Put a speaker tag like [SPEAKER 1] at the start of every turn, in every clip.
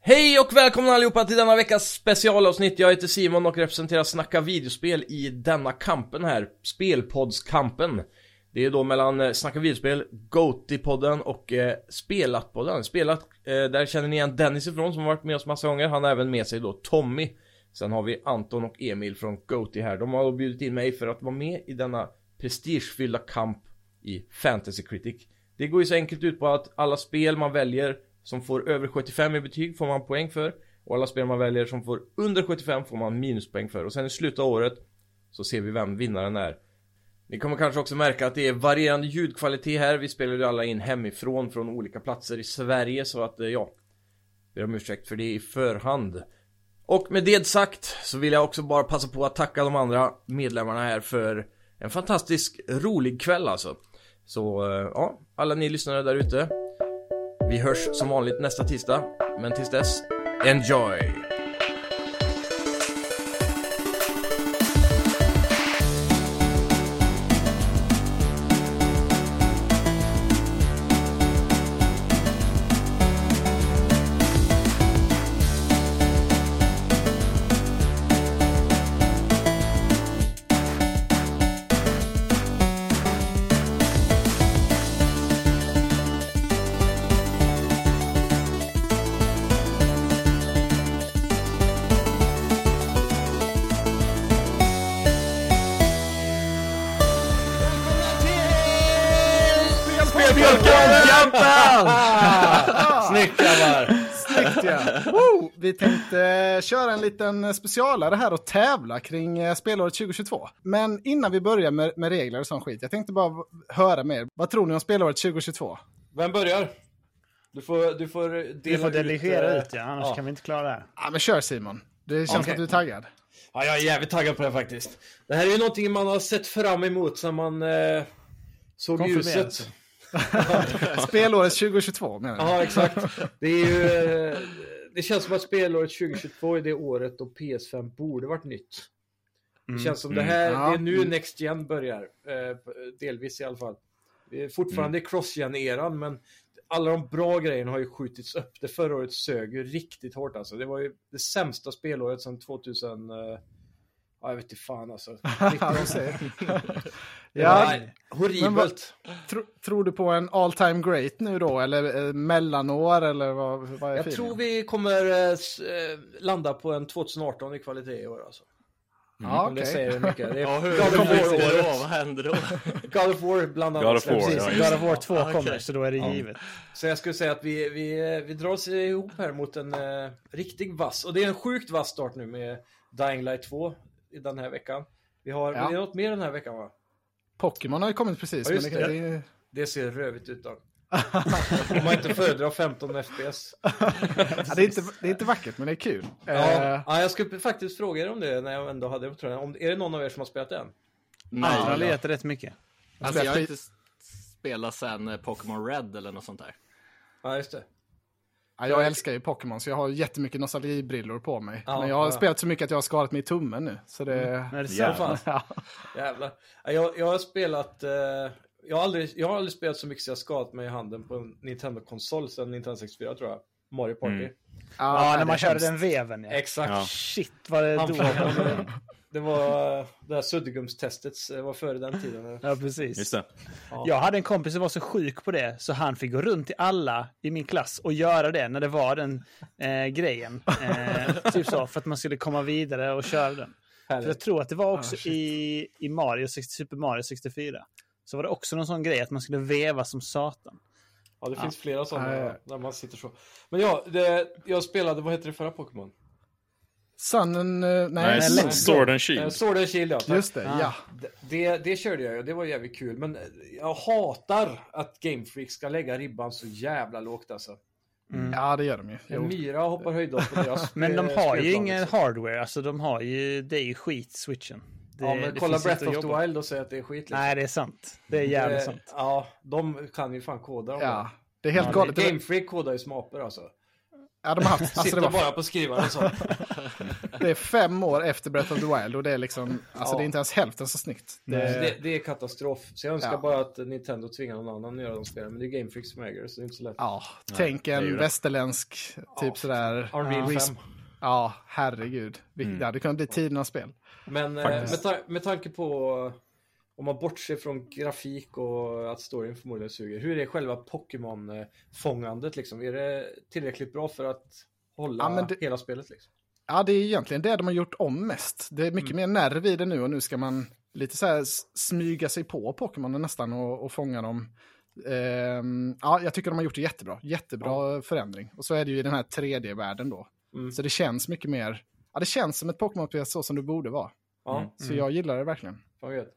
[SPEAKER 1] Hej och välkomna allihopa till denna veckas specialavsnitt. Jag heter Simon och representerar Snacka videospel i denna kampen här. Spelpodskampen. Det är då mellan eh, Snacka videospel, Goti-podden och eh, Spelat-podden. Spelat, eh, där känner ni igen Dennis ifrån som har varit med oss massa gånger. Han har även med sig då Tommy. Sen har vi Anton och Emil från Goti här. De har då bjudit in mig för att vara med i denna prestigefyllda kamp i Fantasy Critic. Det går ju så enkelt ut på att alla spel man väljer som får över 75 i betyg får man poäng för. Och alla spel man väljer som får under 75 får man minuspoäng för. Och sen i slutet av året så ser vi vem vinnaren är. Ni kommer kanske också märka att det är varierande ljudkvalitet här. Vi spelar ju alla in hemifrån från olika platser i Sverige så att eh, ja. Ber om ursäkt för det i förhand. Och med det sagt så vill jag också bara passa på att tacka de andra medlemmarna här för en fantastisk rolig kväll alltså. Så eh, ja, alla ni lyssnare där ute. Vi hörs som vanligt nästa tisdag, men tills dess, enjoy!
[SPEAKER 2] Snyggt grabbar!
[SPEAKER 3] Snyggt ja! Woo! Vi tänkte eh, köra en liten eh, specialare här och tävla kring eh, spelåret 2022. Men innan vi börjar med, med regler och sån skit, jag tänkte bara v- höra med er. Vad tror ni om spelåret 2022?
[SPEAKER 1] Vem börjar? Du får, du får dela eh,
[SPEAKER 2] Vi får delegera ut ja, annars
[SPEAKER 1] ja.
[SPEAKER 2] kan vi inte klara det här.
[SPEAKER 3] Ja, men kör Simon. Det känns som
[SPEAKER 1] Okej.
[SPEAKER 3] att du är taggad.
[SPEAKER 1] Ja, jag är jävligt taggad på det här faktiskt. Det här är ju någonting man har sett fram emot sen man eh, såg
[SPEAKER 2] Konfirmerad.
[SPEAKER 1] ljuset.
[SPEAKER 3] Spelåret 2022 menar jag.
[SPEAKER 1] Ja, exakt. Det är ju... Eh, det känns som att spelåret 2022 är det året då PS5 borde varit nytt. Det
[SPEAKER 2] Mm.
[SPEAKER 1] känns som det här,
[SPEAKER 3] Mm. Ja. Mm.
[SPEAKER 1] det är nu Next Gen börjar. Eh, delvis i alla fall. Vi är fortfarande i
[SPEAKER 3] Mm.
[SPEAKER 1] cross-gen-eran, men alla de bra grejerna har ju skjutits upp. Det förra året sög ju riktigt hårt alltså. Det var ju det sämsta spelåret sedan 2000... Eh, ja, jag vet inte fan alltså. Riktigt-
[SPEAKER 3] du ser.
[SPEAKER 1] Ja,
[SPEAKER 3] ja, Men vad-
[SPEAKER 1] horribelt.
[SPEAKER 3] tro, tror du på en all time great nu då, eller eh, mellanår, eller vad, vad är
[SPEAKER 1] Jag
[SPEAKER 3] feelingen?
[SPEAKER 1] tror vi kommer eh, s- eh, landa på en 2018 i kvalitet i år alltså.
[SPEAKER 3] Ja,
[SPEAKER 1] Om det
[SPEAKER 3] okej.
[SPEAKER 1] säger mycket. Det är
[SPEAKER 4] Ja, hur
[SPEAKER 1] God of
[SPEAKER 4] hur blir det
[SPEAKER 1] War-året.
[SPEAKER 4] då? Vad händer då?
[SPEAKER 1] God of War bland annat.
[SPEAKER 5] God of War,
[SPEAKER 1] Precis.
[SPEAKER 5] ja, just
[SPEAKER 2] God of War 2
[SPEAKER 4] Ja, okej.
[SPEAKER 2] kommer, så då är det givet.
[SPEAKER 1] Så jag skulle säga att vi, vi, vi drar oss ihop här mot en eh, riktig vass. Och det är en sjukt vass start nu med Dying Light 2 i den här veckan. Vi har,
[SPEAKER 3] Ja.
[SPEAKER 1] det är något mer den här veckan va?
[SPEAKER 3] Pokémon har ju kommit precis,
[SPEAKER 1] Ja,
[SPEAKER 3] men
[SPEAKER 1] just
[SPEAKER 3] det,
[SPEAKER 1] det.
[SPEAKER 3] det är
[SPEAKER 1] Det ser rövigt ut då. Om man inte föredrar 15 FPS.
[SPEAKER 3] Ja, det, är inte, det är inte vackert, men det är kul.
[SPEAKER 1] Ja,
[SPEAKER 3] Eh,
[SPEAKER 1] ja, jag skulle faktiskt fråga er om det när jag ändå hade det på tröjan. Om, är det någon av er som har spelat den?
[SPEAKER 4] Nej,
[SPEAKER 2] Andra letar rätt mycket.
[SPEAKER 4] alltså jag har
[SPEAKER 3] skit-
[SPEAKER 4] inte s- spelat sen eh, Pokémon Red eller något sånt där.
[SPEAKER 1] Ja, just det.
[SPEAKER 3] Ja, jag älskar ju Pokémon, så jag har jättemycket nostalgibrillor på mig.
[SPEAKER 1] Ja,
[SPEAKER 3] men jag har
[SPEAKER 1] ja.
[SPEAKER 3] spelat så mycket att jag har skadat mig i tummen nu. Så det...
[SPEAKER 2] Men det är
[SPEAKER 5] Ja.
[SPEAKER 2] sant.
[SPEAKER 1] Fan.
[SPEAKER 3] Ja.
[SPEAKER 1] Jävlar. Ja, Jag, jag har spelat... Eh, jag, har aldrig, jag har aldrig spelat så mycket så jag har skadat mig i handen på en Nintendo-konsol sedan Nintendo 64 tror jag. Mario Party.
[SPEAKER 5] Mm.
[SPEAKER 2] Ja,
[SPEAKER 3] nej,
[SPEAKER 2] när
[SPEAKER 3] det
[SPEAKER 2] man
[SPEAKER 3] är
[SPEAKER 2] körde
[SPEAKER 3] hemskt.
[SPEAKER 2] den veven ja.
[SPEAKER 1] Exakt.
[SPEAKER 5] Ja.
[SPEAKER 2] Shit vad det
[SPEAKER 1] Han
[SPEAKER 2] dog.
[SPEAKER 1] får- Det var eh, det här suddgumstestet, eh, var före den tiden.
[SPEAKER 2] Ja, precis.
[SPEAKER 5] Just det.
[SPEAKER 2] Jag hade en kompis som var så sjuk på det så han fick gå runt till alla i min klass och göra det när det var den eh, grejen. Eh, typ så, för att man skulle komma vidare och köra den. För jag
[SPEAKER 1] Härligt.
[SPEAKER 2] tror att det var också
[SPEAKER 3] Ah, shit.
[SPEAKER 2] i, i Mario, 60 Super Mario 64. Så var det också någon sån grej att man skulle veva som satan.
[SPEAKER 1] Ja, det finns flera sådana
[SPEAKER 3] Ja, ja, ja.
[SPEAKER 1] där man sitter så. Men ja, det, jag spelade, vad heter det förra Pokémon?
[SPEAKER 3] Sun and... eh, Nej,
[SPEAKER 5] Nej,
[SPEAKER 3] nej,
[SPEAKER 2] s-
[SPEAKER 3] Lake.
[SPEAKER 5] Sword and
[SPEAKER 1] Eh,
[SPEAKER 5] Shield.
[SPEAKER 1] Sword and Shield, ja. tack.
[SPEAKER 3] Just det,
[SPEAKER 2] Ah.
[SPEAKER 3] ja.
[SPEAKER 1] Det- Det, det körde jag ju, det var jävligt kul. Men eh, jag hatar att Game Freak ska lägga ribban så jävla lågt alltså.
[SPEAKER 3] Ja, det gör de ju.
[SPEAKER 1] En
[SPEAKER 3] Jo.
[SPEAKER 1] myra hoppar höjdhopp på deras
[SPEAKER 2] Men de
[SPEAKER 1] eh,
[SPEAKER 2] har ju
[SPEAKER 1] spelplan,
[SPEAKER 2] ingen
[SPEAKER 1] liksom.
[SPEAKER 2] hardware, alltså de har ju, det är ju skit switchen. Det,
[SPEAKER 1] ja, men kolla
[SPEAKER 2] finns inte
[SPEAKER 1] Breath of
[SPEAKER 2] att
[SPEAKER 1] the
[SPEAKER 2] jobba.
[SPEAKER 1] Wild och säg att det är skit. liksom.
[SPEAKER 2] Nej, det är sant. Det är jävligt
[SPEAKER 1] Eh,
[SPEAKER 2] sant.
[SPEAKER 1] Ja, de kan ju fan koda. dem.
[SPEAKER 3] Ja. Det är helt
[SPEAKER 1] Ja,
[SPEAKER 3] galet.
[SPEAKER 1] Game Freak kodar ju som apor alltså.
[SPEAKER 3] Ja, de har haft, alltså,
[SPEAKER 6] Sitter
[SPEAKER 3] det, var,
[SPEAKER 6] bara på skrivaren så.
[SPEAKER 3] det är fem år efter Breath of the Wild och det är liksom, alltså
[SPEAKER 1] Ja.
[SPEAKER 3] det är inte ens hälften så snyggt. Eh, Det,
[SPEAKER 1] Så Det, det är katastrof. Så jag önskar
[SPEAKER 3] Ja.
[SPEAKER 1] bara att Nintendo tvingar någon annan att göra de spelen. Men det är Game Freak som äger det, så det är inte så lätt.
[SPEAKER 3] Ja, tänk
[SPEAKER 4] det är ju
[SPEAKER 3] en
[SPEAKER 4] det.
[SPEAKER 3] västerländsk, typ sådär.
[SPEAKER 1] Unreal
[SPEAKER 3] Res-
[SPEAKER 1] 5.
[SPEAKER 3] Ja, herregud. Vil- Det hade kunnat bli tidernas spel.
[SPEAKER 1] Men eh, med, ta med tanke på, om man bortser från grafik och att storyn förmodligen suger, hur är själva Pokémon-fångandet liksom? Är det tillräckligt bra för att hålla
[SPEAKER 3] Ja, men det-
[SPEAKER 1] hela spelet liksom?
[SPEAKER 3] Ja, det är egentligen det de har gjort om mest. Det är mycket
[SPEAKER 2] Mm.
[SPEAKER 3] mer nerv i det nu och nu ska man lite så här s- smyga sig på Pokémonen nästan och, och fånga dem. Ehm, ja, jag tycker de har gjort det jättebra. Jättebra förändring. Och så är det ju i den här 3D-världen då.
[SPEAKER 1] Mm.
[SPEAKER 3] Så det känns mycket mer... Ja, det känns som ett Pokémon-spel så som det borde vara.
[SPEAKER 1] Ja,
[SPEAKER 3] Så jag gillar det verkligen.
[SPEAKER 1] fan vad gött.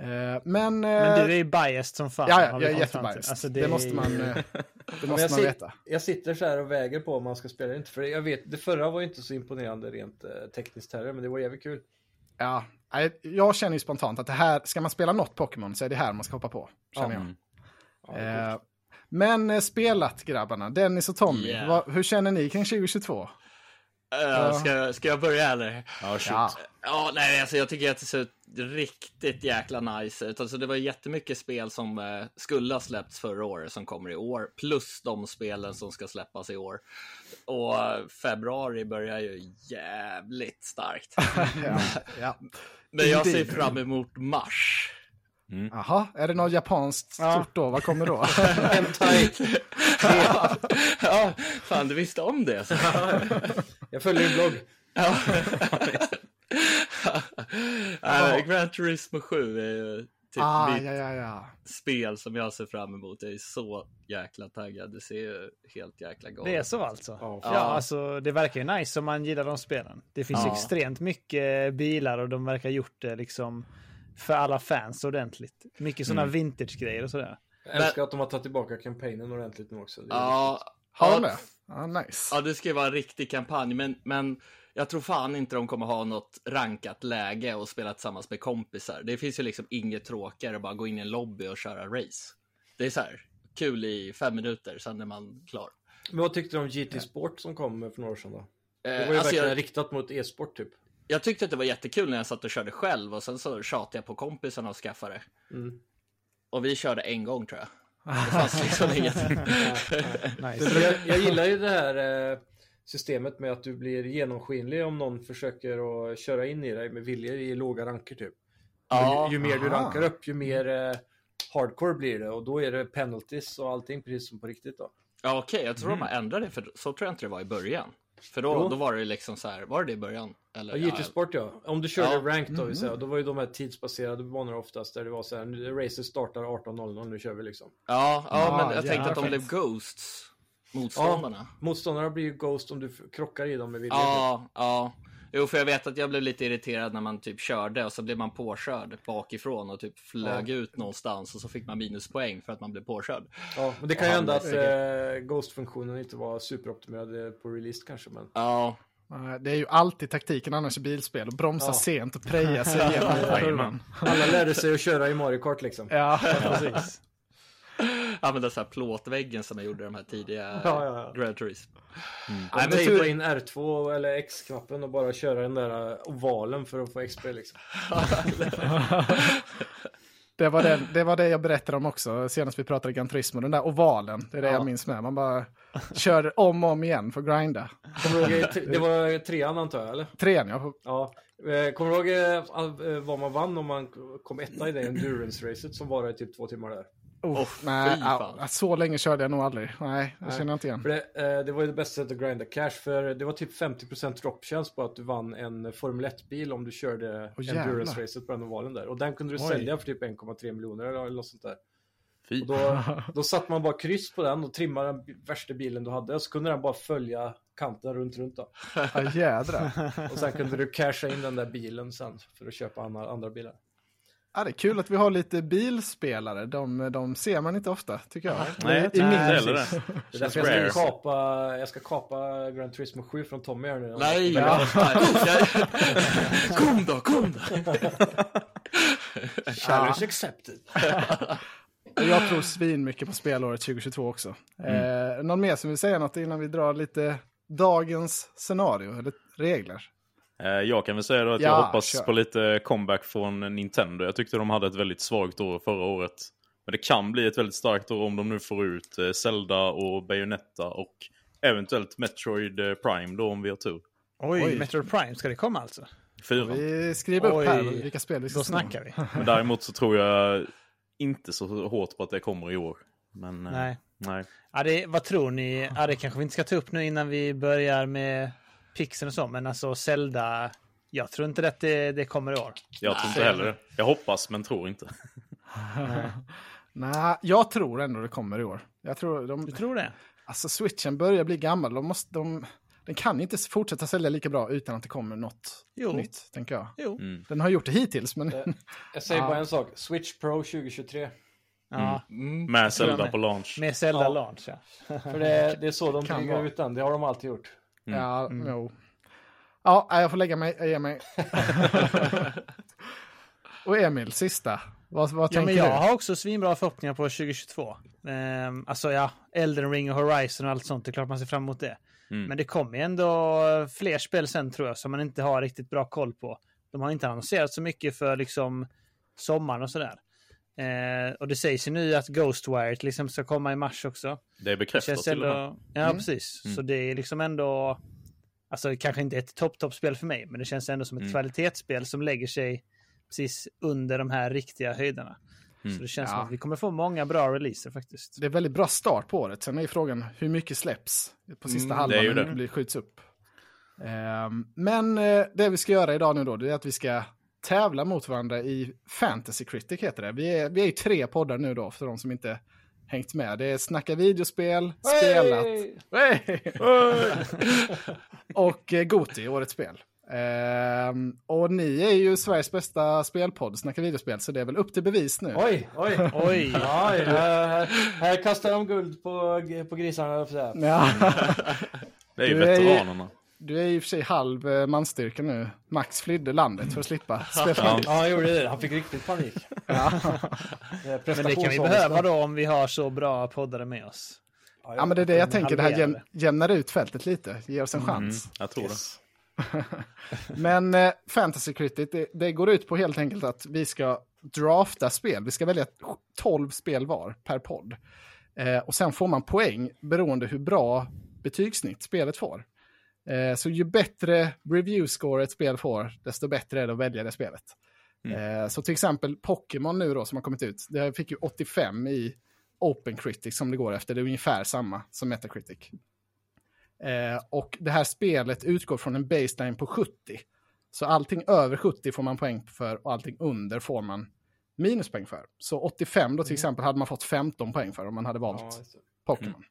[SPEAKER 3] Eh, men... eh,
[SPEAKER 2] Mm. Men du är ju biased som fan.
[SPEAKER 3] ja,
[SPEAKER 2] har
[SPEAKER 3] ja,
[SPEAKER 2] vi
[SPEAKER 3] jag är
[SPEAKER 2] kommit fram till.
[SPEAKER 3] jättebiased.
[SPEAKER 2] Alltså,
[SPEAKER 3] det,
[SPEAKER 2] är
[SPEAKER 3] måste
[SPEAKER 2] ju-
[SPEAKER 3] man, eh, det måste
[SPEAKER 1] jag,
[SPEAKER 3] man
[SPEAKER 1] sit-
[SPEAKER 3] veta.
[SPEAKER 1] jag sitter så här och väger på om man ska spela eller inte. För jag vet, det förra var ju inte så imponerande rent eh, tekniskt heller, men det var jävligt kul.
[SPEAKER 3] Ja, nej, jag känner ju spontant att det här, ska man spela något Pokémon så är det här man ska hoppa på. Känner jag.
[SPEAKER 1] Ja, det är coolt.
[SPEAKER 3] Eh, men eh, spelat grabbarna, Dennis och Tommy,
[SPEAKER 4] Yeah.
[SPEAKER 3] vad, hur känner ni kring 2022?
[SPEAKER 4] Eh, ska, ska jag börja eller?
[SPEAKER 6] Ja, shit.
[SPEAKER 3] Ja.
[SPEAKER 4] Ja, nej, alltså jag tycker att det ser ut riktigt jäkla nice ut. Alltså, det var jättemycket spel som eh, skulle ha släppts förra året som kommer i år, plus de spelen som ska släppas i år. Och eh, februari börjar ju jävligt starkt.
[SPEAKER 3] ja, ja.
[SPEAKER 4] Men jag ser
[SPEAKER 3] Indeed.
[SPEAKER 4] fram emot mars.
[SPEAKER 3] Aha, är det något japanskt
[SPEAKER 2] Ja.
[SPEAKER 3] stort då? Vad kommer då?
[SPEAKER 4] ja, fan, du visste om det. alltså.
[SPEAKER 1] Jag följer din blogg.
[SPEAKER 4] Ja. Nej, Gran Turismo 7 är ju typ
[SPEAKER 3] ah,
[SPEAKER 4] mitt
[SPEAKER 3] ja, ja, ja.
[SPEAKER 4] spel som jag ser fram emot. Jag är så jäkla taggad. Det ser ju helt jäkla galet
[SPEAKER 2] Det är så alltså?
[SPEAKER 1] Ja.
[SPEAKER 2] Ja, alltså det verkar ju nice om man gillar de spelen. Det finns ju
[SPEAKER 4] Ja.
[SPEAKER 2] extremt mycket bilar och de verkar gjort det liksom för alla fans ordentligt. Mycket sådana vintage-grejer och sådär.
[SPEAKER 1] Jag älskar att de har tagit tillbaka kampanjen ordentligt nu också. Det är-
[SPEAKER 4] Ja,
[SPEAKER 3] Har
[SPEAKER 4] ja,
[SPEAKER 3] de det? Ah, nice.
[SPEAKER 4] ja, det ska ju vara en riktig kampanj, men, men jag tror fan inte de kommer ha något rankat läge och spela tillsammans med kompisar. Det finns ju liksom inget tråkigare än att bara gå in i en lobby och köra race. Det är så här kul i fem minuter, sen är man klar.
[SPEAKER 1] Men vad tyckte du om GT Sport som kom för några år sedan då? Det var
[SPEAKER 4] Eh,
[SPEAKER 1] ju
[SPEAKER 4] alltså,
[SPEAKER 1] verkligen
[SPEAKER 4] jag-
[SPEAKER 1] riktat mot e-sport typ.
[SPEAKER 4] Jag tyckte att det var jättekul när jag satt och körde själv och sen så tjatade jag på kompisarna och skaffade det.
[SPEAKER 1] Mm.
[SPEAKER 4] Och vi körde en gång tror jag. Det fanns liksom inget.
[SPEAKER 2] Nice.
[SPEAKER 1] Jag, jag gillar ju det här eh, systemet med att du blir genomskinlig om någon försöker att köra in i dig med vilja i låga ranker typ.
[SPEAKER 4] Ja,
[SPEAKER 1] ju, ju mer du
[SPEAKER 3] aha.
[SPEAKER 1] rankar upp, ju mer eh, hardcore blir det och då är det penalties och allting precis som på riktigt då.
[SPEAKER 4] ja okej, jag tror de har ändrat det för så tror jag inte det var i början. För
[SPEAKER 1] Jo.
[SPEAKER 4] då, då var det liksom så här, var det det i början? Eller,
[SPEAKER 1] Ja, GT Sport ja. Mm. Om du körde
[SPEAKER 4] Ja.
[SPEAKER 1] rank då, vill säga, då var ju de här tidsbaserade banorna oftast där det var så här, nu- racet startar 18.00, nu kör vi liksom.
[SPEAKER 4] Ja, ja,
[SPEAKER 3] Ja,
[SPEAKER 4] men jag
[SPEAKER 3] jävlar,
[SPEAKER 4] tänkte att de
[SPEAKER 3] fint.
[SPEAKER 4] blev Ghosts, motståndarna.
[SPEAKER 1] Motståndarna blir ju Ghost om du f- krockar i dem med vilja. typ.
[SPEAKER 4] Ja, ja. Jo, för jag vet att jag blev lite irriterad när man typ körde och så blev man påkörd bakifrån och typ flög ut någonstans och så fick man minuspoäng för att man blev påkörd.
[SPEAKER 1] Ja, men det kan ju
[SPEAKER 4] Ja,
[SPEAKER 1] hända att
[SPEAKER 4] herregud.
[SPEAKER 1] eh, Ghost-funktionen inte var superoptimerad eh, på release kanske, men...
[SPEAKER 4] Ja,
[SPEAKER 3] Ah, Det är ju alltid taktiken annars i bilspel, att bromsa
[SPEAKER 1] Ja.
[SPEAKER 3] sent och preja sig igenom kurvan.
[SPEAKER 1] Alla lärde sig att köra i Mario Kart liksom.
[SPEAKER 3] Ja,
[SPEAKER 2] Precis.
[SPEAKER 4] använda så här plåtväggen som jag gjorde i de här tidiga
[SPEAKER 1] Ja, ja, ja.
[SPEAKER 4] Grand Turismo.
[SPEAKER 1] Nej,
[SPEAKER 3] men
[SPEAKER 1] men
[SPEAKER 3] tur-
[SPEAKER 1] tejpa in R2 eller X-knappen och bara köra den där eh, ovalen för att få XP liksom.
[SPEAKER 3] det, var det, det var det jag berättade om också senast vi pratade Gran Turismo, den där ovalen. Det är det
[SPEAKER 1] Ja.
[SPEAKER 3] jag minns med. Man bara kör om och om igen för att grinda.
[SPEAKER 1] Kommer du ihåg, eh, det var trean antar jag, eller?
[SPEAKER 3] Trean, jag
[SPEAKER 1] Ja. Eh, Kommer du ihåg eh, all- eh, vad man vann om man kom etta i det endurance-racet som varade i typ två timmar där?
[SPEAKER 4] Oh,
[SPEAKER 3] Nej,
[SPEAKER 4] fy fan.
[SPEAKER 3] ja, så länge körde jag nog aldrig. Nej, det
[SPEAKER 1] Nej.
[SPEAKER 3] känner jag inte igen.
[SPEAKER 1] För det, eh, det var ju det bästa sättet att grinda cash, för det var typ 50% dropptjänst på att du vann en eh, Formel 1-bil om du körde
[SPEAKER 3] Åh, jävlar.
[SPEAKER 1] endurance-racet på den ovalen där. Och den kunde du
[SPEAKER 3] Oj.
[SPEAKER 1] sälja för typ 1,3 miljoner eller eller något sånt där.
[SPEAKER 6] Fy.
[SPEAKER 1] Och då, då satte man bara kryss på den och trimmade den bi- värsta bilen du hade. Så kunde den bara följa kanten runt, runt då.
[SPEAKER 3] Ja, jädra.
[SPEAKER 1] Och sen kunde du casha in den där bilen sen för att köpa andra, andra bilar.
[SPEAKER 3] Ja, det är kul att vi har lite bilspelare. De, de ser man inte ofta, tycker jag.
[SPEAKER 6] Nej, jag
[SPEAKER 3] I
[SPEAKER 6] tycker inte
[SPEAKER 3] min-
[SPEAKER 6] heller det.
[SPEAKER 1] Det är därför jag ska, kapa, jag ska kapa Grand Turismo 7 från Tommy här nu.
[SPEAKER 4] Nej, ja. kom då, kom då.
[SPEAKER 1] Challenge accepted.
[SPEAKER 3] Jag
[SPEAKER 6] Mm.
[SPEAKER 3] tror svin mycket på spelåret 2022 också. Eh, någon mer som vill säga något innan vi drar lite dagens scenario eller regler?
[SPEAKER 7] Eh, Jag kan väl säga då att jag
[SPEAKER 3] Ja,
[SPEAKER 7] hoppas
[SPEAKER 3] kör.
[SPEAKER 7] på lite comeback från Nintendo. Jag tyckte de hade ett väldigt svagt år förra året. Men det kan bli ett väldigt starkt år om de nu får ut eh, Zelda och Bayonetta och eventuellt Metroid eh, Prime då om vi har tur.
[SPEAKER 2] Oj,
[SPEAKER 3] Oj.
[SPEAKER 2] Metroid Prime ska det komma alltså?
[SPEAKER 7] Fyran.
[SPEAKER 3] Vi skriver upp här
[SPEAKER 2] Oj.
[SPEAKER 3] vilka spel vi ska
[SPEAKER 2] Då
[SPEAKER 3] sno.
[SPEAKER 2] snackar vi.
[SPEAKER 7] Men däremot så tror jag inte så hårt på att det kommer i år. Men eh,
[SPEAKER 2] Nej.
[SPEAKER 7] nej.
[SPEAKER 2] Ja, det, vad tror ni? Ja, det kanske vi inte ska ta upp nu innan vi börjar med pixeln och så, men alltså Zelda. Jag tror inte att det, det kommer i år.
[SPEAKER 7] jag tror inte heller det. Jag hoppas men tror inte.
[SPEAKER 3] Nej, jag tror ändå det kommer i år. Jag tror de,
[SPEAKER 2] Du tror det?
[SPEAKER 3] alltså switchen börjar bli gammal. De måste, de, den kan inte fortsätta sälja lika bra utan att det kommer något
[SPEAKER 2] Jo. Eh,
[SPEAKER 3] nytt, tänker jag.
[SPEAKER 2] Jo.
[SPEAKER 7] Mm.
[SPEAKER 3] Den har gjort det hittills, men
[SPEAKER 8] Jag säger bara en sak, Switch Pro 2023.
[SPEAKER 2] Ja,
[SPEAKER 7] Mm. Med Zelda
[SPEAKER 2] med.
[SPEAKER 7] på launch.
[SPEAKER 2] med Zelda
[SPEAKER 8] Ja.
[SPEAKER 2] Launch ja.
[SPEAKER 8] För det, det är så de
[SPEAKER 3] Kan
[SPEAKER 8] drygar
[SPEAKER 3] vara.
[SPEAKER 8] ut den, det har de alltid gjort.
[SPEAKER 3] ja,
[SPEAKER 2] Mm.
[SPEAKER 3] jo. Ja, nej, jag får lägga mig, jag ger mig. Och Emil, sista. Vad, vad
[SPEAKER 2] Ja,
[SPEAKER 3] tänker
[SPEAKER 2] men jag
[SPEAKER 3] du?
[SPEAKER 2] har också svinbra förhoppningar på 2022. Ehm, alltså ja, Elden Ring och Horizon och allt sånt, det är klart man ser fram emot det.
[SPEAKER 7] Mm.
[SPEAKER 2] Men det kommer ju ändå fler spel sen tror jag som man inte har riktigt bra koll på. De har inte annonserat så mycket för liksom sommaren och sådär. Eh, och det sägs ju nu att Ghostwire till exempel ska komma i mars också.
[SPEAKER 7] Det är
[SPEAKER 2] Det
[SPEAKER 7] bekräftat
[SPEAKER 2] känns
[SPEAKER 7] till och med. Mm.
[SPEAKER 2] ändå... Ja, precis. Så det är liksom ändå... Alltså det kanske inte är ett topp-topp-spel för mig, men det känns ändå
[SPEAKER 7] Mm.
[SPEAKER 2] som ett kvalitetsspel som lägger sig precis under de här riktiga höjderna.
[SPEAKER 7] Mm.
[SPEAKER 2] Så det känns
[SPEAKER 3] Ja.
[SPEAKER 2] som att vi kommer få många bra releaser faktiskt.
[SPEAKER 3] Det är väldigt bra start på året. Sen är ju frågan hur mycket släpps på sista halvan
[SPEAKER 7] Mm, det
[SPEAKER 3] när
[SPEAKER 7] är ju det.
[SPEAKER 3] det blir skjuts upp. Ehm, men eh, det vi ska göra idag nu då, det är att vi ska tävla mot varandra i Fantasy Critic heter det. Vi är, vi är ju tre poddar nu då, för de som inte hängt med. Det är Snacka videospel, Spelat Hey! och eh, Goti, årets spel. Ehm, och ni är ju Sveriges bästa spelpodd, Snacka videospel, så det är väl upp till bevis nu.
[SPEAKER 8] Oj, oj, oj.
[SPEAKER 2] Oj!
[SPEAKER 8] Ja, ja, här, här kastar de guld på, på grisarna, höll jag på att säga.
[SPEAKER 3] Ja.
[SPEAKER 7] Det är ju
[SPEAKER 3] Du är ju-
[SPEAKER 7] veteranerna.
[SPEAKER 3] Du är i och för sig halv eh, manstyrka nu. Max flydde landet för att slippa spela.
[SPEAKER 7] Ja.
[SPEAKER 8] Ja, han gjorde det. Han fick riktigt panik. Det är
[SPEAKER 2] Men det kan vi
[SPEAKER 8] prestationsångest.
[SPEAKER 2] behöva då om vi har så bra poddare med oss.
[SPEAKER 3] Ja, men det är det jag tänker. Det här jäm,
[SPEAKER 2] halverade.
[SPEAKER 3] jämnar ut fältet lite. Ger oss en
[SPEAKER 7] Mm.
[SPEAKER 3] chans.
[SPEAKER 7] Jag tror det.
[SPEAKER 3] Men eh, Fantasy Critic, det, det går ut på helt enkelt att vi ska drafta spel. Vi ska välja 12 spel var per podd. Eh, och sen får man poäng beroende hur bra betygssnitt spelet får. Eh, så ju bättre review score ett spel får, desto bättre är det att välja det spelet.
[SPEAKER 8] Mm.
[SPEAKER 3] Eh, så till exempel Pokémon nu då som har kommit ut, det fick ju 85 i Open Critic som det går efter. Det är ungefär samma som Metacritic. Eh, och det här spelet utgår från en baseline på 70. Så allting över 70 får man poäng för och allting under får man minuspoäng för. Så 85 då till exempel hade man fått 15 poäng för om man hade valt
[SPEAKER 8] Mm. Ja, just det.
[SPEAKER 3] Pokémon.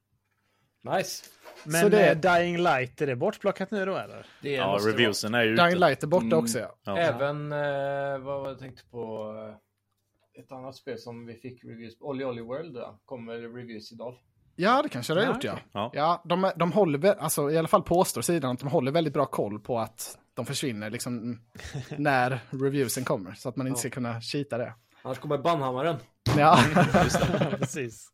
[SPEAKER 8] Nice.
[SPEAKER 2] Men
[SPEAKER 3] Så det-
[SPEAKER 2] eh, Dying Light, är det bortplockat nu då eller?
[SPEAKER 8] Det
[SPEAKER 7] Ja,
[SPEAKER 8] måste det Mm.
[SPEAKER 7] reviewsen är ju ute.
[SPEAKER 3] Dying Light är borta också ja.
[SPEAKER 7] Ja.
[SPEAKER 8] vara. Även, eh, vad var det jag tänkte på? eh, Ett annat spel som vi fick reviews på. Olly Olly World, ja. Kommer väl reviews idag?
[SPEAKER 3] Ja, det kanske det har gjort ja.
[SPEAKER 7] Ja.
[SPEAKER 3] Ja, de, är- de håller, vä- alltså, i alla fall påstår sidan att de håller väldigt bra koll på att de försvinner liksom när reviewsen kommer. Så att man inte ska kunna cheata det.
[SPEAKER 8] Annars kommer Bannhammaren.
[SPEAKER 3] Ja.
[SPEAKER 2] Precis.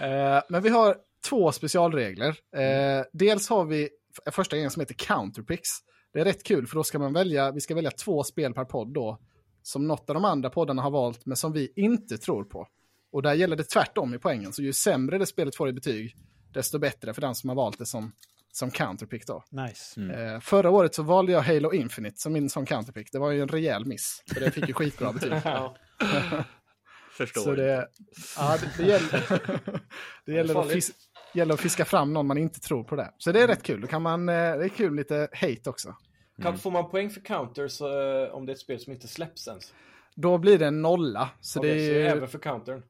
[SPEAKER 3] Eh, men vi har två specialregler. Eh, Dels har vi f- första grejen som heter Counterpicks. Det är rätt kul för då ska man välja, vi ska välja två spel per podd då. Som något av de andra poddarna har valt men som vi inte tror på. Och där gäller det tvärtom i poängen. Så ju sämre det spelet får i betyg desto bättre för den som har valt det som, som counterpick då.
[SPEAKER 2] Nice.
[SPEAKER 3] Eh, förra året så valde jag Halo Infinite som min som counterpick. Det var ju en rejäl miss. För det fick ju skitbra betyg.
[SPEAKER 8] Ja.
[SPEAKER 4] Förstår.
[SPEAKER 3] Så det, ja, det, det gäller, det gäller, att
[SPEAKER 8] Farligt.
[SPEAKER 3] fis, gäller att fiska fram någon man inte tror på det. Så det är rätt kul. Då kan man, eh, det är kul med lite hate också.
[SPEAKER 8] Kan, får man poäng för counters eh, om det är ett spel som inte släpps ens?
[SPEAKER 3] Då blir det en nolla. Så
[SPEAKER 8] Så det
[SPEAKER 3] det är, ju-
[SPEAKER 8] även för countern.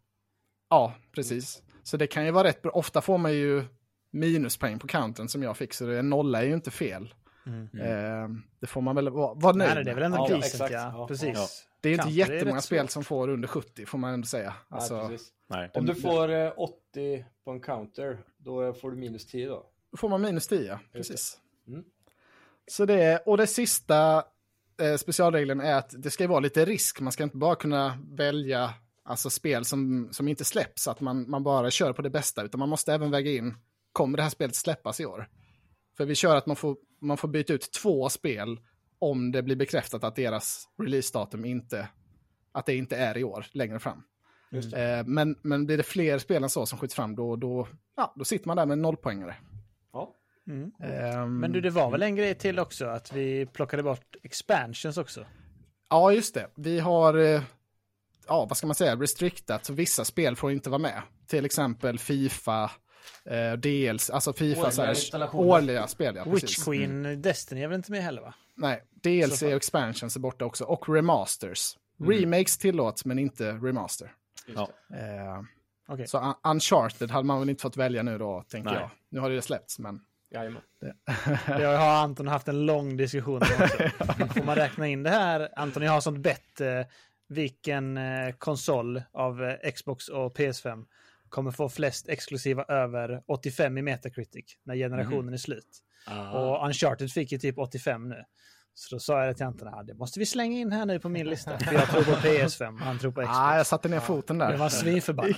[SPEAKER 3] ja, precis. Så det kan ju vara rätt bra. Ofta får man ju minuspoäng på countern som jag fick, så det, en nolla är ju inte fel. Eh, det får man väl vara, vara nöjd
[SPEAKER 2] Nej, det
[SPEAKER 3] med.
[SPEAKER 2] är väl ändå
[SPEAKER 8] Ja,
[SPEAKER 2] decent
[SPEAKER 8] exakt.
[SPEAKER 2] ja.
[SPEAKER 8] Ja.
[SPEAKER 2] Precis.
[SPEAKER 7] Ja.
[SPEAKER 3] Det är ju inte
[SPEAKER 2] Kanske, det är
[SPEAKER 3] jättemånga
[SPEAKER 2] rätt
[SPEAKER 3] spel
[SPEAKER 2] svårt.
[SPEAKER 3] som får under 70, får man ändå säga.
[SPEAKER 8] Nej,
[SPEAKER 3] Alltså,
[SPEAKER 8] precis.
[SPEAKER 7] Nej.
[SPEAKER 8] Om du får eh, 80 på en counter, då får du minus 10 då.
[SPEAKER 3] Då får man minus 10, precis.
[SPEAKER 8] Mm.
[SPEAKER 3] Så det är, och det sista eh, specialregeln är att det ska ju vara lite risk. Man ska inte bara kunna välja alltså, spel som, som inte släpps, att man, man bara kör på det bästa, utan man måste även väga in, kommer det här spelet släppas i år? För vi kör att man får, man får byta ut två spel om det blir bekräftat att deras releasedatum inte, att det inte är i år längre fram. Eh, men, men blir det fler spel än så som skjuts fram, då, då, ja, då sitter man där med en nollpoängare.
[SPEAKER 1] Ja.
[SPEAKER 2] Mm.
[SPEAKER 3] Ehm,
[SPEAKER 2] Men du, det var väl en grej till också? Att vi plockade bort expansions också.
[SPEAKER 3] Ja, just det. Vi har, eh, ja, vad ska man säga, restriktat. Så vissa spel får inte vara med. Till exempel Fifa, eh, DLC, alltså Fifa
[SPEAKER 1] Årliga
[SPEAKER 3] så här,
[SPEAKER 1] installationer.
[SPEAKER 3] årliga spel. Ja,
[SPEAKER 2] Witch
[SPEAKER 3] precis. Mm.
[SPEAKER 2] Queen Destiny är väl inte med heller va?
[SPEAKER 3] Nej, DLC och expansions är borta också. Och remasters. Remakes tillåts, men inte remaster.
[SPEAKER 7] Ja.
[SPEAKER 3] Eh,
[SPEAKER 2] Okej.
[SPEAKER 3] Så Un- Uncharted hade man väl inte fått välja nu då, tänker
[SPEAKER 7] Nej.
[SPEAKER 3] jag. Nu har det ju släppts, men...
[SPEAKER 1] Jajamän.
[SPEAKER 2] Jag har Anton haft en lång diskussion om också. Får man räkna in det här? Anton, jag har sånt bett. Eh, vilken eh, konsol av eh, Xbox och PS5 kommer få flest exklusiva över 85 i Metacritic när generationen
[SPEAKER 3] Mm.
[SPEAKER 2] är slut?
[SPEAKER 4] Ah.
[SPEAKER 2] Och Uncharted fick ju typ 85 nu. Så då sa jag till Anton, ah, det måste vi slänga in här nu på min lista. För jag tror på PS5, han tror på Xbox.
[SPEAKER 3] Ah, jag satte ner foten där.
[SPEAKER 2] Jag var svinförbannad.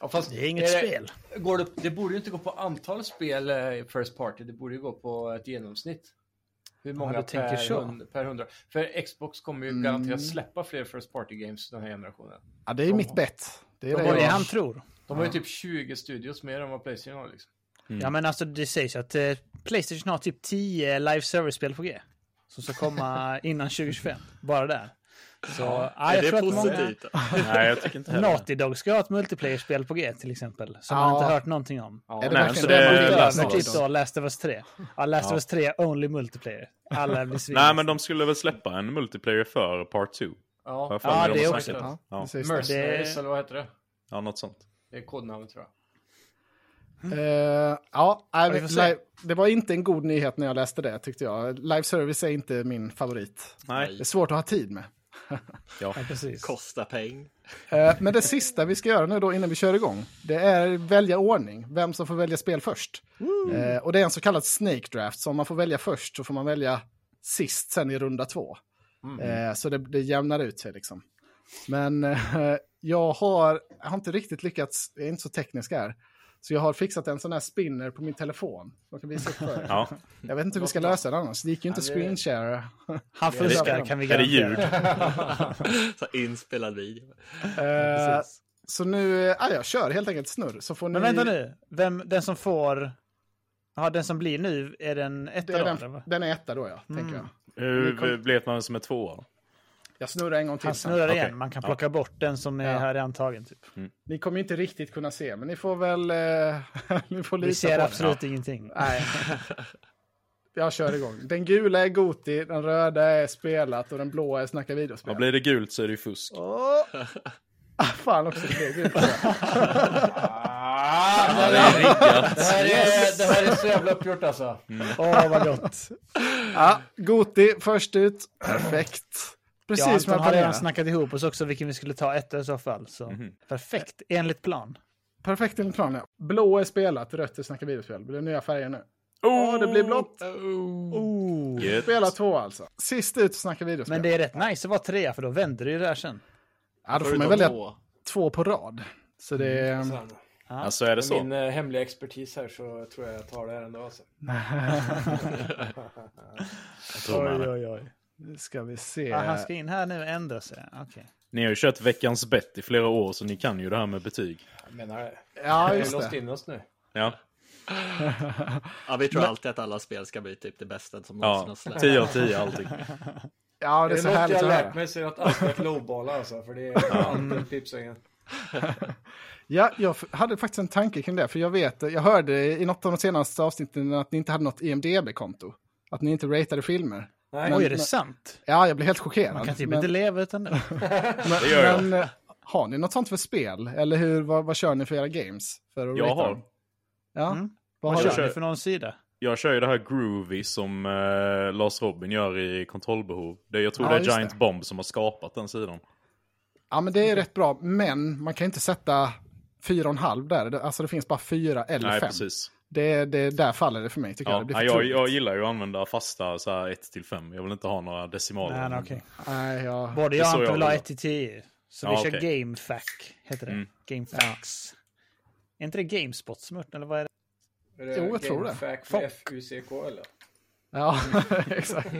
[SPEAKER 1] Ja, fast
[SPEAKER 2] Det är inget
[SPEAKER 1] det-
[SPEAKER 2] spel.
[SPEAKER 1] Går det, det borde ju inte gå på antal spel eh, First Party, det borde ju gå på ett genomsnitt. Hur många
[SPEAKER 2] du tänker
[SPEAKER 1] per,
[SPEAKER 2] så.
[SPEAKER 1] hund, per hundra? För Xbox kommer ju garanterat släppa fler First Party Games den här generationen.
[SPEAKER 3] Ja, det är ju mitt bett. Det är
[SPEAKER 2] Det
[SPEAKER 3] det
[SPEAKER 2] är det
[SPEAKER 3] jag-
[SPEAKER 2] han tror.
[SPEAKER 1] De har ju typ 20 studios mer än vad Playstation har liksom.
[SPEAKER 7] Mm.
[SPEAKER 2] Ja men alltså det sägs ju att eh, Playstation har typ 10 live service-spel på G. Som ska komma innan 2025. Bara där. Så ja, jag
[SPEAKER 4] är det
[SPEAKER 2] tror att många...
[SPEAKER 4] positivt?
[SPEAKER 7] Nej, jag tycker inte heller
[SPEAKER 2] Naughty Dog ska ha ett multiplayer-spel på G till exempel. Som
[SPEAKER 3] Ja. Eh,
[SPEAKER 2] man inte hört någonting om.
[SPEAKER 1] Ja,
[SPEAKER 3] Är det
[SPEAKER 7] Nej,
[SPEAKER 3] verkligen
[SPEAKER 7] så
[SPEAKER 3] det
[SPEAKER 7] det
[SPEAKER 3] man
[SPEAKER 7] är
[SPEAKER 3] vill
[SPEAKER 7] Last
[SPEAKER 2] Över
[SPEAKER 7] of
[SPEAKER 3] ha?
[SPEAKER 7] Us.
[SPEAKER 2] typ då Last of Us 3. Ja, Last of Us 3 only multiplayer. Alla blir svinna.
[SPEAKER 7] Nej, men de skulle väl släppa en multiplayer för Part 2.
[SPEAKER 1] ja.
[SPEAKER 7] fan,
[SPEAKER 2] Ja,
[SPEAKER 7] de
[SPEAKER 2] det
[SPEAKER 7] har
[SPEAKER 2] också.
[SPEAKER 7] snackat.
[SPEAKER 3] Ja,
[SPEAKER 7] Ja.
[SPEAKER 3] precis.
[SPEAKER 1] Mercenaries eller vad heter det?
[SPEAKER 7] Ja, något sånt.
[SPEAKER 1] Det är kodnamnet tror jag.
[SPEAKER 3] Eh, ja, nej,
[SPEAKER 2] vi får se.
[SPEAKER 3] live, det var inte en god nyhet när jag läste det tyckte jag. Live service är inte min favorit.
[SPEAKER 7] Nej.
[SPEAKER 3] Det är svårt att ha tid med.
[SPEAKER 2] Ja, precis.
[SPEAKER 4] Kosta peng.
[SPEAKER 3] Eh, men det sista vi ska göra nu då innan vi kör igång, det är välja ordning, vem som får välja spel först. Eh, och det är en så kallad snake draft, så om man får välja först så får man välja sist sen i runda två. Eh, så det, det jämnar ut sig liksom. Men eh, jag, har, jag har inte riktigt lyckats, jag är inte så teknisk här. Så jag har fixat en sån här spinner på min telefon. Jag kan visa upp för er.
[SPEAKER 7] Ja.
[SPEAKER 3] Jag vet inte hur vi ska lösa den annars. Det gick ju inte
[SPEAKER 1] Ja, det-
[SPEAKER 3] screenshare.
[SPEAKER 2] Han fuskar
[SPEAKER 3] det-
[SPEAKER 2] kan vi
[SPEAKER 7] Är det
[SPEAKER 2] garantera.
[SPEAKER 7] ljud?
[SPEAKER 4] Så här inspelad video.
[SPEAKER 3] Eh, så nu, eh, ja, jag kör helt enkelt snurr. Så får ni...
[SPEAKER 2] Men vänta nu. Vem, den som får... Ja, den som blir nu, är den Mm. ett
[SPEAKER 3] Det är
[SPEAKER 2] av dem?
[SPEAKER 3] den,
[SPEAKER 2] eller?
[SPEAKER 3] den är etta då ja, tänker jag.
[SPEAKER 7] Hur vet man vem som är tvåa?
[SPEAKER 3] Jag snurrar en gång till
[SPEAKER 2] Han
[SPEAKER 3] sen.
[SPEAKER 2] snurrar
[SPEAKER 7] Okej. Mm.
[SPEAKER 2] igen. Man kan plocka bort den som är
[SPEAKER 3] Ja.
[SPEAKER 2] här i antagen. Typ.
[SPEAKER 3] Ni kommer inte riktigt kunna se, men ni får väl... Eh, ni får
[SPEAKER 2] Vi
[SPEAKER 3] lita
[SPEAKER 2] ser
[SPEAKER 3] på
[SPEAKER 2] absolut ingenting.
[SPEAKER 3] det. Nej. Jag kör igång. Den gula är Goti, den röda är spelat och den blåa är Snacka videospel.
[SPEAKER 7] Ja, blir det gult så är det ju fusk.
[SPEAKER 3] Åh! Ah, fan också, det blev gult.
[SPEAKER 1] Det här är, det här är så jävla uppgjort alltså.
[SPEAKER 7] Mm.
[SPEAKER 2] Åh, vad gott.
[SPEAKER 3] Ja, Goti först ut. Perfekt.
[SPEAKER 2] Jag
[SPEAKER 3] Precis
[SPEAKER 2] och
[SPEAKER 3] som jag
[SPEAKER 2] Anton har redan
[SPEAKER 3] planerade.
[SPEAKER 2] snackat ihop oss också vilken vi skulle ta ett i så fall. Så.
[SPEAKER 7] Mhm.
[SPEAKER 2] Perfekt, enligt plan.
[SPEAKER 3] Perfekt enligt planen, ja. Blå är spelat, rött är Snacka videospel. Det blir nya färger nu. Åh, det blir blått.
[SPEAKER 7] Gött.
[SPEAKER 3] Spela två alltså. Sist ut Snacka videospel.
[SPEAKER 2] Men det är rätt nice att vara trea, för då vänder det ju det här sen.
[SPEAKER 3] Ja, då får man
[SPEAKER 4] Förutom
[SPEAKER 3] välja
[SPEAKER 4] två.
[SPEAKER 3] två på rad. Så det är...
[SPEAKER 1] Mm, Så här då.
[SPEAKER 7] Alltså är det
[SPEAKER 1] Med min
[SPEAKER 7] så?
[SPEAKER 1] eh, hemliga expertis här så tror jag jag tar det här ändå alltså.
[SPEAKER 7] Jag tror med det.
[SPEAKER 3] Nu ska vi se.
[SPEAKER 2] Ah, han ska in här nu och ändra sig. Okej.
[SPEAKER 7] Ni har ju kört veckans bett i flera år så ni kan ju det här med betyg.
[SPEAKER 1] Jag menar det.
[SPEAKER 3] Ja,
[SPEAKER 1] Vi har
[SPEAKER 3] just
[SPEAKER 1] låst
[SPEAKER 3] det.
[SPEAKER 1] in oss nu.
[SPEAKER 7] Ja,
[SPEAKER 4] Ja, vi tror alltid att alla spel ska bli typ det bästa som någonsin
[SPEAKER 7] ja. typ.
[SPEAKER 4] har släppts.
[SPEAKER 7] 10 av 10 allting.
[SPEAKER 3] Ja, det
[SPEAKER 1] Det
[SPEAKER 3] är
[SPEAKER 1] är
[SPEAKER 3] så
[SPEAKER 1] något
[SPEAKER 3] härligt
[SPEAKER 1] jag
[SPEAKER 3] att
[SPEAKER 1] har lärt
[SPEAKER 3] höra.
[SPEAKER 1] mig så är det att alltid att lowballa alltså. För det är alltid en pipsängen.
[SPEAKER 3] Ja, jag f- hade faktiskt en tanke kring det, för jag vet, jag hörde i något av de senaste avsnitten att ni inte hade något IMDB-konto. Att ni inte ratade filmer.
[SPEAKER 1] Nej.
[SPEAKER 2] Oj, är det sant?
[SPEAKER 3] Ja, jag blev helt chockerad.
[SPEAKER 2] Man kan typ
[SPEAKER 3] men,
[SPEAKER 2] inte leva utan det.
[SPEAKER 7] Det gör jag.
[SPEAKER 3] men, eh, har ni något sånt för spel? Eller hur, vad, vad kör ni för era games? För att
[SPEAKER 7] Jag
[SPEAKER 3] rata
[SPEAKER 7] har.
[SPEAKER 3] dem? Ja,
[SPEAKER 2] Mm.
[SPEAKER 3] vad har
[SPEAKER 2] Vad
[SPEAKER 3] du?
[SPEAKER 2] kör ni för någon sida?
[SPEAKER 7] Jag kör ju det här Groovy som eh, Lars Robin gör i Kontrollbehov. Det, jag tror
[SPEAKER 3] Ja,
[SPEAKER 7] det är
[SPEAKER 3] just
[SPEAKER 7] Giant
[SPEAKER 3] det.
[SPEAKER 7] Bomb som har skapat den sidan.
[SPEAKER 3] Ja, men det är rätt bra, men man kan inte sätta fyra och en halv där. Det- Alltså det finns bara fyra eller
[SPEAKER 7] Nej,
[SPEAKER 3] fem.
[SPEAKER 7] precis.
[SPEAKER 3] Det, det, där faller det för mig, tycker jag. Det
[SPEAKER 7] Ja.
[SPEAKER 3] blir
[SPEAKER 7] Ja,
[SPEAKER 3] för
[SPEAKER 7] jag,
[SPEAKER 3] tungt.
[SPEAKER 7] jag gillar ju att använda fasta så här 1 till 5. Jag vill inte ha några decimaler.
[SPEAKER 2] Nej, nej, okej.
[SPEAKER 3] Nej, jag...
[SPEAKER 2] Både
[SPEAKER 7] Det är
[SPEAKER 2] jag
[SPEAKER 7] så
[SPEAKER 2] och Anton
[SPEAKER 7] jag
[SPEAKER 2] vill ha
[SPEAKER 7] vill.
[SPEAKER 2] 1 till 10. Så
[SPEAKER 7] Ja,
[SPEAKER 2] vi kör
[SPEAKER 7] okej.
[SPEAKER 3] Mm.
[SPEAKER 2] GameFAQ, heter det. GameFAQs. Är inte det Gamespot som har gjort den, eller vad är det?
[SPEAKER 1] Är det
[SPEAKER 3] Jo, jag tror det.
[SPEAKER 1] GameFAQ,
[SPEAKER 3] Fuck.
[SPEAKER 1] FUCK eller?
[SPEAKER 3] Ja, exakt.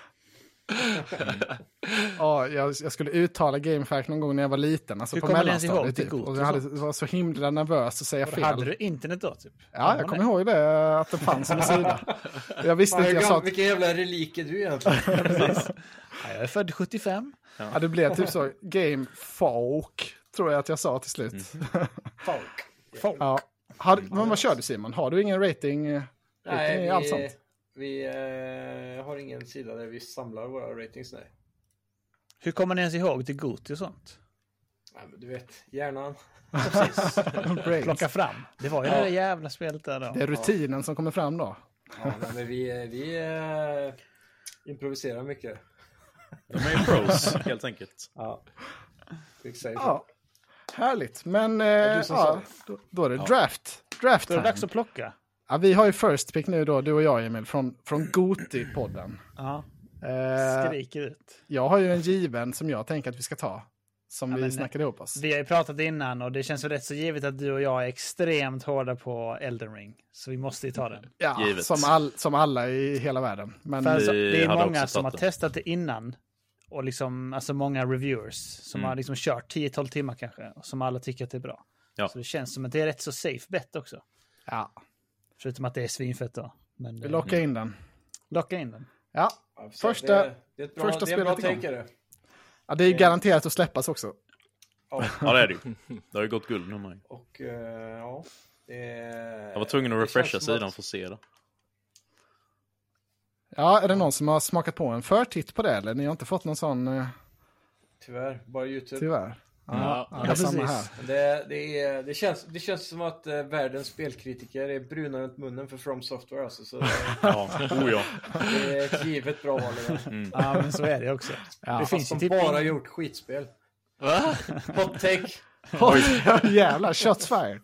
[SPEAKER 3] Ja, jag, jag skulle uttala GameFAQ någon gång när jag var liten. Alltså
[SPEAKER 2] Hur
[SPEAKER 3] på
[SPEAKER 2] kommer du ens ihåg
[SPEAKER 3] mellanstadiet
[SPEAKER 2] till
[SPEAKER 3] typ.
[SPEAKER 2] Goto
[SPEAKER 3] Och jag hade, var så himla nervös att säga
[SPEAKER 2] Och då Hade
[SPEAKER 3] fel.
[SPEAKER 2] du internet då typ?
[SPEAKER 3] Ja, jag kommer ihåg det, att det fanns en sida. Jag visste
[SPEAKER 1] Fan,
[SPEAKER 3] inte,
[SPEAKER 1] hur
[SPEAKER 3] jag sa
[SPEAKER 1] gam-
[SPEAKER 3] att
[SPEAKER 1] Vilken jävla relik är du egentligen?
[SPEAKER 2] Ja, jag är född 75.
[SPEAKER 3] ja, det blev typ så GameFAQ, tror jag att jag sa till slut.
[SPEAKER 7] Mm.
[SPEAKER 1] Folk.
[SPEAKER 3] Ja. Har, men vad kör du Simon? Har du ingen rating? eh, rating i allt sånt?
[SPEAKER 1] vi eh, har ingen sida där vi samlar våra ratings. Nej.
[SPEAKER 2] Hur kommer ni ens ihåg till Goti och sånt?
[SPEAKER 1] Nej, men du vet, hjärnan.
[SPEAKER 3] Brains.
[SPEAKER 2] Plocka fram. Det var ju det där jävla spelet där då.
[SPEAKER 3] Det är rutinen som kommer fram då.
[SPEAKER 1] Ja, nej, men vi, eh, vi eh, improviserar mycket.
[SPEAKER 7] De är ju pros, helt enkelt.
[SPEAKER 1] Ja.
[SPEAKER 3] Ja, härligt. Men eh,
[SPEAKER 1] du som
[SPEAKER 3] ja,
[SPEAKER 1] sa
[SPEAKER 3] då, då är det draft. Draft
[SPEAKER 2] Då är
[SPEAKER 3] time.
[SPEAKER 2] det dags att plocka.
[SPEAKER 3] Ja, vi har ju first pick nu då, du och jag Emil, från, från Goti-podden.
[SPEAKER 2] Ja,
[SPEAKER 3] Eh,
[SPEAKER 2] skriker ut.
[SPEAKER 3] jag har ju en given som jag tänker att vi ska ta. Som vi
[SPEAKER 2] men-
[SPEAKER 3] snackade ihop oss.
[SPEAKER 2] Vi har ju pratat innan och det känns väl rätt så givet att du och jag är extremt hårda på Elden Ring. Så vi måste ju ta den.
[SPEAKER 3] Ja,
[SPEAKER 7] Givet.
[SPEAKER 3] som, all, som alla i hela världen. Men
[SPEAKER 2] För alltså,
[SPEAKER 7] Vi
[SPEAKER 2] det
[SPEAKER 7] eh, hade
[SPEAKER 2] är många
[SPEAKER 7] också
[SPEAKER 2] som har
[SPEAKER 7] tagit
[SPEAKER 2] testat det innan. Och liksom, alltså många reviewers som
[SPEAKER 7] Mm.
[SPEAKER 2] har liksom kört 10-12 timmar kanske. Och som alla tycker att det är bra.
[SPEAKER 7] Ja.
[SPEAKER 2] Så det känns som att det är rätt så safe bet också.
[SPEAKER 3] ja,
[SPEAKER 2] Förutom att det är svinfett då. Men
[SPEAKER 3] vi
[SPEAKER 2] eh,
[SPEAKER 3] lockar in den.
[SPEAKER 2] locka in den.
[SPEAKER 3] Ja, Första-
[SPEAKER 1] det, det är ett bra,
[SPEAKER 3] första
[SPEAKER 1] det är en bra
[SPEAKER 3] spelet igång.
[SPEAKER 1] take, är det.
[SPEAKER 3] ja det är ju garanterat att släppas också.
[SPEAKER 7] Ja, det är det ju. Det har ju gått guld nu.
[SPEAKER 1] Och eh, ja, det,
[SPEAKER 7] Jag var tvungen att
[SPEAKER 1] det känns
[SPEAKER 7] refresha
[SPEAKER 1] som
[SPEAKER 7] sidan
[SPEAKER 1] att-
[SPEAKER 7] för att se det.
[SPEAKER 3] Ja, är det någon som har smakat på en förtitt på det eller? Ni har inte fått någon sån eh,
[SPEAKER 1] Tyvärr, bara YouTube.
[SPEAKER 3] tyvärr.
[SPEAKER 7] Ja.
[SPEAKER 3] Ja, det är samma här.
[SPEAKER 1] Det, det, är, det, känns, det känns som att eh, världens spelkritiker är bruna runt munnen för From Software alltså. Så det,
[SPEAKER 7] Ja, oh ja.
[SPEAKER 1] det är
[SPEAKER 2] Eh,
[SPEAKER 1] ett givet bra val. det
[SPEAKER 7] Mm.
[SPEAKER 1] där.
[SPEAKER 2] Ja, men så är det också. det
[SPEAKER 1] Fast
[SPEAKER 2] finns ju
[SPEAKER 1] de
[SPEAKER 2] typ
[SPEAKER 1] bara
[SPEAKER 2] ingen-
[SPEAKER 1] gjort skitspel.
[SPEAKER 4] Va?
[SPEAKER 1] Hot take.
[SPEAKER 3] Jävlar, shots fired.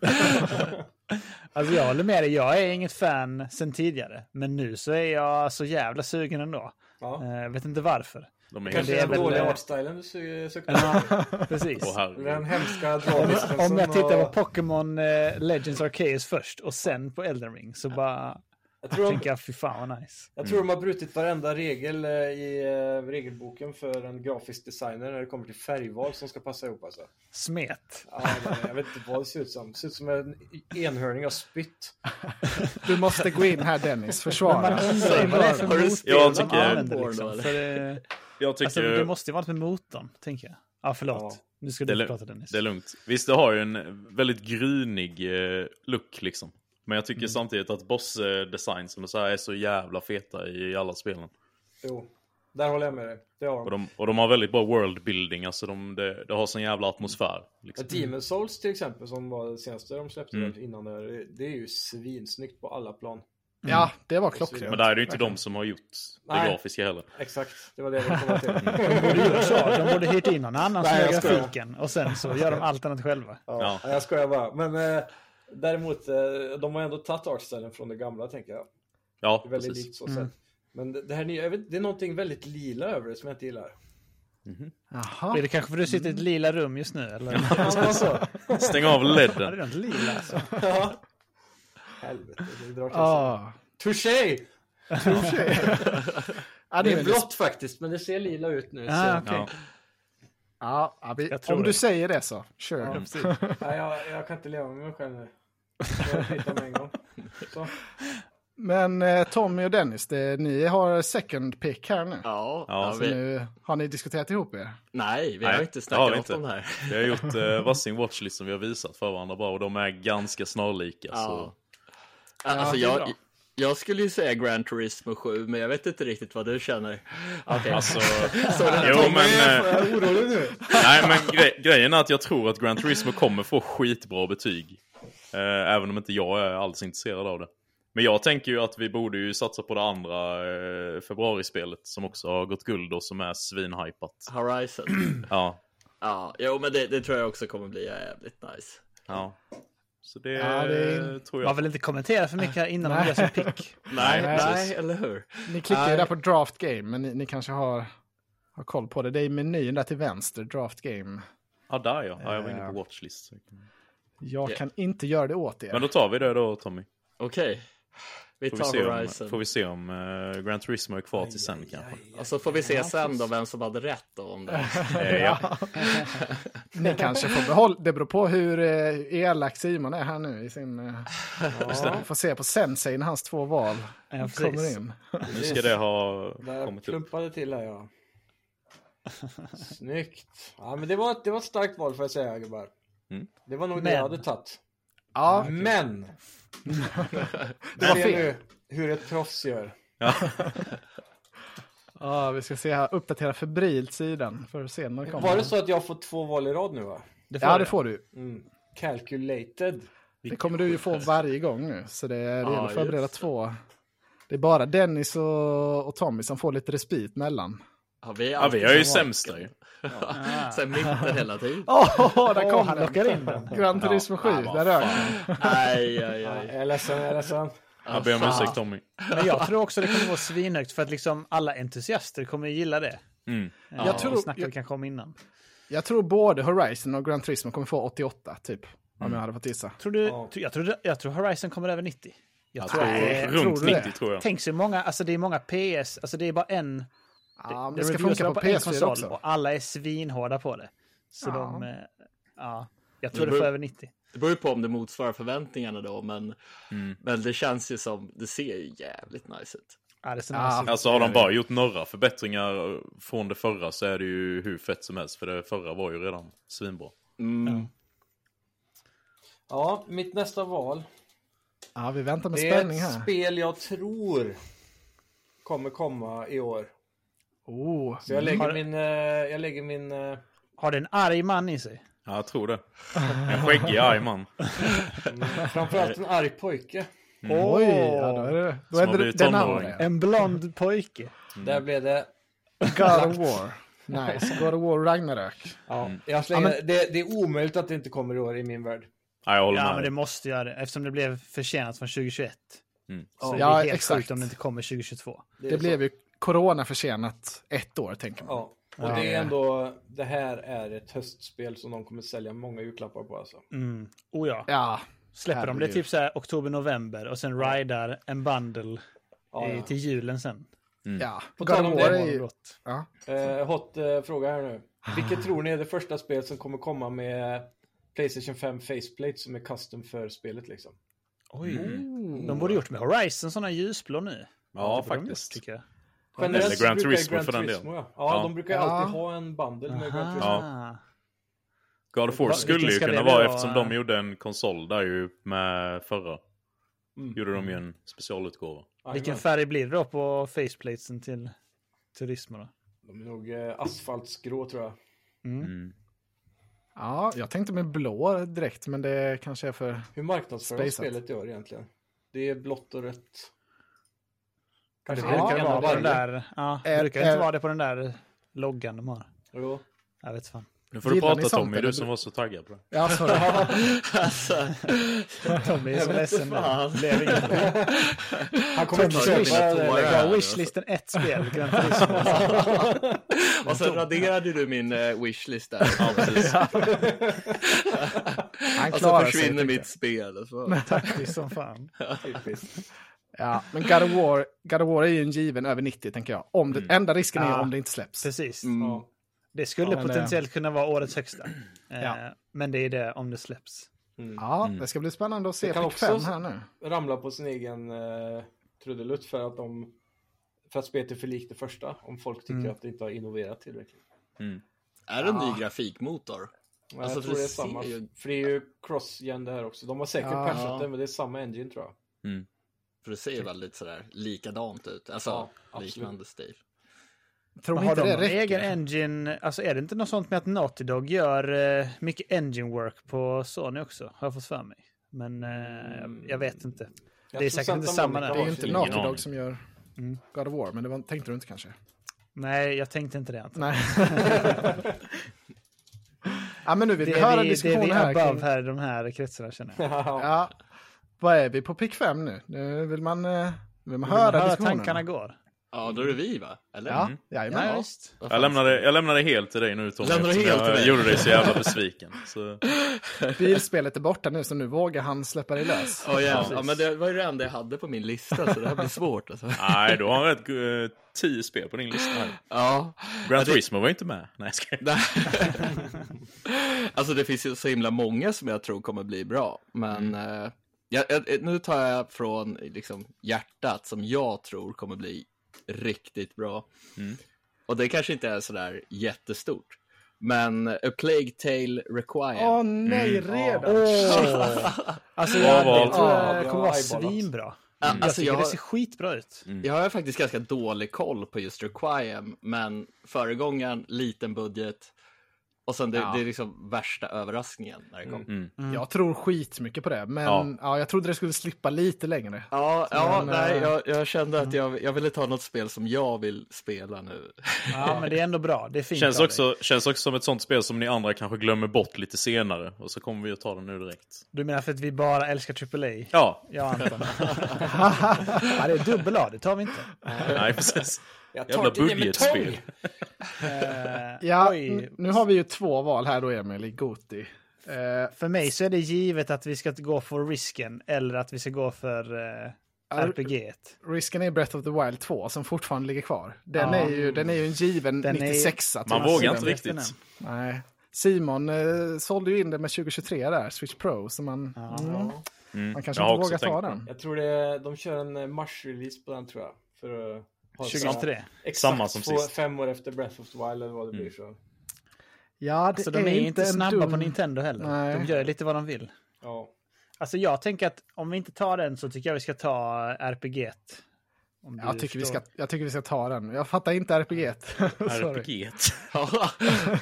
[SPEAKER 2] Alltså jag håller med dig, jag är inget fan sen tidigare. Men nu så är jag så jävla sugen ändå.
[SPEAKER 1] Ja.
[SPEAKER 2] Eh, Jag vet inte varför.
[SPEAKER 7] De är
[SPEAKER 1] Kanske
[SPEAKER 2] det
[SPEAKER 7] helt...
[SPEAKER 2] är
[SPEAKER 1] den
[SPEAKER 2] väl,
[SPEAKER 1] dåliga
[SPEAKER 2] eh,
[SPEAKER 1] artstylen du sö- sökte.
[SPEAKER 2] Precis.
[SPEAKER 7] Åh
[SPEAKER 1] Den
[SPEAKER 7] herregud.
[SPEAKER 1] hemska
[SPEAKER 2] Om,
[SPEAKER 1] dragdistansen.
[SPEAKER 2] om jag tittar
[SPEAKER 1] och-
[SPEAKER 2] på Pokémon eh, Legends Arceus först och sen på Elden Ring så bara
[SPEAKER 1] Jag tror, de,
[SPEAKER 2] tänker jag fy fan vad nice.
[SPEAKER 1] jag tror de har brutit varenda regel eh, i eh, regelboken för en grafisk designer när det kommer till färgval som ska passa ihop alltså.
[SPEAKER 2] Smet.
[SPEAKER 1] Ja, det- jag vet inte vad det ser ut som. Det ser ut som en enhörning av spytt.
[SPEAKER 3] Du måste gå in här Dennis, försvara.
[SPEAKER 2] Undrar vad det är för
[SPEAKER 4] Har du
[SPEAKER 2] motor
[SPEAKER 7] spelat
[SPEAKER 2] de
[SPEAKER 7] Pokémon
[SPEAKER 2] använder,
[SPEAKER 4] då,
[SPEAKER 2] liksom,
[SPEAKER 4] eller?
[SPEAKER 2] för det,
[SPEAKER 7] Jag
[SPEAKER 2] alltså,
[SPEAKER 7] tycker...
[SPEAKER 2] det måste ju varit med motorn, tänker jag. Ja, förlåt.
[SPEAKER 1] Ja.
[SPEAKER 2] Nu ska
[SPEAKER 7] Det är,
[SPEAKER 2] du
[SPEAKER 7] lu-
[SPEAKER 2] prata Dennis.
[SPEAKER 7] det är lugnt. Visst, det har ju en väldigt grynig eh, look liksom. Men jag
[SPEAKER 2] Mm.
[SPEAKER 7] tycker samtidigt att boss-designs och så här är så jävla feta i alla spelen.
[SPEAKER 1] Jo, där håller jag med dig. Det har
[SPEAKER 7] Och
[SPEAKER 1] de.
[SPEAKER 7] de, och de har väldigt bra world-building, alltså de, det, det har sån jävla atmosfär.
[SPEAKER 1] Ja,
[SPEAKER 7] Liksom.
[SPEAKER 1] Demon Souls till exempel som var det senaste de släppte där innan det här, Det är ju svinsnyggt på alla plan.
[SPEAKER 3] Ja, det var klockrent.
[SPEAKER 7] Men där är det ju inte de som har gjort det
[SPEAKER 1] Nej.
[SPEAKER 7] grafiska heller.
[SPEAKER 1] Exakt, det var det jag ville komma till.
[SPEAKER 2] Mm. Så, de borde hyrt in någon annan som
[SPEAKER 1] Nej,
[SPEAKER 2] gör
[SPEAKER 1] jag skojar.
[SPEAKER 2] grafiken och sen så gör de allt annat själva.
[SPEAKER 1] Ja, Jag skojar bara. Men eh, däremot, eh, de har ändå tagit artstylen från det gamla tänker jag.
[SPEAKER 7] Ja,
[SPEAKER 1] Det är väldigt
[SPEAKER 7] precis. Mm.
[SPEAKER 1] likt så sett. Men det det här nya, jag vet, det är någonting väldigt lila över det som jag inte gillar.
[SPEAKER 2] Är
[SPEAKER 3] Jaha.
[SPEAKER 2] det kanske för att du sitter i ett lila rum just nu? Eller?
[SPEAKER 7] Stäng av
[SPEAKER 2] Ja, det
[SPEAKER 7] ledden.
[SPEAKER 2] är något lila alltså.
[SPEAKER 1] Ja. Helvete, det drar till sig.
[SPEAKER 3] Ah,
[SPEAKER 1] Touché!
[SPEAKER 3] ja, det
[SPEAKER 1] Det
[SPEAKER 3] är
[SPEAKER 1] är
[SPEAKER 3] väl-
[SPEAKER 1] blått faktiskt, men det ser lila ut nu.
[SPEAKER 2] Ah,
[SPEAKER 1] så.
[SPEAKER 2] okej.
[SPEAKER 7] Ja.
[SPEAKER 3] Ja, ja, vi,
[SPEAKER 2] Jag tror
[SPEAKER 3] om du
[SPEAKER 2] det.
[SPEAKER 3] säger det så, kör.
[SPEAKER 2] Ja,
[SPEAKER 3] Sure.
[SPEAKER 2] precis.
[SPEAKER 1] Nej, jag, jag kan inte leva med mig själv nu. Jag flyttar med en gång. Så.
[SPEAKER 3] Men eh, Tommy och Dennis, det, ni har second pick här nu.
[SPEAKER 4] Ja,
[SPEAKER 7] Ja,
[SPEAKER 4] ja,
[SPEAKER 3] Så
[SPEAKER 4] vi,
[SPEAKER 3] nu har ni diskuterat ihop er.
[SPEAKER 4] nej, vi
[SPEAKER 7] Nej,
[SPEAKER 4] har inte
[SPEAKER 7] det har vi
[SPEAKER 4] snackat
[SPEAKER 7] inte.
[SPEAKER 4] inte. om det här.
[SPEAKER 7] Vi har gjort eh, varsin watchlist som vi har visat för varandra bara och de är ganska snarlika. Så.
[SPEAKER 4] Ja. Alltså,
[SPEAKER 3] det är
[SPEAKER 4] jag,
[SPEAKER 3] bra.
[SPEAKER 4] jag skulle ju säga Gran Turismo 7, men jag vet inte riktigt vad du känner. Okej,
[SPEAKER 7] Alltså,
[SPEAKER 4] så den
[SPEAKER 7] jo
[SPEAKER 4] tog-
[SPEAKER 7] men... Eh,
[SPEAKER 1] Jag är orolig nu.
[SPEAKER 7] Nej men gre- grejen är att jag tror att Gran Turismo kommer få skitbra betyg. Eh, även om inte jag är alls intresserad av det. Men jag tänker ju att vi borde ju satsa på det andra eh, februarispelet som också har gått guld och som är svinhypat.
[SPEAKER 4] Horizon.
[SPEAKER 7] Ja.
[SPEAKER 4] Ja, jo men det, det tror jag också kommer bli jävligt nice.
[SPEAKER 7] ja. Så det,
[SPEAKER 3] Ja, det är-
[SPEAKER 7] tror
[SPEAKER 2] Man
[SPEAKER 7] jag.
[SPEAKER 2] vill inte kommentera för mycket här innan de gör sin pick.
[SPEAKER 7] Nej,
[SPEAKER 4] nej
[SPEAKER 7] precis.
[SPEAKER 4] eller hur?
[SPEAKER 3] Ni klickar ju där på draft game, men ni, ni kanske har, har koll på det. Det är menyn där till vänster, draft game.
[SPEAKER 7] Ja, där ja. ja jag var inne på watchlist.
[SPEAKER 3] Jag
[SPEAKER 4] Ja.
[SPEAKER 3] kan inte göra det åt er.
[SPEAKER 7] Men då tar vi det då Tommy.
[SPEAKER 4] Okej. Vi
[SPEAKER 7] Får vi
[SPEAKER 4] tar
[SPEAKER 7] se om,
[SPEAKER 4] Horizon.
[SPEAKER 7] får vi se om eh, Gran Turismo är kvar till sen kanske.
[SPEAKER 4] Och så Alltså, får vi se sen då vem som hade rätt då, om det.
[SPEAKER 7] Eh, ja.
[SPEAKER 3] Ni kanske får behålla... Det beror på hur eh, elak Simon är här nu i sin... Eh, Vi får se på Sensei när hans två val
[SPEAKER 2] Ja,
[SPEAKER 3] kommer
[SPEAKER 2] precis.
[SPEAKER 3] in.
[SPEAKER 7] Nu ska det ha
[SPEAKER 1] Där
[SPEAKER 7] kommit upp.
[SPEAKER 1] plumpade till här ja. Snyggt. Ja, men det, var ett, det var ett starkt val får jag säga gubbar.
[SPEAKER 7] Mm.
[SPEAKER 1] Det var nog det
[SPEAKER 2] Men.
[SPEAKER 1] jag hade tagit.
[SPEAKER 3] Ja,
[SPEAKER 1] Men!
[SPEAKER 3] det var
[SPEAKER 1] Ser
[SPEAKER 3] fel.
[SPEAKER 1] du hur ett proffs gör?
[SPEAKER 3] Ja, vi ska se här. Uppdatera febrilt sidan för att se när det kommer.
[SPEAKER 1] Var det så att jag får två val i rad nu va?
[SPEAKER 2] Det får
[SPEAKER 3] Ja,
[SPEAKER 2] du.
[SPEAKER 3] det får du.
[SPEAKER 1] Mm. Calculated.
[SPEAKER 3] Det kommer du ju få varje gång nu. Så det, det gäller att förbereda
[SPEAKER 4] just det.
[SPEAKER 3] två. Det är bara Dennis och, och Tommy som får lite respit mellan.
[SPEAKER 4] Ja, vi är,
[SPEAKER 7] Ja,
[SPEAKER 4] alltid
[SPEAKER 7] vi är ju
[SPEAKER 4] som vanligt.
[SPEAKER 7] sämsta ju.
[SPEAKER 4] Ja. Sen mitten hela tiden.
[SPEAKER 3] Åh, där
[SPEAKER 2] Åh,
[SPEAKER 3] kom
[SPEAKER 2] han
[SPEAKER 3] den!
[SPEAKER 2] lockar in den.
[SPEAKER 3] Gran Turismo 7,
[SPEAKER 7] Ja, vad
[SPEAKER 3] där rök den.
[SPEAKER 4] Aj, aj,
[SPEAKER 1] Ja, eh.
[SPEAKER 4] aj.
[SPEAKER 1] jag är ledsen, jag är ledsen.
[SPEAKER 7] Jag ber om ursäkt Tommy.
[SPEAKER 2] Men jag tror också det kommer vara svinhögt för att liksom alla entusiaster kommer gilla det.
[SPEAKER 7] Mm.
[SPEAKER 2] Jag
[SPEAKER 4] Jag
[SPEAKER 3] tror-
[SPEAKER 2] Vi snackade
[SPEAKER 3] jag-
[SPEAKER 2] kanske om innan.
[SPEAKER 3] Jag tror både Horizon och Gran Turismo kommer få 88, typ. Om jag hade fått gissa.
[SPEAKER 2] Tror du,
[SPEAKER 1] Ja.
[SPEAKER 2] jag, tror, jag tror Horizon kommer över 90. Jag tror,
[SPEAKER 3] Nej,
[SPEAKER 7] Och
[SPEAKER 3] tror
[SPEAKER 7] Alltså,
[SPEAKER 3] du
[SPEAKER 7] runt
[SPEAKER 3] det?
[SPEAKER 7] 90 tror jag.
[SPEAKER 2] Tänk så många, alltså det är många PS, alltså det är bara en.
[SPEAKER 3] Ja, men
[SPEAKER 2] det
[SPEAKER 3] det ska
[SPEAKER 2] reviews
[SPEAKER 3] funka
[SPEAKER 2] var
[SPEAKER 3] på
[SPEAKER 2] en
[SPEAKER 3] PS4
[SPEAKER 2] konsol
[SPEAKER 3] också.
[SPEAKER 2] Och alla är svinhårda på det. Så
[SPEAKER 3] Ja.
[SPEAKER 2] de, eh, ja. Jag
[SPEAKER 4] Det
[SPEAKER 2] tror det
[SPEAKER 4] beror-
[SPEAKER 2] får över 90.
[SPEAKER 4] Det beror ju på om det motsvarar förväntningarna då, men,
[SPEAKER 7] Mm.
[SPEAKER 4] men det känns ju som, det ser ju jävligt nice ut.
[SPEAKER 2] Ja, det ser
[SPEAKER 3] Ja.
[SPEAKER 2] nice ut.
[SPEAKER 7] Alltså har de bara gjort några förbättringar från det förra så är det ju hur fett som helst. För det förra var ju redan svinbra.
[SPEAKER 4] Mm.
[SPEAKER 1] Ja, mitt nästa val.
[SPEAKER 3] Ja, vi väntar med
[SPEAKER 1] Det är
[SPEAKER 3] spänning
[SPEAKER 1] ett
[SPEAKER 3] här.
[SPEAKER 1] spel jag tror kommer komma i år.
[SPEAKER 3] Oh.
[SPEAKER 1] Så jag lägger
[SPEAKER 2] Har-
[SPEAKER 1] min... eh, Jag lägger min... eh,
[SPEAKER 2] Har det en arg man i sig?
[SPEAKER 7] Ja, jag tror det. En skäggig arg man.
[SPEAKER 1] mm, Framförallt en arg pojke.
[SPEAKER 3] Mm. Oj, ja, då är det... Då
[SPEAKER 7] Som
[SPEAKER 3] är det
[SPEAKER 7] har
[SPEAKER 3] Oh,
[SPEAKER 7] blivit
[SPEAKER 3] den
[SPEAKER 7] tonåring.
[SPEAKER 3] andra.
[SPEAKER 2] En blond pojke.
[SPEAKER 3] Mm.
[SPEAKER 1] Där blev det...
[SPEAKER 3] God of War. Nice. God of War Ragnarök.
[SPEAKER 1] Ja, jag slänger, det, det är omöjligt att det inte kommer i år i min värld.
[SPEAKER 7] Ja, jag håller
[SPEAKER 2] Ja, men
[SPEAKER 7] med.
[SPEAKER 2] det
[SPEAKER 7] dig.
[SPEAKER 2] måste göra det. Eftersom det blev försenat från 2021.
[SPEAKER 7] Mm.
[SPEAKER 2] Så det
[SPEAKER 3] Ja,
[SPEAKER 2] är helt
[SPEAKER 3] exakt.
[SPEAKER 2] sjukt om det inte kommer 2022.
[SPEAKER 1] är
[SPEAKER 3] Det
[SPEAKER 1] så.
[SPEAKER 3] blev ju corona försenat ett år, tänker man.
[SPEAKER 1] Ja, och det är ändå... Det här är ett höstspel som de kommer sälja många julklappar på alltså.
[SPEAKER 2] Mm. Oh ja.
[SPEAKER 3] Ja,
[SPEAKER 2] Släpper de det
[SPEAKER 3] herregud.
[SPEAKER 2] typ så här oktober, november och sen rider en bundle
[SPEAKER 1] Ja,
[SPEAKER 2] i,
[SPEAKER 1] ja.
[SPEAKER 2] till julen sen.
[SPEAKER 7] Mm.
[SPEAKER 3] ja.
[SPEAKER 1] På
[SPEAKER 3] God
[SPEAKER 1] tal om
[SPEAKER 3] of
[SPEAKER 1] det,
[SPEAKER 3] War
[SPEAKER 2] Det
[SPEAKER 3] är
[SPEAKER 2] var
[SPEAKER 3] ju...
[SPEAKER 2] gott.
[SPEAKER 3] Ja.
[SPEAKER 1] Eh, hot eh, fråga här nu. Vilket tror ni är det första spelet som kommer komma med Playstation 5 faceplate som är custom för spelet liksom?
[SPEAKER 2] Oj. Mm. De borde gjort med Horizon sådana ljusblå nu.
[SPEAKER 7] Ja,
[SPEAKER 2] Det borde de
[SPEAKER 7] faktiskt.
[SPEAKER 2] Gjort, tycker jag.
[SPEAKER 7] Eller Gran
[SPEAKER 1] brukar
[SPEAKER 7] Turismo för den delen.
[SPEAKER 1] ja. Ja,
[SPEAKER 7] Ja.
[SPEAKER 1] de brukar
[SPEAKER 3] Ja.
[SPEAKER 1] alltid ha en bundle med Gran Turismo.
[SPEAKER 2] Aha.
[SPEAKER 7] God of War
[SPEAKER 2] Va-
[SPEAKER 7] skulle
[SPEAKER 2] vilken
[SPEAKER 7] ju
[SPEAKER 2] ska
[SPEAKER 7] kunna
[SPEAKER 2] det
[SPEAKER 7] vara
[SPEAKER 2] vara?
[SPEAKER 7] eftersom de gjorde en konsol där ju med förra.
[SPEAKER 1] Mm.
[SPEAKER 7] Gjorde de ju en specialutgåva.
[SPEAKER 2] Vilken
[SPEAKER 1] Jajamän.
[SPEAKER 2] färg blir det då på faceplatesen till turismen då?
[SPEAKER 1] De är nog eh, asfaltsgrå tror jag.
[SPEAKER 7] Mm.
[SPEAKER 3] ja, jag tänkte med blå direkt, men det kanske är för...
[SPEAKER 1] Hur marknadsför de
[SPEAKER 3] Spacet.
[SPEAKER 1] spelet i år egentligen? Det är blått och rött.
[SPEAKER 2] Det
[SPEAKER 1] Kanske
[SPEAKER 3] Ja,
[SPEAKER 2] brukar
[SPEAKER 1] en
[SPEAKER 2] vara
[SPEAKER 1] av
[SPEAKER 2] på den
[SPEAKER 1] varje.
[SPEAKER 2] där... Ja, det
[SPEAKER 3] Är-
[SPEAKER 2] brukar inte
[SPEAKER 3] är-
[SPEAKER 2] vara det på den där loggan de har.
[SPEAKER 1] Jo.
[SPEAKER 2] Jag vet fan.
[SPEAKER 7] Nu får du
[SPEAKER 3] Gillar ni
[SPEAKER 7] prata
[SPEAKER 3] sånt,
[SPEAKER 7] Tommy,
[SPEAKER 3] eller?
[SPEAKER 7] du som var så taggad på det.
[SPEAKER 3] Ja, sorry.
[SPEAKER 4] Alltså,
[SPEAKER 2] Tommy är så ledsen nu.
[SPEAKER 4] fan.
[SPEAKER 2] Blev inget.
[SPEAKER 1] Han kommer
[SPEAKER 2] Tommy
[SPEAKER 1] inte köpa
[SPEAKER 4] Tommy Swish.
[SPEAKER 1] det.
[SPEAKER 4] tårar
[SPEAKER 2] Lägg
[SPEAKER 4] här
[SPEAKER 2] av
[SPEAKER 4] nu,
[SPEAKER 2] wishlisten ett spel. Gran Turismo.
[SPEAKER 4] och sen raderade du min eh, wishlist där.
[SPEAKER 7] Ja, precis.
[SPEAKER 3] Han
[SPEAKER 1] Alltså,
[SPEAKER 4] Och så
[SPEAKER 3] klarar
[SPEAKER 4] försvinner
[SPEAKER 3] sig.
[SPEAKER 4] mitt spel. Så.
[SPEAKER 2] Taktiskt som fan.
[SPEAKER 1] Typiskt.
[SPEAKER 3] Ja, men God of, War, God of War är ju en given över 90, tänker jag. Om
[SPEAKER 7] Mm.
[SPEAKER 3] det, Enda risken är
[SPEAKER 2] Ja.
[SPEAKER 3] om det inte släpps.
[SPEAKER 2] Precis.
[SPEAKER 4] Mm.
[SPEAKER 1] Ja.
[SPEAKER 2] Det skulle
[SPEAKER 3] Ja, men det-
[SPEAKER 2] potentiellt kunna vara årets högsta. Eh,
[SPEAKER 3] Ja.
[SPEAKER 2] Men det är det om det släpps.
[SPEAKER 3] Ja,
[SPEAKER 2] Mm.
[SPEAKER 3] det ska bli spännande att se
[SPEAKER 1] Det kan
[SPEAKER 3] pick
[SPEAKER 1] också-
[SPEAKER 3] 5 här nu.
[SPEAKER 1] Ramlar på sin egen eh, trudelutt för att de för att spelet är för likt det första. Om folk tycker att det inte har innoverat tillräckligt.
[SPEAKER 4] Är det en ny grafikmotor?
[SPEAKER 1] Men
[SPEAKER 4] Alltså,
[SPEAKER 1] jag tror det är
[SPEAKER 4] för det
[SPEAKER 1] samma.
[SPEAKER 4] ser ju-
[SPEAKER 1] För det är ju cross-gen det här också. De har säkert
[SPEAKER 3] Ja.
[SPEAKER 1] patchat det men det är samma engine tror jag.
[SPEAKER 4] För det ser ju väldigt sådär likadant ut. Alltså
[SPEAKER 1] Ja, absolut.
[SPEAKER 4] liknande stil.
[SPEAKER 3] Tror
[SPEAKER 2] Men
[SPEAKER 3] ni
[SPEAKER 2] har
[SPEAKER 3] inte
[SPEAKER 2] de
[SPEAKER 3] det
[SPEAKER 2] någon
[SPEAKER 3] räcker?
[SPEAKER 2] egen engine? Alltså är det inte något sånt med att Naughty Dog gör eh, mycket engine work på Sony också? Har jag fått för mig. Men eh, jag- jag vet inte.
[SPEAKER 1] Jag
[SPEAKER 2] Det
[SPEAKER 1] tror
[SPEAKER 2] är säkert inte
[SPEAKER 1] Santa
[SPEAKER 2] samma
[SPEAKER 1] Monica
[SPEAKER 2] där.
[SPEAKER 3] Det är
[SPEAKER 1] har sin
[SPEAKER 3] ju inte
[SPEAKER 1] egen.
[SPEAKER 3] Naughty
[SPEAKER 7] aning.
[SPEAKER 3] Dog som gör
[SPEAKER 2] Mm.
[SPEAKER 3] God of War, men det var, tänkte du inte kanske?
[SPEAKER 2] Nej, jag tänkte inte det. Anton.
[SPEAKER 3] Nej. ja, men nu vill
[SPEAKER 2] Det
[SPEAKER 3] vi höra
[SPEAKER 2] är
[SPEAKER 3] en
[SPEAKER 2] vi, det är
[SPEAKER 3] diskussion
[SPEAKER 2] vi
[SPEAKER 3] här.
[SPEAKER 2] above
[SPEAKER 3] Kring,
[SPEAKER 2] här i de här kretsarna känner jag.
[SPEAKER 3] ja, vad är vi på pick 5 nu? Nu vill man, eh, vill man
[SPEAKER 2] Vill man
[SPEAKER 3] höra
[SPEAKER 2] höra
[SPEAKER 3] diskussionen.
[SPEAKER 2] tankarna går.
[SPEAKER 4] Ja, då är det vi va? Eller?
[SPEAKER 3] Ja, jajamän.
[SPEAKER 4] Ja,
[SPEAKER 3] Ja,
[SPEAKER 4] ja.
[SPEAKER 3] visst.
[SPEAKER 4] Vad
[SPEAKER 7] Jag
[SPEAKER 4] fan
[SPEAKER 7] lämnar, det, jag lämnar det helt till dig nu Tommy.
[SPEAKER 4] Lämnar det
[SPEAKER 7] eftersom
[SPEAKER 4] helt
[SPEAKER 7] jag
[SPEAKER 4] till dig?
[SPEAKER 7] gjorde dig så jävla besviken. Så,
[SPEAKER 3] Bilspelet är borta nu så nu vågar han släppa dig lös.
[SPEAKER 4] Ja, jävlar. ja, men det var ju det enda jag hade på min lista, så det här blir svårt. Alltså.
[SPEAKER 7] nej, du har rätt eh, tio spel på din lista här.
[SPEAKER 4] Ja.
[SPEAKER 7] Gran
[SPEAKER 4] det-
[SPEAKER 7] Turismo var ju inte med. Nej, jag skojar.
[SPEAKER 4] Nej. alltså det finns ju så himla många som jag tror kommer bli bra, men
[SPEAKER 2] Mm.
[SPEAKER 4] eh, jag, jag, nu tar jag från liksom, hjärtat som jag tror kommer bli riktigt bra.
[SPEAKER 7] Mm.
[SPEAKER 4] Och det kanske inte är sådär jättestort, men A Plague Tale Required.
[SPEAKER 3] Åh nej,
[SPEAKER 7] Mm.
[SPEAKER 3] redan!
[SPEAKER 2] Alltså,
[SPEAKER 7] Bra
[SPEAKER 2] jag,
[SPEAKER 7] val.
[SPEAKER 2] det tror
[SPEAKER 1] Ja,
[SPEAKER 2] jag
[SPEAKER 1] bra
[SPEAKER 2] kommer vara
[SPEAKER 1] eyeballat.
[SPEAKER 2] svinbra.
[SPEAKER 4] Ja,
[SPEAKER 2] Mm. Jag
[SPEAKER 4] alltså,
[SPEAKER 2] tycker
[SPEAKER 4] jag,
[SPEAKER 2] det
[SPEAKER 4] har-
[SPEAKER 2] ser Mm. skitbra ut.
[SPEAKER 7] Mm.
[SPEAKER 4] jag har faktiskt ganska dålig koll på just Requiem, men föregångaren, liten budget, och sen det, det är liksom värsta överraskningen när det kom.
[SPEAKER 7] Mm.
[SPEAKER 3] Jag tror skitmycket på det, men
[SPEAKER 7] Ja.
[SPEAKER 3] ja. jag trodde det skulle slippa lite längre.
[SPEAKER 4] Ja, ja
[SPEAKER 3] Men,
[SPEAKER 4] nej,
[SPEAKER 3] eh,
[SPEAKER 4] jag, jag kände att jag, jag ville ta något spel som jag vill spela nu.
[SPEAKER 2] Ja, men det är ändå bra. Det är fint
[SPEAKER 7] Känns,
[SPEAKER 2] av dig.
[SPEAKER 7] också, känns också som ett sånt spel som ni andra kanske glömmer bort lite senare. Och så kommer vi att ta den nu direkt.
[SPEAKER 2] Du menar för att vi bara älskar AAA?
[SPEAKER 7] Ja,
[SPEAKER 2] Ja, Anton. ja, det är dubbel A, det tar vi inte.
[SPEAKER 7] nej precis.
[SPEAKER 1] Jag
[SPEAKER 7] Jävla
[SPEAKER 1] tar till det med
[SPEAKER 7] budgetspel.
[SPEAKER 1] tång!
[SPEAKER 2] Eh,
[SPEAKER 3] Ja,
[SPEAKER 2] Oj,
[SPEAKER 3] n- nu har vi ju två val här då, Emil, i Goti. Eh,
[SPEAKER 2] för mig så är det givet att vi ska gå för risken eller att vi ska gå för eh, RPG.
[SPEAKER 3] risken är Breath of the Wild 2 som fortfarande ligger kvar. Den,
[SPEAKER 2] Ja.
[SPEAKER 3] är, ju, den är ju en given
[SPEAKER 2] Den är-
[SPEAKER 3] 96 till
[SPEAKER 7] Man
[SPEAKER 3] oss.
[SPEAKER 7] vågar inte
[SPEAKER 2] den
[SPEAKER 7] riktigt.
[SPEAKER 2] resten
[SPEAKER 3] Nej. Simon eh, sålde ju in det med 2023 där, Switch Pro, så man, mm,
[SPEAKER 7] Mm.
[SPEAKER 3] man kanske
[SPEAKER 7] jag har
[SPEAKER 3] inte
[SPEAKER 7] också
[SPEAKER 3] vågar
[SPEAKER 7] tänkt
[SPEAKER 3] ta
[SPEAKER 7] på det.
[SPEAKER 3] den.
[SPEAKER 1] Jag tror det, de kör en eh, mars-release på den tror jag. För att ha
[SPEAKER 2] 2023.
[SPEAKER 1] Exakt
[SPEAKER 7] Samma som
[SPEAKER 1] två,
[SPEAKER 7] sist. Mm.
[SPEAKER 1] fem år efter Breath of the Wild eller vad det blir. Så.
[SPEAKER 3] Ja, det
[SPEAKER 2] Så Alltså, de är inte
[SPEAKER 3] en
[SPEAKER 2] snabba
[SPEAKER 3] dum-
[SPEAKER 2] på Nintendo heller.
[SPEAKER 3] Nej.
[SPEAKER 2] De gör lite vad de vill.
[SPEAKER 1] Ja.
[SPEAKER 2] Alltså jag tänker att om vi inte tar den så tycker jag vi ska ta eh, RPG. Om du
[SPEAKER 3] Jag tycker, vi
[SPEAKER 2] förstår.
[SPEAKER 3] ska, jag tycker vi ska ta den. Jag fattar inte RPG. Sorry.
[SPEAKER 7] RPG.
[SPEAKER 4] Ja.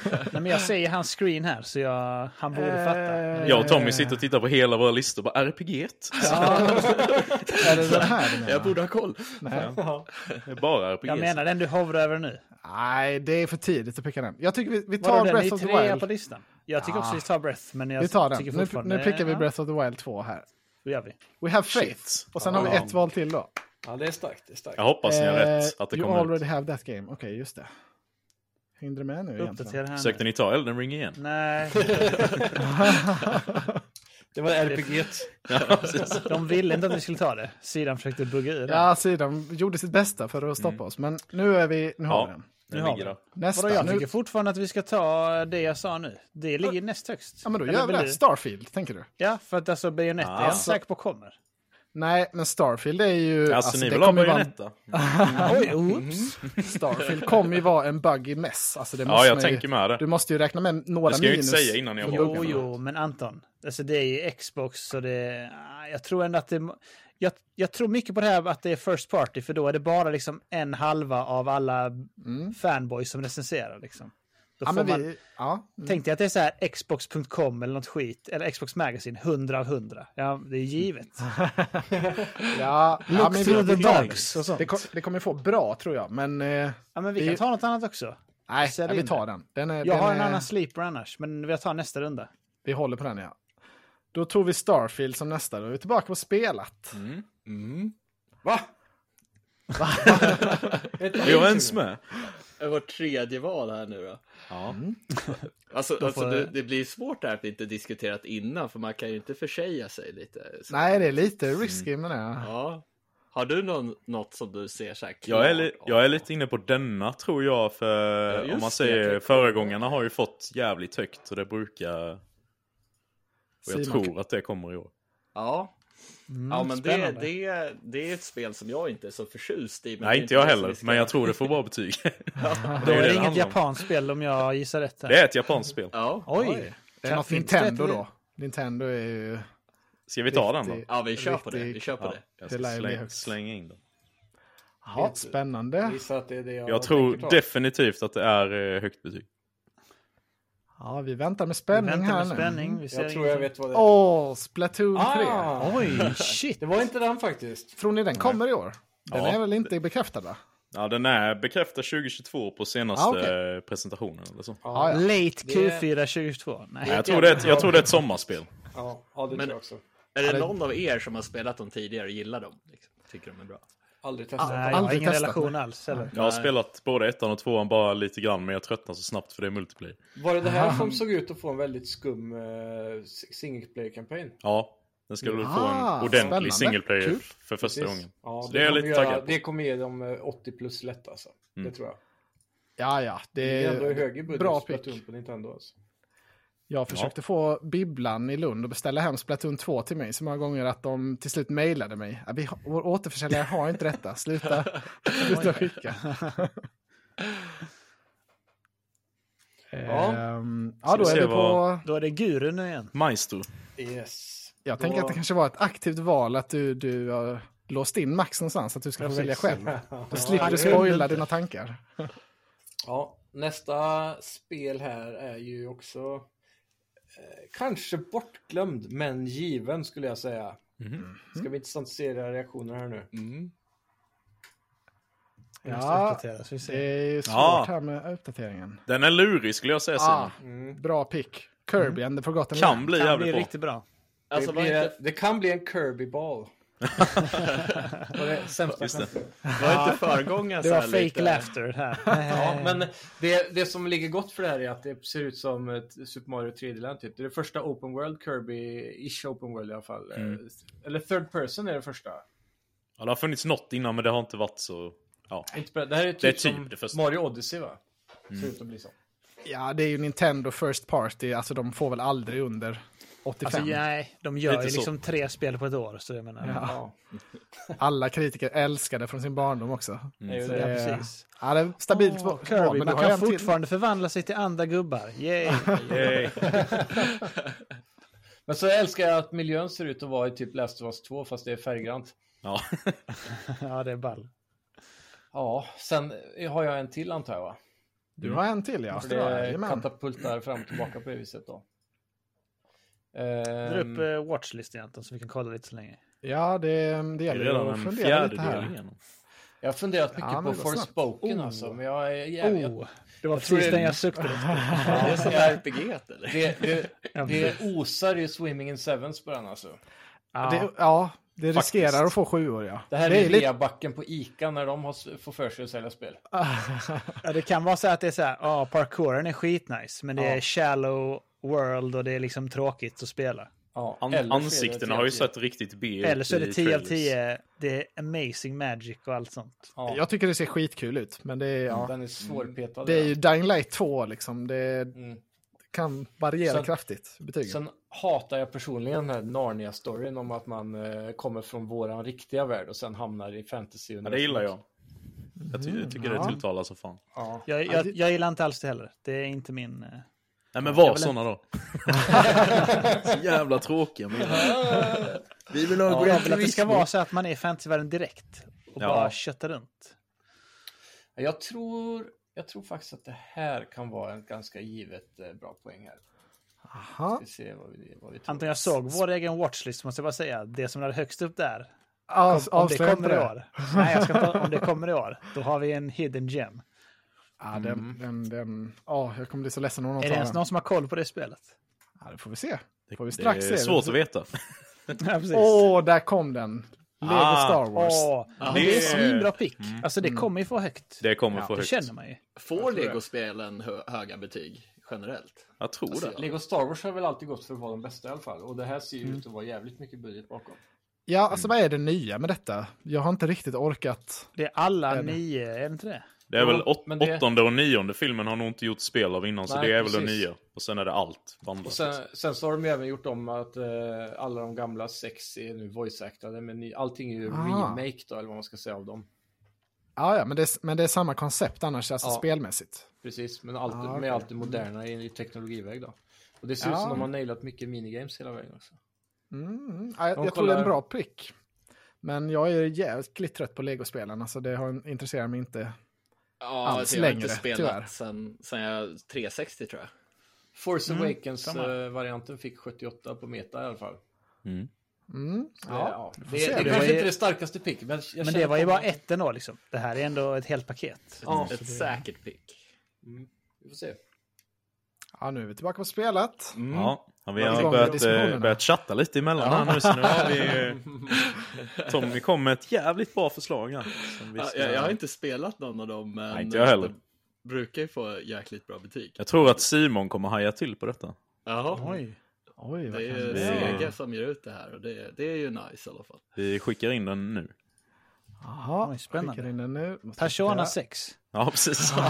[SPEAKER 2] Nej, men jag säger hans screen här så jag, han borde
[SPEAKER 3] Eh,
[SPEAKER 2] fatta.
[SPEAKER 7] Jag och Tommy sitter och tittar på hela våra listor och bara RPG.
[SPEAKER 3] Är det den här du menar?
[SPEAKER 4] jag borde ha koll.
[SPEAKER 7] Det är bara RPG.
[SPEAKER 2] Jag menar den du hovrar över nu.
[SPEAKER 3] Nej, det är för tidigt att picka den. Jag tycker vi, vi
[SPEAKER 2] Vadå,
[SPEAKER 3] tar
[SPEAKER 2] den är ju
[SPEAKER 3] Breath of the
[SPEAKER 2] trea på
[SPEAKER 3] Wild.
[SPEAKER 2] listan. Jag tycker också
[SPEAKER 3] Ja.
[SPEAKER 2] vi tar Breath, men jag
[SPEAKER 3] Vi tar den.
[SPEAKER 2] tycker
[SPEAKER 3] Nu,
[SPEAKER 2] fortfarande...
[SPEAKER 3] nu pickar vi
[SPEAKER 2] ja,
[SPEAKER 3] Breath of the Wild 2 här.
[SPEAKER 2] Då gör vi.
[SPEAKER 3] We have faith. Och sen har vi
[SPEAKER 1] Ja.
[SPEAKER 3] ett val till då.
[SPEAKER 1] ja, det är starkt. Det är starkt.
[SPEAKER 7] Jag hoppas ni har rätt
[SPEAKER 3] Eh,
[SPEAKER 7] att det
[SPEAKER 3] you
[SPEAKER 7] kommer
[SPEAKER 3] already
[SPEAKER 7] ut.
[SPEAKER 3] have that game. Okej, just det. Hängde du med nu egentligen?
[SPEAKER 2] Uppdatera här nu.
[SPEAKER 7] Sökte ni ta Elden Ring igen?
[SPEAKER 2] Nej,
[SPEAKER 1] Det var RPG.
[SPEAKER 7] Ja, precis.
[SPEAKER 2] de ville inte att vi skulle ta det. Sidan försökte bugga ur det.
[SPEAKER 3] Ja, sidan gjorde sitt bästa för att stoppa oss, men nu är vi... Nu har
[SPEAKER 7] Ja.
[SPEAKER 3] vi den.
[SPEAKER 7] Den
[SPEAKER 2] har
[SPEAKER 7] ligger
[SPEAKER 2] vi.
[SPEAKER 7] där.
[SPEAKER 3] Nästa.
[SPEAKER 2] Mm. Vadå, jag tycker
[SPEAKER 3] nu,
[SPEAKER 2] fortfarande att vi ska ta det jag sa nu. Det ligger näst högst.
[SPEAKER 3] ja, men då
[SPEAKER 2] Eller
[SPEAKER 3] gör vi
[SPEAKER 2] vill
[SPEAKER 3] det.
[SPEAKER 2] du?
[SPEAKER 3] Starfield, tänker du?
[SPEAKER 2] Ja, för att alltså Bayonetta är jag inte säker på kommer.
[SPEAKER 3] Nej, men Starfield är ju...
[SPEAKER 7] Alltså, ni
[SPEAKER 3] det
[SPEAKER 7] vill ha
[SPEAKER 3] kommer ju vara en-
[SPEAKER 7] Bajonetta?
[SPEAKER 2] Oj, oops.
[SPEAKER 3] Starfield kommer ju vara en buggy mess. Alltså, det
[SPEAKER 7] Ja,
[SPEAKER 3] måste
[SPEAKER 7] jag
[SPEAKER 3] man ju,
[SPEAKER 7] tänker med
[SPEAKER 3] Du
[SPEAKER 7] det.
[SPEAKER 3] måste ju räkna med några
[SPEAKER 7] Det ska jag ju
[SPEAKER 3] minus.
[SPEAKER 7] inte säga innan jag
[SPEAKER 3] för
[SPEAKER 7] har
[SPEAKER 2] Jo,
[SPEAKER 3] buggarna.
[SPEAKER 2] jo, men Anton. Alltså det är ju Xbox så det... ah, Jag tror ändå att det... Jag, jag tror mycket på det här att det är first party för då är det bara liksom en halva av alla fanboys som recenserar liksom. Då
[SPEAKER 3] Mm. Ja,
[SPEAKER 2] får
[SPEAKER 3] men
[SPEAKER 2] man,
[SPEAKER 3] vi... Ja.
[SPEAKER 2] Tänk dig att det är så här Xbox.com eller något skit, eller Xbox Magazine, 100 av 100. Ja, det är givet.
[SPEAKER 3] Mm. Ja, ja,
[SPEAKER 2] Look
[SPEAKER 3] men
[SPEAKER 2] through
[SPEAKER 3] vi,
[SPEAKER 2] the
[SPEAKER 3] tar-
[SPEAKER 2] dogs och sånt.
[SPEAKER 3] Det, kom, det kommer få bra, tror jag, men... Eh,
[SPEAKER 2] Ja, men vi
[SPEAKER 3] det-
[SPEAKER 2] kan ta något annat också.
[SPEAKER 3] nej,
[SPEAKER 2] Sälj
[SPEAKER 3] ja, vi
[SPEAKER 2] in
[SPEAKER 3] tar den. den är,
[SPEAKER 2] Jag
[SPEAKER 3] den
[SPEAKER 2] har en
[SPEAKER 3] är,
[SPEAKER 2] annan sleeper annars, men jag tar nästa runda.
[SPEAKER 3] Vi håller på den, ja. Då tog vi Starfield som nästa. Då är vi tillbaka på spelat.
[SPEAKER 1] Va?
[SPEAKER 7] Är jag ens med?
[SPEAKER 4] Vårt tredje val här nu då.
[SPEAKER 7] Ja.
[SPEAKER 4] Alltså, alltså
[SPEAKER 2] får-
[SPEAKER 4] det, det blir svårt där att vi inte diskuterat innan, för man kan ju inte försäga sig lite. Så,
[SPEAKER 3] Nej, det är lite risky med det.
[SPEAKER 4] Ja. Har du någon, något som du ser så här klart?
[SPEAKER 7] Jag är, li- jag är lite inne på denna tror jag, för
[SPEAKER 4] Ja, just
[SPEAKER 7] om man
[SPEAKER 4] det,
[SPEAKER 7] säger
[SPEAKER 4] jag kan-
[SPEAKER 7] föregångarna har ju fått jävligt högt och det brukar... Och jag
[SPEAKER 3] Simon.
[SPEAKER 7] tror att det kommer i år.
[SPEAKER 4] Ja. ja, men det,
[SPEAKER 2] spännande.
[SPEAKER 4] det, det är ett spel som jag inte är så förtjust i. men det
[SPEAKER 7] Nej,
[SPEAKER 4] är
[SPEAKER 7] inte jag
[SPEAKER 4] det som vi
[SPEAKER 7] heller,
[SPEAKER 4] ska-
[SPEAKER 7] men jag tror det får bra betyg.
[SPEAKER 2] Då
[SPEAKER 7] är ju
[SPEAKER 2] är det
[SPEAKER 7] det det
[SPEAKER 2] inget
[SPEAKER 7] handlar om.
[SPEAKER 2] japanskt spel om jag gissar rätt. Här.
[SPEAKER 7] Det är ett japanskt spel.
[SPEAKER 4] Ja.
[SPEAKER 2] Oj!
[SPEAKER 3] Det är något
[SPEAKER 2] Finns
[SPEAKER 3] Nintendo
[SPEAKER 2] det-
[SPEAKER 3] då. Nintendo är ju...
[SPEAKER 7] Ska vi ta den då?
[SPEAKER 3] riktigt-
[SPEAKER 4] ja, vi kör på det.
[SPEAKER 3] Riktig-
[SPEAKER 4] Vi kör på
[SPEAKER 7] Ja,
[SPEAKER 4] det.
[SPEAKER 7] jag
[SPEAKER 3] Det lär
[SPEAKER 7] ska
[SPEAKER 3] ju bli
[SPEAKER 7] släng,
[SPEAKER 3] högt.
[SPEAKER 7] slänga in den.
[SPEAKER 3] Ja, spännande.
[SPEAKER 1] Gissa att det är det jag
[SPEAKER 7] Jag tror
[SPEAKER 1] tänker ta.
[SPEAKER 7] definitivt att det är eh, högt betyg.
[SPEAKER 3] Ja, vi väntar med
[SPEAKER 2] Vi
[SPEAKER 3] spänning
[SPEAKER 2] väntar
[SPEAKER 3] här
[SPEAKER 2] med
[SPEAKER 3] nu.
[SPEAKER 2] spänning. Vi ser
[SPEAKER 1] Jag tror jag
[SPEAKER 2] ingenting.
[SPEAKER 1] vet vad det är.
[SPEAKER 3] Åh, Splatoon 3.
[SPEAKER 1] Ah!
[SPEAKER 2] Oj, shit!
[SPEAKER 1] Det var inte den faktiskt.
[SPEAKER 3] Tror ni den kommer i år? Den
[SPEAKER 7] Ja.
[SPEAKER 3] är väl inte bekräftad va?
[SPEAKER 7] Ja, den är bekräftad 2022 på senaste
[SPEAKER 3] Ah, okej.
[SPEAKER 7] eh, presentationen eller så.
[SPEAKER 2] Ah,
[SPEAKER 3] Ja, ja.
[SPEAKER 2] Late
[SPEAKER 1] Det-
[SPEAKER 2] Q4 2022.
[SPEAKER 7] Nej,
[SPEAKER 2] Nej.
[SPEAKER 7] jag, tror det är ett, jag tror det är ett sommarspel.
[SPEAKER 1] Ja, ja det tror jag också.
[SPEAKER 4] Är det någon av er som har spelat dem tidigare och gillar dem? Liksom? Tycker de är bra?
[SPEAKER 1] Aldrig testat.
[SPEAKER 2] Nej, jag har
[SPEAKER 3] aldrig
[SPEAKER 2] ingen
[SPEAKER 3] testat,
[SPEAKER 2] relation
[SPEAKER 3] nej.
[SPEAKER 2] alls heller.
[SPEAKER 7] Jag har
[SPEAKER 4] Nej.
[SPEAKER 7] spelat både ettan och tvåan bara lite grann, men jag tröttnar så snabbt för det är multiplayer.
[SPEAKER 1] Var det det här
[SPEAKER 3] Ah.
[SPEAKER 1] som såg ut att få en väldigt skum uh, single player-kampanj?
[SPEAKER 7] Ja, den ska väl få
[SPEAKER 3] Ah,
[SPEAKER 7] en ordentlig
[SPEAKER 3] spännande.
[SPEAKER 7] single player
[SPEAKER 3] Kul.
[SPEAKER 7] för första
[SPEAKER 1] Precis.
[SPEAKER 7] gången.
[SPEAKER 1] Ja,
[SPEAKER 7] Så
[SPEAKER 1] det,
[SPEAKER 7] det är jag
[SPEAKER 1] kommer
[SPEAKER 7] lite
[SPEAKER 1] göra-
[SPEAKER 7] taggad på.
[SPEAKER 1] Det kommer ge dem eh, 80 plus lätt alltså.
[SPEAKER 7] Mm.
[SPEAKER 1] Det tror jag.
[SPEAKER 3] Ja, ja.
[SPEAKER 1] Det
[SPEAKER 3] Det
[SPEAKER 1] är ändå
[SPEAKER 3] är
[SPEAKER 1] högre budget
[SPEAKER 3] bra
[SPEAKER 1] Bra
[SPEAKER 3] pick.
[SPEAKER 1] Splatoon på Nintendo alltså.
[SPEAKER 3] Jag försökte få bibblan i Lund och beställa hem Splatoon 2 till mig så många gånger att de till slut mejlade mig. Ja, vi har, vår återförsäljare har inte detta. Sluta, sluta skicka.
[SPEAKER 1] Ja.
[SPEAKER 3] Ehm, ja,
[SPEAKER 7] Ska
[SPEAKER 3] då
[SPEAKER 7] vi
[SPEAKER 3] är
[SPEAKER 7] se
[SPEAKER 3] vi på...
[SPEAKER 7] vad-
[SPEAKER 2] Då är det guru nu igen.
[SPEAKER 7] Majsto.
[SPEAKER 1] Yes.
[SPEAKER 3] Jag
[SPEAKER 1] Då-
[SPEAKER 3] tänker att det kanske var ett aktivt val att du, du har låst in Max någonstans att du ska få välja själv. Då slipper du
[SPEAKER 2] det kunde
[SPEAKER 3] spoila
[SPEAKER 2] inte.
[SPEAKER 3] dina tankar.
[SPEAKER 1] Ja, nästa spel här är ju också eh, kanske bortglömd, men given skulle jag säga.
[SPEAKER 7] Mm.
[SPEAKER 3] Mm.
[SPEAKER 1] Ska vi intressant att se era reaktioner här nu?
[SPEAKER 2] Jag måste
[SPEAKER 3] Ja.
[SPEAKER 2] uppdatera, så vi
[SPEAKER 3] Det
[SPEAKER 2] ser.
[SPEAKER 3] är ju svårt
[SPEAKER 7] Ja.
[SPEAKER 3] här med uppdateringen.
[SPEAKER 7] Den är lurig skulle jag säga Simon.
[SPEAKER 3] Ah, bra pick.
[SPEAKER 7] Mm.
[SPEAKER 3] Kirby and the forgotten
[SPEAKER 7] Kan
[SPEAKER 3] Land.
[SPEAKER 7] bli
[SPEAKER 2] Det
[SPEAKER 7] jävligt
[SPEAKER 2] blir
[SPEAKER 7] bra.
[SPEAKER 2] riktigt bra.
[SPEAKER 4] Alltså,
[SPEAKER 1] det,
[SPEAKER 4] var
[SPEAKER 1] blir,
[SPEAKER 4] inte,
[SPEAKER 1] det kan bli en Kirby-ball. det var det sämsta
[SPEAKER 7] Just det.
[SPEAKER 4] var inte föregångaren
[SPEAKER 2] Det
[SPEAKER 4] så
[SPEAKER 2] var
[SPEAKER 4] här
[SPEAKER 2] fake
[SPEAKER 4] lite...
[SPEAKER 2] laughter här.
[SPEAKER 3] Eh.
[SPEAKER 1] Ja, men det, det som ligger gott för det här är att det ser ut som ett Super Mario 3D Land typ. Det är det första Open World Kirby-ish Open World i alla fall. Eh, Eller Third Person är det första.
[SPEAKER 7] Ja, det har funnits något innan men det har inte varit så... Ja.
[SPEAKER 1] Inte på- det Mm. här är typ,
[SPEAKER 7] Det är typ
[SPEAKER 1] som
[SPEAKER 7] det första.
[SPEAKER 1] Mario Odyssey va? Ser ut att bli så.
[SPEAKER 3] Ja, det är ju Nintendo First Party. Alltså de får väl aldrig under 85.
[SPEAKER 2] Alltså, nej, de gör ju
[SPEAKER 7] Lite så.
[SPEAKER 2] liksom tre spel på ett år. Så jag menar,
[SPEAKER 3] Ah.
[SPEAKER 2] ja,
[SPEAKER 1] Ja.
[SPEAKER 3] Alla kritiker älskar det från sin barndom också.
[SPEAKER 1] Det är ju
[SPEAKER 3] Mm. Så det-
[SPEAKER 1] det.
[SPEAKER 2] precis.
[SPEAKER 3] Ja, det är stabilt val.
[SPEAKER 2] Kirby,
[SPEAKER 3] du
[SPEAKER 2] man
[SPEAKER 3] har ju
[SPEAKER 2] kan
[SPEAKER 3] en till.
[SPEAKER 2] fortfarande förvandla sig till andra gubbar. Yay.
[SPEAKER 7] Yay.
[SPEAKER 1] Men så älskar jag att miljön ser ut att vara i typ Last of Us 2 fast det är färggrant.
[SPEAKER 7] Ja.
[SPEAKER 2] ja, det är ball.
[SPEAKER 1] Ja, sen har jag en till antar jag va?
[SPEAKER 3] Du har en till, ja.
[SPEAKER 1] För det
[SPEAKER 3] Jajamän.
[SPEAKER 1] katapultar fram och tillbaka på det viset då.
[SPEAKER 2] Dra upp
[SPEAKER 1] Ehm,
[SPEAKER 2] uh, watchlistan Anton så vi kan kolla lite så länge.
[SPEAKER 3] Ja, det, det
[SPEAKER 7] Det är
[SPEAKER 3] gäller ju att
[SPEAKER 7] redan en
[SPEAKER 3] fundera lite
[SPEAKER 7] fjärdedel
[SPEAKER 3] här.
[SPEAKER 7] igenom.
[SPEAKER 1] jag har funderat mycket
[SPEAKER 3] Ja, men
[SPEAKER 1] på
[SPEAKER 3] det går snabbt.
[SPEAKER 1] Forspoken
[SPEAKER 3] Oh.
[SPEAKER 1] alltså, men jag är jävligt...
[SPEAKER 2] Oh, det var
[SPEAKER 1] jag tror
[SPEAKER 2] precis
[SPEAKER 1] det-
[SPEAKER 2] den jag sökte efter.
[SPEAKER 4] Är det sån där RPG eller?
[SPEAKER 1] Det, det,
[SPEAKER 2] Ja,
[SPEAKER 1] det osar ju Swimming in Sevens på den alltså.
[SPEAKER 2] Ja,
[SPEAKER 3] Det, ja, det
[SPEAKER 7] Faktiskt.
[SPEAKER 3] riskerar att få sju år, ja.
[SPEAKER 1] Det här
[SPEAKER 3] Det
[SPEAKER 1] är,
[SPEAKER 3] är lite-
[SPEAKER 1] reabacken på ICA när de har, får för sig att sälja spel.
[SPEAKER 2] ja, det kan vara så att det är så här, ja, parkouren är skitnice, men det
[SPEAKER 1] Ja.
[SPEAKER 2] är shallow world och det är liksom tråkigt att spela.
[SPEAKER 1] Ja,
[SPEAKER 7] An-
[SPEAKER 1] eller så är det
[SPEAKER 7] ansiktena har ju
[SPEAKER 1] 10.
[SPEAKER 7] sett riktigt B ut
[SPEAKER 2] Eller så är det
[SPEAKER 7] i
[SPEAKER 2] 10 av
[SPEAKER 7] trailers.
[SPEAKER 2] 10, det är amazing magic och allt sånt.
[SPEAKER 1] Ja,
[SPEAKER 3] Jag tycker det ser skitkul ut, men det är, ja,
[SPEAKER 1] Den är svårpetad.
[SPEAKER 3] det är
[SPEAKER 1] den.
[SPEAKER 3] ju Dying Light 2, liksom. Det
[SPEAKER 1] Mm.
[SPEAKER 3] kan variera
[SPEAKER 1] Sen-
[SPEAKER 3] kraftigt, betygen.
[SPEAKER 1] Sen hatar jag personligen den här Narnia-storyn om att man eh, kommer från våran riktiga värld och sen hamnar i fantasy.
[SPEAKER 7] Ja, det gillar jag. Jag, ty- jag tycker
[SPEAKER 3] ja.
[SPEAKER 7] det tilltalar så fan.
[SPEAKER 1] Ja.
[SPEAKER 2] Jag, jag, jag gillar inte alls det heller. Det är inte min... eh,
[SPEAKER 7] Nej men
[SPEAKER 2] Jag
[SPEAKER 7] var
[SPEAKER 2] vill
[SPEAKER 7] såna då. så jävla tråkiga men. Vi vill ha
[SPEAKER 2] Jag vill att det ska vara så att man är i fantasyvärlden direkt och
[SPEAKER 7] Ja.
[SPEAKER 2] bara köttar runt.
[SPEAKER 1] Jag, tror, jag tror faktiskt att det här kan vara en ganska givet eh, bra poäng här.
[SPEAKER 3] Aha.
[SPEAKER 1] Vi ser vad vi, vad vi tror.
[SPEAKER 2] Anton, jag såg vår egen watchlist måste jag bara säga. Det som är högst upp där,
[SPEAKER 3] Av,
[SPEAKER 2] om det
[SPEAKER 3] avslöja
[SPEAKER 2] kommer
[SPEAKER 3] inte
[SPEAKER 2] i
[SPEAKER 3] det.
[SPEAKER 2] år. Nej, jag ska inte, om det kommer i år, då har vi en hidden gem.
[SPEAKER 3] Ja, den, den, den, ja, jag kommer bli så ledsen om någon
[SPEAKER 2] Är det
[SPEAKER 3] tar
[SPEAKER 2] ens
[SPEAKER 3] den.
[SPEAKER 2] någon som har koll på det spelet?
[SPEAKER 3] Ja, det får vi se. Det får vi
[SPEAKER 7] Det är
[SPEAKER 3] strax se.
[SPEAKER 7] svårt att veta.
[SPEAKER 2] Ja, precis.
[SPEAKER 3] Åh, där kom den. Lego
[SPEAKER 7] Ah.
[SPEAKER 3] Star Wars.
[SPEAKER 2] Åh, men det är
[SPEAKER 7] det-
[SPEAKER 2] svinbra pick.
[SPEAKER 3] Mm.
[SPEAKER 2] Alltså det kommer ju få högt.
[SPEAKER 7] Det kommer få
[SPEAKER 2] Det
[SPEAKER 7] högt.
[SPEAKER 2] känner man ju.
[SPEAKER 4] Får legospelen hö- höga betyg generellt?
[SPEAKER 7] Jag tror det.
[SPEAKER 1] Lego Star Wars har väl alltid gått för att vara de bästa i alla fall. Och det här ser ju
[SPEAKER 2] Mm.
[SPEAKER 1] ut att vara jävligt mycket budget bakom.
[SPEAKER 3] Ja, alltså vad är det nya med detta? Jag har inte riktigt orkat.
[SPEAKER 2] Det är alla
[SPEAKER 3] Är det?
[SPEAKER 2] nio, är det inte det?
[SPEAKER 7] Det är väl
[SPEAKER 1] Jo,
[SPEAKER 7] åt,
[SPEAKER 1] men det-
[SPEAKER 7] åttonde och nionde filmen har nog inte gjort spel av innan, så
[SPEAKER 1] Nej,
[SPEAKER 7] det är väl den
[SPEAKER 1] precis.
[SPEAKER 7] nya. Och sen är det allt.
[SPEAKER 1] Och
[SPEAKER 7] Vandrat.
[SPEAKER 1] sen, sen så har de ju även gjort om att eh, alla de gamla sex är nu voice-actade. Men ny, allting är ju
[SPEAKER 3] Ah.
[SPEAKER 1] remake då, eller vad man ska säga av dem.
[SPEAKER 3] Ja, ja, men det, är- men det är samma koncept annars, alltså
[SPEAKER 1] Ja.
[SPEAKER 3] spelmässigt.
[SPEAKER 1] Precis, men allt,
[SPEAKER 3] Ah, okej.
[SPEAKER 1] med allt det moderna i i teknologiväg då. Och det ser ut
[SPEAKER 3] Ja.
[SPEAKER 1] som de har nailat mycket minigames hela vägen också.
[SPEAKER 3] Mm. Ja, jag
[SPEAKER 1] De
[SPEAKER 3] jag tror det är
[SPEAKER 1] kollar-
[SPEAKER 3] en bra prick. Men jag är jävligt trött på legospelen, alltså det har, intresserar mig inte.
[SPEAKER 4] Ja,
[SPEAKER 3] Alls
[SPEAKER 4] alltså, jag har inte
[SPEAKER 3] längre,
[SPEAKER 4] spelat
[SPEAKER 3] tyvärr.
[SPEAKER 4] sen, sen jag 360 tror jag.
[SPEAKER 1] Force
[SPEAKER 2] Mm, samma.
[SPEAKER 1] Awakens-varianten fick 78 på Meta i alla fall.
[SPEAKER 3] Mm.
[SPEAKER 1] Så det-
[SPEAKER 3] Ja.
[SPEAKER 1] ja, det,
[SPEAKER 3] se.
[SPEAKER 1] det,
[SPEAKER 2] Det var
[SPEAKER 1] kanske
[SPEAKER 2] ju-
[SPEAKER 1] inte är det starkaste pick, men, jag
[SPEAKER 2] Men
[SPEAKER 1] känner
[SPEAKER 2] det var ju
[SPEAKER 1] på-
[SPEAKER 2] bara ett ändå liksom. Det här är ändå ett helt paket.
[SPEAKER 1] Ja,
[SPEAKER 4] Ett säkert pick.
[SPEAKER 1] vi får se.
[SPEAKER 3] ja, nu är vi tillbaka på spelet.
[SPEAKER 7] Ja, vi
[SPEAKER 3] Var
[SPEAKER 7] har
[SPEAKER 3] igång med
[SPEAKER 7] börjat, eh,
[SPEAKER 3] diskussionerna.
[SPEAKER 7] börjat chatta lite emellan här nu, så nu har vi eh, Tommy kom med ett jävligt bra förslag här. som vi
[SPEAKER 4] Ja,
[SPEAKER 7] ska-
[SPEAKER 4] jag, jag har inte spelat någon av dem, men
[SPEAKER 7] Nej, inte jag heller.
[SPEAKER 4] det brukar ju få jäkligt bra betyg.
[SPEAKER 7] jag tror att Simon kommer haja till på detta.
[SPEAKER 4] Jaha,
[SPEAKER 2] Oj. Oj,
[SPEAKER 4] det
[SPEAKER 2] vad
[SPEAKER 4] är
[SPEAKER 2] kan...
[SPEAKER 7] vi-
[SPEAKER 4] Sega som ger ut det här och det, det är ju nice i alla fall.
[SPEAKER 7] Vi skickar in den nu.
[SPEAKER 3] Jaha,
[SPEAKER 2] Oj, spännande.
[SPEAKER 3] skickar in den nu. Måste
[SPEAKER 2] Persona
[SPEAKER 3] titta.
[SPEAKER 2] 6.
[SPEAKER 7] Ja, precis.
[SPEAKER 4] secret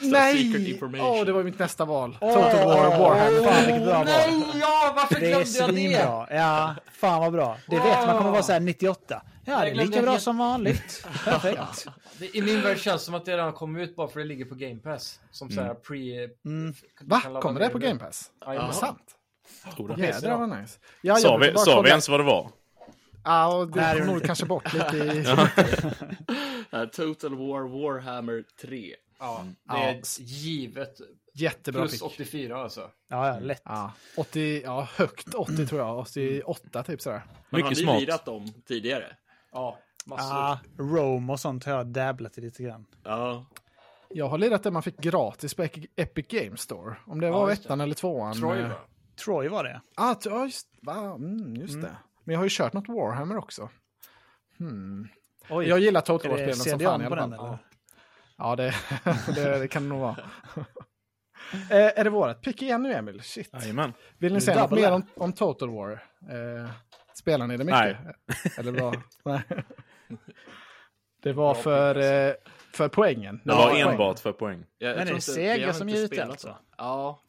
[SPEAKER 3] Nej!
[SPEAKER 4] information.
[SPEAKER 3] Åh, det var ju mitt nästa val. Total War Warhammer.
[SPEAKER 2] Fan vilket bra val.
[SPEAKER 1] Nej, ja, varför
[SPEAKER 2] Det är
[SPEAKER 1] glömde jag det?
[SPEAKER 2] svinbra. Ja, fan vad bra. Det vet man kommer vara så här 98. Ja, det är
[SPEAKER 1] glömde
[SPEAKER 2] lika
[SPEAKER 1] jag
[SPEAKER 2] bra
[SPEAKER 1] helt.
[SPEAKER 2] som vanligt. Perfekt.
[SPEAKER 1] det? I min värld känns det som att det redan kom ut bara för det ligger på Game Pass. Som så här pre...
[SPEAKER 2] Mm.
[SPEAKER 1] du kan
[SPEAKER 3] Va?
[SPEAKER 1] ladda
[SPEAKER 3] Kommer
[SPEAKER 1] ner
[SPEAKER 3] det på Game Pass?
[SPEAKER 1] Jajamän.
[SPEAKER 3] Är det sant?
[SPEAKER 7] Tror det.
[SPEAKER 3] Jädrar vad nice. Ja,
[SPEAKER 7] Sa
[SPEAKER 3] jag
[SPEAKER 7] vi,
[SPEAKER 3] brukar bara
[SPEAKER 7] sa vi
[SPEAKER 3] kolla-
[SPEAKER 7] ens vad det var?
[SPEAKER 3] Ja, och det
[SPEAKER 2] Nej,
[SPEAKER 3] kom
[SPEAKER 2] det-
[SPEAKER 3] nog kanske bort lite i...
[SPEAKER 4] Eh, Total War Warhammer 3.
[SPEAKER 1] Ja, det är
[SPEAKER 3] Ja.
[SPEAKER 1] givet.
[SPEAKER 3] Jättebra
[SPEAKER 1] Plus
[SPEAKER 3] pick.
[SPEAKER 1] 84 alltså.
[SPEAKER 2] Ja, ja, lätt.
[SPEAKER 3] Ja, 80, ja, högt 80 tror jag. 88 typ sådär.
[SPEAKER 4] Men
[SPEAKER 7] Mycket
[SPEAKER 4] har ni
[SPEAKER 7] smart.
[SPEAKER 4] lirat dem tidigare?
[SPEAKER 1] Ja, massor.
[SPEAKER 2] Ja, Rome och sånt har jag dabblat i lite grann.
[SPEAKER 4] Ja.
[SPEAKER 3] Jag har lirat det man fick gratis på Epic- Epic Games Store. Om det var
[SPEAKER 1] just det.
[SPEAKER 3] ettan eller tvåan.
[SPEAKER 1] Troy
[SPEAKER 3] eh,
[SPEAKER 1] va?
[SPEAKER 2] Troy var det.
[SPEAKER 3] Ah, t- ja, just, va? Mm, just det. Men jag har ju kört något Warhammer också. Hmm.
[SPEAKER 2] Oj,
[SPEAKER 3] Jag gillar Total
[SPEAKER 2] är det
[SPEAKER 3] War-spelen som fan i
[SPEAKER 2] CDAN på
[SPEAKER 3] alla
[SPEAKER 2] den
[SPEAKER 3] fall.
[SPEAKER 2] eller?
[SPEAKER 3] Ja, det, det, det kan det nog vara. eh, är det vårat pick igen nu, Emil? Shit.
[SPEAKER 7] Jajamän.
[SPEAKER 3] Vill ni
[SPEAKER 2] Nu
[SPEAKER 3] säga något
[SPEAKER 2] dubblar
[SPEAKER 3] mer
[SPEAKER 2] jag.
[SPEAKER 3] om, om Total War? Eh, spelar ni det mycket? Eh, Eller vad? Nej. Det var för, eh, för poängen.
[SPEAKER 7] alltså. Det
[SPEAKER 4] Ja,
[SPEAKER 7] var
[SPEAKER 4] poäng.
[SPEAKER 7] enbart för poäng.
[SPEAKER 4] Jag, jag
[SPEAKER 2] Men är det
[SPEAKER 4] tror inte-
[SPEAKER 2] Sega
[SPEAKER 4] vi har
[SPEAKER 2] som
[SPEAKER 4] inte
[SPEAKER 2] ger ut det
[SPEAKER 4] spelat
[SPEAKER 2] alltså?
[SPEAKER 4] dem. Ja,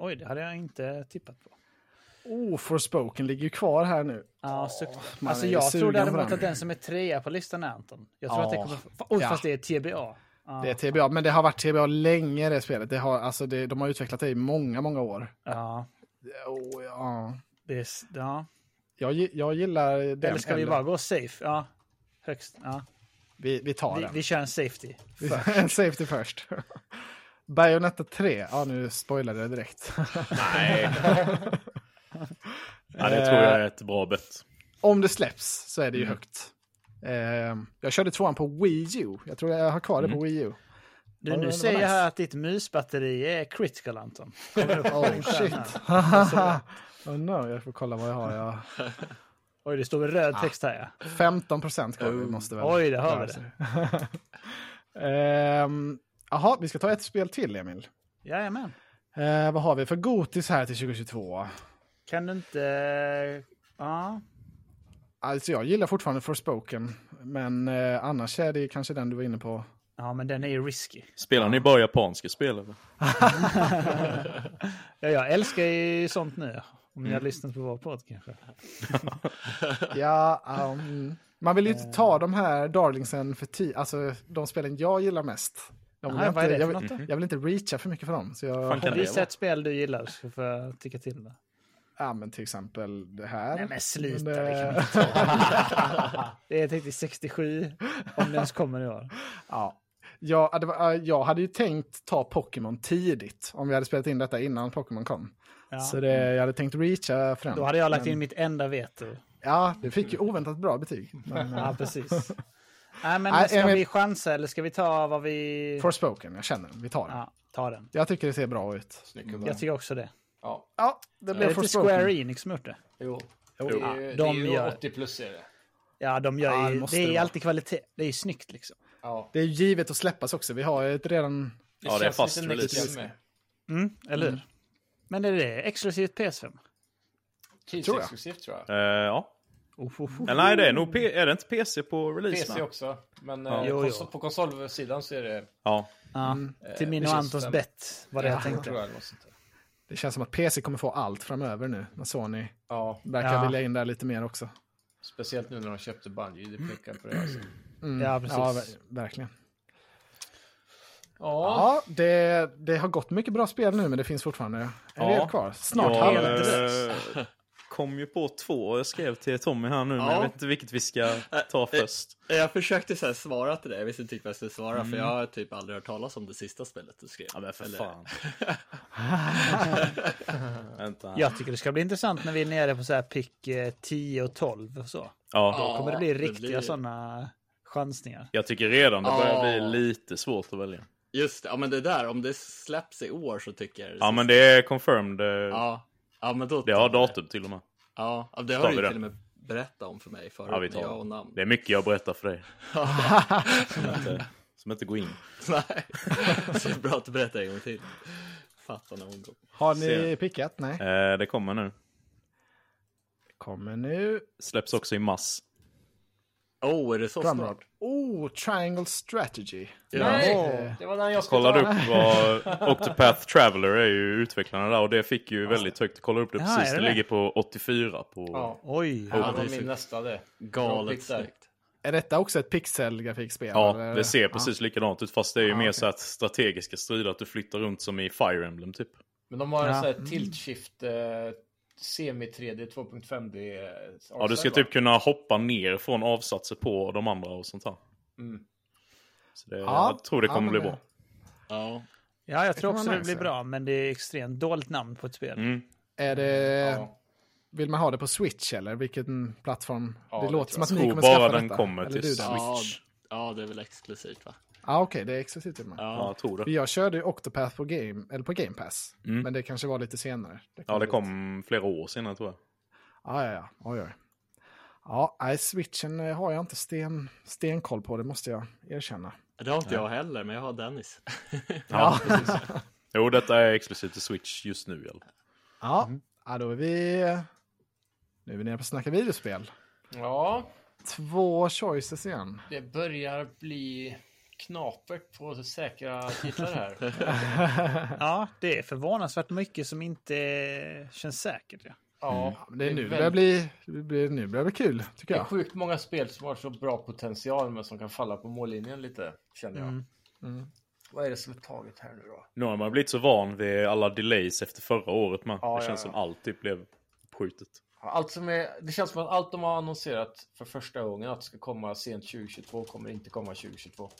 [SPEAKER 2] Oj, det hade jag inte tippat på.
[SPEAKER 3] Oh, Forspoken ligger ju kvar här nu.
[SPEAKER 2] Ja, sukt.
[SPEAKER 3] man
[SPEAKER 2] Alltså
[SPEAKER 3] är ju
[SPEAKER 2] jag
[SPEAKER 3] sugen
[SPEAKER 2] tror
[SPEAKER 3] på
[SPEAKER 2] däremot
[SPEAKER 3] den.
[SPEAKER 2] att den som är trea på listan är Anton. Jag tror
[SPEAKER 3] Ja.
[SPEAKER 2] att det kommer... Oj,
[SPEAKER 3] Ja.
[SPEAKER 2] fast det är TBA. Ja.
[SPEAKER 3] Det är TBA, men det har varit TBA länge det spelet. Det har, alltså det, de har utvecklat det i många, många år.
[SPEAKER 2] Ja,
[SPEAKER 3] Oh, ja.
[SPEAKER 2] det är... s- Ja.
[SPEAKER 3] jag, gi- jag gillar den.
[SPEAKER 2] Eller ska vi bara gå safe? Ja. Högst. Ja.
[SPEAKER 3] vi, vi tar
[SPEAKER 2] Vi,
[SPEAKER 3] den.
[SPEAKER 2] vi kör en safety.
[SPEAKER 3] En Safety first. Bayonetta 3. Ja, nu spoilade jag direkt.
[SPEAKER 7] Nej. ja, det tror jag är ett bra bett.
[SPEAKER 3] Om det släpps så är det ju
[SPEAKER 2] Mm.
[SPEAKER 3] högt. Ehm, jag körde tvåan på Wii U. Jag tror jag har kvar
[SPEAKER 2] Mm.
[SPEAKER 3] det på Wii U.
[SPEAKER 2] Du,
[SPEAKER 3] Ja, det
[SPEAKER 2] nu
[SPEAKER 3] var
[SPEAKER 2] säger
[SPEAKER 3] nice.
[SPEAKER 2] jag här att ditt musbatteri är critical Anton.
[SPEAKER 3] Oh shit. oh no, jag får kolla vad jag har. Jag har
[SPEAKER 2] Oj, det står röd
[SPEAKER 3] Ah.
[SPEAKER 2] text här ja.
[SPEAKER 3] 15 procent kvar. Vi måste väl
[SPEAKER 2] Oh, Oj, det hör
[SPEAKER 3] klara
[SPEAKER 2] vi
[SPEAKER 3] sig.
[SPEAKER 2] det.
[SPEAKER 3] Ehm, Jaha, vi ska ta ett spel till, Emil.
[SPEAKER 2] Jajamän.
[SPEAKER 3] Ehm, vad har vi för Gotis här till 2022?
[SPEAKER 2] Kan du inte... Ja.
[SPEAKER 3] Alltså, jag gillar fortfarande Forspoken, men eh, annars är det kanske den du var inne på.
[SPEAKER 2] Ja, men den är ju risky.
[SPEAKER 7] Spelar ni bara japanska spel? Eller?
[SPEAKER 2] Ja, jag älskar ju sånt nu. Om
[SPEAKER 3] Mm.
[SPEAKER 2] ni har lyssnat på vår podd kanske.
[SPEAKER 3] Ja, um, man vill ju inte ta de här darlingsen för tid, alltså de spelen jag gillar mest. Jag vill,
[SPEAKER 2] Nej, vad är
[SPEAKER 3] inte,
[SPEAKER 2] det
[SPEAKER 3] jag,
[SPEAKER 2] för
[SPEAKER 3] vill,
[SPEAKER 2] något då?
[SPEAKER 3] jag vill inte reacha för mycket för dem. Så jag,
[SPEAKER 7] Fan, kan det
[SPEAKER 2] Visa
[SPEAKER 7] vara?
[SPEAKER 2] ett spel du gillar så får jag tycka till det.
[SPEAKER 3] ja, men till exempel det här.
[SPEAKER 2] Nej men sluta,
[SPEAKER 3] Men,
[SPEAKER 2] det kan man
[SPEAKER 3] eh,
[SPEAKER 2] inte ta. Det är tänkte 67, om det ens kommer i år.
[SPEAKER 3] ja. Jag, ja, det var, eh, jag hade ju tänkt ta Pokémon tidigt, om vi hade spelat in detta innan Pokémon kom.
[SPEAKER 2] Ja.
[SPEAKER 3] Så det, jag hade tänkt reacha för den.
[SPEAKER 2] Då hade jag lagt
[SPEAKER 3] men-
[SPEAKER 2] in mitt enda veto.
[SPEAKER 3] Ja, det fick ju oväntat bra betyg.
[SPEAKER 2] Mm.
[SPEAKER 3] Men, eh,
[SPEAKER 2] Ja, precis. Nej, men
[SPEAKER 3] Nej,
[SPEAKER 2] ska
[SPEAKER 3] Emil-
[SPEAKER 2] vi chansa eller ska vi ta vad vi...
[SPEAKER 3] Forspoken, jag känner den. Vi tar den.
[SPEAKER 2] Ja, ta den.
[SPEAKER 3] Jag tycker det ser bra ut.
[SPEAKER 1] Snygg gubbe.
[SPEAKER 2] Jag tycker också det.
[SPEAKER 1] Ja,
[SPEAKER 3] Ja, det
[SPEAKER 2] Det
[SPEAKER 3] blev
[SPEAKER 2] är lite
[SPEAKER 3] Forspoken.
[SPEAKER 2] Square Enix som har gjort det.
[SPEAKER 1] jo.
[SPEAKER 3] Jo.
[SPEAKER 1] Det är ju,
[SPEAKER 2] de
[SPEAKER 1] det är ju
[SPEAKER 2] gör-
[SPEAKER 1] 80 plus är det.
[SPEAKER 2] Ja, de gör
[SPEAKER 3] Ja, det
[SPEAKER 2] ju,
[SPEAKER 3] måste
[SPEAKER 2] det är
[SPEAKER 3] det
[SPEAKER 2] ju
[SPEAKER 3] vara.
[SPEAKER 2] alltid kvalitet. Det är ju snyggt liksom.
[SPEAKER 1] Ja.
[SPEAKER 3] Det är ju givet att släppas också. Vi har ju ett redan...
[SPEAKER 7] Ja, det är fast release.
[SPEAKER 1] med.
[SPEAKER 2] Mm, eller hur? Men är det exklusivt PS5?
[SPEAKER 1] Tidsexklusivt tror jag.
[SPEAKER 7] Eh, ja.
[SPEAKER 2] Oh, oh, oh.
[SPEAKER 7] Eller, nej, det är nog P- är det inte PC på releasen?
[SPEAKER 1] PC också. Men eh,
[SPEAKER 2] Jo,
[SPEAKER 1] kons-
[SPEAKER 2] jo.
[SPEAKER 1] på konsolsidan så är det...
[SPEAKER 7] Ja.
[SPEAKER 2] Ja,
[SPEAKER 3] Mm.
[SPEAKER 2] till min och
[SPEAKER 1] känns
[SPEAKER 2] Antons
[SPEAKER 1] den-
[SPEAKER 2] bett var det jag
[SPEAKER 1] Tror
[SPEAKER 2] tänkte.
[SPEAKER 1] jag, eller något sånt där.
[SPEAKER 3] Det känns som att PC kommer få allt framöver nu. När Sony
[SPEAKER 1] ja,
[SPEAKER 3] verkar
[SPEAKER 2] Ja.
[SPEAKER 3] vilja in där lite mer också.
[SPEAKER 1] speciellt nu när de köpte Bungie. Det pekar på det. Alltså.
[SPEAKER 3] Mm.
[SPEAKER 2] Ja, precis.
[SPEAKER 3] Ja, ver- verkligen.
[SPEAKER 1] Ja,
[SPEAKER 3] Ja, det, det har gått mycket bra spel nu, men det finns fortfarande en
[SPEAKER 7] Ja.
[SPEAKER 3] del kvar. Snart
[SPEAKER 7] jag
[SPEAKER 3] halva.
[SPEAKER 7] eh, kom ju på två och jag skrev till Tommy här nu, men
[SPEAKER 4] Ja.
[SPEAKER 7] jag vet inte vilket vi ska ta först.
[SPEAKER 4] jag försökte så här svara till dig, jag visste inte riktigt vad jag skulle svara för jag har typ aldrig hört talas om det sista spelet du skrev.
[SPEAKER 7] Mm. Ja, men för
[SPEAKER 4] Eller-
[SPEAKER 7] fan. Vänta. Ja.
[SPEAKER 2] Jag tycker det ska bli intressant när vi är nere på så här pick eh, 10 och 12 och så.
[SPEAKER 7] ja.
[SPEAKER 4] Ja.
[SPEAKER 2] Kommer det bli
[SPEAKER 4] det
[SPEAKER 2] riktiga
[SPEAKER 4] blir-
[SPEAKER 2] sådana chansningar?
[SPEAKER 7] Jag tycker redan det börjar
[SPEAKER 4] Ja.
[SPEAKER 7] bli lite svårt att välja.
[SPEAKER 4] Just det, ja men det där, om det släpps i år så tycker jag
[SPEAKER 7] Ja, men det är confirmed. eh,
[SPEAKER 4] Ja, ja men då...
[SPEAKER 7] Det har datum till och med.
[SPEAKER 4] Ja, ja, det
[SPEAKER 7] Tar
[SPEAKER 4] har
[SPEAKER 7] vi
[SPEAKER 4] ju
[SPEAKER 7] det.
[SPEAKER 4] till och med berätta om för mig förut.
[SPEAKER 7] Ja, vi
[SPEAKER 4] men jag
[SPEAKER 7] tar
[SPEAKER 4] och
[SPEAKER 7] det.
[SPEAKER 4] namn.
[SPEAKER 7] Det är mycket jag berättar för dig. som, inte, som inte går in.
[SPEAKER 4] Nej, så det är bra att du berättar en gång till. Fattar någon gång.
[SPEAKER 3] Har ni
[SPEAKER 7] Se.
[SPEAKER 3] pickat? Nej.
[SPEAKER 7] Eh, det kommer nu.
[SPEAKER 3] Kommer nu.
[SPEAKER 7] Släpps också i mass.
[SPEAKER 4] Oh, är det så
[SPEAKER 3] Drumroll.
[SPEAKER 4] snart?
[SPEAKER 3] Oh, Triangle Strategy. Eh,
[SPEAKER 1] Nej,
[SPEAKER 3] Åh.
[SPEAKER 1] det var den jag skulle
[SPEAKER 7] Kollade
[SPEAKER 1] ta.
[SPEAKER 7] upp vad Octopath Traveler är ju utvecklarna där och det fick ju väldigt högt. Kollade upp det
[SPEAKER 2] Ja,
[SPEAKER 7] precis.
[SPEAKER 2] är
[SPEAKER 7] Det
[SPEAKER 2] det
[SPEAKER 7] ligger på 84 på...
[SPEAKER 1] Ja,
[SPEAKER 2] Oj.
[SPEAKER 1] det var
[SPEAKER 7] det är
[SPEAKER 1] min nästa det. Bra
[SPEAKER 4] Galet
[SPEAKER 1] pick där.
[SPEAKER 4] snyggt.
[SPEAKER 3] Är detta också ett pixelgrafikspel?
[SPEAKER 7] Ja,
[SPEAKER 3] eller?
[SPEAKER 7] det ser precis likadant ut fast det är ju
[SPEAKER 3] Ja,
[SPEAKER 7] mer
[SPEAKER 3] okej.
[SPEAKER 7] så att strategiska strider, att du flyttar runt som i Fire Emblem typ.
[SPEAKER 1] Men de har en
[SPEAKER 2] Ja. Mm.
[SPEAKER 1] sån här tilt shift eh, semi 3D 2.5D. eh,
[SPEAKER 7] Ja, du ska
[SPEAKER 1] avsätt, va?
[SPEAKER 7] typ kunna hoppa ner från avsatser på de andra och sånt där.
[SPEAKER 1] Mm.
[SPEAKER 7] Så det,
[SPEAKER 3] Ja,
[SPEAKER 7] jag tror det
[SPEAKER 3] ja,
[SPEAKER 7] kommer
[SPEAKER 3] men
[SPEAKER 7] bli
[SPEAKER 3] det-
[SPEAKER 7] bra.
[SPEAKER 4] Ja,
[SPEAKER 2] Ja, jag tror
[SPEAKER 3] kan
[SPEAKER 2] också
[SPEAKER 3] vara
[SPEAKER 2] det blir
[SPEAKER 3] nice,
[SPEAKER 2] bra, men det är extremt dåligt namn på ett spel.
[SPEAKER 7] Mm.
[SPEAKER 3] Är det...
[SPEAKER 1] Ja.
[SPEAKER 3] Vill man ha det på Switch eller vilken plattform?
[SPEAKER 1] Ja,
[SPEAKER 3] det
[SPEAKER 1] det
[SPEAKER 3] låter som
[SPEAKER 1] tror
[SPEAKER 3] att ni
[SPEAKER 7] Tror
[SPEAKER 3] kommer
[SPEAKER 7] bara
[SPEAKER 3] skaffa
[SPEAKER 7] den
[SPEAKER 3] detta.
[SPEAKER 7] kommer
[SPEAKER 3] eller
[SPEAKER 7] till
[SPEAKER 3] du den.
[SPEAKER 7] Switch.
[SPEAKER 4] ja,
[SPEAKER 7] Switch.
[SPEAKER 4] ja, det är väl exklusivt va?
[SPEAKER 3] Ja, okej, det är exklusivt till mig.
[SPEAKER 7] Ja,
[SPEAKER 4] Ja,
[SPEAKER 7] jag tror det.
[SPEAKER 3] Jag körde ju Octopath på Game, eller på Game Pass,
[SPEAKER 7] Mm.
[SPEAKER 3] men det kanske var lite senare.
[SPEAKER 7] Ja, det
[SPEAKER 3] ut.
[SPEAKER 7] kom flera år senare tror jag.
[SPEAKER 3] Ja, ja, ja. Oj, oj. Ja, nej, switchen eh, har jag inte sten, stenkoll på, det måste jag erkänna.
[SPEAKER 4] det har inte jag heller, men jag har Dennis.
[SPEAKER 7] Ja, precis. Jo, detta är exklusivt till Switch just nu. Eller?
[SPEAKER 3] Ja, ja då är vi... Nu är vi nere på Snacka videospel.
[SPEAKER 1] ja,
[SPEAKER 3] Två choices igen.
[SPEAKER 1] det börjar bli knapert på säkra titlar här.
[SPEAKER 2] Ja, det är förvånansvärt mycket som inte känns säkert. Ja.
[SPEAKER 7] Mm.
[SPEAKER 1] Ja,
[SPEAKER 3] Ja, men det är nu det börjar
[SPEAKER 1] väldigt-
[SPEAKER 3] bli, det blir, nu börjar det bli kul, tycker
[SPEAKER 1] Det är
[SPEAKER 3] jag.
[SPEAKER 1] sjukt många spel som har så bra potential men som kan falla på mållinjen lite, känner jag.
[SPEAKER 2] Mm.
[SPEAKER 3] Mm.
[SPEAKER 1] Vad är det som är taget här nu då?
[SPEAKER 7] Nu har man blivit så van vid alla delays efter förra året med.
[SPEAKER 1] Ja,
[SPEAKER 7] det
[SPEAKER 1] ja,
[SPEAKER 7] känns
[SPEAKER 1] ja.
[SPEAKER 7] som allt typ blev skjutet.
[SPEAKER 1] Ja, Allt som är, det känns som att allt de har annonserat för första gången att det ska komma sent 2022 kommer inte komma 2022.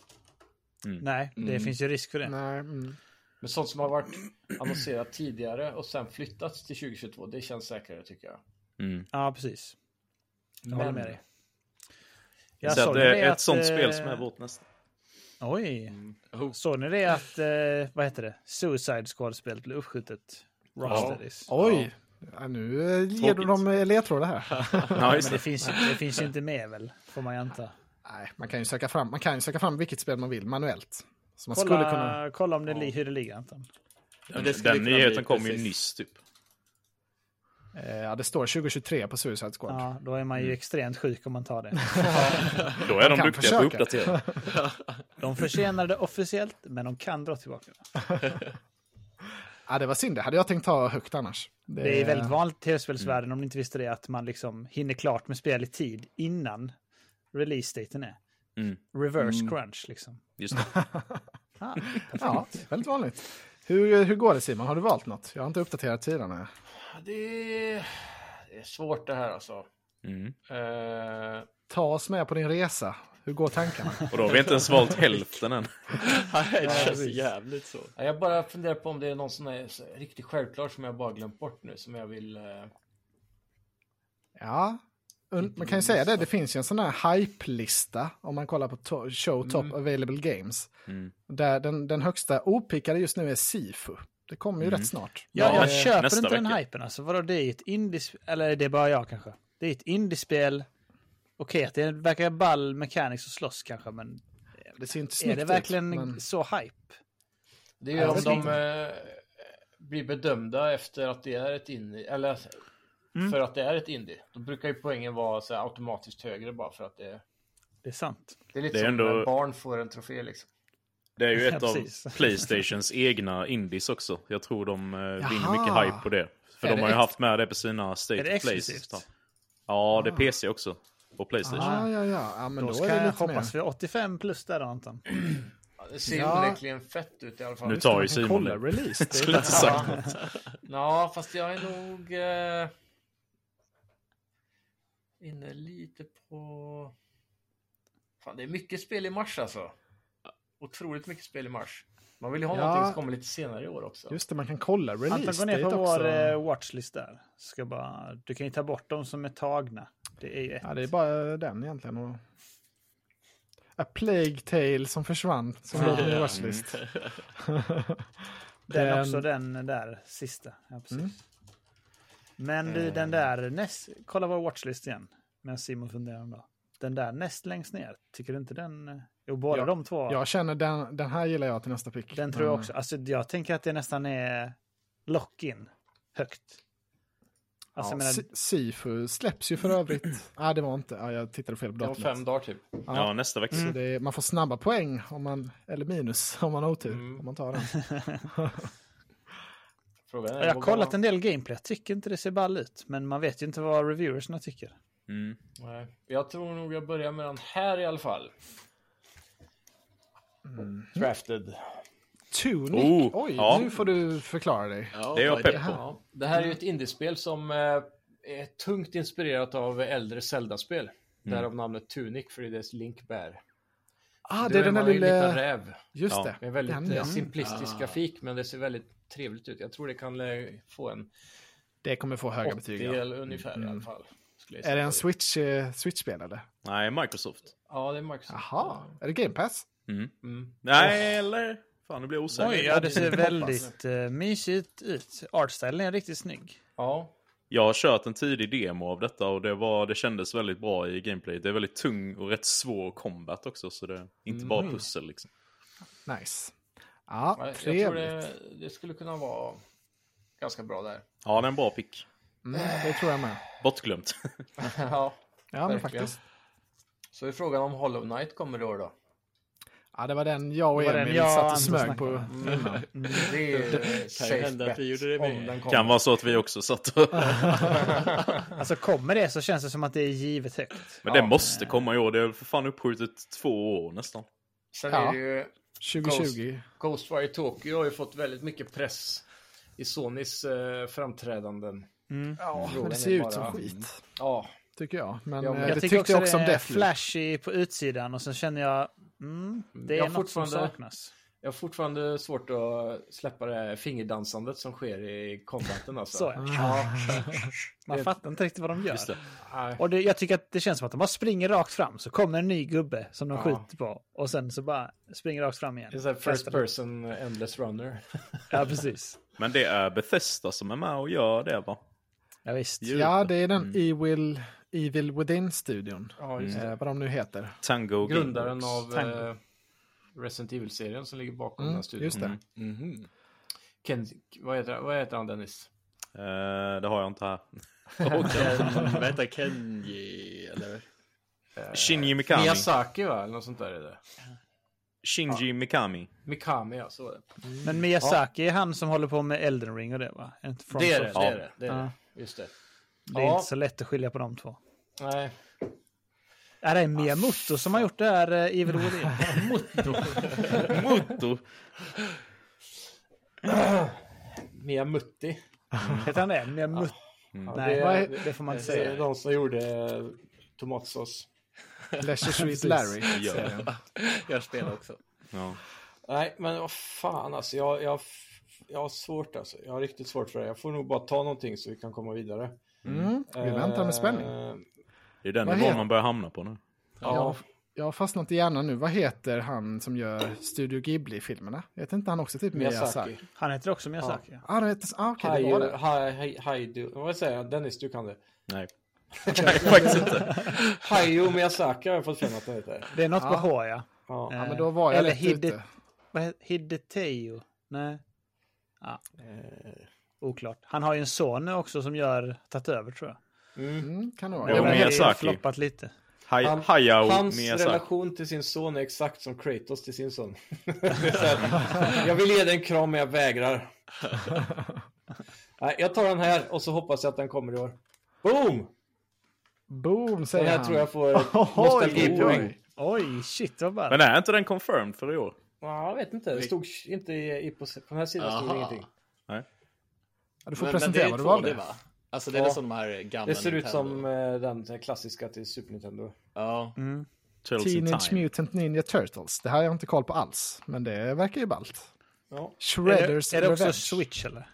[SPEAKER 2] Nej, det
[SPEAKER 4] Mm.
[SPEAKER 2] finns ju risk för det.
[SPEAKER 3] Nej, mm.
[SPEAKER 1] Men sånt som har varit annonserat tidigare och sen flyttats till 2022, det känns säkrare tycker jag.
[SPEAKER 7] Mm.
[SPEAKER 2] Ja, precis. Jag håller
[SPEAKER 1] Men-
[SPEAKER 2] med dig.
[SPEAKER 7] så
[SPEAKER 2] såg
[SPEAKER 7] det
[SPEAKER 2] ni
[SPEAKER 7] är ett
[SPEAKER 2] att,
[SPEAKER 7] sånt
[SPEAKER 2] eh,
[SPEAKER 7] spel som är vårt Mm. Oh. nästa.
[SPEAKER 2] Oj. Såg ni det att, eh, vad heter det, Suicide Squad-spelet blev uppskjutet? Rocksteadies.
[SPEAKER 3] Oj! Ja, nu eh, ger du
[SPEAKER 7] Tråkigt.
[SPEAKER 3] dem eh, ledtrådar här.
[SPEAKER 7] Ja,
[SPEAKER 2] Men
[SPEAKER 7] just
[SPEAKER 2] det
[SPEAKER 7] det.
[SPEAKER 2] finns, ju- det finns ju inte med väl, får man ju anta.
[SPEAKER 3] Nej, man kan ju söka fram, man kan ju söka fram vilket spel man vill manuellt. Så man skulle
[SPEAKER 2] Kolla,
[SPEAKER 3] kunna...
[SPEAKER 2] kolla om det li, hur det ligger Anton.
[SPEAKER 4] Men
[SPEAKER 7] Den,
[SPEAKER 4] det skulle
[SPEAKER 7] den
[SPEAKER 4] kunna
[SPEAKER 7] nyheten
[SPEAKER 4] bli
[SPEAKER 7] kom ju
[SPEAKER 4] precis.
[SPEAKER 7] nyss typ.
[SPEAKER 3] Eh, ja, det står 2023 på Suicide Squad.
[SPEAKER 2] Ja, då är man ju extremt sjuk om man tar det.
[SPEAKER 7] Då är de
[SPEAKER 3] kan
[SPEAKER 7] duktiga på att
[SPEAKER 3] försöka.
[SPEAKER 7] uppdatera.
[SPEAKER 2] De försenar det officiellt, men de kan dra tillbaka det.
[SPEAKER 3] Ja, det var synd. Det hade jag tänkt ta högt annars.
[SPEAKER 2] Det är väldigt vanligt i tv-spelsvärlden, om ni inte visste det, att man liksom hinner klart med spel i tid innan release-daten är.
[SPEAKER 7] Mm.
[SPEAKER 2] Reverse crunch liksom.
[SPEAKER 7] Just det.
[SPEAKER 2] Ah,
[SPEAKER 3] Ja, det är väldigt vanligt. Hur, hur går det Simon? Har du valt något? Jag har inte uppdaterat tiderna.
[SPEAKER 1] Ja, Det är, det är svårt det här alltså.
[SPEAKER 7] Mm.
[SPEAKER 1] Eh,
[SPEAKER 3] Ta oss med på din resa. Hur går tankarna?
[SPEAKER 7] Och då har vi inte ens valt hälften än.
[SPEAKER 4] Nej, det känns
[SPEAKER 1] precis.
[SPEAKER 4] jävligt så.
[SPEAKER 1] Ja, Jag bara funderar på om det är någon sån här så- riktigt självklar som jag bara glömt bort nu som jag vill... eh,
[SPEAKER 3] Ja, un- man kan ju säga det. Det finns ju en sån här hype-lista om man kollar på to-
[SPEAKER 2] Mm.
[SPEAKER 3] show top available games.
[SPEAKER 7] Mm.
[SPEAKER 3] Där den, den högsta opickade just nu är Sifu. Det kommer ju
[SPEAKER 2] Mm.
[SPEAKER 3] rätt snart.
[SPEAKER 2] Ja, jag
[SPEAKER 7] Ja,
[SPEAKER 2] köper
[SPEAKER 7] nästa
[SPEAKER 2] inte den
[SPEAKER 7] vecka.
[SPEAKER 2] hypen alltså. Vadå, det är ett indiespel, eller det är bara jag kanske. Det är ett indiespel. Okej, att det verkar ball mechanics och slåss kanske, men
[SPEAKER 3] Det ser inte
[SPEAKER 2] är
[SPEAKER 3] snyggt
[SPEAKER 2] det verkligen
[SPEAKER 3] ut. Men...
[SPEAKER 2] så hype?
[SPEAKER 1] Det är ju
[SPEAKER 3] Ja,
[SPEAKER 1] om
[SPEAKER 3] det
[SPEAKER 1] de
[SPEAKER 3] finns.
[SPEAKER 1] eh, blir bedömda efter att det är ett indie, eller för att det är ett indie. Då brukar ju poängen vara så här automatiskt högre bara för att det är...
[SPEAKER 2] Det är sant.
[SPEAKER 1] Det är lite
[SPEAKER 7] Det är
[SPEAKER 1] som
[SPEAKER 7] ändå-
[SPEAKER 1] när barn får en trofé liksom.
[SPEAKER 7] Det är ju ett
[SPEAKER 2] Ja,
[SPEAKER 7] av
[SPEAKER 2] precis.
[SPEAKER 7] Playstations egna indies också. Jag tror de eh, vinner mycket
[SPEAKER 3] Jaha.
[SPEAKER 7] hype på det. För
[SPEAKER 3] Är
[SPEAKER 7] de
[SPEAKER 3] det
[SPEAKER 7] har ju
[SPEAKER 3] ex-
[SPEAKER 7] haft med det på sina
[SPEAKER 2] Är
[SPEAKER 7] State
[SPEAKER 2] det
[SPEAKER 7] of Plays.
[SPEAKER 2] exklusivt?
[SPEAKER 7] Ja, det är PC också. Och Playstation.
[SPEAKER 3] Ah, ja, ja. ja men
[SPEAKER 2] Då,
[SPEAKER 3] då,
[SPEAKER 2] ska
[SPEAKER 3] är det
[SPEAKER 2] jag
[SPEAKER 3] lite
[SPEAKER 2] hoppas
[SPEAKER 3] mer.
[SPEAKER 2] vi har 85 plus där då, Anton.
[SPEAKER 1] Ja, Det ser
[SPEAKER 3] Ja.
[SPEAKER 1] onekligen fett ut i alla fall.
[SPEAKER 7] Nu tar ju
[SPEAKER 3] Man kan
[SPEAKER 7] Simon
[SPEAKER 3] kolla
[SPEAKER 7] det.
[SPEAKER 3] release. Det är
[SPEAKER 7] Skulle inte sagt något.
[SPEAKER 1] Ja, fast jag är nog eh, inne lite på... Fan, det är mycket spel i mars alltså. Otroligt mycket spel i mars. Man vill ju ha
[SPEAKER 3] Ja.
[SPEAKER 1] någonting som kommer lite senare i år också.
[SPEAKER 3] Just det, man kan kolla release.
[SPEAKER 2] Anton, gå ner på
[SPEAKER 3] date
[SPEAKER 2] vår
[SPEAKER 3] också.
[SPEAKER 2] eh, watchlist där. Ska bara, du kan ju ta bort de som är tagna. Det är ju ett.
[SPEAKER 3] Ja, det är bara eh, den egentligen. Och... A Plague Tale som försvann. Som
[SPEAKER 2] Mm.
[SPEAKER 3] låg på min watchlist.
[SPEAKER 2] den,
[SPEAKER 3] den- Mm.
[SPEAKER 2] också, den där sista. Ja, precis. Men du, den där näst, kolla vår watchlist igen. Men Simon funderar då. Den där näst längst ner, tycker du inte den... eh, Jo, båda
[SPEAKER 3] Ja.
[SPEAKER 2] de två.
[SPEAKER 3] Jag känner den, den här gillar jag till nästa pick.
[SPEAKER 2] Den tror jag
[SPEAKER 3] Men,
[SPEAKER 2] också. Alltså, jag tänker att det nästan är lock-in högt.
[SPEAKER 3] Ja,
[SPEAKER 2] Alltså, jag menar,
[SPEAKER 3] Si- Sifu släpps ju för övrigt. Nej, ah, det var inte. Ah, jag tittade fel på
[SPEAKER 1] Det var
[SPEAKER 3] datumet.
[SPEAKER 1] fem dagar typ.
[SPEAKER 7] Ja, nästa vecka.
[SPEAKER 3] Så det är, man får snabba poäng, om man, eller minus, om man har otur.
[SPEAKER 2] Mm.
[SPEAKER 3] Om man tar den.
[SPEAKER 1] Frågan är,
[SPEAKER 2] jag har
[SPEAKER 1] vågar
[SPEAKER 2] kollat
[SPEAKER 1] man-
[SPEAKER 2] en del gameplay. Jag tycker inte det ser ball ut. Men man vet ju inte vad reviewersna tycker.
[SPEAKER 7] Mm.
[SPEAKER 1] Nej. Jag tror nog jag börjar med den här i alla fall. Drafted.
[SPEAKER 3] Tunic.
[SPEAKER 7] Oh,
[SPEAKER 3] Oj,
[SPEAKER 7] ja.
[SPEAKER 3] nu får du förklara dig.
[SPEAKER 4] Ja,
[SPEAKER 7] Det är jag
[SPEAKER 4] vad är
[SPEAKER 7] pepp
[SPEAKER 4] det?
[SPEAKER 7] på.
[SPEAKER 1] Ja. Det här är ju ett indiespel som eh, är tungt inspirerat av äldre Zelda-spel. Därav namnet Tunic, för det är dess Link bär.
[SPEAKER 3] Ah,
[SPEAKER 1] Du
[SPEAKER 3] det är den där
[SPEAKER 1] man ju en liten
[SPEAKER 3] lilla...
[SPEAKER 1] räv.
[SPEAKER 3] Just
[SPEAKER 7] Ja.
[SPEAKER 3] det.
[SPEAKER 1] Med väldigt
[SPEAKER 3] Den,
[SPEAKER 1] eh,
[SPEAKER 3] ja.
[SPEAKER 1] simplistisk
[SPEAKER 4] Ah.
[SPEAKER 1] grafik, men det ser väldigt trevligt ut. Jag tror det kan eh, få en
[SPEAKER 3] Det kommer få höga
[SPEAKER 1] 80
[SPEAKER 3] betyg. Ja.
[SPEAKER 1] eller ungefär i alla fall. skulle jag
[SPEAKER 3] Mm. Är det
[SPEAKER 1] säga.
[SPEAKER 3] en Switch, eh, Switch-spel eller?
[SPEAKER 7] Nej, Microsoft.
[SPEAKER 1] Ja, det är Microsoft.
[SPEAKER 3] Jaha, är det Game Pass?
[SPEAKER 7] Mm.
[SPEAKER 1] Mm.
[SPEAKER 7] Nej, eller? Fan, nu blir jag osäker.
[SPEAKER 2] Oj, ja, det ser väldigt uh, mysigt ut. Artstylen är riktigt snygg.
[SPEAKER 1] Ja,
[SPEAKER 7] Jag har kört en tidig demo av detta och det, var, det kändes väldigt bra i gameplay. Det är väldigt tung och rätt svår combat också, så det är inte bara pussel liksom.
[SPEAKER 3] Nice. Ja,
[SPEAKER 1] jag tror
[SPEAKER 3] trevligt.
[SPEAKER 1] det, det skulle kunna vara ganska bra där.
[SPEAKER 7] Ja, det är en bra pick.
[SPEAKER 3] Mm, det tror jag med.
[SPEAKER 7] Bortglömt.
[SPEAKER 1] ja,
[SPEAKER 3] Ja, men
[SPEAKER 1] Verkligen.
[SPEAKER 3] faktiskt.
[SPEAKER 1] så är frågan om Hollow Knight kommer i år då?
[SPEAKER 3] Ja, det var den jag och
[SPEAKER 2] Det var den
[SPEAKER 3] Emil
[SPEAKER 2] jag och
[SPEAKER 3] satt och
[SPEAKER 2] Anton
[SPEAKER 3] smög
[SPEAKER 2] snackade
[SPEAKER 3] på.
[SPEAKER 2] om.
[SPEAKER 3] innan.
[SPEAKER 1] Det är ju
[SPEAKER 4] ju
[SPEAKER 1] safe
[SPEAKER 4] hända att
[SPEAKER 1] bet
[SPEAKER 4] vi gjorde det
[SPEAKER 1] om
[SPEAKER 4] med.
[SPEAKER 1] den
[SPEAKER 7] kan
[SPEAKER 1] kommer.
[SPEAKER 7] vara så att vi också satt och...
[SPEAKER 2] Alltså kommer det så känns det som att det är givet högt.
[SPEAKER 7] Men det måste komma i år. Det är för fan uppskjutet två år nästan.
[SPEAKER 1] Sen
[SPEAKER 3] Ja.
[SPEAKER 1] är det ju
[SPEAKER 3] 2020.
[SPEAKER 1] Ghostwire Tokyo har ju fått väldigt mycket press i Sonys eh, framträdanden.
[SPEAKER 3] Ja, Mm. men
[SPEAKER 1] Frågan
[SPEAKER 3] det
[SPEAKER 1] är
[SPEAKER 3] ser ju ut
[SPEAKER 1] bara-
[SPEAKER 3] som skit,
[SPEAKER 1] Ja,
[SPEAKER 3] tycker jag. Men,
[SPEAKER 1] Ja, men
[SPEAKER 3] eh,
[SPEAKER 2] Jag
[SPEAKER 3] det
[SPEAKER 2] tycker
[SPEAKER 3] tyckte
[SPEAKER 2] också,
[SPEAKER 3] jag också om
[SPEAKER 2] det är
[SPEAKER 3] Deathloop.
[SPEAKER 2] flashy på utsidan och sen känner jag, mm, det är
[SPEAKER 1] Jag
[SPEAKER 2] något
[SPEAKER 1] fortfarande-
[SPEAKER 2] som saknas.
[SPEAKER 1] jag har fortfarande svårt att släppa det här fingerdansandet som sker i combaten alltså.
[SPEAKER 2] Så, ja.
[SPEAKER 1] ja.
[SPEAKER 2] Man
[SPEAKER 1] Det-
[SPEAKER 2] fattar inte riktigt vad de gör.
[SPEAKER 7] Just det.
[SPEAKER 1] nej.
[SPEAKER 2] Och det, jag tycker att det känns som att de bara springer rakt fram, så kommer en ny gubbe som de
[SPEAKER 1] Ja.
[SPEAKER 2] skjuter på och sen så bara springer rakt fram igen.
[SPEAKER 1] Det är så här
[SPEAKER 2] Kastar
[SPEAKER 1] first
[SPEAKER 2] den.
[SPEAKER 1] person endless runner.
[SPEAKER 2] Ja, precis.
[SPEAKER 7] Men det är Bethesda som är med och gör det va?
[SPEAKER 2] Ja, visst.
[SPEAKER 7] Ju-
[SPEAKER 3] Ja, det är den Evil, Evil Within-studion.
[SPEAKER 1] Ja, just det.
[SPEAKER 3] Eh, vad de nu heter.
[SPEAKER 7] Tango
[SPEAKER 1] Mm. Grundaren
[SPEAKER 7] Gameworks.
[SPEAKER 1] av eh, Resident Evil-serien som ligger bakom den
[SPEAKER 3] Mm,
[SPEAKER 1] här studion.
[SPEAKER 3] just det.
[SPEAKER 4] Mhm.
[SPEAKER 1] Ken, vad, heter, vad heter han Dennis?
[SPEAKER 7] Eh, det har jag inte här.
[SPEAKER 4] Ken, vad heter Kenji? Eller?
[SPEAKER 7] Shinji Mikami.
[SPEAKER 1] Eh, Miyazaki va? Eller något sånt där är det.
[SPEAKER 7] Shinji Mikami.
[SPEAKER 1] Mikami ja, så var det.
[SPEAKER 2] Men Miyazaki är han som håller på med Elden Ring och det va? Inte From
[SPEAKER 1] Det är det,
[SPEAKER 2] Software.
[SPEAKER 1] det är det. det, är
[SPEAKER 2] Ja.
[SPEAKER 1] det. Just det.
[SPEAKER 2] Det är
[SPEAKER 1] Ja.
[SPEAKER 2] inte så lätt att skilja på de två.
[SPEAKER 1] Nej,
[SPEAKER 2] Är det Miyamoto som har gjort det här eh, Evil Within?
[SPEAKER 7] Mutto.
[SPEAKER 1] Miyamutti.
[SPEAKER 2] Heter han det? Miyamoto?
[SPEAKER 1] Ja,
[SPEAKER 2] Nej,
[SPEAKER 1] det,
[SPEAKER 2] det, får man inte
[SPEAKER 1] det är
[SPEAKER 2] säga.
[SPEAKER 1] de som gjorde eh, tomatsås.
[SPEAKER 3] Leisure Suit Larry.
[SPEAKER 7] Ja.
[SPEAKER 4] Jag spelar också.
[SPEAKER 7] Ja.
[SPEAKER 1] Nej, men vad fan alltså. Jag, jag, jag har svårt alltså. Jag har riktigt svårt för det. Jag får nog bara ta någonting så vi kan komma vidare.
[SPEAKER 3] Mm, vi väntar med spänning.
[SPEAKER 1] Eh,
[SPEAKER 7] Det är den
[SPEAKER 3] Vad
[SPEAKER 7] nivån
[SPEAKER 3] heter-
[SPEAKER 7] man börjar hamna på nu.
[SPEAKER 1] ja.
[SPEAKER 3] Jag har fastnat i hjärnan nu. Vad heter han som gör Studio Ghibli-filmerna? Heter inte han också typ Miyazaki?
[SPEAKER 1] Miyazaki.
[SPEAKER 2] Han heter också Miyazaki. Ja.
[SPEAKER 3] Ah, det heter... ah, okej, det var
[SPEAKER 1] Haju,
[SPEAKER 3] det.
[SPEAKER 1] ha, haj- haju, vad säger jag? Dennis, du kan det.
[SPEAKER 7] Nej. Nej, faktiskt inte.
[SPEAKER 1] Hayo Miyazaki har jag fått för mig att det heter.
[SPEAKER 2] Det är något på H, ja. Eh,
[SPEAKER 1] Ja.
[SPEAKER 3] Ja, men då var jag
[SPEAKER 2] Eller
[SPEAKER 3] rätt ute.
[SPEAKER 2] Hide, vad heter, Hideteo? Nej. Ja. Oklart. Han har ju en son nu också som gör, tagit över tror jag.
[SPEAKER 3] Mm, kan det vara.
[SPEAKER 7] Jo,
[SPEAKER 3] Det var
[SPEAKER 2] men
[SPEAKER 3] helt-
[SPEAKER 2] Det har
[SPEAKER 7] Miyazaki.
[SPEAKER 2] floppat lite.
[SPEAKER 7] Hay-
[SPEAKER 1] Han-
[SPEAKER 7] Hayao
[SPEAKER 1] Hans
[SPEAKER 7] Miyazaki.
[SPEAKER 1] relation till sin son är exakt som Kratos till sin son. Det är så här, jag vill ge dig en kram men jag vägrar. Nej, jag tar den här och så hoppas jag att den kommer i år. Boom!
[SPEAKER 3] Boom,
[SPEAKER 1] Den
[SPEAKER 3] säger
[SPEAKER 1] här
[SPEAKER 3] han.
[SPEAKER 1] tror jag får
[SPEAKER 3] Oj,
[SPEAKER 1] nostalgipoäng.
[SPEAKER 3] oj.
[SPEAKER 2] Oj, shit vad ball.
[SPEAKER 7] Men är inte den confirmed för i år?
[SPEAKER 1] Ja, jag vet inte, det stod inte i, i, på, på den här sidan stod det
[SPEAKER 4] Aha.
[SPEAKER 1] ingenting.
[SPEAKER 3] Ja, Du får presentera vad du valde.
[SPEAKER 4] va? Alltså det är
[SPEAKER 1] Ja.
[SPEAKER 4] väl som de här gamla
[SPEAKER 1] Det ser ut
[SPEAKER 4] Nintendo.
[SPEAKER 1] som eh, den klassiska till Super Nintendo.
[SPEAKER 4] Ja.
[SPEAKER 7] Turtles in
[SPEAKER 3] Teenage
[SPEAKER 7] Time.
[SPEAKER 3] Mutant Ninja Turtles. Det här har jag inte koll på alls, men det verkar ju ballt.
[SPEAKER 1] Ja.
[SPEAKER 2] är,
[SPEAKER 3] Shredders
[SPEAKER 2] det, är det också
[SPEAKER 3] Revenge.
[SPEAKER 2] Switch eller?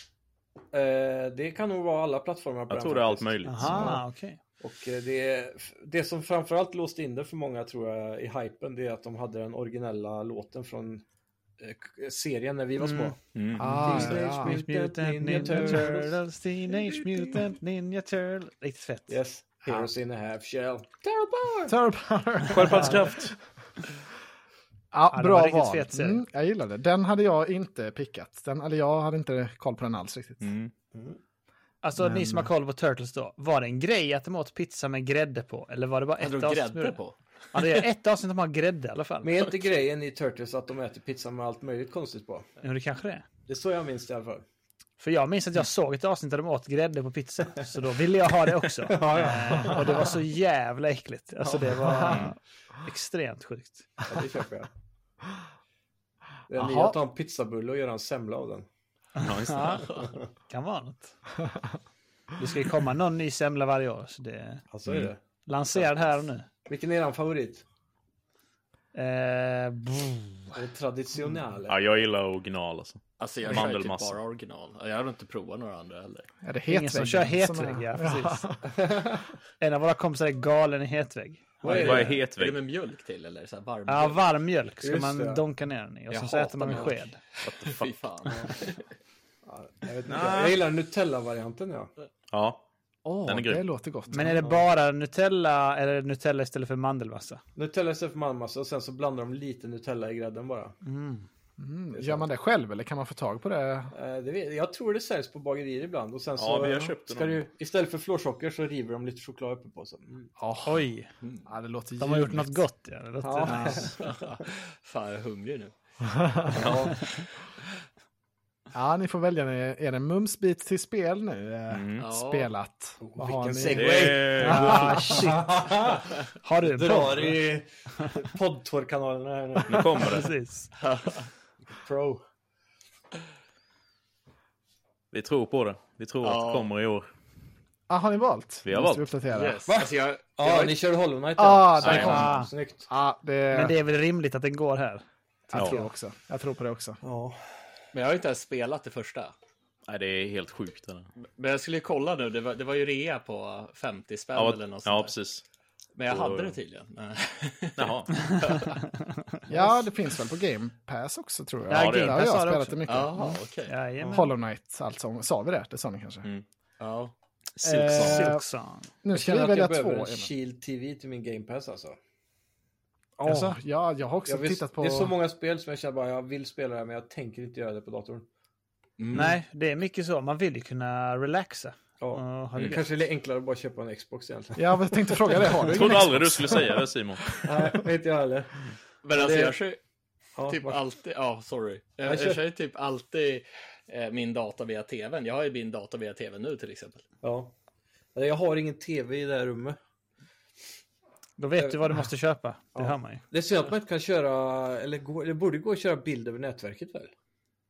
[SPEAKER 1] Eh, det kan nog vara alla plattformar på
[SPEAKER 7] Jag
[SPEAKER 1] den
[SPEAKER 7] tror det är allt
[SPEAKER 1] faktiskt.
[SPEAKER 7] möjligt.
[SPEAKER 2] Aha, okej.
[SPEAKER 1] Och eh, det, det som framförallt låste in det för många tror jag i hypen det är att de hade den originella låten från eh, k- serien när vi var små.
[SPEAKER 7] Mm.
[SPEAKER 3] Ah, ja.
[SPEAKER 1] Teenage
[SPEAKER 2] Mutant Ninja Turtles, Teenage Mutant Ninja Turtles. Riktigt fett.
[SPEAKER 1] Yes.
[SPEAKER 3] Ah.
[SPEAKER 1] Heroes in a half shell.
[SPEAKER 3] Turbo.
[SPEAKER 7] Självfallskraft.
[SPEAKER 3] Ja,
[SPEAKER 2] Ja, det var
[SPEAKER 3] bra
[SPEAKER 2] riktigt
[SPEAKER 3] val.
[SPEAKER 2] fet serie.
[SPEAKER 3] mm, jag gillade det. Den hade jag inte pickat. Den, eller jag hade inte koll på den alls riktigt.
[SPEAKER 7] Mm.
[SPEAKER 2] Alltså ni som har koll på Turtles då, var det en grej att de åt pizza med grädde på? Eller var det bara ett
[SPEAKER 4] Hade
[SPEAKER 2] avsnitt?
[SPEAKER 4] de
[SPEAKER 2] som gjorde
[SPEAKER 4] Alltså, grädde
[SPEAKER 2] det?
[SPEAKER 4] på?
[SPEAKER 2] Ja, det är ett avsnitt som har grädde i alla fall.
[SPEAKER 1] Men är inte grejen i Turtles att de äter pizza med allt möjligt konstigt på?
[SPEAKER 2] Jo, det kanske det är.
[SPEAKER 1] Det är så jag minns det i alla fall.
[SPEAKER 2] För jag minns att jag såg ett avsnitt där de åt grädde på pizza. Så då ville jag ha det också. Eh, Och det var så jävla äckligt. Alltså det var extremt sjukt.
[SPEAKER 1] Ja, det köper jag. Det är
[SPEAKER 3] Jaha.
[SPEAKER 1] ni att ta en pizzabulle och göra en semla av den.
[SPEAKER 2] Ja, kan vara något. Det ska ju komma någon ny semla varje år. Så det
[SPEAKER 1] Ja, så är
[SPEAKER 3] Mm.
[SPEAKER 1] det.
[SPEAKER 2] lanserad här och nu.
[SPEAKER 1] Vilken är eran favorit?
[SPEAKER 2] Eh, brr.
[SPEAKER 1] Är det traditionell?
[SPEAKER 3] Mm.
[SPEAKER 7] Ja, jag gillar original alltså.
[SPEAKER 4] Alltså jag kör ju typ
[SPEAKER 7] Mandelmassa.
[SPEAKER 4] bara original. Jag har inte provat några andra heller.
[SPEAKER 3] Är det
[SPEAKER 2] ingen som kör
[SPEAKER 3] hetväggen som är-
[SPEAKER 2] hetvägg, ja, precis. En av våra kompisar är galen i hetvägg.
[SPEAKER 1] Vad är
[SPEAKER 7] Vad är
[SPEAKER 1] det?
[SPEAKER 4] Är det
[SPEAKER 7] hetvägg?
[SPEAKER 4] med mjölk till eller så här varm
[SPEAKER 2] Ja,
[SPEAKER 4] mjölk?
[SPEAKER 2] varm mjölk ska
[SPEAKER 1] Just det.
[SPEAKER 2] man donka ner den i. Och
[SPEAKER 4] Mm. Jag
[SPEAKER 2] sen så äter
[SPEAKER 4] hatar
[SPEAKER 2] man med
[SPEAKER 4] mjölk.
[SPEAKER 2] sked.
[SPEAKER 4] Fy fan.
[SPEAKER 1] Jag, vet inte. jag gillar Nutella-varianten ja.
[SPEAKER 7] Ja.
[SPEAKER 3] Åh,
[SPEAKER 7] Den är grym.
[SPEAKER 3] det låter gott.
[SPEAKER 2] Men är det bara Nutella eller är det Nutella istället för mandelmassa?
[SPEAKER 1] Nutella istället för mandelmassa och sen så blandar de lite Nutella i grädden bara.
[SPEAKER 3] Mm, Gör man det själv eller kan man få tag på det?
[SPEAKER 1] Eh, Det vet, jag tror det säljs på bagerier ibland och sen så
[SPEAKER 7] Ja, vi har köpt
[SPEAKER 1] ska
[SPEAKER 7] någon.
[SPEAKER 1] du, istället för florsocker så river de lite choklad uppe på. Så. Mm.
[SPEAKER 2] Oj,
[SPEAKER 3] Ja, det låter
[SPEAKER 2] de har gjort
[SPEAKER 3] ljuvligt.
[SPEAKER 2] något gott. Ja. Det låter,
[SPEAKER 1] Ja.
[SPEAKER 4] fan, jag är hungrig
[SPEAKER 1] Mm,
[SPEAKER 4] nu.
[SPEAKER 1] Ja.
[SPEAKER 3] Ja, ni får välja. Är är det en mumsbit till spel nu? eh,
[SPEAKER 4] Ja.
[SPEAKER 3] Spelat. Vad har
[SPEAKER 1] Vilken
[SPEAKER 3] ni?
[SPEAKER 1] segway!
[SPEAKER 7] Det är...
[SPEAKER 2] Ah, shit. Har du en
[SPEAKER 1] Drar
[SPEAKER 2] podd?
[SPEAKER 1] i poddtorkanalerna här nu.
[SPEAKER 7] Nu kommer det.
[SPEAKER 2] Precis.
[SPEAKER 1] Pro.
[SPEAKER 7] Vi tror på det. Vi tror att
[SPEAKER 4] Ja.
[SPEAKER 7] det kommer i år.
[SPEAKER 3] Ah, har ni valt?
[SPEAKER 7] Vi har
[SPEAKER 3] Måste
[SPEAKER 7] valt.
[SPEAKER 3] Vi uppdatera.
[SPEAKER 4] Yes. Alltså jag,
[SPEAKER 1] Ja, ni körde Hollow Knight
[SPEAKER 3] Ah,
[SPEAKER 1] Så
[SPEAKER 3] där
[SPEAKER 1] ja.
[SPEAKER 3] kom
[SPEAKER 2] den.
[SPEAKER 1] Snyggt.
[SPEAKER 3] Ja, det,
[SPEAKER 2] Men det är väl rimligt att den går här?
[SPEAKER 3] jag
[SPEAKER 7] Ja.
[SPEAKER 3] tror också. Jag tror på det också.
[SPEAKER 1] Ja.
[SPEAKER 4] men jag har inte ens spelat det första.
[SPEAKER 7] Nej, det är helt sjukt. Eller?
[SPEAKER 4] Men jag skulle ju kolla nu, det var, det var ju rea på 50 spänn
[SPEAKER 7] Ja,
[SPEAKER 4] eller något sånt
[SPEAKER 7] ja,
[SPEAKER 4] där.
[SPEAKER 7] precis.
[SPEAKER 4] Men jag
[SPEAKER 7] På-
[SPEAKER 4] hade det tydligen. Men-
[SPEAKER 7] Jaha.
[SPEAKER 3] Ja, det finns väl på Game Pass också tror jag.
[SPEAKER 2] Ja,
[SPEAKER 7] Game
[SPEAKER 3] det har
[SPEAKER 2] Pass
[SPEAKER 3] jag
[SPEAKER 2] har det
[SPEAKER 3] spelat
[SPEAKER 2] också.
[SPEAKER 3] det mycket.
[SPEAKER 4] Jaha, okej.
[SPEAKER 2] Jajamän.
[SPEAKER 3] Hollow Knight, alltså. Sa vi det? Det sa ni kanske?
[SPEAKER 7] Mm.
[SPEAKER 4] Ja.
[SPEAKER 7] Silk
[SPEAKER 3] Eh,
[SPEAKER 7] Song.
[SPEAKER 2] Silk Song.
[SPEAKER 3] Nu
[SPEAKER 1] Jag
[SPEAKER 3] ska vi
[SPEAKER 1] känner att
[SPEAKER 3] välja
[SPEAKER 1] jag
[SPEAKER 3] två.
[SPEAKER 1] behöver en
[SPEAKER 3] Emil.
[SPEAKER 1] Shield TV till min Game Pass alltså.
[SPEAKER 3] Alltså, ja, jag har också
[SPEAKER 1] Jag visst,
[SPEAKER 3] tittat på...
[SPEAKER 1] Det är så många spel som jag känner bara jag vill spela det här, men jag tänker inte göra det på datorn.
[SPEAKER 2] Nej, det är mycket så. Man vill ju kunna relaxa.
[SPEAKER 1] Ja.
[SPEAKER 2] Och ha det
[SPEAKER 1] Det
[SPEAKER 2] gött.
[SPEAKER 1] kanske är lite enklare att bara köpa en Xbox egentligen.
[SPEAKER 3] Ja, jag tänkte fråga det. Har du ingen
[SPEAKER 7] Jag trodde
[SPEAKER 3] Xbox?
[SPEAKER 7] aldrig du skulle säga det Simon.
[SPEAKER 1] Nej, inte jag heller.
[SPEAKER 4] Men alltså
[SPEAKER 1] Det-
[SPEAKER 4] jag kör ju
[SPEAKER 1] Ja,
[SPEAKER 4] typ
[SPEAKER 1] vars-
[SPEAKER 4] alltid, ja sorry. Jag,
[SPEAKER 1] Nej,
[SPEAKER 4] jag,
[SPEAKER 1] kör.
[SPEAKER 4] kör ju typ alltid eh, min data via tvn. Jag har ju min data via tvn nu till exempel.
[SPEAKER 1] ja. Nej, Jag har ingen TV i det här rummet.
[SPEAKER 2] Då vet du vad du måste köpa. Det hör man ju.
[SPEAKER 1] Det är synd att man inte kan köra, eller gå, det borde gå att köra bild över nätverket väl?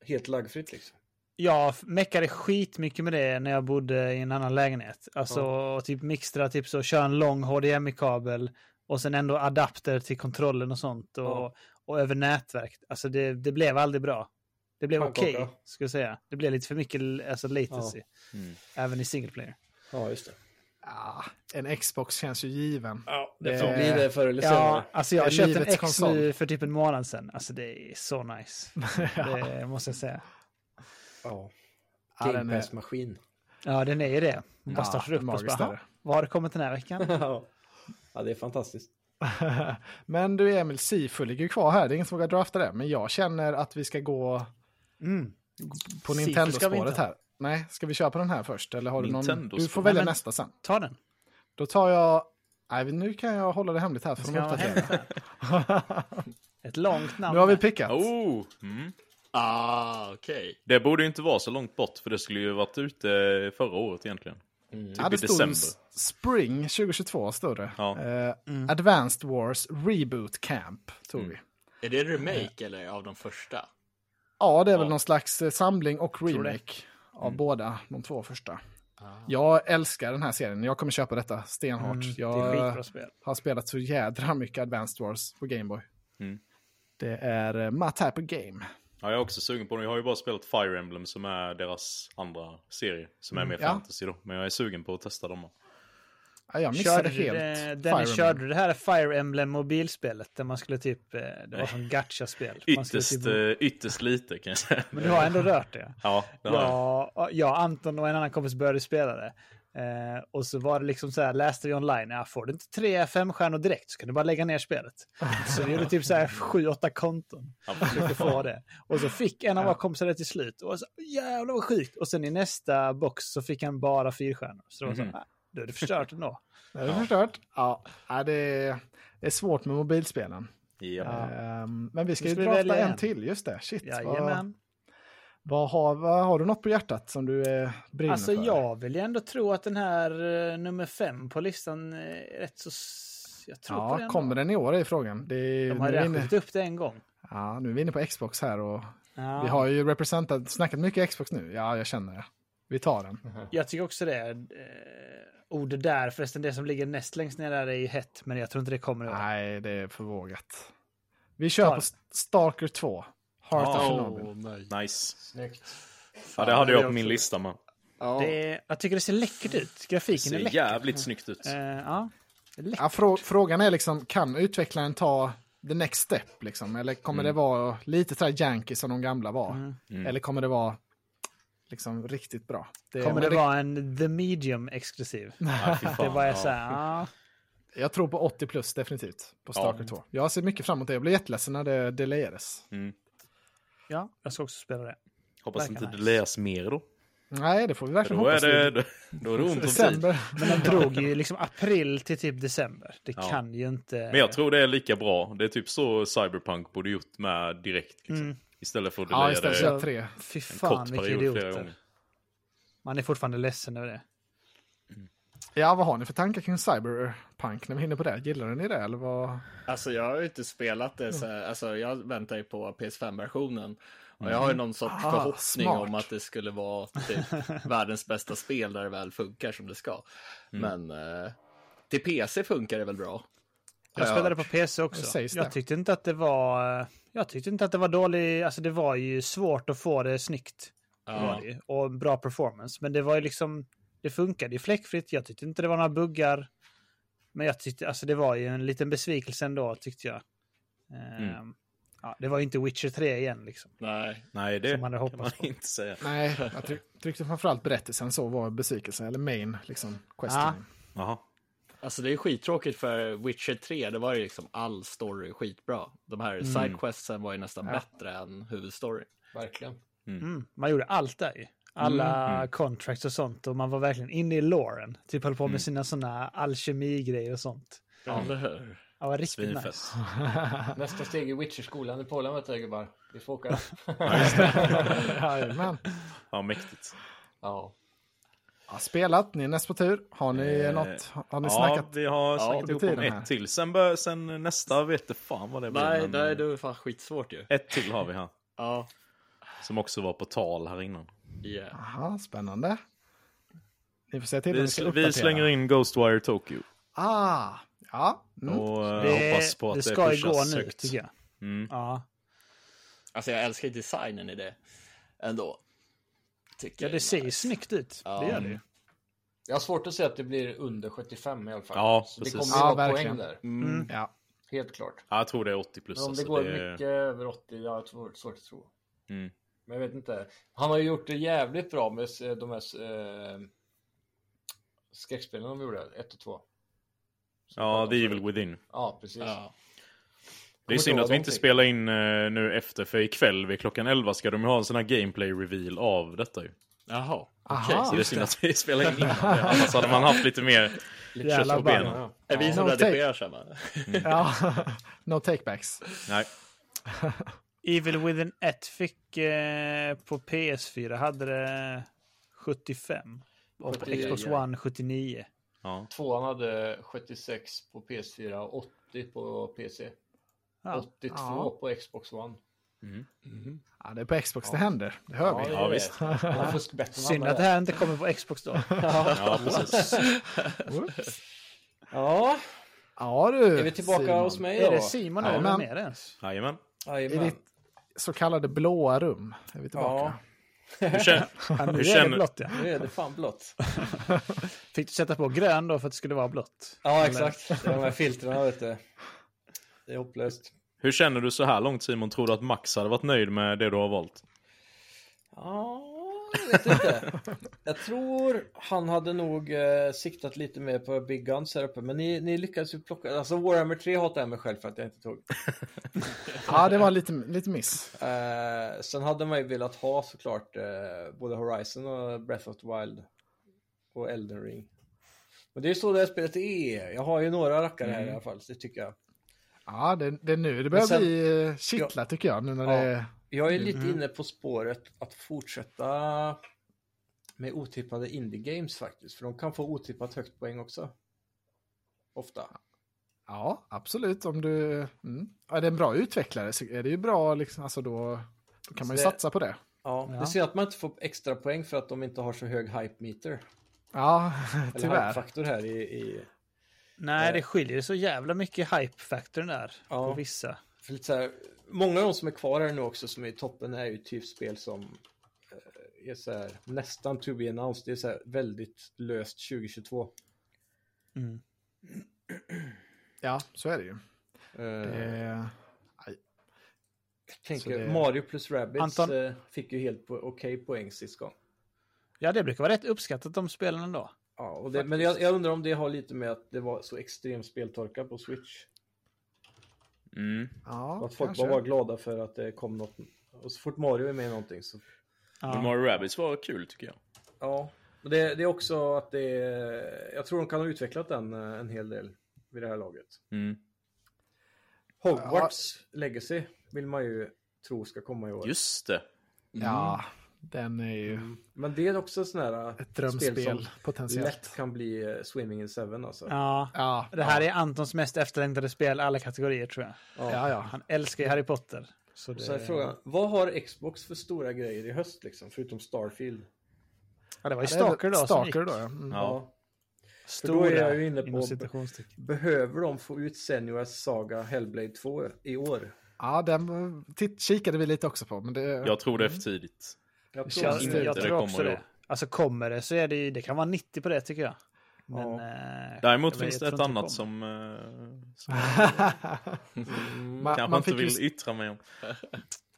[SPEAKER 1] Helt laggfritt liksom.
[SPEAKER 2] Jag f- meckade skitmycket med det när jag bodde i en annan lägenhet. Alltså, och typ mixtra, typ så köra en lång HDMI-kabel och sen ändå adapter till kontrollen och sånt och,
[SPEAKER 1] Ja.
[SPEAKER 2] och över nätverk. Alltså det, det blev aldrig bra. Det blev
[SPEAKER 1] Pannkaka.
[SPEAKER 2] okej, skulle jag säga. Det blev lite för mycket alltså latency.
[SPEAKER 3] Mm.
[SPEAKER 2] Även i single player.
[SPEAKER 1] Ja, just det.
[SPEAKER 3] Ah, en Xbox känns ju given.
[SPEAKER 1] Ja, det
[SPEAKER 3] Eh,
[SPEAKER 1] får bli det förr eller
[SPEAKER 2] Ja,
[SPEAKER 1] senare.
[SPEAKER 2] alltså jag har
[SPEAKER 3] Det är
[SPEAKER 2] köpt en
[SPEAKER 3] livets
[SPEAKER 2] X nu
[SPEAKER 3] konsol.
[SPEAKER 2] för typ en månad sedan. Alltså det är så nice. Det måste jag säga.
[SPEAKER 1] Ja.
[SPEAKER 3] Ja, den
[SPEAKER 1] Game
[SPEAKER 3] är-
[SPEAKER 1] Pass-maskin.
[SPEAKER 2] Ja, den är ju det. Man bara
[SPEAKER 3] Ja,
[SPEAKER 2] startar upp och så
[SPEAKER 3] magiskt
[SPEAKER 2] bara,
[SPEAKER 3] är det.
[SPEAKER 2] "Ha, vad har det kommit den här veckan?
[SPEAKER 1] ja, det är fantastiskt.
[SPEAKER 3] men du Emil, Sifu ligger ju kvar här. Det är ingen som vågar drafta det. Men jag känner att vi ska gå
[SPEAKER 2] Mm.
[SPEAKER 3] på
[SPEAKER 2] Sifu ska vi
[SPEAKER 3] Nintendo-spåret
[SPEAKER 2] inte ha.
[SPEAKER 3] här. Nej, ska vi köpa den här först? Eller har du någon...
[SPEAKER 7] Nintendo-spår.
[SPEAKER 3] Du får välja
[SPEAKER 2] Nej, men-
[SPEAKER 3] nästa sen.
[SPEAKER 2] Ta den.
[SPEAKER 3] Då tar jag... Nej, nu kan jag hålla det hemligt här för de
[SPEAKER 2] Ska man
[SPEAKER 3] uppdaterar.
[SPEAKER 2] hämta? Ett långt namn.
[SPEAKER 3] Nu har vi pickat.
[SPEAKER 2] typ
[SPEAKER 7] Oh, mm.
[SPEAKER 4] Ah, okej.
[SPEAKER 7] Det borde ju inte vara så långt bort för det skulle ju varit ute förra året egentligen. Typ
[SPEAKER 3] Ja, det
[SPEAKER 7] i
[SPEAKER 3] stod
[SPEAKER 7] december.
[SPEAKER 3] s- Spring 2022 stod det.
[SPEAKER 7] Ja.
[SPEAKER 3] Eh, Advanced Wars Reboot Camp tog
[SPEAKER 2] Mm.
[SPEAKER 3] vi.
[SPEAKER 4] Är det en remake eller av de första?
[SPEAKER 3] Ja, det är väl någon slags eh, samling och remake av
[SPEAKER 2] Mm.
[SPEAKER 3] båda de två första.
[SPEAKER 2] Ah.
[SPEAKER 3] Jag älskar den här serien. Jag kommer köpa detta stenhårt.
[SPEAKER 2] Mm. Det är
[SPEAKER 3] jag
[SPEAKER 2] skitbra spel.
[SPEAKER 3] har spelat så jädra mycket Advanced Wars på Gameboy.
[SPEAKER 2] Mm.
[SPEAKER 3] Det är eh, my type of game.
[SPEAKER 7] Ja, jag är också sugen på den. Jag har ju bara spelat Fire Emblem som är deras andra serie. Som är mer
[SPEAKER 3] ja.
[SPEAKER 7] fantasy då. Men jag är sugen på att testa dem.
[SPEAKER 3] Ja, Ah, jag missade
[SPEAKER 2] Körde du
[SPEAKER 3] helt
[SPEAKER 2] det,
[SPEAKER 3] Fire
[SPEAKER 2] eh, Dennis,
[SPEAKER 3] Emblem.
[SPEAKER 2] körde du det här Fire Emblem mobilspelet där man skulle typ, eh, det var som gacha-spel. Man skulle
[SPEAKER 7] Ytterst,
[SPEAKER 2] typ,
[SPEAKER 7] eh, ytterst lite kan jag säga.
[SPEAKER 2] men du har ändå rört det.
[SPEAKER 7] Ja, det har jag.
[SPEAKER 2] Ja, jag, Anton och en annan kompis började spela det. Eh, och så var det liksom så här, läste vi online, ja, får du inte tre femstjärnor direkt så kan du bara lägga ner spelet. Så vi gjorde typ så här sju, åtta konton.
[SPEAKER 7] Ja,
[SPEAKER 2] Försökte få det. Och så fick en av våra kompisar det till slut. Och så, jävlar vad sjukt. Och sen i nästa box så fick han bara fyrstjärnor. Så det var så här,
[SPEAKER 7] Mhm.
[SPEAKER 2] "Ah, då är det förstört ändå.
[SPEAKER 3] Är det förstört? Ja, ja det, är, det är svårt med mobilspelen.
[SPEAKER 7] Ja.
[SPEAKER 3] Ehm, men vi ska
[SPEAKER 2] Nu
[SPEAKER 3] ju
[SPEAKER 2] ska vi
[SPEAKER 3] drafta
[SPEAKER 2] välja
[SPEAKER 3] en
[SPEAKER 2] en.
[SPEAKER 3] till, just det. Shit, vad,
[SPEAKER 2] Jajamän.
[SPEAKER 3] vad, har, vad har du något på hjärtat som du eh, brinner
[SPEAKER 2] Alltså
[SPEAKER 3] för?
[SPEAKER 2] jag vill ju ändå tro att den här eh, nummer fem på listan eh, är rätt så... s- Jag tror på
[SPEAKER 3] Ja,
[SPEAKER 2] den.
[SPEAKER 3] kommer den i år är frågan. Det är,
[SPEAKER 2] De
[SPEAKER 3] nu,
[SPEAKER 2] har
[SPEAKER 3] är
[SPEAKER 2] ju
[SPEAKER 3] vi
[SPEAKER 2] redan
[SPEAKER 3] inne,
[SPEAKER 2] skjutit upp det en gång.
[SPEAKER 3] ja, nu är vi inne på Xbox här och
[SPEAKER 2] Ja.
[SPEAKER 3] vi har ju representat, snackat mycket Xbox nu. Ja, jag känner det. Vi tar den.
[SPEAKER 2] Jag tycker också det. Eh, oh, det där förresten, det som ligger näst längst ner där är ju hett, men jag tror inte det kommer. att-
[SPEAKER 3] Nej, det är för vågat. Vi kör
[SPEAKER 2] Ta
[SPEAKER 3] på
[SPEAKER 2] det.
[SPEAKER 3] Stalker 2. Heart of
[SPEAKER 7] Ja.
[SPEAKER 3] Chernobyl.
[SPEAKER 4] nej.
[SPEAKER 7] Nice.
[SPEAKER 1] Snyggt.
[SPEAKER 7] Ja, det hade jag på min lista man.
[SPEAKER 4] Ja.
[SPEAKER 2] Det, jag tycker det ser läckert ut. Grafiken är
[SPEAKER 7] ser
[SPEAKER 2] läcker.
[SPEAKER 7] jävligt snyggt ut.
[SPEAKER 2] Eh, ja. Det är läckert.
[SPEAKER 3] Ja, frå frågan är liksom, kan utvecklaren ta the next step liksom? Eller kommer
[SPEAKER 2] Mm.
[SPEAKER 3] det vara lite sådär janky som de gamla var? Eller kommer det vara liksom riktigt bra? Det-
[SPEAKER 2] Kommer
[SPEAKER 3] men
[SPEAKER 2] det vara en The Medium exklusiv?
[SPEAKER 7] Ja, fy
[SPEAKER 2] Det
[SPEAKER 7] fan,
[SPEAKER 2] var jag
[SPEAKER 7] ja.
[SPEAKER 2] så här, ja.
[SPEAKER 3] Jag tror på 80 plus definitivt på Stalker
[SPEAKER 7] Ja.
[SPEAKER 3] 2. Jag ser mycket fram emot det. Jag blev jätteledsen när det delayades.
[SPEAKER 7] Mm.
[SPEAKER 2] ja, jag ska också spela det.
[SPEAKER 7] Hoppas
[SPEAKER 2] Verkar
[SPEAKER 7] inte
[SPEAKER 2] nice.
[SPEAKER 7] det läs mer då.
[SPEAKER 3] Nej, det får vi
[SPEAKER 7] För
[SPEAKER 3] verkligen
[SPEAKER 7] då är
[SPEAKER 3] hoppas.
[SPEAKER 7] det, då är det ont om tid.
[SPEAKER 3] December.
[SPEAKER 2] Men de drog ju liksom april till typ december. Det
[SPEAKER 7] Ja.
[SPEAKER 2] kan ju inte...
[SPEAKER 7] Men jag tror det är lika bra. Det är typ så Cyberpunk borde gjort med direkt. Liksom.
[SPEAKER 2] Mm.
[SPEAKER 7] Istället för att
[SPEAKER 3] Ja,
[SPEAKER 7] delaya
[SPEAKER 3] istället
[SPEAKER 7] det
[SPEAKER 3] för tre.
[SPEAKER 2] Fy
[SPEAKER 7] en
[SPEAKER 2] fan
[SPEAKER 7] kort
[SPEAKER 2] vilka
[SPEAKER 7] period flera
[SPEAKER 2] idioter.
[SPEAKER 7] gånger.
[SPEAKER 2] Man är fortfarande ledsen över det.
[SPEAKER 3] Ja, vad har ni för tankar kring Cyberpunk när vi är inne på det? Gillar ni det eller vad?
[SPEAKER 4] Alltså jag har ju inte spelat det, så, alltså jag väntar ju på PS5-versionen. Och jag har ju någon sorts
[SPEAKER 3] Ah,
[SPEAKER 4] förhoppning
[SPEAKER 3] smart.
[SPEAKER 4] om att det skulle vara typ världens bästa spel där det väl funkar som det ska. Men eh, till PC funkar det väl bra?
[SPEAKER 2] Jag
[SPEAKER 4] Ja.
[SPEAKER 2] spelade på PC
[SPEAKER 3] Det
[SPEAKER 2] också.
[SPEAKER 3] sägs det.
[SPEAKER 2] Jag tyckte inte att det var... Jag tyckte inte att det var dålig... Alltså det var ju svårt att få det snyggt. Det var det ju. Och bra performance. Men det var ju liksom... Det funkade ju fläckfritt. Jag tyckte inte det var några buggar. Men jag tyckte... Alltså det var ju en liten besvikelse ändå tyckte jag.
[SPEAKER 7] Mm.
[SPEAKER 2] Ehm, ja, det var ju inte Witcher 3 igen liksom.
[SPEAKER 4] Nej,
[SPEAKER 7] Nej, det
[SPEAKER 2] Som man hade
[SPEAKER 7] kan man
[SPEAKER 2] hoppats på.
[SPEAKER 7] inte säga.
[SPEAKER 3] Nej, jag try- tryckte framförallt berättelsen så var besvikelse eller main liksom questing.
[SPEAKER 2] Ja.
[SPEAKER 7] Jaha.
[SPEAKER 4] alltså det är skittråkigt för Witcher 3, det var ju liksom all story skitbra. De här sidequestsen var ju nästan bättre än huvudstory.
[SPEAKER 1] Verkligen.
[SPEAKER 2] Mm. Man gjorde allt där ju. Alla
[SPEAKER 7] Mm.
[SPEAKER 2] contracts och sånt. Och man var verkligen inne i loren. Typ höll på
[SPEAKER 7] Mm.
[SPEAKER 2] med sina sådana alkemigrejer och sånt.
[SPEAKER 4] Eller hur?
[SPEAKER 2] Det var riktigt nice.
[SPEAKER 7] Svinfett. Ah.
[SPEAKER 1] Nästa steg är Witcher-skolan i Polen vet du gubbar. Vi får åka.
[SPEAKER 3] Jajamän.
[SPEAKER 7] Ja, mäktigt.
[SPEAKER 1] ja.
[SPEAKER 3] Ja, spelat, ni är näst på tur. Har ni
[SPEAKER 7] Eh,
[SPEAKER 3] något? Har ni
[SPEAKER 7] Ja,
[SPEAKER 3] snackat?
[SPEAKER 7] vi har snackat
[SPEAKER 3] det är
[SPEAKER 7] ihop om
[SPEAKER 3] tiden här.
[SPEAKER 7] ett till. Sen, bör, sen nästa vet det fan vad det blir.
[SPEAKER 4] Nej,
[SPEAKER 7] men,
[SPEAKER 4] nej,
[SPEAKER 7] eh,
[SPEAKER 4] det var fan skitsvårt ju.
[SPEAKER 7] Ett till har vi här.
[SPEAKER 4] Ja,
[SPEAKER 7] Som också var på tal här innan.
[SPEAKER 4] yeah.
[SPEAKER 3] Aha, spännande. Ni får säga till när
[SPEAKER 7] Vi,
[SPEAKER 3] ska
[SPEAKER 7] sl-
[SPEAKER 3] uppdatera.
[SPEAKER 7] vi slänger in Ghostwire Tokyo.
[SPEAKER 3] Ah, ja. Mm.
[SPEAKER 7] Och eh,
[SPEAKER 2] Det,
[SPEAKER 7] hoppas på att
[SPEAKER 2] det
[SPEAKER 7] det,
[SPEAKER 2] ska ju gå
[SPEAKER 7] pushas
[SPEAKER 2] nu,
[SPEAKER 7] högt.
[SPEAKER 2] tycker jag.
[SPEAKER 7] Mm.
[SPEAKER 2] Ja.
[SPEAKER 4] Alltså jag älskar ju designen i det ändå. Tycker
[SPEAKER 2] ja, det
[SPEAKER 4] jag.
[SPEAKER 2] ser ju snyggt ut. Det gör det ju.
[SPEAKER 1] Jag har svårt att se att det blir under 75 i alla fall.
[SPEAKER 7] Ja,
[SPEAKER 1] Så det
[SPEAKER 7] precis.
[SPEAKER 1] kommer ju
[SPEAKER 3] Ja,
[SPEAKER 1] vara
[SPEAKER 3] verkligen.
[SPEAKER 1] poäng där.
[SPEAKER 4] Mm.
[SPEAKER 3] Ja.
[SPEAKER 1] Helt klart.
[SPEAKER 7] Ja, jag tror det är 80 plus.
[SPEAKER 1] Men om det
[SPEAKER 7] alltså.
[SPEAKER 1] går
[SPEAKER 7] är-
[SPEAKER 1] mycket över 80, ja, jag tror svårt att tro.
[SPEAKER 7] Mm.
[SPEAKER 1] Men jag vet inte. Han har ju gjort det jävligt bra med s- de här eh, skräckspelen de gjorde, 1 och 2.
[SPEAKER 7] Ja, The Evil Within.
[SPEAKER 1] Ja, precis.
[SPEAKER 4] Ja.
[SPEAKER 7] Det är synd
[SPEAKER 1] ihåg
[SPEAKER 7] att vi inte
[SPEAKER 1] någonting.
[SPEAKER 7] spelar in eh, nu efter, för ikväll vid klockan 11 ska de ju ha en sån här gameplay-reveal av detta ju.
[SPEAKER 4] Jaha.
[SPEAKER 3] Aha.
[SPEAKER 7] Så det är synd att vi spelar in innan det, annars hade man haft lite mer kött
[SPEAKER 2] Jävla
[SPEAKER 7] på
[SPEAKER 2] ball.
[SPEAKER 7] benen.
[SPEAKER 4] Är vi som
[SPEAKER 3] No
[SPEAKER 2] typ.
[SPEAKER 4] redigerar sen va?
[SPEAKER 3] ja. no takebacks.
[SPEAKER 7] Nej,
[SPEAKER 2] Evil Within 1 fick eh, på PS4, hade det 75. Och på
[SPEAKER 1] 79,
[SPEAKER 2] Xbox
[SPEAKER 4] ja.
[SPEAKER 2] One 79.
[SPEAKER 7] ja.
[SPEAKER 1] Tvåan hade 76 på PS4 och 80 på PC.
[SPEAKER 2] Ja.
[SPEAKER 1] 82
[SPEAKER 3] Ja.
[SPEAKER 1] på Xbox One.
[SPEAKER 3] Ja, det är på Xbox det händer. Det hör vi.
[SPEAKER 1] det är
[SPEAKER 7] Ja,
[SPEAKER 1] det.
[SPEAKER 7] visst.
[SPEAKER 1] Man får fuskbättre än
[SPEAKER 2] Synd
[SPEAKER 1] andra
[SPEAKER 2] att det här inte kommer på Xbox då.
[SPEAKER 7] ja precis.
[SPEAKER 3] Oops.
[SPEAKER 1] Ja,
[SPEAKER 3] Ja du.
[SPEAKER 1] är vi tillbaka
[SPEAKER 3] Simon.
[SPEAKER 1] hos mig då?
[SPEAKER 2] Är det Simon nu?
[SPEAKER 3] Jajamän.
[SPEAKER 2] Vem är det ens?
[SPEAKER 7] Jajamän.
[SPEAKER 3] I
[SPEAKER 1] Jajamän.
[SPEAKER 3] ditt så kallade blåa rum är vi tillbaka.
[SPEAKER 7] Hur, kän-
[SPEAKER 2] Ja, nu är
[SPEAKER 7] Hur
[SPEAKER 2] det
[SPEAKER 7] känner-
[SPEAKER 2] blått ja.
[SPEAKER 1] Nu är det fan blått.
[SPEAKER 2] Fick du sätta på grön då för att det skulle vara blått?
[SPEAKER 1] Ja, exakt. Det är de här filtrerna, vet du. Det är hopplöst.
[SPEAKER 7] hur känner du så här långt Simon? Tror du att Max hade varit nöjd med det du har valt?
[SPEAKER 1] Ja, vet inte. Jag tror han hade nog eh, siktat lite mer på Big Guns här uppe. Men ni, ni lyckades ju plocka. Alltså Warhammer 3 hatar jag mig själv för att jag inte tog.
[SPEAKER 3] Ja, det var lite, lite miss.
[SPEAKER 1] Eh, sen hade man ju velat ha såklart eh, både Horizon och Breath of the Wild. Och Elden Ring. Men det är ju så det här spelet är. Jag har ju några rackare här i alla fall. Det tycker jag.
[SPEAKER 3] Ja, det, det är nu det börjar
[SPEAKER 1] Men sen-
[SPEAKER 3] bli eh, kittla tycker jag. Nu när
[SPEAKER 1] Ja.
[SPEAKER 3] det är...
[SPEAKER 1] Jag är
[SPEAKER 3] Mm.
[SPEAKER 1] lite inne på spåret att fortsätta med otippade indie games faktiskt. För de kan få otippat högt poäng också. Ofta.
[SPEAKER 3] Ja, absolut. Om du... mm. Är det en bra utvecklare så är det ju bra, liksom, alltså då, då kan man ju
[SPEAKER 1] Så det-
[SPEAKER 3] satsa på det.
[SPEAKER 1] Ja,
[SPEAKER 2] Ja.
[SPEAKER 1] Det ser att man inte får extra poäng för att de inte har så hög hype meter.
[SPEAKER 3] Ja,
[SPEAKER 1] Eller
[SPEAKER 3] tyvärr.
[SPEAKER 1] hype-faktor här i, i
[SPEAKER 2] Nej, det skiljer så jävla mycket hype-faktorn där
[SPEAKER 1] Ja.
[SPEAKER 2] på vissa.
[SPEAKER 1] för lite så här, Många av de som är kvar här nu också som är i toppen är ju typ spel som eh, är så här, nästan to be announced. Det är så här väldigt löst 2022.
[SPEAKER 2] Mm.
[SPEAKER 3] Ja, så är det ju.
[SPEAKER 1] Eh,
[SPEAKER 3] Eh,
[SPEAKER 1] jag tänker
[SPEAKER 3] så det-
[SPEAKER 1] Mario plus Rabbids
[SPEAKER 2] Anton-
[SPEAKER 1] eh, fick ju helt po- okej poäng sist gång.
[SPEAKER 2] Ja, det brukar vara rätt uppskattat de spelen ändå.
[SPEAKER 1] Ja, och det, men jag, jag undrar om det har lite med att det var så extrem speltorka på Switch.
[SPEAKER 7] Mm.
[SPEAKER 3] ja,
[SPEAKER 1] att folk
[SPEAKER 3] kanske.
[SPEAKER 1] bara var glada för att det kom något. Och så fort Mario är med i någonting så...
[SPEAKER 7] Men
[SPEAKER 2] Ja.
[SPEAKER 7] Mario Rabbids var kul tycker jag.
[SPEAKER 1] Ja, men det, det är också att det är... Jag tror de kan ha utvecklat den eh, en hel del vid det här laget.
[SPEAKER 7] Mm.
[SPEAKER 1] Hogwarts Legacy vill man ju tro ska komma i år.
[SPEAKER 7] Just det.
[SPEAKER 1] Mm.
[SPEAKER 3] Ja, den är ju
[SPEAKER 1] Men det är också en sån här... eh,
[SPEAKER 3] ett drömspel
[SPEAKER 1] Mm. spel som
[SPEAKER 3] potentiellt.
[SPEAKER 1] lätt kan bli eh, Swimming in Seven alltså.
[SPEAKER 2] ja.
[SPEAKER 3] Ja,
[SPEAKER 2] Det här är Antons mest efterlängtade spel alla kategorier tror jag.
[SPEAKER 3] ja, ja.
[SPEAKER 2] Han älskar ju Harry Potter. Så
[SPEAKER 1] Och
[SPEAKER 2] det...
[SPEAKER 1] så är frågan, vad har Xbox för stora grejer i höst liksom? Förutom Starfield.
[SPEAKER 2] Ja, det var ju
[SPEAKER 3] Ja, det är väl
[SPEAKER 2] Stalker då som gick.
[SPEAKER 3] Stalker då, ja. Mm.
[SPEAKER 7] Ja.
[SPEAKER 1] För då
[SPEAKER 2] Stora,
[SPEAKER 1] är jag ju inne på-
[SPEAKER 2] inom citationstecken.
[SPEAKER 1] Behöver de få ut Senuas Saga Hellblade 2 i år?
[SPEAKER 3] Ja, den eh, titt, kikade vi lite också på. Men det,
[SPEAKER 7] Jag tror det är för tidigt.
[SPEAKER 1] Jag tror
[SPEAKER 3] känns
[SPEAKER 1] att-
[SPEAKER 7] inte
[SPEAKER 2] Jag, jag
[SPEAKER 7] det
[SPEAKER 2] tror
[SPEAKER 7] kommer
[SPEAKER 2] också
[SPEAKER 7] i år.
[SPEAKER 2] det. Alltså kommer det så är det ju, det kan vara 90 på det tycker jag. Men,
[SPEAKER 1] Ja.
[SPEAKER 2] eh,
[SPEAKER 7] Däremot
[SPEAKER 2] jag
[SPEAKER 7] finns
[SPEAKER 2] vet,
[SPEAKER 7] det
[SPEAKER 2] jag
[SPEAKER 7] ett
[SPEAKER 2] tror inte
[SPEAKER 7] annat
[SPEAKER 2] det
[SPEAKER 7] som, eh, som
[SPEAKER 3] Ah, man,
[SPEAKER 7] Mm. kanske
[SPEAKER 3] man
[SPEAKER 7] inte
[SPEAKER 3] fick ju
[SPEAKER 7] vill yttra mig om.
[SPEAKER 3] Man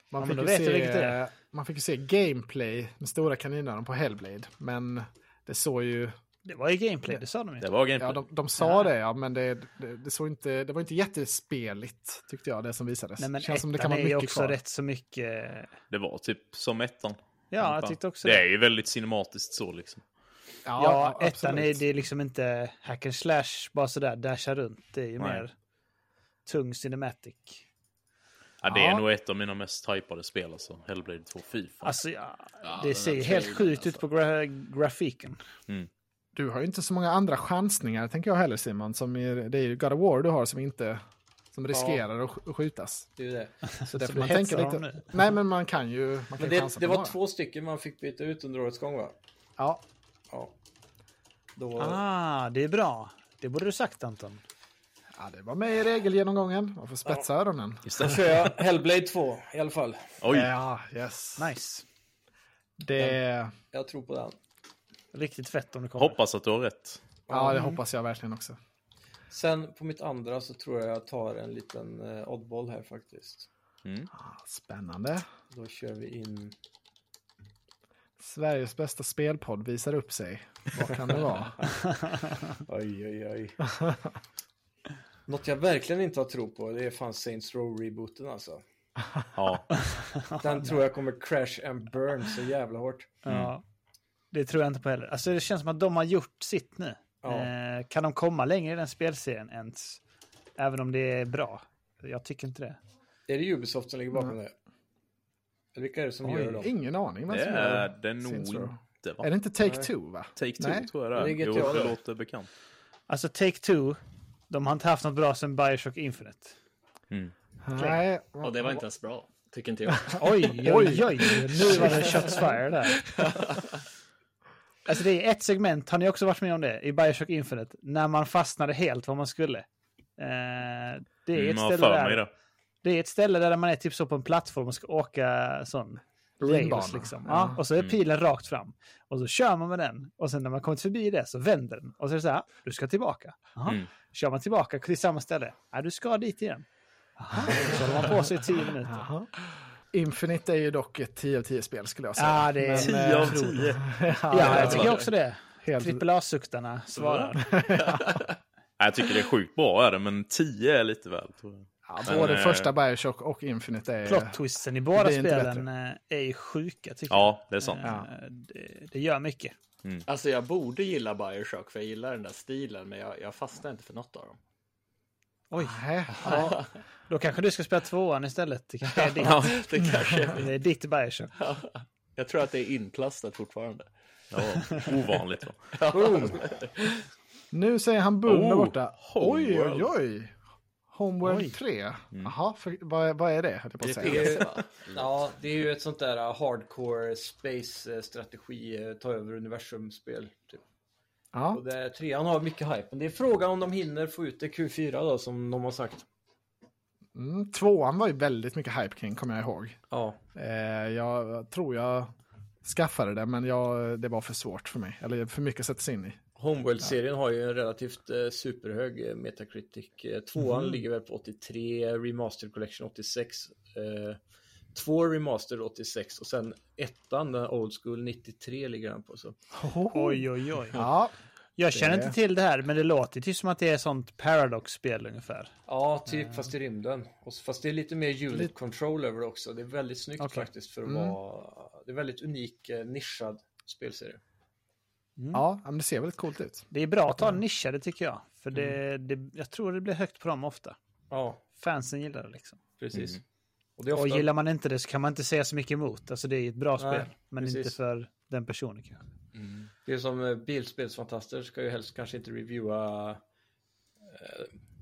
[SPEAKER 2] Ja, men
[SPEAKER 3] fick,
[SPEAKER 2] då
[SPEAKER 3] ju
[SPEAKER 2] vet jag
[SPEAKER 3] se,
[SPEAKER 2] vilket det är.
[SPEAKER 3] man fick ju se gameplay med stora kaninöron på Hellblade. Men det såg ju...
[SPEAKER 2] Det var ju gameplay, det sa de ju.
[SPEAKER 7] Det var gameplay.
[SPEAKER 3] Ja, de, de sa det, ja, men det, det, det, såg inte, det var inte jättespeligt, tyckte jag, det som visades.
[SPEAKER 2] Nej, men
[SPEAKER 3] Känns som det kan
[SPEAKER 2] ettan
[SPEAKER 3] vara
[SPEAKER 2] är ju
[SPEAKER 3] mycket
[SPEAKER 2] också
[SPEAKER 3] kvar.
[SPEAKER 2] rätt så mycket.
[SPEAKER 7] Det var typ som ettan.
[SPEAKER 2] Ja,
[SPEAKER 7] Fan.
[SPEAKER 2] jag tyckte också
[SPEAKER 7] Det
[SPEAKER 2] det.
[SPEAKER 7] är ju väldigt cinematiskt så liksom.
[SPEAKER 3] Ja,
[SPEAKER 2] Ja, ettan är,
[SPEAKER 3] absolut.
[SPEAKER 2] det är liksom inte hack and slash, bara sådär dasha runt. Det är ju
[SPEAKER 7] Nej.
[SPEAKER 2] mer tung cinematic.
[SPEAKER 7] Ja, det är
[SPEAKER 3] Ja.
[SPEAKER 7] nog ett av mina mest hypade spel alltså. Hellblade 2. Fy fan.
[SPEAKER 2] Alltså, ja,
[SPEAKER 4] den
[SPEAKER 2] det
[SPEAKER 4] där
[SPEAKER 2] ser ju helt
[SPEAKER 4] trailern,
[SPEAKER 2] sjukt ut
[SPEAKER 4] alltså.
[SPEAKER 2] på gra- grafiken.
[SPEAKER 3] Du har ju inte så många andra chansningar, tänker jag heller, Simon. Som är, det är ju God of War du har som inte... Som riskerar att sk- att skjutas.
[SPEAKER 1] Det är ju det.
[SPEAKER 3] Så det
[SPEAKER 2] Alltså, Så
[SPEAKER 3] får
[SPEAKER 2] du
[SPEAKER 3] man
[SPEAKER 2] hetsar
[SPEAKER 3] tänka lite.
[SPEAKER 2] honom nu?
[SPEAKER 3] Nej, men man kan ju... Man kan
[SPEAKER 1] Men
[SPEAKER 3] ju
[SPEAKER 1] det,
[SPEAKER 3] chansa
[SPEAKER 1] det
[SPEAKER 3] på
[SPEAKER 1] var
[SPEAKER 3] några.
[SPEAKER 1] två stycken man fick byta ut under årets gång va?
[SPEAKER 3] Ja,
[SPEAKER 1] Ja. Då,
[SPEAKER 2] Ah, det är bra. Det borde du sagt Anton.
[SPEAKER 3] ja, det var med i regelgenomgången. Man får spetsa öronen.
[SPEAKER 1] då kör jag Hellblade 2 i alla fall.
[SPEAKER 7] Oj,
[SPEAKER 3] Ja, yes.
[SPEAKER 2] Nice.
[SPEAKER 3] Det...
[SPEAKER 1] Jag tror på den.
[SPEAKER 2] Riktigt fett om det kommer.
[SPEAKER 7] hoppas att du har rätt.
[SPEAKER 3] Ja,
[SPEAKER 2] Mm.
[SPEAKER 3] det hoppas jag verkligen också.
[SPEAKER 1] Sen på mitt andra så tror jag jag tar en liten eh, oddball här faktiskt.
[SPEAKER 3] Spännande.
[SPEAKER 1] Då kör vi in...
[SPEAKER 3] Sveriges bästa spelpodd visar upp sig. Vad kan det vara?
[SPEAKER 1] Oj, oj, oj. Något jag verkligen inte har tro på det är fan Saints Row-rebooten alltså.
[SPEAKER 7] Ja,
[SPEAKER 1] Den tror jag kommer crash and burn så jävla hårt.
[SPEAKER 7] Mm.
[SPEAKER 2] Ja, det tror jag inte på heller. Alltså, det känns som att de har gjort sitt nu.
[SPEAKER 1] Ja.
[SPEAKER 2] Eh, kan de komma längre i den spelserien ens? Även om det är bra. Jag tycker inte det.
[SPEAKER 1] Är det Ubisoft som ligger bakom det? Eller vilka är det som gör dem?
[SPEAKER 3] Ingen aning vem
[SPEAKER 7] det
[SPEAKER 3] som gör
[SPEAKER 7] är det nog
[SPEAKER 3] Saints Row.
[SPEAKER 7] inte va?
[SPEAKER 3] Är det inte Take-Two, va?
[SPEAKER 7] Take-Two
[SPEAKER 3] Nej.
[SPEAKER 7] tror jag det
[SPEAKER 1] Det är
[SPEAKER 7] är. Jo,
[SPEAKER 1] GTA
[SPEAKER 7] det
[SPEAKER 1] det.
[SPEAKER 7] låter bekant.
[SPEAKER 2] Alltså Take-Two, de har inte haft något bra sedan Bioshock Infinite.
[SPEAKER 3] Nej.
[SPEAKER 4] Och det var inte ens bra, tycker inte jag.
[SPEAKER 2] Oj, oj, oj, nu var det shots fired där. Alltså det är ett segment, har ni också varit med om det, i Bioshock Infinite, när man fastnade helt vad man skulle. Eh, det, är ett
[SPEAKER 7] Mm, jag har
[SPEAKER 2] ställe
[SPEAKER 7] för
[SPEAKER 2] där,
[SPEAKER 7] mig det.
[SPEAKER 2] det är ett ställe där man är typ så på en plattform och ska åka sån
[SPEAKER 3] Linbana.
[SPEAKER 2] rails liksom. Ja, och så
[SPEAKER 7] Mm.
[SPEAKER 2] är pilen rakt fram. Och så kör man med den och sen när man kommit förbi det så vänder den. Och så är det så här, du ska tillbaka. Jaha.
[SPEAKER 7] Mm.
[SPEAKER 2] Kör man tillbaka till samma ställe, ja, du ska dit igen. Jaha. Så håller man på sig i tio minuter.
[SPEAKER 3] Infinite är ju dock ett 10 av 10 spel skulle jag säga.
[SPEAKER 2] Ja, det är-
[SPEAKER 7] 10 av
[SPEAKER 3] eh,
[SPEAKER 7] 10.
[SPEAKER 3] ja,
[SPEAKER 2] Ja, jag
[SPEAKER 3] jag
[SPEAKER 2] tycker också det.
[SPEAKER 3] helt...
[SPEAKER 2] Trippel A-suktarna svarar.
[SPEAKER 7] Jag tycker det är sjukt bra är det, men 10 är lite väl. Tror jag.
[SPEAKER 3] ja,
[SPEAKER 7] Men,
[SPEAKER 3] både
[SPEAKER 7] eh,
[SPEAKER 3] första Bioshock och Infinite är...
[SPEAKER 2] Plot twisten i
[SPEAKER 3] Det
[SPEAKER 2] båda
[SPEAKER 3] är inte
[SPEAKER 2] spelen eh, är ju sjuka tycker
[SPEAKER 7] Ja, det är
[SPEAKER 2] jag.
[SPEAKER 7] sant.
[SPEAKER 2] Eh, Det, det gör mycket.
[SPEAKER 4] Alltså jag borde gilla Bioshock för jag gillar den där stilen men jag, jag fastnar inte för något av dem.
[SPEAKER 2] Oj,
[SPEAKER 3] Nej, ja.
[SPEAKER 2] då kanske du ska spela tvåan istället. Det kanske är ditt,
[SPEAKER 4] Det kanske är
[SPEAKER 2] det är ditt Bioshock.
[SPEAKER 4] Jag tror att det är inplastat fortfarande.
[SPEAKER 7] Ja, ovanligt va?
[SPEAKER 3] Nu säger han boom där
[SPEAKER 7] Oh,
[SPEAKER 3] borta. Oj,
[SPEAKER 7] Homeworld.
[SPEAKER 3] oj, oj. Homeworld 3. Jaha, för, vad, vad är det? höll Jag på att
[SPEAKER 4] Det är
[SPEAKER 3] säga.
[SPEAKER 4] PC va?
[SPEAKER 1] Ja, det är ju ett sånt där eh, hardcore space-strategi, uh, ta över universum-spel. Typ.
[SPEAKER 3] Ja.
[SPEAKER 1] Och det, trean har mycket hype, men det är frågan om de hinner få ut det Q4 då, som de har sagt.
[SPEAKER 3] Mm, tvåan var ju väldigt mycket hype kring, kommer jag ihåg.
[SPEAKER 1] Ja.
[SPEAKER 3] Eh, jag tror jag skaffade det, men jag, det var för svårt för mig. Eller för mycket att sätta sig in i.
[SPEAKER 1] Homeworld-serien har ju en relativt eh, superhög eh, Metacritic. Eh, tvåan ligger väl på 83, Remaster Collection 86. Eh, två Remaster 86 och sen ettan, den här Old School 93 ligger den på. Så. Oh.
[SPEAKER 2] Oj, oj, oj.
[SPEAKER 3] Ja,
[SPEAKER 2] Jag känner
[SPEAKER 3] Det-
[SPEAKER 2] inte till det här, men det låter ju typ som att det är sånt Paradox-spel ungefär.
[SPEAKER 1] Ja, typ fast i rymden. Och så- fast det är lite mer unit control över det också. Det är väldigt snyggt
[SPEAKER 2] Okej. Mm.
[SPEAKER 1] faktiskt för att vara... Det är väldigt unik eh, nischad spelserie.
[SPEAKER 2] Mm.
[SPEAKER 3] ja men det ser väldigt coolt ut.
[SPEAKER 2] Det är bra att ha nischade tycker jag. För det,
[SPEAKER 1] Mm.
[SPEAKER 2] det, jag tror det blir högt på dem ofta.
[SPEAKER 1] Ja,
[SPEAKER 2] Fansen gillar det liksom.
[SPEAKER 1] precis. Mm. Och det är
[SPEAKER 2] Och
[SPEAKER 1] ofta...
[SPEAKER 2] gillar man inte det så kan man inte säga så mycket emot. Alltså det är ett bra
[SPEAKER 1] Nej,
[SPEAKER 2] spel, men
[SPEAKER 1] precis.
[SPEAKER 2] inte för den personen kanske.
[SPEAKER 1] Det är som eh, bilspelsfantaster ska ju helst kanske inte reviewa eh,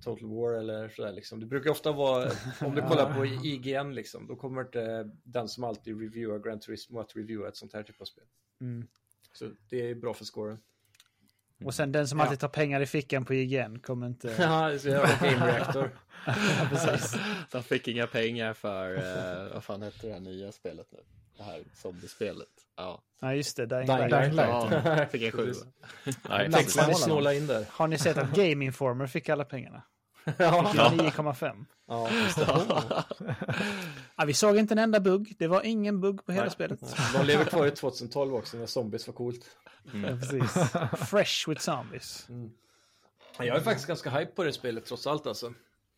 [SPEAKER 1] Total War eller sådär liksom. Det brukar ofta vara, om du kollar på IGN liksom, då kommer inte den som alltid reviewar Gran Turismo att reviewa ett sånt här typ av spel.
[SPEAKER 2] Mm.
[SPEAKER 1] Så det är bra för scoren.
[SPEAKER 2] Och sen den som alltid tar pengar i fickan på IGN kommer inte...
[SPEAKER 1] Mm. Ja, så jag har Game Reactor.
[SPEAKER 4] De fick inga pengar för, eh, vad fan hette det här nya spelet nu? Det här zombiespelet. Ja,
[SPEAKER 2] Nej, just det. Dying
[SPEAKER 1] Dying
[SPEAKER 2] Light.
[SPEAKER 3] Dying Light.
[SPEAKER 4] ja fick en sjua.
[SPEAKER 7] Nej,
[SPEAKER 3] Lax-
[SPEAKER 7] precis.
[SPEAKER 1] Man vill snåla in där.
[SPEAKER 2] Har ni sett att Game Informer fick alla pengarna?
[SPEAKER 1] Ja,
[SPEAKER 2] Fick 9,5.
[SPEAKER 1] ja.
[SPEAKER 2] Ja, vi såg inte en enda bugg. Det var ingen bugg på hela
[SPEAKER 7] Nej.
[SPEAKER 2] spelet.
[SPEAKER 1] De lever kvar i 2012 också när zombies var coolt.
[SPEAKER 2] Ja, precis. Fresh with zombies.
[SPEAKER 1] Jag är faktiskt ganska hype på det spelet trots allt alltså.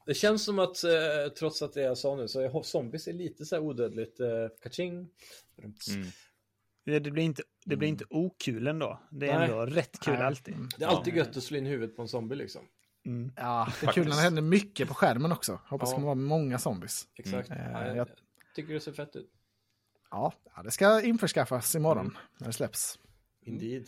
[SPEAKER 1] Det känns som att eh, trots att det jag sa nu så är zombies är lite så här odödligt. Eh, kaching. Mm.
[SPEAKER 2] Det, det, blir inte, det blir inte okul ändå. Det är
[SPEAKER 1] Nej.
[SPEAKER 2] ändå rätt kul
[SPEAKER 3] Nej.
[SPEAKER 2] alltid. Mm.
[SPEAKER 1] Det är alltid gött att slå in huvudet på en zombie liksom.
[SPEAKER 3] Ja, det är kul när det händer mycket på skärmen också. Hoppas det kommer vara många zombies.
[SPEAKER 1] Exakt. Ja, Mm. Eh, jag,
[SPEAKER 3] jag-
[SPEAKER 1] tycker det ser fett ut.
[SPEAKER 3] Ja, ja, det ska införskaffas imorgon
[SPEAKER 2] Mm.
[SPEAKER 3] när det släpps.
[SPEAKER 1] Indeed.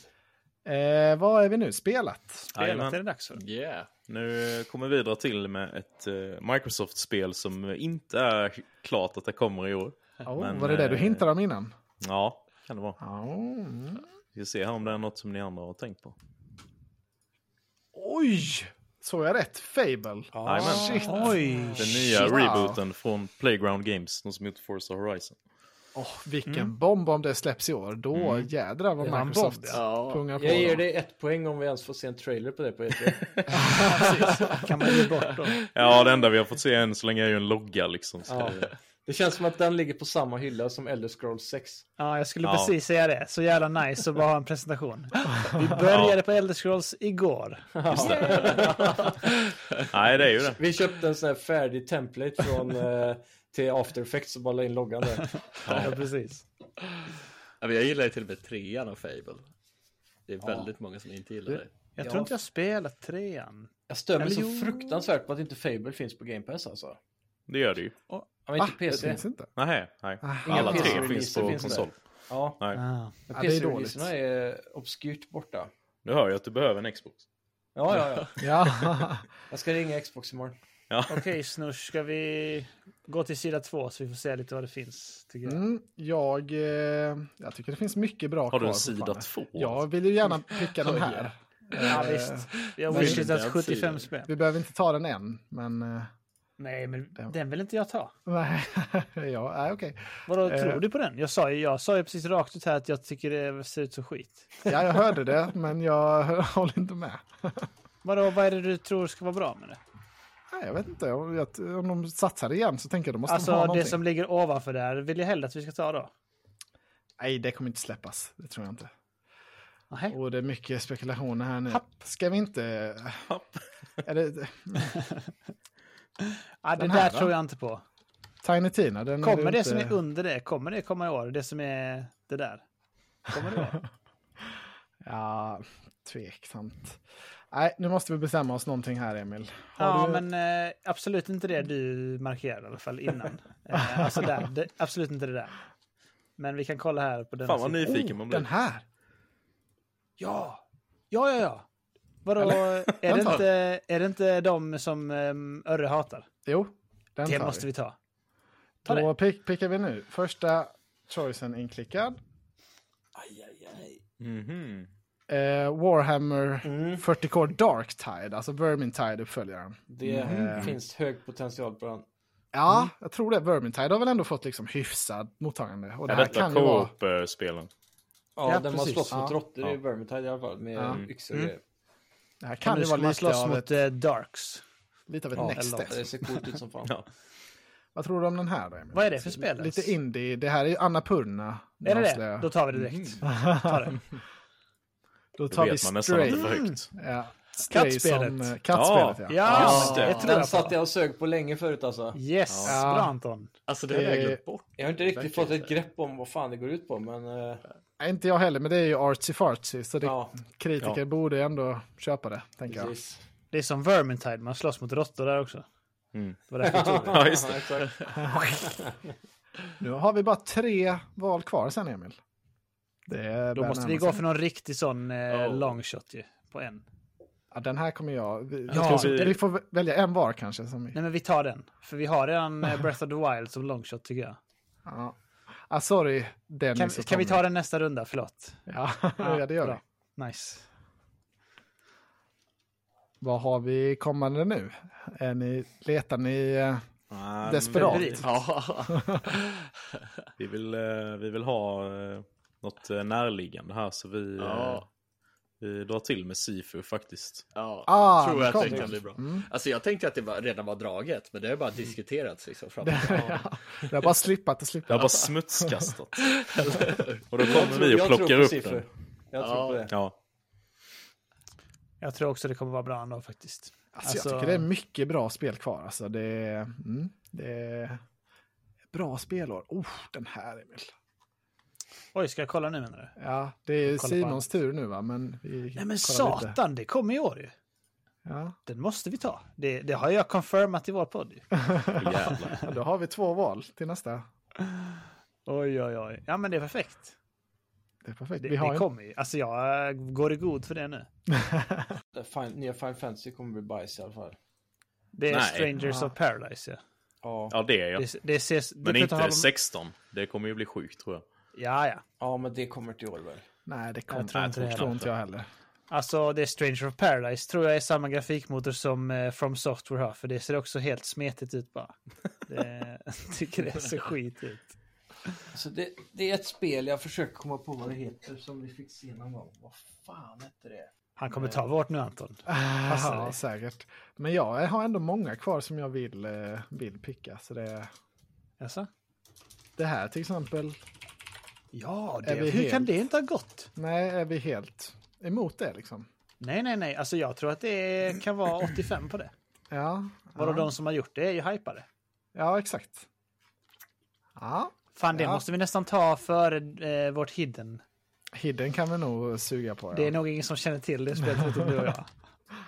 [SPEAKER 3] Eh, vad är vi nu? Spelat?
[SPEAKER 2] Spelat
[SPEAKER 7] Jajamän.
[SPEAKER 2] är det dags för.
[SPEAKER 4] Yeah.
[SPEAKER 7] Nu eh, kommer vi vidare till med ett eh, Microsoft-spel som inte är klart att det kommer i år.
[SPEAKER 3] Oh,
[SPEAKER 7] Men,
[SPEAKER 3] var det det du
[SPEAKER 7] eh,
[SPEAKER 3] hintade om innan?
[SPEAKER 7] Ja, kan det vara.
[SPEAKER 3] Ja. mm.
[SPEAKER 7] Vi ska se här om det är något som ni andra har tänkt på.
[SPEAKER 3] Oj! Såg jag rätt? Fable?
[SPEAKER 7] Jajamän.
[SPEAKER 3] Shit!
[SPEAKER 2] Oj!
[SPEAKER 7] Den nya
[SPEAKER 3] Wow.
[SPEAKER 7] rebooten från Playground Games, de som gjort Forza Horizon.
[SPEAKER 3] Åh, vilken bomb om det släpps i år. Då jädrar vad
[SPEAKER 2] Mm. Det var en
[SPEAKER 3] Microsoft
[SPEAKER 2] bomb,
[SPEAKER 4] Ja,
[SPEAKER 3] pungar på.
[SPEAKER 1] Jag ger
[SPEAKER 3] dem.
[SPEAKER 1] dig ett poäng om vi ens får se en trailer på E det på E3.
[SPEAKER 2] Kan man ge bort dem?
[SPEAKER 7] Ja, det enda vi har fått se än så länge är ju en logga liksom. Så
[SPEAKER 1] Ja.
[SPEAKER 7] det-
[SPEAKER 1] Det känns som att den ligger på samma hylla som Elder Scrolls 6.
[SPEAKER 2] Ja, jag skulle
[SPEAKER 7] Ja.
[SPEAKER 2] precis säga det. Så jävla nice att bara ha en presentation. Vi började på Elder Scrolls igår.
[SPEAKER 7] Nej, det är ju det.
[SPEAKER 1] Vi köpte en sån här färdig template från eh, till After Effects och bara la in loggan där.
[SPEAKER 2] Ja, precis.
[SPEAKER 4] Ja, men jag gillar ju till och med trean av Fable. Det är väldigt många som inte gillar det.
[SPEAKER 2] Jag
[SPEAKER 1] Ja.
[SPEAKER 2] tror inte jag spelat trean.
[SPEAKER 1] Jag stör mig
[SPEAKER 2] Eller
[SPEAKER 1] så
[SPEAKER 2] jo.
[SPEAKER 1] fruktansvärt på att inte Fable finns på Game Pass alltså.
[SPEAKER 7] Det gör det ju.
[SPEAKER 1] Ja, men inte
[SPEAKER 3] Det
[SPEAKER 1] PC.
[SPEAKER 3] finns inte.
[SPEAKER 7] Nej, nej.
[SPEAKER 3] Ah.
[SPEAKER 7] Alla
[SPEAKER 1] Inga
[SPEAKER 7] tre
[SPEAKER 1] PC-releaser
[SPEAKER 7] finns på
[SPEAKER 1] finns det.
[SPEAKER 7] konsol.
[SPEAKER 1] Ja,
[SPEAKER 7] Nej.
[SPEAKER 2] Ah.
[SPEAKER 1] men
[SPEAKER 3] Ja, det är dåligt.
[SPEAKER 1] PC-releaserna är obskyrt borta.
[SPEAKER 7] Nu hör jag att du behöver en Xbox.
[SPEAKER 1] Ja, ja, ja.
[SPEAKER 3] Ja.
[SPEAKER 1] Jag ska ringa Xbox imorgon.
[SPEAKER 2] Okej, Snurs, ska vi gå till sida två så vi får se lite vad det finns? Tycker jag.
[SPEAKER 3] Mm, jag, eh, jag tycker det finns mycket bra
[SPEAKER 7] Har du
[SPEAKER 3] kvar
[SPEAKER 7] en sida
[SPEAKER 3] fortfarande.
[SPEAKER 7] två? Alltså?
[SPEAKER 3] Jag vill ju gärna picka den här.
[SPEAKER 2] Ja, visst. Vi har
[SPEAKER 4] Men-
[SPEAKER 2] wishlistat
[SPEAKER 4] Den
[SPEAKER 2] 75
[SPEAKER 4] sidan.
[SPEAKER 2] spel.
[SPEAKER 3] Vi behöver inte ta den än, men... eh,
[SPEAKER 2] Nej, men den vill inte jag ta.
[SPEAKER 3] Nej, ja, nej, okej.
[SPEAKER 2] Vadå,
[SPEAKER 3] Eh.
[SPEAKER 2] tror du på den? Jag sa ju, jag sa ju precis rakt ut här att jag tycker det ser ut som skit.
[SPEAKER 3] Ja, jag hörde det, men jag håller inte med.
[SPEAKER 2] Vadå, vad är det du tror ska vara bra med det?
[SPEAKER 3] Nej, jag vet inte. Om, jag- om de satsar igen så tänker jag då måste de ha
[SPEAKER 2] Alltså det
[SPEAKER 3] någonting.
[SPEAKER 2] som ligger ovanför där vill jag hellre att vi ska ta då.
[SPEAKER 3] Nej, det kommer inte släppas. Det tror jag inte.
[SPEAKER 2] Nähä.
[SPEAKER 3] Och det är mycket spekulationer här nu.
[SPEAKER 2] Happ.
[SPEAKER 3] Ska vi inte...
[SPEAKER 7] Happ.
[SPEAKER 3] Är det
[SPEAKER 2] Ja, det
[SPEAKER 3] Den här,
[SPEAKER 2] där
[SPEAKER 3] va?
[SPEAKER 2] tror jag inte på.
[SPEAKER 3] Tiny Tina? Den är
[SPEAKER 2] Kommer
[SPEAKER 3] ju
[SPEAKER 2] det
[SPEAKER 3] inte...
[SPEAKER 2] som är under det, kommer det komma i år? Det som är det där? Kommer det vara?
[SPEAKER 3] Ja, tveksamt. Nej, nu måste vi bestämma oss någonting här, Emil. Har
[SPEAKER 2] ja,
[SPEAKER 3] du...
[SPEAKER 2] men eh, absolut inte det du markerade i alla fall innan. eh, alltså där, det, absolut inte det där. Men vi kan kolla här på den.
[SPEAKER 7] Fan vad
[SPEAKER 2] sidan.
[SPEAKER 7] nyfiken man blir.
[SPEAKER 3] Den oh, här!
[SPEAKER 2] Ja! Ja, ja, ja. Vadå, är det,
[SPEAKER 3] den tar
[SPEAKER 2] inte, är det inte de som um, Örre hatar?
[SPEAKER 3] Jo, den
[SPEAKER 2] Det
[SPEAKER 3] tar
[SPEAKER 2] måste vi ta. ta
[SPEAKER 3] Då pick, pickar vi nu. Första choicen inklickad.
[SPEAKER 1] Aj, aj, aj.
[SPEAKER 7] Mhm.
[SPEAKER 3] Eh, Warhammer
[SPEAKER 2] Mm.
[SPEAKER 3] 40K Darktide, alltså Vermintide-uppföljaren.
[SPEAKER 1] Det
[SPEAKER 3] Mm.
[SPEAKER 1] finns hög potential på den.
[SPEAKER 3] Ja,
[SPEAKER 2] Mm.
[SPEAKER 3] jag tror det. Vermintide har väl ändå fått liksom hyfsad mottagande. Och det
[SPEAKER 7] Ja,
[SPEAKER 3] här
[SPEAKER 7] detta
[SPEAKER 3] kan ju vara...
[SPEAKER 7] eh, co-op-spelen.
[SPEAKER 1] Ja,
[SPEAKER 2] Ja,
[SPEAKER 1] den
[SPEAKER 2] precis.
[SPEAKER 1] har slåss mot
[SPEAKER 3] Ja.
[SPEAKER 1] råttor i Vermintide i alla fall med
[SPEAKER 3] Ja. Mm.
[SPEAKER 1] yxor och grejer.
[SPEAKER 3] Det här
[SPEAKER 2] Kan
[SPEAKER 3] kan
[SPEAKER 2] nu
[SPEAKER 3] ju
[SPEAKER 2] ska
[SPEAKER 3] vara
[SPEAKER 2] man
[SPEAKER 3] lite
[SPEAKER 2] slåss
[SPEAKER 3] av,
[SPEAKER 2] mot
[SPEAKER 3] ett,
[SPEAKER 2] eh, Darks.
[SPEAKER 3] lite av ett
[SPEAKER 1] Ja,
[SPEAKER 3] next
[SPEAKER 2] eller-
[SPEAKER 3] step.
[SPEAKER 1] Det ser coolt ut som fan.
[SPEAKER 7] Ja.
[SPEAKER 3] Vad tror du om den här då, Emil?
[SPEAKER 2] Vad är det för spel? ens?
[SPEAKER 3] Lite indie. Det här är ju Annapurna.
[SPEAKER 2] Är det det?
[SPEAKER 3] avslöjar.
[SPEAKER 2] Då tar vi det direkt. Ta det.
[SPEAKER 3] Då
[SPEAKER 7] Det
[SPEAKER 3] tar vi
[SPEAKER 7] vet man nästan
[SPEAKER 3] Stray.
[SPEAKER 7] inte för högt.
[SPEAKER 3] Ja. Stray
[SPEAKER 2] Kattspelet.
[SPEAKER 3] som... eh, Kattspelet, ja.
[SPEAKER 2] Ja,
[SPEAKER 7] just det.
[SPEAKER 2] det tror
[SPEAKER 1] Den
[SPEAKER 2] jag
[SPEAKER 1] satt
[SPEAKER 2] på.
[SPEAKER 1] jag och sög på länge förut alltså.
[SPEAKER 2] Yes,
[SPEAKER 3] Ja.
[SPEAKER 2] bra Anton.
[SPEAKER 4] Alltså det har jag
[SPEAKER 3] Eh,
[SPEAKER 4] glömt bort.
[SPEAKER 1] Jag har inte riktigt
[SPEAKER 4] Verkligen
[SPEAKER 1] fått ett
[SPEAKER 4] inte.
[SPEAKER 1] grepp om vad fan det går ut på, men... eh,
[SPEAKER 3] Nej, Inte jag heller, men det är ju artsy-fartsy. Så det,
[SPEAKER 1] ja,
[SPEAKER 3] kritiker
[SPEAKER 7] Ja.
[SPEAKER 3] borde ändå köpa det, tänker jag.
[SPEAKER 1] precis.
[SPEAKER 2] Det är som Vermintide, man slåss mot råttor där också.
[SPEAKER 7] Mm.
[SPEAKER 2] Det var därför jag tog det.
[SPEAKER 7] Ja, just det.
[SPEAKER 1] exakt.
[SPEAKER 3] Nu har vi bara tre val kvar sen, Emil. Det är
[SPEAKER 2] Då
[SPEAKER 3] bara
[SPEAKER 2] måste vi
[SPEAKER 3] närmast.
[SPEAKER 2] gå för någon riktig sån eh,
[SPEAKER 7] Oh.
[SPEAKER 2] long shot ju. På en.
[SPEAKER 3] Ja, den här kommer jag... Vi,
[SPEAKER 2] Ja,
[SPEAKER 3] jag tror vi,
[SPEAKER 7] det-
[SPEAKER 3] vi får välja en var kanske. Som vi,
[SPEAKER 2] Nej men vi tar den. För vi har redan eh, Breath of the Wild som long shot tycker jag.
[SPEAKER 3] ja. ah, sorry, Dennis
[SPEAKER 2] Kan,
[SPEAKER 3] och
[SPEAKER 2] kan vi
[SPEAKER 3] Tommy.
[SPEAKER 2] ta den nästa runda? Förlåt.
[SPEAKER 3] Ja, ja, det gör vi.
[SPEAKER 2] bra. Nice.
[SPEAKER 3] Vad har vi kommande nu? Är ni, letar ni... eh,
[SPEAKER 7] Nej,
[SPEAKER 3] Desperat.
[SPEAKER 2] Februari.
[SPEAKER 7] men
[SPEAKER 4] Ja.
[SPEAKER 7] Vi vill, eh, vi vill ha eh, något eh, närliggande här så vi, eh,
[SPEAKER 4] Ja.
[SPEAKER 7] vi drar till med Sifu faktiskt.
[SPEAKER 4] Ja,
[SPEAKER 3] Ah,
[SPEAKER 4] tror jag
[SPEAKER 3] kom
[SPEAKER 4] att det
[SPEAKER 3] det.
[SPEAKER 4] kan bli bra.
[SPEAKER 3] Mm.
[SPEAKER 4] Alltså jag tänkte att det var, redan var draget, men det har bara diskuterats liksom fram
[SPEAKER 3] Vi har bara slippat och slippat.
[SPEAKER 7] Det har bara smutskastat. och då
[SPEAKER 1] Jag
[SPEAKER 7] kommer
[SPEAKER 1] tror-
[SPEAKER 7] vi och
[SPEAKER 1] jag tror
[SPEAKER 7] plockar
[SPEAKER 1] på
[SPEAKER 7] upp
[SPEAKER 1] siffror.
[SPEAKER 7] den.
[SPEAKER 1] Jag tror
[SPEAKER 4] Ja.
[SPEAKER 1] på det.
[SPEAKER 7] Ja.
[SPEAKER 2] Jag tror också det kommer vara bra ändå faktiskt.
[SPEAKER 3] Alltså, jag tycker det är mycket bra spel kvar. Alltså, det, är- mm, det är bra spelår. Oh, den här Emil.
[SPEAKER 2] Oj, ska jag kolla nu menar du?
[SPEAKER 3] Ja, det är
[SPEAKER 2] på
[SPEAKER 3] Simons tur nu va? Men vi
[SPEAKER 2] Nej men
[SPEAKER 3] kollar lite.
[SPEAKER 2] satan, det kommer i år ju.
[SPEAKER 3] Ja.
[SPEAKER 2] Den måste vi ta. Det, det har jag confirmat i vår podd ju.
[SPEAKER 7] Åh, jävlar.
[SPEAKER 3] Ja, Då har vi två val till nästa.
[SPEAKER 2] Oj, oj, oj. Ja men det är perfekt.
[SPEAKER 3] Det är perfekt.
[SPEAKER 2] Det,
[SPEAKER 3] Vi har
[SPEAKER 2] det
[SPEAKER 3] en-
[SPEAKER 2] kommer ju. Alltså jag eh, går i god för det nu.
[SPEAKER 1] Det fin- Eh, Nya Final Fantasy kommer bli bajs i alla fall.
[SPEAKER 2] Det är
[SPEAKER 7] Nej.
[SPEAKER 2] Strangers of Paradise. Ja.
[SPEAKER 1] Ja,
[SPEAKER 7] Ja, det är jag.
[SPEAKER 2] Det, det ses,
[SPEAKER 7] Men
[SPEAKER 2] det
[SPEAKER 7] inte
[SPEAKER 2] har de-
[SPEAKER 7] 16. Det kommer ju bli sjukt tror jag.
[SPEAKER 2] Ja, ja.
[SPEAKER 1] ja men det kommer till i år väl?
[SPEAKER 3] Nej, det kommer
[SPEAKER 2] Jag tror
[SPEAKER 3] inte.
[SPEAKER 2] inte det
[SPEAKER 3] Det tror
[SPEAKER 7] heller.
[SPEAKER 3] inte jag heller.
[SPEAKER 2] Alltså det är Stranger of Paradise tror jag är samma grafikmotor som eh, From Software har. För det ser också helt smetigt ut bara. Det, jag tycker det ser skit ut.
[SPEAKER 1] Alltså det, det är ett spel, jag försöker komma på vad det heter som vi fick se någon gång. Vad fan hette det?
[SPEAKER 2] Han kommer ta vårt nu Anton. Passar
[SPEAKER 3] Ja,
[SPEAKER 2] dig.
[SPEAKER 3] säkert. Men jag har ändå många kvar som jag vill, eh, vill picka. Så det,
[SPEAKER 2] Jaså?
[SPEAKER 3] det här till exempel.
[SPEAKER 2] Ja,
[SPEAKER 3] Är
[SPEAKER 2] det,
[SPEAKER 3] vi
[SPEAKER 2] hur kan
[SPEAKER 3] helt-
[SPEAKER 2] det inte ha gått?
[SPEAKER 3] Nej, är vi helt emot det liksom?
[SPEAKER 2] Nej, nej, nej. Alltså jag tror att det kan vara 85 på det.
[SPEAKER 3] Ja,
[SPEAKER 2] Vadå,
[SPEAKER 3] ja.
[SPEAKER 2] de som har gjort det är ju hypade.
[SPEAKER 3] ja exakt. Ja,
[SPEAKER 2] Fan, det
[SPEAKER 3] Ja.
[SPEAKER 2] måste vi nästan ta före eh, vårt hidden.
[SPEAKER 3] hidden kan vi nog suga på. Ja,
[SPEAKER 2] Det är nog ingen som känner till det spelet förutom du och jag.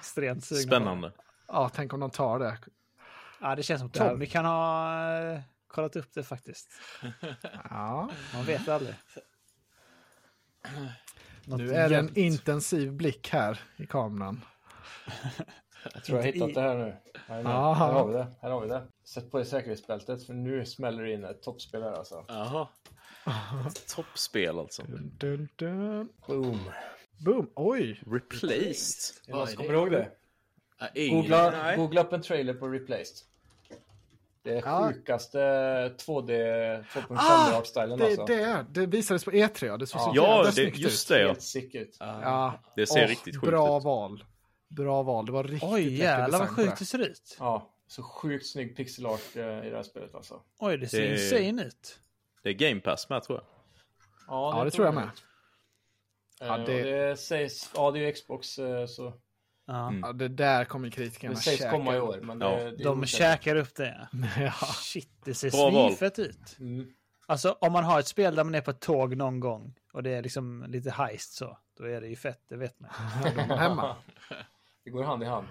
[SPEAKER 2] Extremt sugna på det.
[SPEAKER 7] Spännande.
[SPEAKER 3] ja tänk om de tar det.
[SPEAKER 2] Ja, det känns som
[SPEAKER 3] Där.
[SPEAKER 2] Tommy kan ha eh, kollat upp det faktiskt.
[SPEAKER 3] Ja.
[SPEAKER 2] Man vet aldrig. Något
[SPEAKER 3] Nu är det en
[SPEAKER 2] Mm. jävligt.
[SPEAKER 3] intensiv blick här i kameran.
[SPEAKER 1] Jag tror jag har
[SPEAKER 2] Inte i-
[SPEAKER 1] hittat det här nu. Här, är det.
[SPEAKER 3] Aha.
[SPEAKER 1] här har vi det. Här har vi det. Sätt på dig säkerhetsbältet för nu smäller det in ett toppspel här alltså.
[SPEAKER 4] Jaha.
[SPEAKER 7] Toppspel alltså.
[SPEAKER 3] Dun, dun, dun.
[SPEAKER 1] Boom.
[SPEAKER 3] Boom! Oj!
[SPEAKER 7] Replaced.
[SPEAKER 1] Är det någon som
[SPEAKER 4] Vad
[SPEAKER 1] kommer ihåg det?
[SPEAKER 4] Ja, ingen-
[SPEAKER 1] Googla, googla upp en trailer på Replaced. Det är
[SPEAKER 3] Ja. Ah,
[SPEAKER 1] sjukaste 2D 2.5-art-stylen
[SPEAKER 3] Det,
[SPEAKER 1] alltså.
[SPEAKER 3] det, är- det visades på E3, ja. det såg så
[SPEAKER 7] Ja,
[SPEAKER 3] jävla
[SPEAKER 7] det,
[SPEAKER 3] snyggt
[SPEAKER 7] just
[SPEAKER 3] ut.
[SPEAKER 7] det. ja.
[SPEAKER 1] Helt sick ut.
[SPEAKER 3] Ja.
[SPEAKER 7] Det ser
[SPEAKER 3] Åh,
[SPEAKER 7] riktigt sjukt
[SPEAKER 3] Bra
[SPEAKER 7] ut.
[SPEAKER 3] val. Bra val, det var riktigt
[SPEAKER 2] Oj,
[SPEAKER 3] läcker
[SPEAKER 2] jävlar vad
[SPEAKER 3] design på det.
[SPEAKER 2] sjukt det ser ut.
[SPEAKER 1] Ja, så sjukt snygg pixel art eh, i det här spelet alltså.
[SPEAKER 2] Oj, det ser
[SPEAKER 7] Det-
[SPEAKER 2] insane ut.
[SPEAKER 7] Det är Game Pass med tror jag.
[SPEAKER 3] Ja, det tror jag med.
[SPEAKER 1] Eh,
[SPEAKER 3] Ja,
[SPEAKER 1] och
[SPEAKER 3] det-
[SPEAKER 1] det... sägs, ja det är ju Xbox eh, så
[SPEAKER 2] Ja.
[SPEAKER 7] Mm.
[SPEAKER 3] Ja, det där kommer
[SPEAKER 1] det
[SPEAKER 3] kritikerna
[SPEAKER 1] sägs
[SPEAKER 3] käka
[SPEAKER 1] komma i
[SPEAKER 3] upp.
[SPEAKER 1] år. Men
[SPEAKER 7] Ja.
[SPEAKER 1] det, det är
[SPEAKER 2] De
[SPEAKER 1] osäkert.
[SPEAKER 2] käkar upp det.
[SPEAKER 3] Ja.
[SPEAKER 2] Shit, det ser
[SPEAKER 7] Bra val.
[SPEAKER 2] svinfett ut.
[SPEAKER 1] Mm.
[SPEAKER 2] Alltså om man har ett spel där man är på ett tåg någon gång och det är liksom lite heist så, då är det ju fett, det vet man.
[SPEAKER 3] De är hemma.
[SPEAKER 1] Det går hand i hand.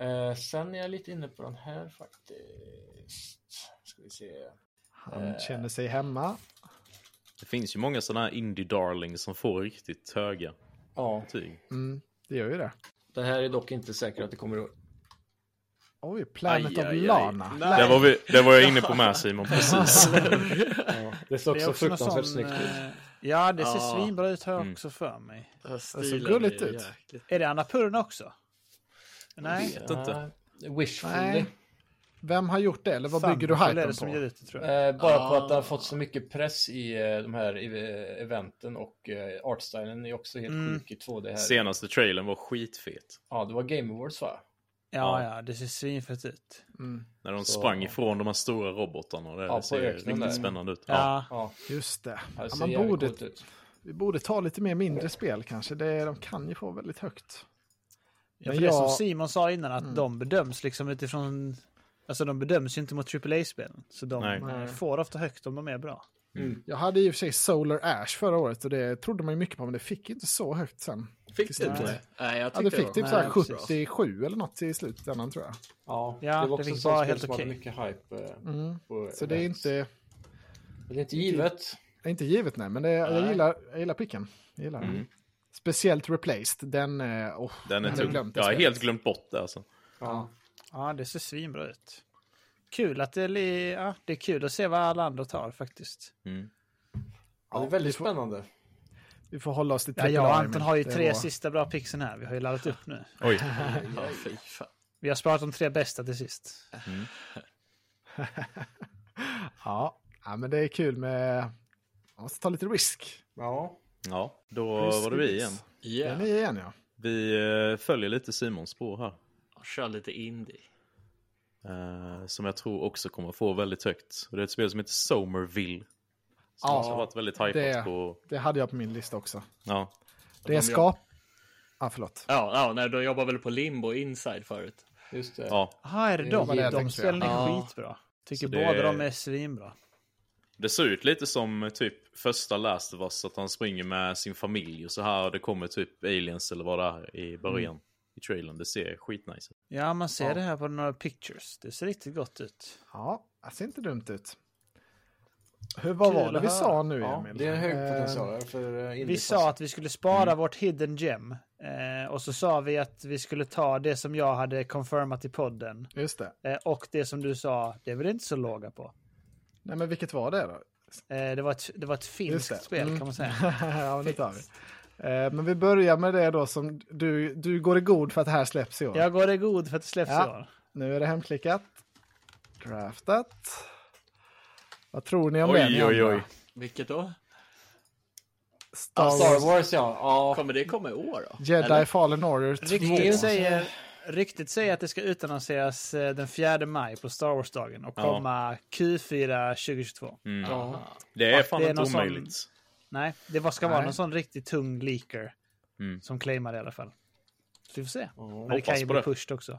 [SPEAKER 1] Eh, sen är jag lite inne på den här faktiskt. Ska vi se.
[SPEAKER 3] Han känner sig hemma.
[SPEAKER 7] Det finns ju många sådana här indie darlings som får riktigt höga
[SPEAKER 1] Ja,
[SPEAKER 7] betyg.
[SPEAKER 3] Mm, det gör ju det.
[SPEAKER 1] det här är dock inte säkert att det kommer att...
[SPEAKER 3] Oj, Planet
[SPEAKER 7] Aj,
[SPEAKER 3] of
[SPEAKER 7] aj, aj.
[SPEAKER 3] Lana.
[SPEAKER 7] Det var, vi, det var jag inne på med Simon, precis.
[SPEAKER 1] Ja, det ser också,
[SPEAKER 2] någon
[SPEAKER 1] fruktansvärt
[SPEAKER 2] sån,
[SPEAKER 1] snyggt ut.
[SPEAKER 2] eh, Ja, det ser
[SPEAKER 4] Ja.
[SPEAKER 2] svinbra ut har jag
[SPEAKER 7] Mm.
[SPEAKER 2] också för mig.
[SPEAKER 4] Stilen
[SPEAKER 3] gulligt
[SPEAKER 4] är
[SPEAKER 3] ut.
[SPEAKER 4] jäkligt.
[SPEAKER 2] Är det Annapurna också? Nej.
[SPEAKER 7] vet inte.
[SPEAKER 1] Ja, Wishfully.
[SPEAKER 3] Nej. Vem har gjort det? Eller vad bygger du
[SPEAKER 2] Thunderful är
[SPEAKER 3] hypen
[SPEAKER 2] det
[SPEAKER 3] på?
[SPEAKER 2] som ger ut det tror jag.
[SPEAKER 1] Eh, bara på
[SPEAKER 4] Ah.
[SPEAKER 1] att det har fått så mycket press i eh, de här eh, eventen och eh, artstylen är också helt
[SPEAKER 2] Mm.
[SPEAKER 1] sjuk i 2D här.
[SPEAKER 7] Senaste trailern var skitfet.
[SPEAKER 1] Ja, det var Game Awards va?
[SPEAKER 2] Ja, ja, det ser svinfett ut.
[SPEAKER 3] Mm,
[SPEAKER 7] När de
[SPEAKER 1] Så-
[SPEAKER 7] sprang ifrån de här stora robotarna. och Det,
[SPEAKER 1] Ja,
[SPEAKER 7] det
[SPEAKER 1] på
[SPEAKER 7] ser
[SPEAKER 1] öknen
[SPEAKER 7] riktigt
[SPEAKER 1] där.
[SPEAKER 7] spännande ut. Ja.
[SPEAKER 2] Ja,
[SPEAKER 1] Ja,
[SPEAKER 3] just det.
[SPEAKER 1] det
[SPEAKER 3] Ja,
[SPEAKER 1] ser
[SPEAKER 3] man
[SPEAKER 1] jävligt
[SPEAKER 3] borde,
[SPEAKER 1] coolt ut.
[SPEAKER 3] vi borde ta lite mer mindre spel kanske. Det, de kan ju få väldigt högt.
[SPEAKER 2] ja,
[SPEAKER 3] Men
[SPEAKER 2] för det är som
[SPEAKER 3] jag- Mm.
[SPEAKER 2] Simon sa innan, att de bedöms liksom utifrån... Alltså de bedöms ju inte mot AAA-spelen. Så de
[SPEAKER 7] Nej.
[SPEAKER 2] eh, får ofta högt om de är bra.
[SPEAKER 3] Jag hade i och för sig Solar Ash förra året och det trodde man ju mycket på, men det fick inte så högt sen.
[SPEAKER 4] Fick du
[SPEAKER 3] Nej.
[SPEAKER 4] inte? Nej, jag
[SPEAKER 3] Ja,
[SPEAKER 4] tyckte
[SPEAKER 3] det fick
[SPEAKER 4] det
[SPEAKER 3] typ
[SPEAKER 4] var
[SPEAKER 3] så här
[SPEAKER 2] Nej, precis.
[SPEAKER 3] 77 eller något i slutändan tror jag.
[SPEAKER 1] Ja,
[SPEAKER 2] Ja,
[SPEAKER 1] det var
[SPEAKER 2] det
[SPEAKER 1] också
[SPEAKER 2] fick
[SPEAKER 1] ett sånt
[SPEAKER 2] vara
[SPEAKER 1] spel
[SPEAKER 2] helt
[SPEAKER 1] som hade
[SPEAKER 2] okej.
[SPEAKER 1] mycket hype. eh,
[SPEAKER 3] Mm.
[SPEAKER 1] på
[SPEAKER 3] Så det är
[SPEAKER 1] events.
[SPEAKER 3] inte,
[SPEAKER 1] Det är inte givet.
[SPEAKER 3] det är inte givet nej, men det, jag,
[SPEAKER 4] Nej.
[SPEAKER 3] gillar, jag gillar picken. Jag gillar den.
[SPEAKER 2] Mm.
[SPEAKER 3] Speciellt Replaced, den... eh, åh,
[SPEAKER 7] Den
[SPEAKER 3] jag
[SPEAKER 7] är
[SPEAKER 3] hade
[SPEAKER 7] tung.
[SPEAKER 3] glömt det
[SPEAKER 7] Jag har
[SPEAKER 3] spelet.
[SPEAKER 7] helt glömt bort det alltså.
[SPEAKER 1] Ja.
[SPEAKER 2] Ja, det ser svinbra ut. Kul att det, li- ja, det är kul att se vad alla andra tar faktiskt.
[SPEAKER 7] Mm.
[SPEAKER 1] Ja, det är väldigt spännande.
[SPEAKER 3] Vi får hålla oss till
[SPEAKER 2] Ja, jag och
[SPEAKER 3] AAA,
[SPEAKER 2] Anton
[SPEAKER 3] men
[SPEAKER 2] har ju
[SPEAKER 3] det
[SPEAKER 2] tre
[SPEAKER 3] var-
[SPEAKER 2] sista bra pixen här. Vi har ju laddat upp nu.
[SPEAKER 7] Oj,
[SPEAKER 4] Ja, fy fan.
[SPEAKER 2] Vi har sparat de tre bästa till sist.
[SPEAKER 3] Ja, ja, men det är kul med... Man måste ta lite risk.
[SPEAKER 1] Ja.
[SPEAKER 7] ja, då var det vi igen.
[SPEAKER 3] Det är
[SPEAKER 4] Yeah.
[SPEAKER 3] ni igen ja.
[SPEAKER 7] Vi eh, följer lite Simons spår här.
[SPEAKER 4] Kör lite indie.
[SPEAKER 7] eh, Som jag tror också kommer få väldigt högt. Och det är ett spel som heter Somerville. Som
[SPEAKER 3] Ja,
[SPEAKER 7] också har varit väldigt hypat
[SPEAKER 3] det-
[SPEAKER 7] på...
[SPEAKER 3] Det hade jag på min lista också.
[SPEAKER 7] Ja.
[SPEAKER 3] Det är
[SPEAKER 4] de
[SPEAKER 3] skap... Ja, förlåt.
[SPEAKER 4] Ja, ja nej, de jobbar väl på Limbo Inside förut.
[SPEAKER 1] Just det.
[SPEAKER 7] ja.
[SPEAKER 2] Jaha, är det
[SPEAKER 1] Det
[SPEAKER 2] de?
[SPEAKER 3] var det jag
[SPEAKER 2] de
[SPEAKER 3] tänkte
[SPEAKER 2] spelen är
[SPEAKER 4] Ja.
[SPEAKER 2] skitbra. Tycker
[SPEAKER 7] Så det-
[SPEAKER 2] båda de är svinbra.
[SPEAKER 7] Det ser ut lite som eh, typ första Last of Us, att han springer med sin familj och så här. Och det kommer typ aliens eller vad det är i början. I trailern. Det ser skitnice ut.
[SPEAKER 2] Ja, man ser
[SPEAKER 1] Ja.
[SPEAKER 2] det här på några pictures. Det ser riktigt gott ut.
[SPEAKER 3] Ja, det ser inte dumt ut. Hur, vad
[SPEAKER 2] Kul
[SPEAKER 3] var det
[SPEAKER 2] att
[SPEAKER 3] vi
[SPEAKER 2] höra.
[SPEAKER 3] sa nu,
[SPEAKER 1] Ja,
[SPEAKER 3] Emil?
[SPEAKER 1] det är en hög
[SPEAKER 3] Eh,
[SPEAKER 1] potential här för eh,
[SPEAKER 2] Vi
[SPEAKER 1] indie
[SPEAKER 2] sa att vi skulle spara vårt hidden gem. Eh, och så sa vi att vi skulle ta det som jag hade confirmat i podden.
[SPEAKER 3] Just det.
[SPEAKER 2] Eh, och det som du sa, det är väl inte så låga på.
[SPEAKER 3] Nej, men vilket var det då?
[SPEAKER 2] Eh, det, var ett, det var ett
[SPEAKER 3] Just
[SPEAKER 2] finskt
[SPEAKER 3] det.
[SPEAKER 2] spel
[SPEAKER 3] Mm.
[SPEAKER 2] kan man säga.
[SPEAKER 3] ja, men det tar vi. Eh, Men vi börjar med det då som du, du går i god för att det här släpps i år.
[SPEAKER 2] Jag går i god för att det släpps
[SPEAKER 3] Ja.
[SPEAKER 2] i år.
[SPEAKER 3] Nu är det hemklickat. Draftat. Vad tror ni om det? ni
[SPEAKER 7] Oj, oj,
[SPEAKER 3] andra?
[SPEAKER 7] oj.
[SPEAKER 4] Vilket då?
[SPEAKER 3] Star Wars,
[SPEAKER 1] Star Wars ja. ja.
[SPEAKER 4] Kommer det komma i år då?
[SPEAKER 3] Jedi
[SPEAKER 4] Eller?
[SPEAKER 3] Fallen Order 2.
[SPEAKER 2] Ryktet säger, ryktet säger att det ska utannonseras eh, den 4 maj på Star Wars-dagen och
[SPEAKER 7] Ja.
[SPEAKER 2] komma Q4 2022.
[SPEAKER 7] Mm.
[SPEAKER 1] ja.
[SPEAKER 7] Det är
[SPEAKER 2] Och
[SPEAKER 7] fan
[SPEAKER 2] det är
[SPEAKER 7] inte
[SPEAKER 2] någon sån-
[SPEAKER 7] omöjligt.
[SPEAKER 2] Nej, det var, ska vara
[SPEAKER 3] Nej.
[SPEAKER 2] någon sån riktigt tung leaker
[SPEAKER 7] Mm.
[SPEAKER 2] som claimar det i alla fall. Så vi får se. Men det
[SPEAKER 7] hoppas
[SPEAKER 2] kan ju
[SPEAKER 7] på
[SPEAKER 2] bli
[SPEAKER 7] det.
[SPEAKER 2] pushed också.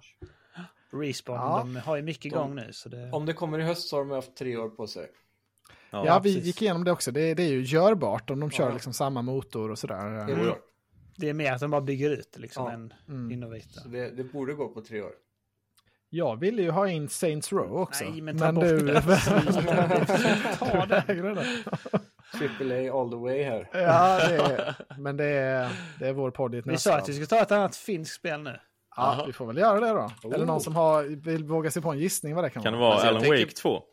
[SPEAKER 2] Respawn,
[SPEAKER 3] Ja.
[SPEAKER 2] de har ju mycket igång nu. Så det...
[SPEAKER 1] Om det kommer i höst så har de haft tre år på sig.
[SPEAKER 7] Ja.
[SPEAKER 3] Ja, vi
[SPEAKER 2] precis.
[SPEAKER 3] gick igenom det också. Det, det är ju görbart om de kör
[SPEAKER 1] Ja.
[SPEAKER 3] liksom samma motor och sådär.
[SPEAKER 1] Det,
[SPEAKER 7] ja.
[SPEAKER 2] Det är mer att de bara bygger ut liksom
[SPEAKER 1] Ja.
[SPEAKER 2] än
[SPEAKER 3] Mm.
[SPEAKER 1] så
[SPEAKER 2] innovator.
[SPEAKER 1] det, det borde gå på tre år.
[SPEAKER 3] Jag ville ju ha in Saints Row också.
[SPEAKER 2] Nej, men ta bort det.
[SPEAKER 3] ta det.
[SPEAKER 1] Triple A all the way här.
[SPEAKER 3] Ja, det är, men det är, det är vår podd i ett
[SPEAKER 2] Vi sa
[SPEAKER 3] nötskal.
[SPEAKER 2] att vi skulle ta ett annat finskt spel nu.
[SPEAKER 3] ja, Vi får väl göra det då. Eller någon som har, vill våga sig på en gissning vad det kan,
[SPEAKER 7] Kan det
[SPEAKER 3] vara.
[SPEAKER 7] vara
[SPEAKER 4] Alltså, jag
[SPEAKER 7] Alan
[SPEAKER 4] tänker-
[SPEAKER 7] Wake 2?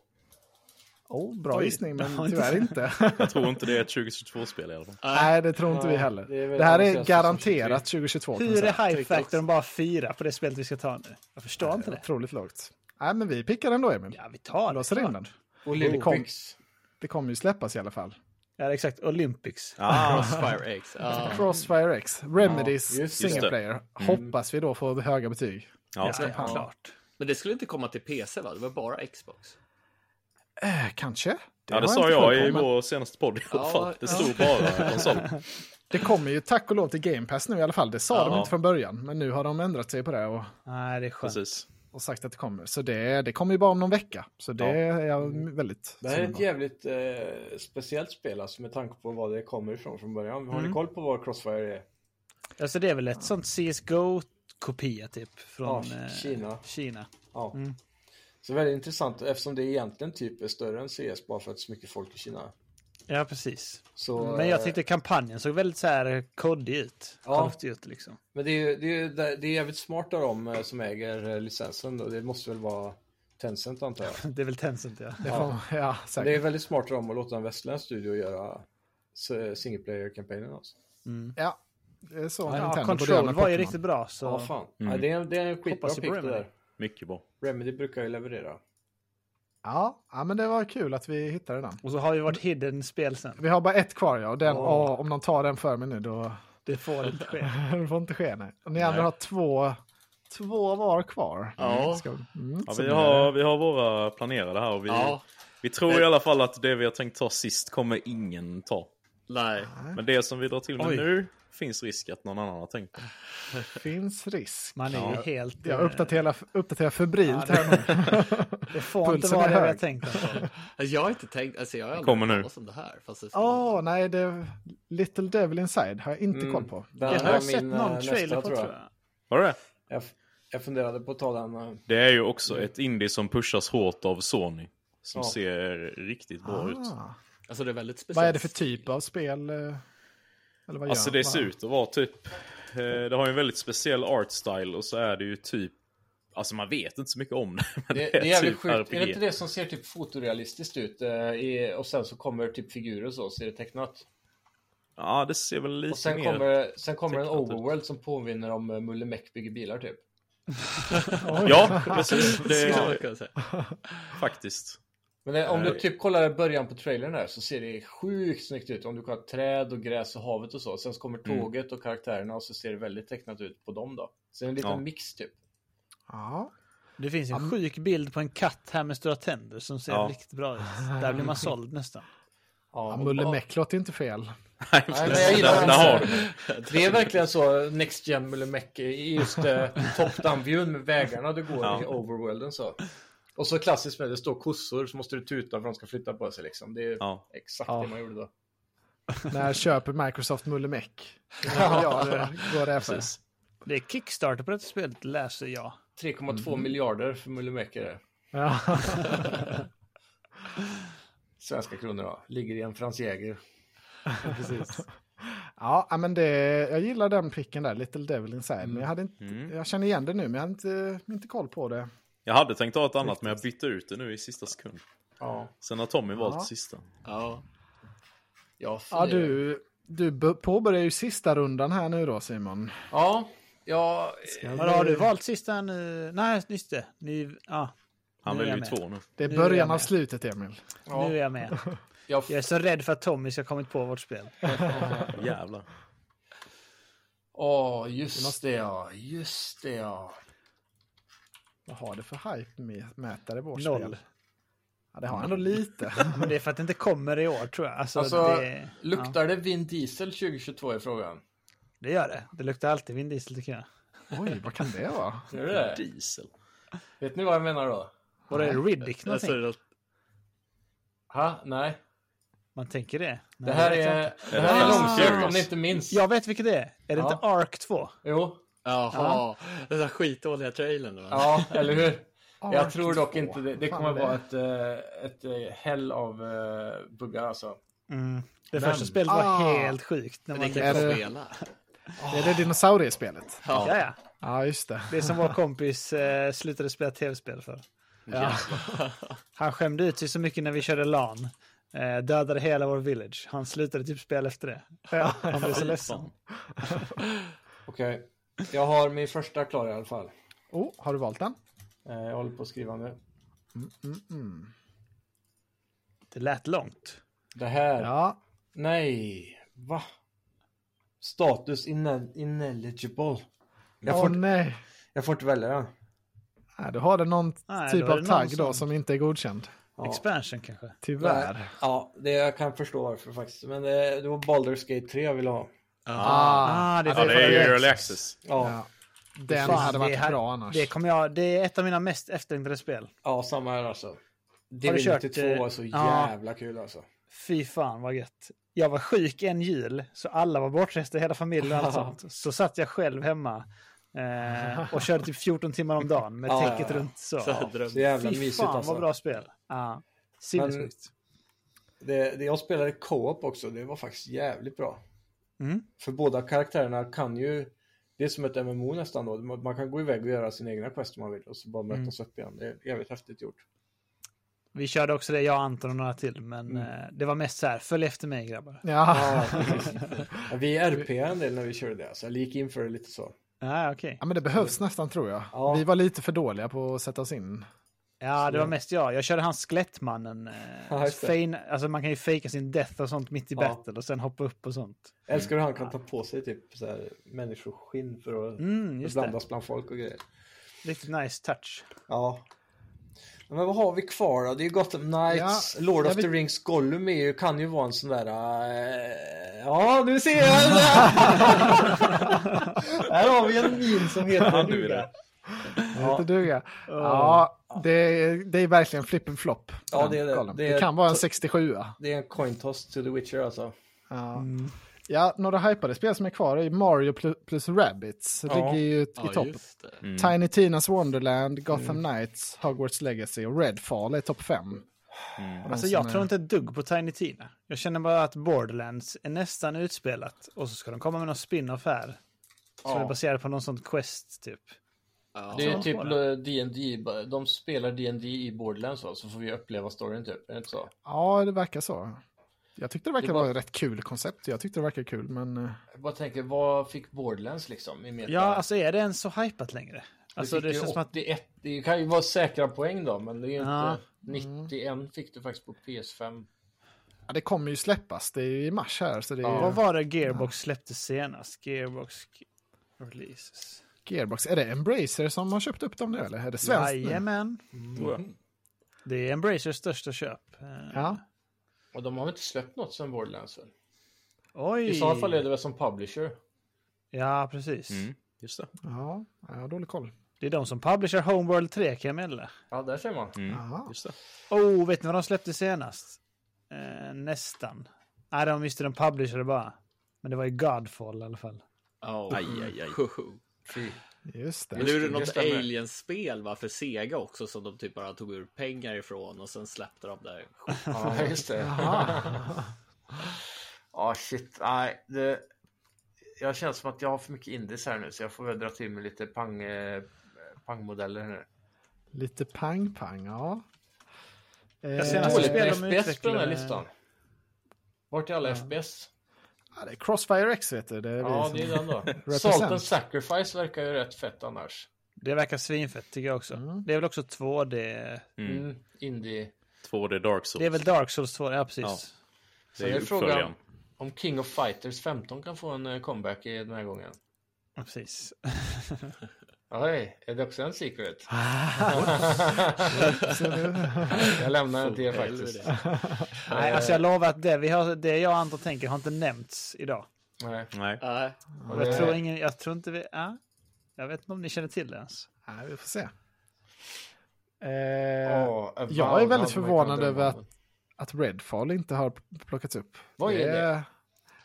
[SPEAKER 3] Oh, bra
[SPEAKER 2] Oj,
[SPEAKER 3] gissning,
[SPEAKER 2] det har
[SPEAKER 3] men
[SPEAKER 2] inte-
[SPEAKER 3] tyvärr inte.
[SPEAKER 7] Jag tror inte det är ett 2022-spel i alla fall.
[SPEAKER 3] Nej, det tror inte vi
[SPEAKER 1] Nej,
[SPEAKER 3] heller.
[SPEAKER 1] det är
[SPEAKER 3] Det,
[SPEAKER 1] väl
[SPEAKER 3] här är
[SPEAKER 1] avancerat
[SPEAKER 3] garanterat 2022. kan man
[SPEAKER 2] Hur
[SPEAKER 3] säga.
[SPEAKER 2] är High
[SPEAKER 1] Tyckte också.
[SPEAKER 2] Factorn bara fyra på det spelet vi ska ta nu? Jag förstår inte det.
[SPEAKER 3] Otroligt lågt. Nej, men vi pickar ändå, Emil.
[SPEAKER 2] Ja, vi tar det.
[SPEAKER 3] Låser in den.
[SPEAKER 1] Olympics.
[SPEAKER 3] Det kommer ju släppas i alla fall.
[SPEAKER 2] Ja, exakt. Olympics.
[SPEAKER 4] Ah, Crossfire X. Ah.
[SPEAKER 3] Crossfire X, Remedies
[SPEAKER 1] Ja, just det.
[SPEAKER 3] single player. Hoppas vi då får höga betyg.
[SPEAKER 7] Ja.
[SPEAKER 3] Nästa kampanj.
[SPEAKER 2] Klart.
[SPEAKER 4] Men det skulle inte komma till PC va? Det var bara Xbox.
[SPEAKER 3] Eh, kanske.
[SPEAKER 7] Ja, det
[SPEAKER 3] har
[SPEAKER 7] sa
[SPEAKER 3] inte koll
[SPEAKER 7] jag
[SPEAKER 3] på,
[SPEAKER 7] i
[SPEAKER 3] men
[SPEAKER 7] vår senaste podd i alla
[SPEAKER 4] Ja,
[SPEAKER 7] fall. Det
[SPEAKER 4] ja.
[SPEAKER 7] stod bara konsol.
[SPEAKER 3] Det kommer ju tack och lov till Game Pass nu i alla fall. Det sa de
[SPEAKER 7] Ja.
[SPEAKER 3] inte från början, men nu har de ändrat sig på det och,
[SPEAKER 2] Nej, det är skönt.
[SPEAKER 7] Precis.
[SPEAKER 3] och sagt att det kommer. Så det, det kommer ju bara om någon vecka. Så det
[SPEAKER 7] Ja.
[SPEAKER 3] är jag väldigt...
[SPEAKER 1] Det här är
[SPEAKER 3] sugen
[SPEAKER 1] ett
[SPEAKER 3] på.
[SPEAKER 1] jävligt eh, speciellt spel alltså, med tanke på vad det kommer ifrån från början. Har ni
[SPEAKER 2] Mm.
[SPEAKER 1] koll på vad Crossfire är?
[SPEAKER 2] Alltså det är väl ett sånt CSGO-kopia typ från
[SPEAKER 1] Ja,
[SPEAKER 2] eh,
[SPEAKER 1] Kina.
[SPEAKER 2] Kina.
[SPEAKER 1] Ja.
[SPEAKER 2] Mm.
[SPEAKER 1] Så väldigt intressant eftersom det egentligen typ är större än CS bara för att det är så mycket folk i Kina.
[SPEAKER 2] Ja, precis.
[SPEAKER 1] Så,
[SPEAKER 2] Mm, Men jag
[SPEAKER 1] eh,
[SPEAKER 2] tyckte kampanjen såg väldigt så här koddig ut.
[SPEAKER 1] Ja.
[SPEAKER 2] Konstig ut liksom.
[SPEAKER 1] Men det är ju det är, ju- det är jävligt smart av dem eh, som äger eh, licensen och det måste väl vara Tencent antar jag.
[SPEAKER 2] Det är väl Tencent ja.
[SPEAKER 3] Det får, ja,
[SPEAKER 1] Men Det är
[SPEAKER 3] säkert.
[SPEAKER 1] väldigt smart av dem att låta en västerländsk studio göra s- eh, single player-kampanjen alltså.
[SPEAKER 3] Ja, det är så
[SPEAKER 2] ja
[SPEAKER 3] Nintendo
[SPEAKER 2] Control
[SPEAKER 3] med
[SPEAKER 2] var ju
[SPEAKER 3] Pokémon.
[SPEAKER 2] riktigt bra så.
[SPEAKER 1] Ja, fan. Ja, det, är, en- det är en skitbra
[SPEAKER 2] Hoppas ju på
[SPEAKER 1] pick det
[SPEAKER 2] Remedy.
[SPEAKER 1] där.
[SPEAKER 7] Mycket bra.
[SPEAKER 1] Remedy brukar ju leverera.
[SPEAKER 3] Ja, ja, men det var kul att vi hittade den.
[SPEAKER 2] Och så har vi varit hidden spel sen.
[SPEAKER 3] Vi har bara ett kvar ja, och den,
[SPEAKER 1] Åh.
[SPEAKER 3] ja, om någon tar den för mig nu då...
[SPEAKER 2] Det får inte ske.
[SPEAKER 3] det får inte ske nej. Och ni andra har två, två var kvar.
[SPEAKER 4] Ja.
[SPEAKER 3] Ska, mm,
[SPEAKER 7] Ja,
[SPEAKER 3] så
[SPEAKER 7] vi,
[SPEAKER 3] blir
[SPEAKER 7] har,
[SPEAKER 3] det-
[SPEAKER 7] vi har våra planerade här och vi,
[SPEAKER 4] Ja,
[SPEAKER 7] vi tror i alla fall att det vi har tänkt ta sist kommer ingen ta.
[SPEAKER 4] nej.
[SPEAKER 7] Men det som vi drar till med
[SPEAKER 2] Oj.
[SPEAKER 7] nu finns risk att någon annan har tänkt.
[SPEAKER 3] finns risk.
[SPEAKER 2] Man är ju
[SPEAKER 7] Ja.
[SPEAKER 2] helt...
[SPEAKER 3] Jag
[SPEAKER 2] eh,
[SPEAKER 3] uppdaterar, uppdaterar febrilt
[SPEAKER 2] Ja,
[SPEAKER 3] här nu.
[SPEAKER 2] eh, Det får inte
[SPEAKER 3] Pulsen
[SPEAKER 2] vara
[SPEAKER 3] är
[SPEAKER 2] det vi har
[SPEAKER 3] hög.
[SPEAKER 2] tänkt. Alltså.
[SPEAKER 4] Alltså, jag har inte tänkt, alltså jag har aldrig
[SPEAKER 7] Kommer
[SPEAKER 4] hört
[SPEAKER 7] nu.
[SPEAKER 4] talas om det här. Fast det
[SPEAKER 3] Åh, nej, det Little Devil Inside har jag inte
[SPEAKER 1] Mm.
[SPEAKER 3] koll på.
[SPEAKER 1] Den
[SPEAKER 2] Jag
[SPEAKER 1] här
[SPEAKER 2] har
[SPEAKER 1] var
[SPEAKER 2] sett
[SPEAKER 1] min, eh,
[SPEAKER 2] någon
[SPEAKER 1] nästa,
[SPEAKER 2] trailer på tror jag.
[SPEAKER 7] Var det det?
[SPEAKER 1] Jag, f- jag funderade på att ta den. eh,
[SPEAKER 7] Det är ju också ett indie som pushas hårt av Sony. Som
[SPEAKER 1] Ja.
[SPEAKER 7] ser riktigt bra ut.
[SPEAKER 3] Ah,
[SPEAKER 4] alltså det är väldigt speciellt.
[SPEAKER 3] vad är det för typ av spel? eh, Eller vad
[SPEAKER 7] Alltså
[SPEAKER 3] gör-
[SPEAKER 7] det
[SPEAKER 3] vad-
[SPEAKER 7] ser ut att vara typ... eh, Det har ju en väldigt speciell art style och så är det ju typ... Alltså man vet inte så mycket om det. typ Men
[SPEAKER 1] Det, det är jävligt sjukt. Är det
[SPEAKER 7] RPG.
[SPEAKER 1] inte det som ser typ fotorealistiskt ut? eh, i- Och sen så kommer typ figurer och så, så är det tecknat.
[SPEAKER 7] Ja, det ser väl lite
[SPEAKER 1] Och sen
[SPEAKER 7] mer...
[SPEAKER 1] kommer, sen kommer en
[SPEAKER 7] tecknat ut.
[SPEAKER 1] overworld som påminner om eh, Mulle Meck bygger bilar typ.
[SPEAKER 7] Ja, precis. Det
[SPEAKER 4] Skulle man
[SPEAKER 7] är...
[SPEAKER 4] kunna säga.
[SPEAKER 7] Faktiskt.
[SPEAKER 1] Men det, om
[SPEAKER 7] Eh.
[SPEAKER 1] du typ kollar början på trailern där så ser det sjukt snyggt ut. Om du kollar träd och gräs och havet och så. Sen så kommer
[SPEAKER 7] Mm.
[SPEAKER 1] tåget och karaktärerna och så ser det väldigt tecknat ut på dem då. Så det är en liten
[SPEAKER 7] Ja.
[SPEAKER 1] mix typ.
[SPEAKER 3] Ja,
[SPEAKER 2] Det finns en sjuk bild på en katt här med stora tänder som ser
[SPEAKER 7] Ja.
[SPEAKER 2] riktigt bra ut. Där blir man såld nästan.
[SPEAKER 3] ja,
[SPEAKER 1] Ja,
[SPEAKER 3] Mulle
[SPEAKER 1] och-
[SPEAKER 3] Meck låter inte fel.
[SPEAKER 7] Nej,
[SPEAKER 1] Nej,
[SPEAKER 7] precis.
[SPEAKER 1] men jag gillar
[SPEAKER 7] Där-
[SPEAKER 1] den
[SPEAKER 7] där har
[SPEAKER 1] så-
[SPEAKER 7] du det.
[SPEAKER 1] Det är verkligen så Next Gen Mulle Meck i just eh, top-down-viewn med vägarna du går i
[SPEAKER 7] Ja.
[SPEAKER 1] overworlden så. Och så klassiskt med det står kossor så måste du tuta för att de ska flytta på sig liksom. Det är
[SPEAKER 7] Ja.
[SPEAKER 1] exakt
[SPEAKER 3] Ja.
[SPEAKER 1] det man gjorde då.
[SPEAKER 3] När köper Microsoft Mulle Meck? Ja, det eh, går det för.
[SPEAKER 7] Precis.
[SPEAKER 2] Det är Kickstarter på detta spelet läser jag.
[SPEAKER 1] 3,2
[SPEAKER 3] Mm.
[SPEAKER 1] miljarder för eh, Mulle Meck är det.
[SPEAKER 3] Ja.
[SPEAKER 1] Svenska kronor då. Ligger i en Franz Jäger.
[SPEAKER 3] Precis. Ja, ja, men det, jag gillar den picken där, Little Devil Inside. Men jag, hade inte,
[SPEAKER 7] Mm.
[SPEAKER 3] jag känner igen det nu, men jag hade inte, inte koll på det.
[SPEAKER 7] Jag hade tänkt ta ett annat, men jag bytte ut det nu i sista sekund.
[SPEAKER 1] Ja.
[SPEAKER 7] Sen har Tommy valt
[SPEAKER 3] Ja.
[SPEAKER 7] sista.
[SPEAKER 4] Ja.
[SPEAKER 1] Ja,
[SPEAKER 3] Ja,
[SPEAKER 1] fyra.
[SPEAKER 3] du, du b- påbörjar ju sista rundan här nu då, Simon.
[SPEAKER 1] Ja, ja.
[SPEAKER 2] Vad har
[SPEAKER 1] Mm.
[SPEAKER 2] du valt sista nu? Nej, just det. Nu, ja,
[SPEAKER 7] Han
[SPEAKER 2] Nu är
[SPEAKER 7] väljer ju
[SPEAKER 2] jag
[SPEAKER 7] två nu.
[SPEAKER 3] Det är
[SPEAKER 2] Nu är
[SPEAKER 3] början
[SPEAKER 2] jag
[SPEAKER 3] av
[SPEAKER 2] med.
[SPEAKER 3] slutet, Emil.
[SPEAKER 1] ja,
[SPEAKER 2] nu är jag med.
[SPEAKER 1] jag,
[SPEAKER 2] Jag är så rädd för att Tommy ska ha kommit på vårt spel.
[SPEAKER 7] Jävlar.
[SPEAKER 1] Åh, just det ja. Just det ja.
[SPEAKER 3] Vad har det för hype-mätare i vårt
[SPEAKER 2] Noll.
[SPEAKER 3] spel? Ja, det har han nog lite.
[SPEAKER 2] Men det är för att det inte kommer i år tror jag. Alltså,
[SPEAKER 1] Alltså,
[SPEAKER 2] det, ja,
[SPEAKER 1] Luktar det Vin Diesel 2022 är frågan?
[SPEAKER 2] det gör det. Det luktar alltid Vin Diesel tycker jag.
[SPEAKER 3] Oj, vad kan det vara?
[SPEAKER 1] Gör det?
[SPEAKER 7] Diesel.
[SPEAKER 1] Vet ni vad jag menar då?
[SPEAKER 2] Var det Riddick
[SPEAKER 4] Alltså,
[SPEAKER 2] någonting?
[SPEAKER 4] det-
[SPEAKER 1] Ha? Nej.
[SPEAKER 2] Man tänker det. Nej,
[SPEAKER 1] Det här
[SPEAKER 2] jag vet inte.
[SPEAKER 1] är, det
[SPEAKER 7] Är
[SPEAKER 1] här är
[SPEAKER 7] det
[SPEAKER 3] Ah.
[SPEAKER 1] långsökt
[SPEAKER 7] Fast
[SPEAKER 1] om ni inte minns.
[SPEAKER 2] Jag vet vilket det är. Är det
[SPEAKER 1] Ja.
[SPEAKER 2] inte Ark 2?
[SPEAKER 1] Jo.
[SPEAKER 4] Jaha, den där skitdåliga trailern. Va?
[SPEAKER 1] Ja, eller hur? Jag
[SPEAKER 3] Ark
[SPEAKER 1] tror dock
[SPEAKER 3] 2.
[SPEAKER 1] inte det. Det
[SPEAKER 3] Fan,
[SPEAKER 1] kommer vara ett, eh, ett eh, häll av eh, buggar alltså.
[SPEAKER 2] Mm. Det
[SPEAKER 1] Men-
[SPEAKER 2] första spelet var
[SPEAKER 3] Ah.
[SPEAKER 2] helt sjukt. När man
[SPEAKER 4] Det kan
[SPEAKER 3] Är
[SPEAKER 4] jag
[SPEAKER 3] det-
[SPEAKER 4] spela.
[SPEAKER 3] Det är det dinosauriespelet.
[SPEAKER 2] ja. Ja, ja.
[SPEAKER 3] Ja, just det.
[SPEAKER 2] Det som vår kompis eh, slutade spela tv-spel för.
[SPEAKER 4] Ja.
[SPEAKER 2] Han skämde ut sig så mycket när vi körde LAN. Eh, dödade hela vår village. Han slutade typ spela efter det. Han blev så ledsen.
[SPEAKER 1] Okej. Jag har min första klar i alla fall.
[SPEAKER 3] Oh, har du valt den?
[SPEAKER 1] Eh, jag håller på att skriva nu.
[SPEAKER 2] Det lät långt.
[SPEAKER 1] Det här
[SPEAKER 3] Ja,
[SPEAKER 1] Nej, va? Status inel- ineligible. Jag
[SPEAKER 3] Åh
[SPEAKER 1] får,
[SPEAKER 3] nej.
[SPEAKER 1] jag får inte välja den.
[SPEAKER 3] nej. Du har det någon
[SPEAKER 2] Nej,
[SPEAKER 3] typ
[SPEAKER 2] då är
[SPEAKER 3] av
[SPEAKER 2] det någon
[SPEAKER 3] tagg då
[SPEAKER 2] som-
[SPEAKER 3] som inte är godkänd.
[SPEAKER 1] Ja.
[SPEAKER 2] Expansion kanske?
[SPEAKER 3] Tyvärr.
[SPEAKER 1] Nej, Ja, det jag kan förstå varför faktiskt. Men det, det var Baldur's Gate 3 jag ville ha.
[SPEAKER 2] Ah, det är
[SPEAKER 7] Ja,
[SPEAKER 2] för-
[SPEAKER 7] det är ju early access.
[SPEAKER 1] Ja, ja.
[SPEAKER 3] Ja. Den
[SPEAKER 2] Fan,
[SPEAKER 3] hade varit
[SPEAKER 2] det här-
[SPEAKER 3] bra annars.
[SPEAKER 2] Det, kommer jag, det är ett av mina mest efterlängtade spel.
[SPEAKER 1] samma här alltså. Divinity
[SPEAKER 2] kört,
[SPEAKER 1] 2
[SPEAKER 2] eh,
[SPEAKER 1] är så
[SPEAKER 2] ja.
[SPEAKER 1] jävla kul alltså.
[SPEAKER 2] Fy fan vad gött. Jag var sjuk en jul, så alla var bortresta, hela familjen och allt sånt. Så satt jag själv hemma eh, och körde typ 14 timmar om dagen med
[SPEAKER 1] Ja, ja,
[SPEAKER 2] täcket
[SPEAKER 1] ja.
[SPEAKER 2] runt. Så.
[SPEAKER 4] Så här dröm.
[SPEAKER 1] Så jävla
[SPEAKER 2] Fy
[SPEAKER 1] mysigt
[SPEAKER 2] fan
[SPEAKER 1] alltså.
[SPEAKER 2] vad bra spel. Ja. Sinnessjukt.
[SPEAKER 1] Det, det jag spelade co-op också, det var faktiskt jävligt bra.
[SPEAKER 2] Mm.
[SPEAKER 1] För båda karaktärerna kan ju, det är som ett MMO nästan då, man man kan gå iväg och göra sina egna quest om man vill och så bara mötas
[SPEAKER 2] Mm.
[SPEAKER 1] upp igen. Det är jävligt häftigt gjort.
[SPEAKER 2] Vi körde också det, jag, Anton och några till. Men
[SPEAKER 1] Mm.
[SPEAKER 2] eh, det var mest så här, följ efter mig grabbar.
[SPEAKER 3] Ja.
[SPEAKER 1] Ja, precis. Ja, vi RP en del när vi körde det, så jag gick in för det lite så.
[SPEAKER 2] Ja, okej.
[SPEAKER 3] ja, men det behövs nästan tror jag.
[SPEAKER 1] Ja.
[SPEAKER 3] Vi var lite för dåliga på att sätta oss in.
[SPEAKER 2] Ja, det var mest jag. Jag körde hans skelettmannen. eh,
[SPEAKER 1] Ja, just det.
[SPEAKER 2] fein, alltså man kan ju fejka sin death och sånt mitt i
[SPEAKER 1] Ja.
[SPEAKER 2] battle och sen hoppa upp och sånt.
[SPEAKER 1] Älskar hur han kan ta på sig typ så här, människoskinn för att
[SPEAKER 2] Mm, just det.
[SPEAKER 1] blandas bland folk och grejer.
[SPEAKER 2] Riktigt nice touch.
[SPEAKER 1] Ja. Men vad har vi kvar då? Det är ju Gotham Knights,
[SPEAKER 3] Ja,
[SPEAKER 1] Lord
[SPEAKER 3] jag
[SPEAKER 1] of the
[SPEAKER 3] vet-
[SPEAKER 1] Rings, Gollum är ju, kan ju vara en sån där... eh, ja, nu ser jag det! Här har vi en min som heter
[SPEAKER 7] du är
[SPEAKER 1] duga.
[SPEAKER 7] det.
[SPEAKER 1] Ja.
[SPEAKER 3] Inte duga. Ja, det, det är verkligen flip and flop.
[SPEAKER 1] Ja,
[SPEAKER 3] den
[SPEAKER 1] det är det.
[SPEAKER 3] kolumn.
[SPEAKER 1] Det är-
[SPEAKER 3] det kan vara en 67
[SPEAKER 1] Det är en coin toss to the Witcher alltså.
[SPEAKER 3] Ja. ja, några hypade spel som är kvar är Mario pl- plus Rabbids.
[SPEAKER 1] Ja. Mm.
[SPEAKER 3] Ligger ju i
[SPEAKER 4] Ja,
[SPEAKER 3] topp.
[SPEAKER 4] just det. Mm.
[SPEAKER 3] Tiny Tinas Wonderland, Gotham Knights, Hogwarts Legacy och Redfall är topp 5.
[SPEAKER 4] Mm.
[SPEAKER 2] Alltså jag
[SPEAKER 3] eh,
[SPEAKER 2] tror inte ett dugg på Tiny Tina. Jag känner bara att Borderlands är nästan utspelat och så ska de komma med någon spin-off här. Som
[SPEAKER 1] Ja.
[SPEAKER 2] är baserad på någon sån quest typ.
[SPEAKER 4] Ja.
[SPEAKER 1] Det är ju
[SPEAKER 2] Ja.
[SPEAKER 1] typ D&D de spelar D&D i Borderlands va? så får vi uppleva storyn typ, är det inte så?
[SPEAKER 3] Ja, det verkar så. Jag tyckte det verkar
[SPEAKER 1] Det var-
[SPEAKER 3] vara ett rätt kul koncept. Jag tyckte det verkar kul, men... eh,
[SPEAKER 1] Jag bara tänker, vad fick Borderlands liksom i meta?
[SPEAKER 2] Ja, alltså är det ens så hypat längre? Alltså
[SPEAKER 1] du
[SPEAKER 2] det
[SPEAKER 1] fick
[SPEAKER 2] känns
[SPEAKER 1] ju
[SPEAKER 2] som att...
[SPEAKER 1] 81, det kan ju vara säkra poäng då, men det är ju
[SPEAKER 2] Ja. mm.
[SPEAKER 1] inte... 91 fick du faktiskt på PS5.
[SPEAKER 3] Ja, det kommer ju släppas. Det är ju i mars här, så det är
[SPEAKER 2] Vad
[SPEAKER 3] ju...
[SPEAKER 2] var det Gearbox släppte senast? Gearbox releases.
[SPEAKER 3] Gearbox. Är det Embracer som har köpt upp dem nu, eller? Är det svenskt nu?
[SPEAKER 2] Jajamän.
[SPEAKER 7] Mm.
[SPEAKER 2] Det är Embracers största köp. Eh,
[SPEAKER 3] Ja.
[SPEAKER 1] Och de har väl inte släppt något sen Borderlands väl?
[SPEAKER 2] Oj!
[SPEAKER 1] I så fall är det väl som publisher.
[SPEAKER 2] Ja, precis.
[SPEAKER 7] Mm. Just det.
[SPEAKER 3] Ja, jag har dålig koll.
[SPEAKER 2] Det är de som publicerar Homeworld 3 kan jag meddela.
[SPEAKER 1] Ja, där ser man.
[SPEAKER 7] Mm.
[SPEAKER 3] Jaha.
[SPEAKER 7] Just det.
[SPEAKER 2] Oh, vet ni vad de släppte senast? Eh, nästan. Nej, de visste de publicerade bara. Men det var ju Godfall i alla fall.
[SPEAKER 4] Oh.
[SPEAKER 7] Aj, aj, aj.
[SPEAKER 4] Hoho.
[SPEAKER 3] Just det.
[SPEAKER 4] Men nu är det
[SPEAKER 1] det
[SPEAKER 4] något
[SPEAKER 1] stämmer.
[SPEAKER 4] Alien-spel va, för Sega också som de typ bara tog ur pengar ifrån och sen släppte de där.
[SPEAKER 1] Ja, just det. Ja, shit. Nej, det... Jag känner som att jag har för mycket indies här nu, så jag får väl dra till med lite pang... eh, Pangmodeller här nu.
[SPEAKER 3] Lite pang-pang, ja. Eh,
[SPEAKER 2] senaste
[SPEAKER 1] Dåligt med
[SPEAKER 2] spel de
[SPEAKER 1] FPS på den här
[SPEAKER 2] utvecklade-
[SPEAKER 1] listan. Vart är alla FPS?
[SPEAKER 3] ja, det är Crossfire X, vet du. Det är vi
[SPEAKER 1] Ja,
[SPEAKER 3] som-
[SPEAKER 1] det är den då. Salt
[SPEAKER 3] Represent.
[SPEAKER 1] and Sacrifice verkar ju rätt fett annars.
[SPEAKER 2] Det verkar svinfett tycker jag också. Det är väl också 2D...
[SPEAKER 1] Mm. Indie.
[SPEAKER 7] 2D Dark Souls.
[SPEAKER 2] Det är väl Dark Souls 2, ja precis.
[SPEAKER 7] Ja.
[SPEAKER 1] Sen
[SPEAKER 7] ju
[SPEAKER 1] är frågan
[SPEAKER 7] uppföljaren.
[SPEAKER 1] om King of Fighters 15 kan få en eh, comeback i den här gången.
[SPEAKER 2] Ja, precis.
[SPEAKER 1] Oj, är det också en secret? jag lämnar inte er faktiskt.
[SPEAKER 2] Nej, alltså jag lovar att det, vi har, det jag och Anton tänker har inte nämnts idag.
[SPEAKER 1] Nej.
[SPEAKER 7] Nej.
[SPEAKER 4] Nej.
[SPEAKER 1] Och
[SPEAKER 2] Jag
[SPEAKER 1] det-
[SPEAKER 2] tror, ingen, jag tror inte vi... Ja. Jag vet inte om ni känner till det ens.
[SPEAKER 3] Nej, vi får se. Eh,
[SPEAKER 1] Åh, Avowed
[SPEAKER 3] jag är väldigt
[SPEAKER 1] hade man
[SPEAKER 3] förvånad
[SPEAKER 1] kunnat
[SPEAKER 3] över
[SPEAKER 1] drömma
[SPEAKER 3] att, typ-
[SPEAKER 1] om.
[SPEAKER 3] att Redfall inte har plockats upp.
[SPEAKER 1] Vad är det?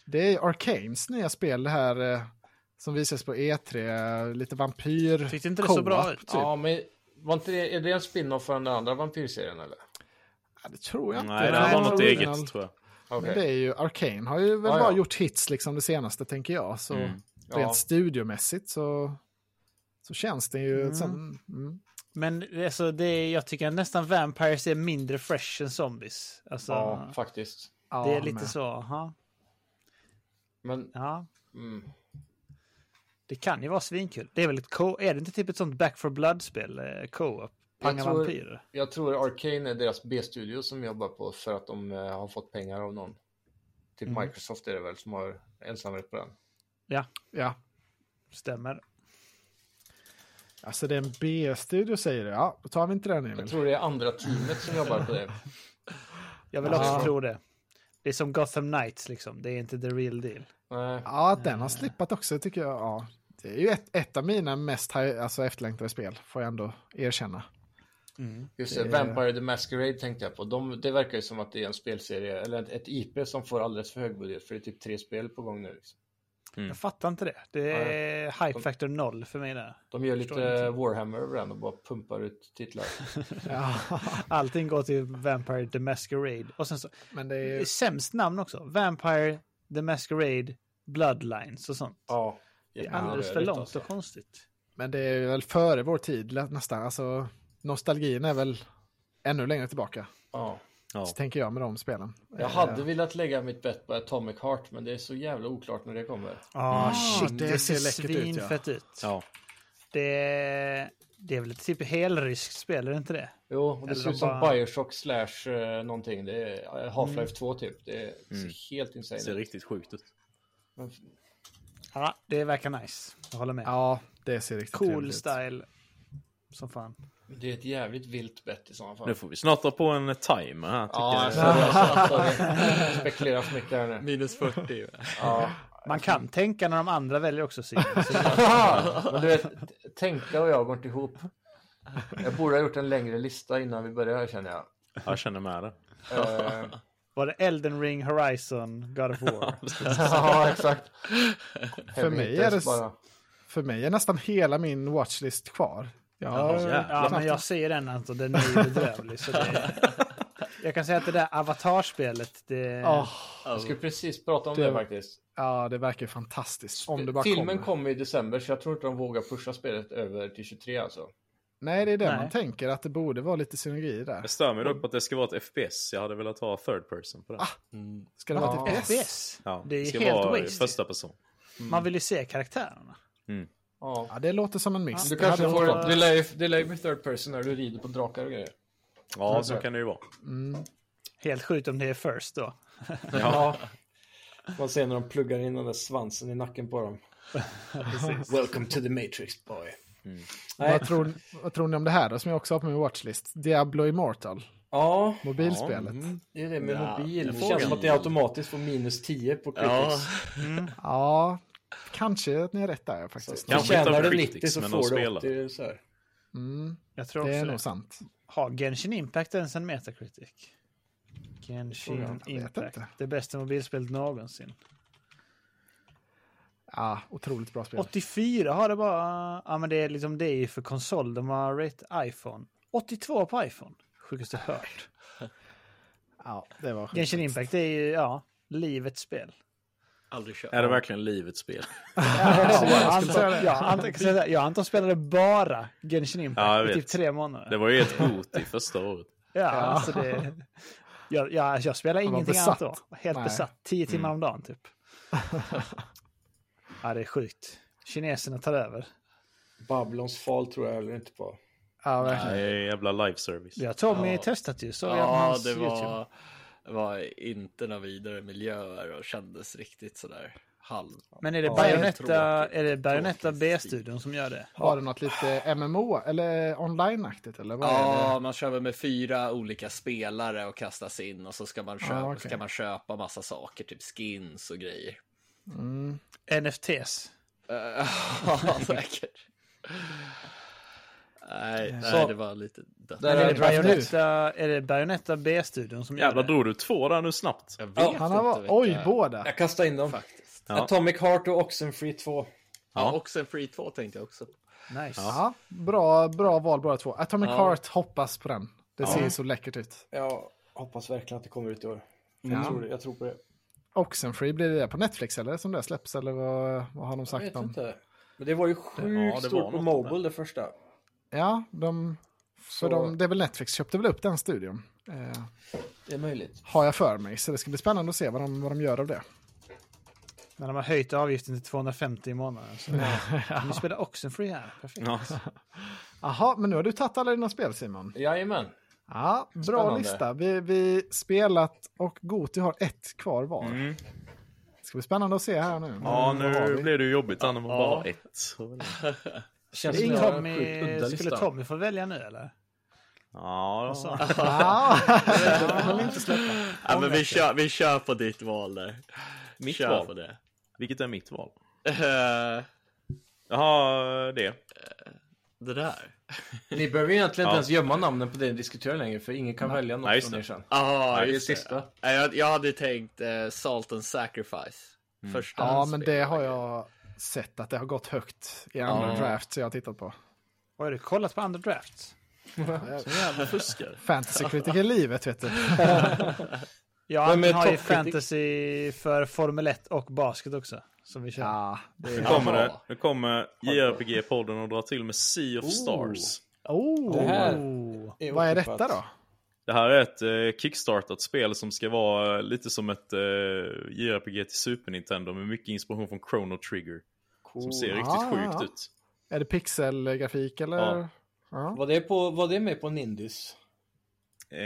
[SPEAKER 3] Det är Arcanes nya spel, det här eh, som visades på E3, lite vampyr.
[SPEAKER 2] Tyckte inte det så bra
[SPEAKER 3] co-op,
[SPEAKER 2] ut?
[SPEAKER 3] Typ.
[SPEAKER 1] Ja, men var inte det, är det en spin-off från den andra vampyrserien eller?
[SPEAKER 3] Ja, det tror jag inte.
[SPEAKER 7] Nej, det
[SPEAKER 2] Nej,
[SPEAKER 7] här var något
[SPEAKER 2] det var
[SPEAKER 7] eget tror jag.
[SPEAKER 1] Okej.
[SPEAKER 3] Men det är ju, Arcane har ju väl
[SPEAKER 1] Ja, ja.
[SPEAKER 3] bara gjort hits liksom det senaste tänker jag. Så
[SPEAKER 7] Mm.
[SPEAKER 3] rent
[SPEAKER 1] Ja.
[SPEAKER 3] studiomässigt så, så känns det ju... Sen, mm.
[SPEAKER 2] Men alltså, det är, jag tycker nästan Vampires är mindre fresh än Zombies. Alltså,
[SPEAKER 1] Ja, faktiskt.
[SPEAKER 3] Ja,
[SPEAKER 2] det är lite
[SPEAKER 3] men-
[SPEAKER 2] så, aha,
[SPEAKER 1] Men,
[SPEAKER 2] ja.
[SPEAKER 1] mm,
[SPEAKER 2] Det kan ju vara svinkul. Det är väl ett co Är det inte typ ett sånt Back for Blood-spel? eh, Co-op?
[SPEAKER 1] Jag
[SPEAKER 2] Panga
[SPEAKER 1] tror-
[SPEAKER 2] vampyrer?
[SPEAKER 1] jag tror Arcane är deras B-studio som jobbar på för att de eh, har fått pengar av någon.
[SPEAKER 9] Typ
[SPEAKER 2] Mm.
[SPEAKER 9] Microsoft är det väl som har ensamrätt på den.
[SPEAKER 3] Ja,
[SPEAKER 2] Stämmer.
[SPEAKER 3] alltså det är en B-studio säger du. Ja, då tar vi inte den
[SPEAKER 9] Jag
[SPEAKER 3] Emil.
[SPEAKER 9] tror det är andra teamet som jobbar på det.
[SPEAKER 2] Jag vill också tro det. Det är som Gotham Knights liksom. Det är inte the real deal.
[SPEAKER 9] Nej.
[SPEAKER 3] Ja, att den har slippat också tycker jag. Ja. Det är ju ett, ett av mina mest hi- alltså, efterlängtade spel, får jag ändå erkänna.
[SPEAKER 9] Just
[SPEAKER 2] Eh.
[SPEAKER 9] det, Vampire the Masquerade tänkte jag på. De, det verkar ju som att det är en spelserie, eller ett, ett IP som får alldeles för hög budget. För det är typ tre spel på gång nu. Liksom.
[SPEAKER 7] Mm.
[SPEAKER 2] Jag fattar inte det. Det är hype factor noll för mig där.
[SPEAKER 9] De gör
[SPEAKER 2] Förstår
[SPEAKER 9] lite Warhammer över den och bara pumpar ut titlar.
[SPEAKER 3] Ja,
[SPEAKER 2] Allting går till Vampire the Masquerade. Och sen så,
[SPEAKER 3] men det är
[SPEAKER 2] det
[SPEAKER 3] ju...
[SPEAKER 2] är sämst namn också. Vampire the Masquerade Bloodlines och sånt.
[SPEAKER 9] Ja,
[SPEAKER 2] det är alldeles för
[SPEAKER 9] jätterörigt,
[SPEAKER 2] långt
[SPEAKER 9] alltså.
[SPEAKER 2] och konstigt.
[SPEAKER 3] Men det är väl före vår tid lä- nästan. Alltså, nostalgin är väl ännu längre tillbaka.
[SPEAKER 9] Ja.
[SPEAKER 7] Ja.
[SPEAKER 3] Så tänker jag med de spelen.
[SPEAKER 9] Jag
[SPEAKER 3] Eh,
[SPEAKER 9] hade velat lägga mitt bett på Atomic Heart, men det är så jävla oklart när det kommer.
[SPEAKER 2] Ah shit,
[SPEAKER 3] det
[SPEAKER 2] det
[SPEAKER 3] ser
[SPEAKER 2] ser
[SPEAKER 3] läckert ut, ja.
[SPEAKER 2] svinfett ut.
[SPEAKER 7] Ja.
[SPEAKER 2] Det, är- det är väl ett typ helryskt spel, är det inte det?
[SPEAKER 9] Jo, och det
[SPEAKER 2] Eller
[SPEAKER 9] ser ut
[SPEAKER 2] de
[SPEAKER 9] som
[SPEAKER 2] bara- Mm.
[SPEAKER 9] Bioshock slash eh, någonting. Det är eh, Half-Life 2 typ. Det är ser helt
[SPEAKER 7] Det Mm. ser
[SPEAKER 9] insane ut.
[SPEAKER 7] riktigt sjukt ut.
[SPEAKER 9] Men-
[SPEAKER 2] Ja, det verkar nice. Jag håller med.
[SPEAKER 3] Ja, det ser riktigt
[SPEAKER 2] cool
[SPEAKER 3] trevligt ut.
[SPEAKER 2] style. Som fan.
[SPEAKER 9] Det är ett jävligt vilt bett i sådana fall.
[SPEAKER 7] Nu får vi snart ta på en timer här. tycker
[SPEAKER 9] Ja,
[SPEAKER 7] jag.
[SPEAKER 9] alltså, alltså, alltså, spekulera för mycket här nu.
[SPEAKER 4] Minus 40.
[SPEAKER 9] Ja.
[SPEAKER 2] Man kan tänka när de andra väljer också sida. Så
[SPEAKER 9] Men du vet, tänka och jag går inte ihop. Jag borde ha gjort en längre lista innan vi började här känner jag.
[SPEAKER 7] Jag känner med det.
[SPEAKER 9] Eh,
[SPEAKER 2] Var det Elden Ring, Horizon, God of War?
[SPEAKER 9] ja, exakt. Heavy
[SPEAKER 3] mig
[SPEAKER 9] hitters
[SPEAKER 3] är det s-
[SPEAKER 9] bara.
[SPEAKER 3] För mig är nästan hela min watchlist kvar. Ja,
[SPEAKER 2] ja, men jag ser den Anton, den är ju bedrövlig. Så det... Jag kan säga att det där avatarspelet, det...
[SPEAKER 3] Åh,
[SPEAKER 9] Jag skulle precis prata om
[SPEAKER 3] Det-
[SPEAKER 9] det, faktiskt.
[SPEAKER 3] Ah, ja, det verkar ju fantastiskt. Om det bara
[SPEAKER 9] Filmen
[SPEAKER 3] kommer.
[SPEAKER 9] kommer i december så jag tror inte de vågar pusha spelet över till 23 alltså.
[SPEAKER 3] Nej, det är det
[SPEAKER 2] Nej.
[SPEAKER 3] man tänker. Att det borde vara lite synergi där.
[SPEAKER 7] Jag stör mig dock på att det ska vara ett FPS. Jag hade velat ha third person på det.
[SPEAKER 3] Ska det vara
[SPEAKER 9] Ja.
[SPEAKER 3] ett FPS?
[SPEAKER 2] FPS.
[SPEAKER 7] Ja,
[SPEAKER 2] Det är
[SPEAKER 7] ska
[SPEAKER 2] helt
[SPEAKER 7] vara
[SPEAKER 2] wasted.
[SPEAKER 7] första person.
[SPEAKER 2] Man vill ju se karaktärerna.
[SPEAKER 9] Ja.
[SPEAKER 3] Ja, det låter som en mix.
[SPEAKER 9] Du
[SPEAKER 3] Det hade
[SPEAKER 9] kanske
[SPEAKER 3] varit bra.
[SPEAKER 9] får... Det lär ju- det lär ju bli third person när du rider på drakar och grejer.
[SPEAKER 7] Ja, så kan det ju vara.
[SPEAKER 2] Helt sjukt om det är first då.
[SPEAKER 7] Ja.
[SPEAKER 1] Man ser när de pluggar in den där svansen i nacken på dem. Welcome to the Matrix boy. Mm.
[SPEAKER 3] Vad tror, vad tror ni om det här då, som jag också har på min watchlist? Diablo Immortal,
[SPEAKER 1] Ja,
[SPEAKER 3] mobilspelet. Ja,
[SPEAKER 1] det är det med
[SPEAKER 4] Ja,
[SPEAKER 1] mobil.
[SPEAKER 4] den
[SPEAKER 1] Det
[SPEAKER 4] frågan.
[SPEAKER 1] känns som att det automatiskt får minus 10 på critics.
[SPEAKER 4] Ja.
[SPEAKER 3] kanske att ni är rätt där ja, faktiskt.
[SPEAKER 7] Kanske inte
[SPEAKER 1] Tjänar
[SPEAKER 7] av
[SPEAKER 1] du
[SPEAKER 7] critics,
[SPEAKER 1] 90 så
[SPEAKER 7] men de
[SPEAKER 1] får du
[SPEAKER 7] spelar.
[SPEAKER 1] 80. Så här.
[SPEAKER 3] Mm,
[SPEAKER 2] Jag tror
[SPEAKER 3] det
[SPEAKER 2] också
[SPEAKER 3] är
[SPEAKER 2] det.
[SPEAKER 3] nog sant.
[SPEAKER 2] Har Genshin Impact ens en Metacritic? Genshin
[SPEAKER 3] vet
[SPEAKER 2] Impact.
[SPEAKER 3] inte.
[SPEAKER 2] Det bästa mobilspelet någonsin.
[SPEAKER 3] Ja, otroligt bra spel.
[SPEAKER 2] 84 har det bara. Ja, men det är liksom det är ju för konsol. De har rate iPhone. 82 på iPhone. Sjukaste hört.
[SPEAKER 3] Ja, det var sjukt.
[SPEAKER 2] Genshin Impact det är ju, ja, livets spel.
[SPEAKER 4] Aldrig kört.
[SPEAKER 7] Är det verkligen livets spel?
[SPEAKER 2] Ja, Anton, ja, Anton, jag kan säga så här, ja, Anton spelade bara Genshin Impact
[SPEAKER 7] Ja, jag
[SPEAKER 2] i
[SPEAKER 7] vet.
[SPEAKER 2] typ tre månader.
[SPEAKER 7] Det var ju ett hot i första året.
[SPEAKER 2] Ja, alltså det... Jag, alltså, jag, jag spelade
[SPEAKER 3] Han var
[SPEAKER 2] ingenting annat
[SPEAKER 3] besatt.
[SPEAKER 2] då. Helt
[SPEAKER 3] Nej.
[SPEAKER 2] besatt. Tio timmar om dagen typ. ja, det är sjukt. Kineserna tar över.
[SPEAKER 1] Babylons fall tror jag heller inte på.
[SPEAKER 3] Ja, verkligen.
[SPEAKER 7] Nej, jävla live service.
[SPEAKER 2] Ja, Tommy testat ju. Så jag på
[SPEAKER 4] Ja,
[SPEAKER 2] hans
[SPEAKER 4] det
[SPEAKER 2] YouTube.
[SPEAKER 4] var, var inte några vidare miljöer och kändes riktigt sådär halv.
[SPEAKER 2] Men är det
[SPEAKER 4] Ja, det är
[SPEAKER 2] Bayonetta,
[SPEAKER 4] tråkigt.
[SPEAKER 2] är det Bayonetta
[SPEAKER 4] Tråkig stil.
[SPEAKER 2] B-studion som gör det?
[SPEAKER 3] Var det något lite MMO eller online-aktigt? Eller vad är
[SPEAKER 4] Ja,
[SPEAKER 3] det?
[SPEAKER 4] man kör väl med fyra olika spelare och kastas in och så ska man köpa,
[SPEAKER 3] okej.
[SPEAKER 4] ska man köpa massa saker, typ skins och grejer.
[SPEAKER 2] NFTs.
[SPEAKER 4] Eh, Ja, säkert. Nej, nej,
[SPEAKER 1] Så-
[SPEAKER 4] det var lite dött.
[SPEAKER 9] Där
[SPEAKER 2] Men är det
[SPEAKER 9] är det
[SPEAKER 2] Äh, Bayonetta, är det Bayonetta B-studion som gör
[SPEAKER 7] Jävlar,
[SPEAKER 2] det?
[SPEAKER 7] drog du två där nu snabbt?
[SPEAKER 4] Jag vet
[SPEAKER 3] Han har
[SPEAKER 4] inte
[SPEAKER 3] varit... Oj,
[SPEAKER 4] vilka-
[SPEAKER 3] båda!
[SPEAKER 1] Jag kastar in dem.
[SPEAKER 4] Faktiskt.
[SPEAKER 7] Ja.
[SPEAKER 1] Atomic Heart och Oxenfree 2.
[SPEAKER 4] Ja, också en Free 2 tänkte jag också.
[SPEAKER 2] Nice.
[SPEAKER 3] Ja, bra, bra val båda två. Atomic Heart, hoppas på den. Det ser så läckert ut.
[SPEAKER 1] Jag hoppas verkligen att det kommer ut i år. Jag, tror, jag tror på det.
[SPEAKER 3] Oxenfree, blir det på Netflix eller som det släpps? Eller vad, vad har de
[SPEAKER 1] Jag
[SPEAKER 3] sagt
[SPEAKER 1] vet
[SPEAKER 3] om?
[SPEAKER 1] inte. Men det var ju sjukt
[SPEAKER 7] var
[SPEAKER 1] stort på
[SPEAKER 7] något
[SPEAKER 1] Mobile det första.
[SPEAKER 3] Ja, de... För
[SPEAKER 1] Så-
[SPEAKER 3] de, det är väl Netflix köpte väl upp den studion? Eh,
[SPEAKER 1] Det är möjligt.
[SPEAKER 3] har jag för mig. Så det ska bli spännande att se vad de, vad de gör av det.
[SPEAKER 2] När de har höjt avgiften till 250 i månaden. Så. Ja. Nu spelar Oxenfree här. Perfekt.
[SPEAKER 7] Ja.
[SPEAKER 3] Jaha, men nu har du tagit alla dina spel Simon.
[SPEAKER 9] Jajamän.
[SPEAKER 3] Ja, bra
[SPEAKER 9] Spännande.
[SPEAKER 3] lista. Vi, vi spelat och Goti har ett kvar var.
[SPEAKER 7] Mm.
[SPEAKER 3] Det ska bli spännande att se här nu.
[SPEAKER 7] Ja,
[SPEAKER 3] Vad har
[SPEAKER 7] nu
[SPEAKER 3] vi?
[SPEAKER 7] blir det ju jobbigt här när man
[SPEAKER 4] Ja.
[SPEAKER 7] bara har ett.
[SPEAKER 9] Känns som
[SPEAKER 2] Skulle
[SPEAKER 9] jag har en sjukt
[SPEAKER 2] Tommy,
[SPEAKER 9] udda
[SPEAKER 2] skulle
[SPEAKER 9] lista.
[SPEAKER 2] Tommy få välja nu eller?
[SPEAKER 7] Ja,
[SPEAKER 2] Vad sa
[SPEAKER 7] ja.
[SPEAKER 2] han?
[SPEAKER 3] Ja, det vill inte släppa.
[SPEAKER 4] Ja, men vi, kör, vi kör på ditt val där.
[SPEAKER 7] Mitt
[SPEAKER 4] kör
[SPEAKER 7] val?
[SPEAKER 4] På det.
[SPEAKER 7] Vilket är mitt val?
[SPEAKER 4] Eh,
[SPEAKER 7] Jaha, det.
[SPEAKER 4] det där.
[SPEAKER 9] Ni behöver ju egentligen
[SPEAKER 7] Ja.
[SPEAKER 9] inte ens gömma namnen på det ni diskuterar längre för ingen kan välja
[SPEAKER 7] Nej,
[SPEAKER 9] något
[SPEAKER 7] just
[SPEAKER 9] från
[SPEAKER 7] det.
[SPEAKER 9] er sen.
[SPEAKER 4] Ja,
[SPEAKER 7] Nej,
[SPEAKER 9] Det är
[SPEAKER 4] just det.
[SPEAKER 9] sista.
[SPEAKER 4] Nej, Jag, jag hade ju tänkt eh, Salt and Sacrifice. Första
[SPEAKER 3] Ja, men det
[SPEAKER 4] spelet.
[SPEAKER 3] har jag sett att det har gått högt i andra drafts jag har tittat på.
[SPEAKER 2] Vad Har du kollat på andra drafts?
[SPEAKER 3] Fantasykritiker i livet vet du.
[SPEAKER 2] Ja,
[SPEAKER 9] Vem är
[SPEAKER 2] han har ju
[SPEAKER 9] toppkritik?
[SPEAKER 2] fantasy för Formel 1 och basket också. Som vi kör.
[SPEAKER 3] Ja, det
[SPEAKER 7] Nu
[SPEAKER 3] är...
[SPEAKER 7] kommer
[SPEAKER 4] Jaha.
[SPEAKER 7] det. Nu kommer JRPG-podden och dra till med Sea of Stars.
[SPEAKER 3] oh,
[SPEAKER 1] Det här
[SPEAKER 3] vad är
[SPEAKER 1] otippat.
[SPEAKER 3] detta då?
[SPEAKER 7] Det här är ett eh, kickstartat spel som ska vara eh, lite som ett eh, JRPG till Super Nintendo med mycket inspiration från Chrono Trigger. Som ser riktigt
[SPEAKER 3] Ah,
[SPEAKER 7] sjukt
[SPEAKER 3] ja.
[SPEAKER 7] ut.
[SPEAKER 3] Är det pixelgrafik eller?
[SPEAKER 7] Ja.
[SPEAKER 3] Ja.
[SPEAKER 1] Var det, på, var det med på Nindus?
[SPEAKER 7] Eh,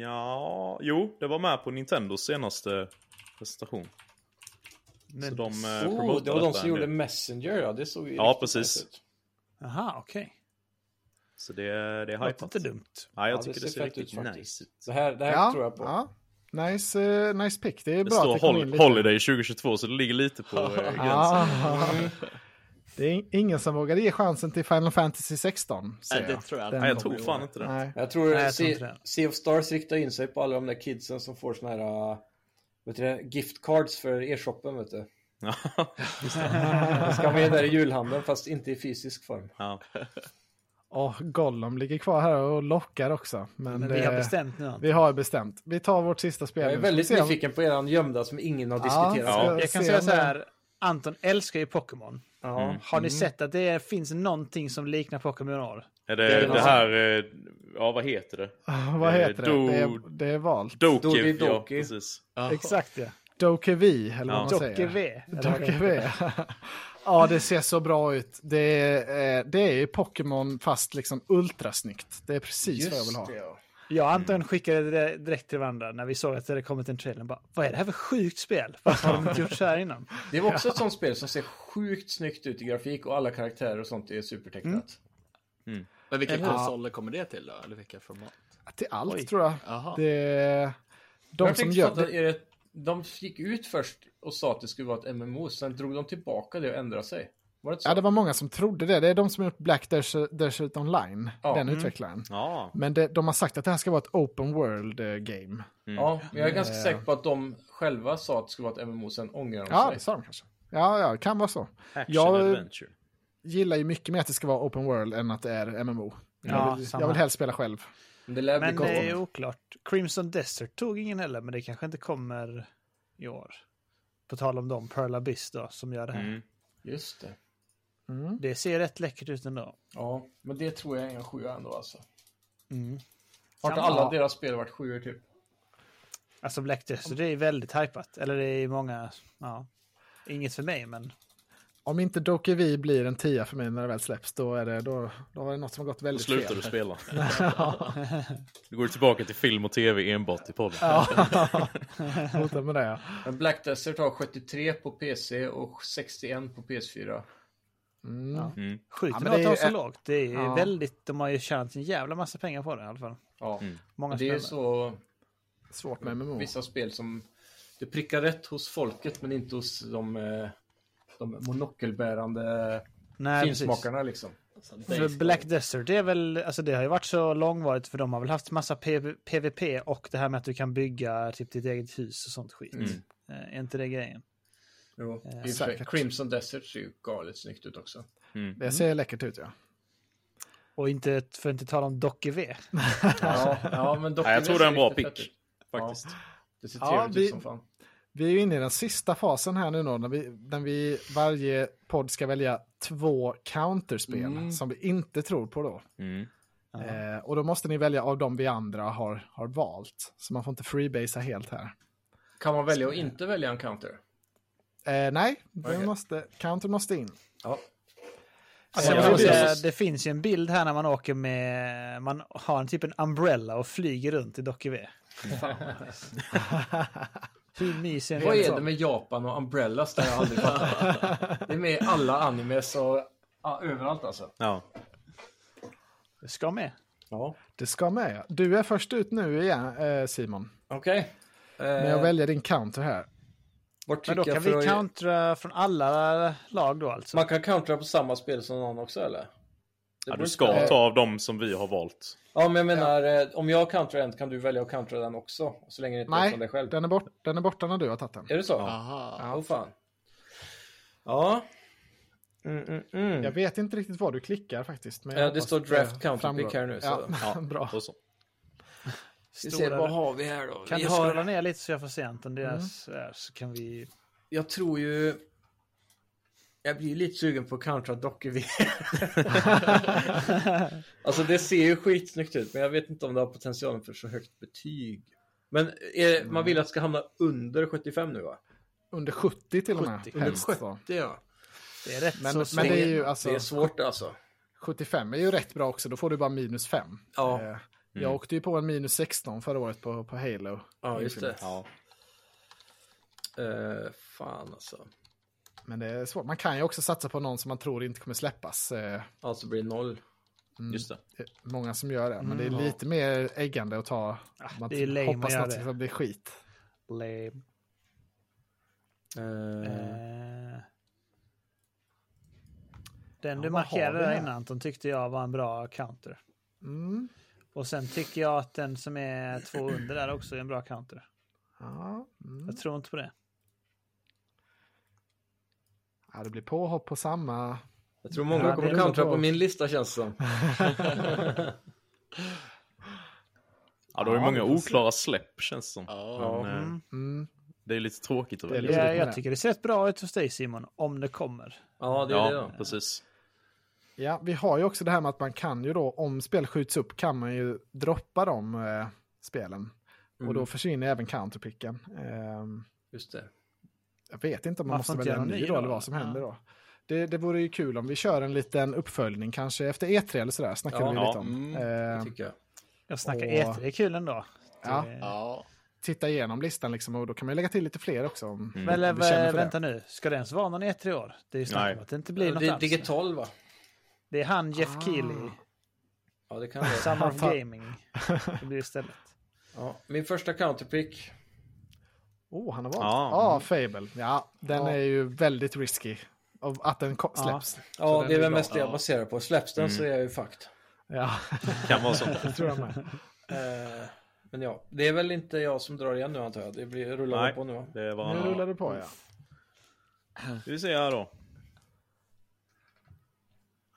[SPEAKER 7] ja, jo, det var med på Nintendos senaste presentation. Så de eh,
[SPEAKER 1] Oh,
[SPEAKER 7] promotade
[SPEAKER 1] det var de
[SPEAKER 7] detta
[SPEAKER 1] som
[SPEAKER 7] en
[SPEAKER 1] gjorde
[SPEAKER 7] del.
[SPEAKER 1] Messenger ja, det såg ju
[SPEAKER 7] Ja,
[SPEAKER 1] riktigt
[SPEAKER 7] precis.
[SPEAKER 1] nice ut.
[SPEAKER 2] Aha, okej.
[SPEAKER 7] Så det, det är
[SPEAKER 2] Låter
[SPEAKER 7] hypat.
[SPEAKER 2] inte dumt.
[SPEAKER 7] Ja, jag
[SPEAKER 1] Ja, det
[SPEAKER 7] tycker det
[SPEAKER 1] ser
[SPEAKER 7] ser
[SPEAKER 1] fett
[SPEAKER 7] riktigt
[SPEAKER 1] ut faktiskt.
[SPEAKER 7] nice ut.
[SPEAKER 1] Det här, det här
[SPEAKER 3] Ja,
[SPEAKER 1] tror jag på.
[SPEAKER 3] ja. Nice, eh, nice pick. Det är
[SPEAKER 7] Det
[SPEAKER 3] bra att
[SPEAKER 7] står
[SPEAKER 3] det kom
[SPEAKER 7] hol-
[SPEAKER 3] in lite.
[SPEAKER 7] Holiday 2022 så det ligger lite på eh, gränsen.
[SPEAKER 3] Ah. Det är in- ingen som vågar ge chansen till Final Fantasy 16. ser
[SPEAKER 4] Nej, det tror jag inte.
[SPEAKER 7] Nej, jag
[SPEAKER 3] kommer
[SPEAKER 7] tror fan
[SPEAKER 3] i år.
[SPEAKER 7] inte det.
[SPEAKER 3] Nej.
[SPEAKER 1] Jag tror,
[SPEAKER 2] Nej, jag tror
[SPEAKER 1] Se-
[SPEAKER 2] inte det.
[SPEAKER 1] Sea of Stars riktar in sig på alla de där kidsen som får såna här äh, vet du, det, gift cards för e-shoppen. Vet du. De ska vara där i julhandeln fast inte i fysisk form.
[SPEAKER 7] ja.
[SPEAKER 3] Och Gollum ligger kvar här och lockar också. Men,
[SPEAKER 2] Men vi har
[SPEAKER 3] eh,
[SPEAKER 2] bestämt nu.
[SPEAKER 3] Vi har bestämt. Vi tar vårt sista spel.
[SPEAKER 1] Jag är
[SPEAKER 3] nu.
[SPEAKER 1] väldigt
[SPEAKER 3] Ska vi se om-
[SPEAKER 1] nyfiken på eran gömda som ingen har
[SPEAKER 3] Ja,
[SPEAKER 1] diskuterat.
[SPEAKER 3] ska
[SPEAKER 2] Jag kan
[SPEAKER 3] se
[SPEAKER 2] säga
[SPEAKER 3] om
[SPEAKER 2] så
[SPEAKER 3] det-
[SPEAKER 2] här. Anton älskar ju Pokémon.
[SPEAKER 1] Ja.
[SPEAKER 2] Har ni sett att det finns någonting som liknar Pokémon år?
[SPEAKER 7] Är det, det,
[SPEAKER 1] någon som-
[SPEAKER 7] här, eh, ja vad heter det?
[SPEAKER 3] Ah, Vad
[SPEAKER 7] Eh,
[SPEAKER 3] heter det? Det
[SPEAKER 7] Do-
[SPEAKER 3] är, det är valt.
[SPEAKER 7] Doki,
[SPEAKER 1] Doki
[SPEAKER 7] ja
[SPEAKER 1] Doki.
[SPEAKER 7] precis.
[SPEAKER 2] Exakt ja.
[SPEAKER 3] Dokevi, eller
[SPEAKER 7] Ja.
[SPEAKER 3] vad man säger.
[SPEAKER 2] Dokev.
[SPEAKER 3] Dokevi. ja, det ser så bra ut. Det är, eh, det är ju Pokémon fast liksom ultrasnyggt. Det är precis vad jag vill ha.
[SPEAKER 2] Jag och Anton skickade det direkt till varandra när vi såg att det hade kommit en trailer. Bara, Vad är det här för sjukt spel? Varför har de inte gjort så här innan?
[SPEAKER 1] Det var också ett sånt spel som ser sjukt snyggt ut i grafik och alla karaktärer och sånt är supertecknat.
[SPEAKER 4] Men vilka
[SPEAKER 3] Eller-
[SPEAKER 4] konsoler kommer det till då? Eller vilka format?
[SPEAKER 3] Till allt
[SPEAKER 2] Oj.
[SPEAKER 3] tror jag.
[SPEAKER 4] Jaha.
[SPEAKER 3] Det, de
[SPEAKER 1] Jag
[SPEAKER 3] som
[SPEAKER 1] fick
[SPEAKER 3] gör
[SPEAKER 1] fatta,
[SPEAKER 3] det.
[SPEAKER 1] är det, de gick ut först och sa att det skulle vara ett MMO, sen drog de tillbaka det och ändrade sig. Var det inte så?
[SPEAKER 3] Ja, det var många som trodde det. Det är de som har gjort Black Desert, Desert Online,
[SPEAKER 1] Ja.
[SPEAKER 3] den
[SPEAKER 1] Mm.
[SPEAKER 3] utvecklaren.
[SPEAKER 7] Ja,
[SPEAKER 3] Men det, de har sagt att det här ska vara ett open world eh, game.
[SPEAKER 1] Ja, men jag är ganska säker på att de själva sa att det skulle vara ett MMO, sen ångrade de
[SPEAKER 3] Ja, det
[SPEAKER 1] sig.
[SPEAKER 3] sa de kanske. Ja, ja, det kan vara så.
[SPEAKER 7] action
[SPEAKER 3] Jag-
[SPEAKER 7] adventure.
[SPEAKER 3] Gillar ju mycket mer att det ska vara open world än att det är MMO.
[SPEAKER 2] Ja,
[SPEAKER 3] jag, vill,
[SPEAKER 2] samma.
[SPEAKER 3] jag vill helst spela själv.
[SPEAKER 1] Men det lär bli
[SPEAKER 2] Men eh,
[SPEAKER 1] gott.
[SPEAKER 2] det är oklart. Crimson Desert tog ingen heller, men det kanske inte kommer i år. På tal om dem, Pearl Abyss då, som gör det här.
[SPEAKER 7] Mm.
[SPEAKER 1] Just det.
[SPEAKER 2] Det ser rätt läckert ut ändå.
[SPEAKER 1] Ja, men det tror jag är en sjua ändå alltså.
[SPEAKER 2] Mm.
[SPEAKER 1] Har inte
[SPEAKER 2] Samma.
[SPEAKER 1] alla deras spel varit sjuor typ?
[SPEAKER 2] Alltså Black Desert, det är väldigt hypat. Eller det är många, ja. Inget för mig, men
[SPEAKER 3] Om inte Dokevi blir en tia för mig när det väl släpps, då är det, då, då är det något som har gått
[SPEAKER 7] Då
[SPEAKER 3] väldigt
[SPEAKER 7] slutar
[SPEAKER 3] fel.
[SPEAKER 7] du spela. Du går tillbaka till film och tv enbart i podden.
[SPEAKER 3] Sluta med det. ja.
[SPEAKER 1] Men Black Desert har 73 på PC och 61 på PS4.
[SPEAKER 3] Mm.
[SPEAKER 2] sjukt
[SPEAKER 3] Ja, men
[SPEAKER 2] ändå
[SPEAKER 3] det
[SPEAKER 2] att de
[SPEAKER 3] är
[SPEAKER 2] har
[SPEAKER 3] ju
[SPEAKER 2] så
[SPEAKER 3] ett-
[SPEAKER 2] lågt. Det är
[SPEAKER 3] Ja.
[SPEAKER 2] väldigt, de har ju tjänat en jävla massa pengar på det i alla fall.
[SPEAKER 1] Ja,
[SPEAKER 2] Många
[SPEAKER 1] det är
[SPEAKER 2] spelare.
[SPEAKER 1] så
[SPEAKER 3] Svårt med MMO.
[SPEAKER 1] vissa spel som det prickar rätt hos folket men inte hos de, eh, de monokelbärande
[SPEAKER 2] Nej, precis.
[SPEAKER 1] finsmakarna liksom.
[SPEAKER 2] För Black Desert, det är väl, alltså det har ju varit så långvarigt för de har väl haft massa PV PVP och det här med att du kan bygga typ ditt eget hus och sånt skit. Eh, Är inte det grejen?
[SPEAKER 1] Jo, i och för sig.
[SPEAKER 3] säkert.
[SPEAKER 1] Crimson Desert ser ju galet snyggt ut också.
[SPEAKER 7] Mm.
[SPEAKER 3] Det ser läckert ut, ja.
[SPEAKER 2] Och inte, för att inte tala om Dock E V.
[SPEAKER 1] Ja, ja, men dock,
[SPEAKER 7] Nej, jag tror det är en bra
[SPEAKER 1] ser riktigt
[SPEAKER 7] pick.
[SPEAKER 1] fett ut.
[SPEAKER 7] Faktiskt.
[SPEAKER 1] Det ser
[SPEAKER 3] Ja,
[SPEAKER 1] trevligt
[SPEAKER 3] vi-
[SPEAKER 1] ut som fan.
[SPEAKER 3] Vi är ju inne i den sista fasen här nu då, när vi, när vi varje podd ska välja två counterspel som vi inte tror på då.
[SPEAKER 7] Mm.
[SPEAKER 3] Eh, och då måste ni välja av de vi andra har, har valt. Så man får inte freebasea helt här.
[SPEAKER 1] Kan man välja att inte välja en counter?
[SPEAKER 3] Eh, nej, den
[SPEAKER 1] Okej.
[SPEAKER 3] måste, counter måste in.
[SPEAKER 1] Ja.
[SPEAKER 2] Alltså,
[SPEAKER 8] Ja,
[SPEAKER 2] jag måste
[SPEAKER 8] precis.
[SPEAKER 2] säga, det finns ju en bild här när man åker med, man har en typ en umbrella och flyger runt i E Dockered. Fan vad nice. Hur mysig är en
[SPEAKER 1] Vad
[SPEAKER 2] sån?
[SPEAKER 1] är det med Japan och umbrellas där jag aldrig fattat? Det är med i alla animes och ja, överallt alltså.
[SPEAKER 7] Ja.
[SPEAKER 2] Det ska med.
[SPEAKER 3] Det ska med. ja. Du är först ut nu igen, eh, Simon.
[SPEAKER 1] Okej.
[SPEAKER 3] Men
[SPEAKER 1] Eh,
[SPEAKER 3] jag väljer din counter här.
[SPEAKER 1] Vart
[SPEAKER 2] Men då
[SPEAKER 1] tycker
[SPEAKER 2] kan
[SPEAKER 1] jag
[SPEAKER 2] vi
[SPEAKER 1] för att...
[SPEAKER 2] countera från alla lag då alltså.
[SPEAKER 1] Man kan countera på samma spel som någon också eller? Det
[SPEAKER 7] ja, du
[SPEAKER 1] borde
[SPEAKER 7] ska
[SPEAKER 1] inte-
[SPEAKER 7] ta av dem som vi har valt.
[SPEAKER 1] Ja, men jag menar, eh, om jag countrar en kan du välja att countera den också. Så länge det inte är
[SPEAKER 3] Nej,
[SPEAKER 1] från dig själv.
[SPEAKER 3] den är, bort, den är borta när du har tagit den.
[SPEAKER 1] Är det så? Ja.
[SPEAKER 4] Aha.
[SPEAKER 1] Åh fan. Ja. Mm, mm, mm.
[SPEAKER 3] Jag vet inte riktigt vad du klickar faktiskt. Men
[SPEAKER 1] Eh,
[SPEAKER 3] jag
[SPEAKER 1] det
[SPEAKER 3] hoppas
[SPEAKER 1] står
[SPEAKER 3] att
[SPEAKER 1] draft
[SPEAKER 3] det
[SPEAKER 1] counterpick
[SPEAKER 3] framgår.
[SPEAKER 1] här nu, så-
[SPEAKER 3] Ja,
[SPEAKER 7] Ja.
[SPEAKER 3] bra.
[SPEAKER 7] Och så.
[SPEAKER 1] Vi
[SPEAKER 2] Stora
[SPEAKER 1] ser, vad
[SPEAKER 2] där.
[SPEAKER 1] har vi här då?
[SPEAKER 2] Kan
[SPEAKER 1] vi
[SPEAKER 2] du
[SPEAKER 1] har... Mm.
[SPEAKER 2] scrolla ner lite så jag får se Anton deras här, så kan vi...
[SPEAKER 1] Jag tror ju... Jag blir lite sugen på att countera dockor vi. alltså det ser ju skitsnyggt ut, men jag vet inte om det har potentialen för så högt betyg. Men är, man vill att det ska hamna under 75 nu va?
[SPEAKER 3] Under 70 till och med.
[SPEAKER 2] 70.
[SPEAKER 1] Under
[SPEAKER 3] helst, va?
[SPEAKER 1] 70 ja.
[SPEAKER 2] Det är rätt
[SPEAKER 3] Men,
[SPEAKER 2] så
[SPEAKER 3] men det är
[SPEAKER 2] svårt.
[SPEAKER 3] ju alltså,
[SPEAKER 1] Det är svårt alltså.
[SPEAKER 3] 75 är ju rätt bra också. Då får du bara minus 5.
[SPEAKER 1] Ja. Mm.
[SPEAKER 3] Eh, jag åkte ju på en minus 16 förra året på, på Halo.
[SPEAKER 1] Ja, just det.
[SPEAKER 7] Ja.
[SPEAKER 1] Eh, fan alltså.
[SPEAKER 3] Men det är svårt. Man kan ju också satsa på någon som man tror inte kommer släppas. Eh,
[SPEAKER 1] Alltså blir det noll.
[SPEAKER 7] Just det.
[SPEAKER 3] det är många som gör det. Men det är lite mer äggande att ta. Man
[SPEAKER 2] Mm. Ah, det är lame att
[SPEAKER 3] hoppas
[SPEAKER 2] göra
[SPEAKER 3] något
[SPEAKER 2] det.
[SPEAKER 3] ska bli skit.
[SPEAKER 2] Lame.
[SPEAKER 3] Mm.
[SPEAKER 2] Eh, Den du
[SPEAKER 3] vad har
[SPEAKER 2] markerade
[SPEAKER 3] vi
[SPEAKER 2] där
[SPEAKER 3] här?
[SPEAKER 2] innan Anton tyckte jag var en bra counter.
[SPEAKER 3] Mm.
[SPEAKER 2] Och sen tycker jag att den som är två under där också är en bra counter.
[SPEAKER 3] Ja. Mm.
[SPEAKER 2] Jag tror inte på det.
[SPEAKER 3] ja, det blir påhopp på samma.
[SPEAKER 1] Jag tror
[SPEAKER 3] Ja,
[SPEAKER 1] många
[SPEAKER 3] det
[SPEAKER 1] kommer
[SPEAKER 3] beror
[SPEAKER 1] kantra
[SPEAKER 3] på.
[SPEAKER 1] på min lista känns det som.
[SPEAKER 7] Ja, det var ju
[SPEAKER 3] Ja,
[SPEAKER 7] många
[SPEAKER 3] vi får se.
[SPEAKER 7] oklara släpp känns det som.
[SPEAKER 4] Ja.
[SPEAKER 7] Men, eh,
[SPEAKER 2] Mm.
[SPEAKER 3] Mm.
[SPEAKER 7] Det är lite tråkigt att
[SPEAKER 3] Det är
[SPEAKER 7] välja.
[SPEAKER 3] lite-
[SPEAKER 2] Jag,
[SPEAKER 3] på
[SPEAKER 2] jag
[SPEAKER 3] det.
[SPEAKER 2] tycker det ser rätt bra ut hos dig Simon, om det kommer.
[SPEAKER 1] Ja, det är det
[SPEAKER 7] Ja,
[SPEAKER 1] då.
[SPEAKER 7] precis.
[SPEAKER 3] Ja, vi har ju också det här med att man kan ju då, om spel skjuts upp kan man ju droppa de eh, spelen. Och
[SPEAKER 2] Mm.
[SPEAKER 3] då försvinner även counterpicken. Ehm,
[SPEAKER 1] Just det.
[SPEAKER 3] jag vet inte om man,
[SPEAKER 2] Man
[SPEAKER 3] måste
[SPEAKER 2] får inte
[SPEAKER 3] välja
[SPEAKER 2] göra
[SPEAKER 3] en
[SPEAKER 2] någon
[SPEAKER 3] ny
[SPEAKER 2] ny
[SPEAKER 3] då,
[SPEAKER 2] då,
[SPEAKER 3] eller vad som
[SPEAKER 2] ja.
[SPEAKER 3] händer då. Det, det vore ju kul om vi kör en liten uppföljning kanske efter E3 eller sådär, snackar
[SPEAKER 1] Ja,
[SPEAKER 3] vi
[SPEAKER 7] ja.
[SPEAKER 3] lite om.
[SPEAKER 4] Mm.
[SPEAKER 1] Det
[SPEAKER 3] Ehm,
[SPEAKER 1] tycker jag.
[SPEAKER 2] Jag snackar
[SPEAKER 3] Åh.
[SPEAKER 2] E3, det är kul ändå.
[SPEAKER 3] Ja.
[SPEAKER 2] Det-
[SPEAKER 4] Ja.
[SPEAKER 3] titta igenom listan liksom och då kan man ju lägga till lite fler också. Om,
[SPEAKER 7] Mm.
[SPEAKER 2] Men
[SPEAKER 3] om vi känner
[SPEAKER 2] eh,
[SPEAKER 3] för
[SPEAKER 2] vänta nu, ska det ens vara någon E3 i år? Det är ju snack
[SPEAKER 7] Nej.
[SPEAKER 2] om att det inte blir något
[SPEAKER 1] det är
[SPEAKER 2] alls.
[SPEAKER 1] digital va?
[SPEAKER 2] Det är han Jeff
[SPEAKER 3] Ah.
[SPEAKER 2] Keely,
[SPEAKER 1] Ja, det kan det vara.
[SPEAKER 2] Summer
[SPEAKER 3] Han
[SPEAKER 2] of
[SPEAKER 3] tar-
[SPEAKER 2] Gaming. Det blir istället.
[SPEAKER 1] ja. Min första counterpick.
[SPEAKER 3] Åh, oh, han har valt. Ja,
[SPEAKER 7] Ja.
[SPEAKER 3] Fable. Ja, den
[SPEAKER 1] Ja.
[SPEAKER 3] är ju väldigt risky. Av att den ko-
[SPEAKER 2] Ja.
[SPEAKER 3] släpps.
[SPEAKER 1] Ja,
[SPEAKER 3] den
[SPEAKER 1] det är
[SPEAKER 3] är
[SPEAKER 1] väl
[SPEAKER 3] bra.
[SPEAKER 1] mest det jag
[SPEAKER 4] Ja.
[SPEAKER 1] baserar på. Släpps den
[SPEAKER 7] Mm.
[SPEAKER 1] så är jag ju fucked.
[SPEAKER 3] Ja,
[SPEAKER 7] Kan vara sånt.
[SPEAKER 3] det tror jag med.
[SPEAKER 1] Eh, men ja, det är väl inte jag som drar igen nu antar jag. Det blir, rullar
[SPEAKER 7] Nej.
[SPEAKER 1] på nu va?
[SPEAKER 7] Det var
[SPEAKER 3] Nu Mm. rullar det på ja.
[SPEAKER 7] Ska vi se här då.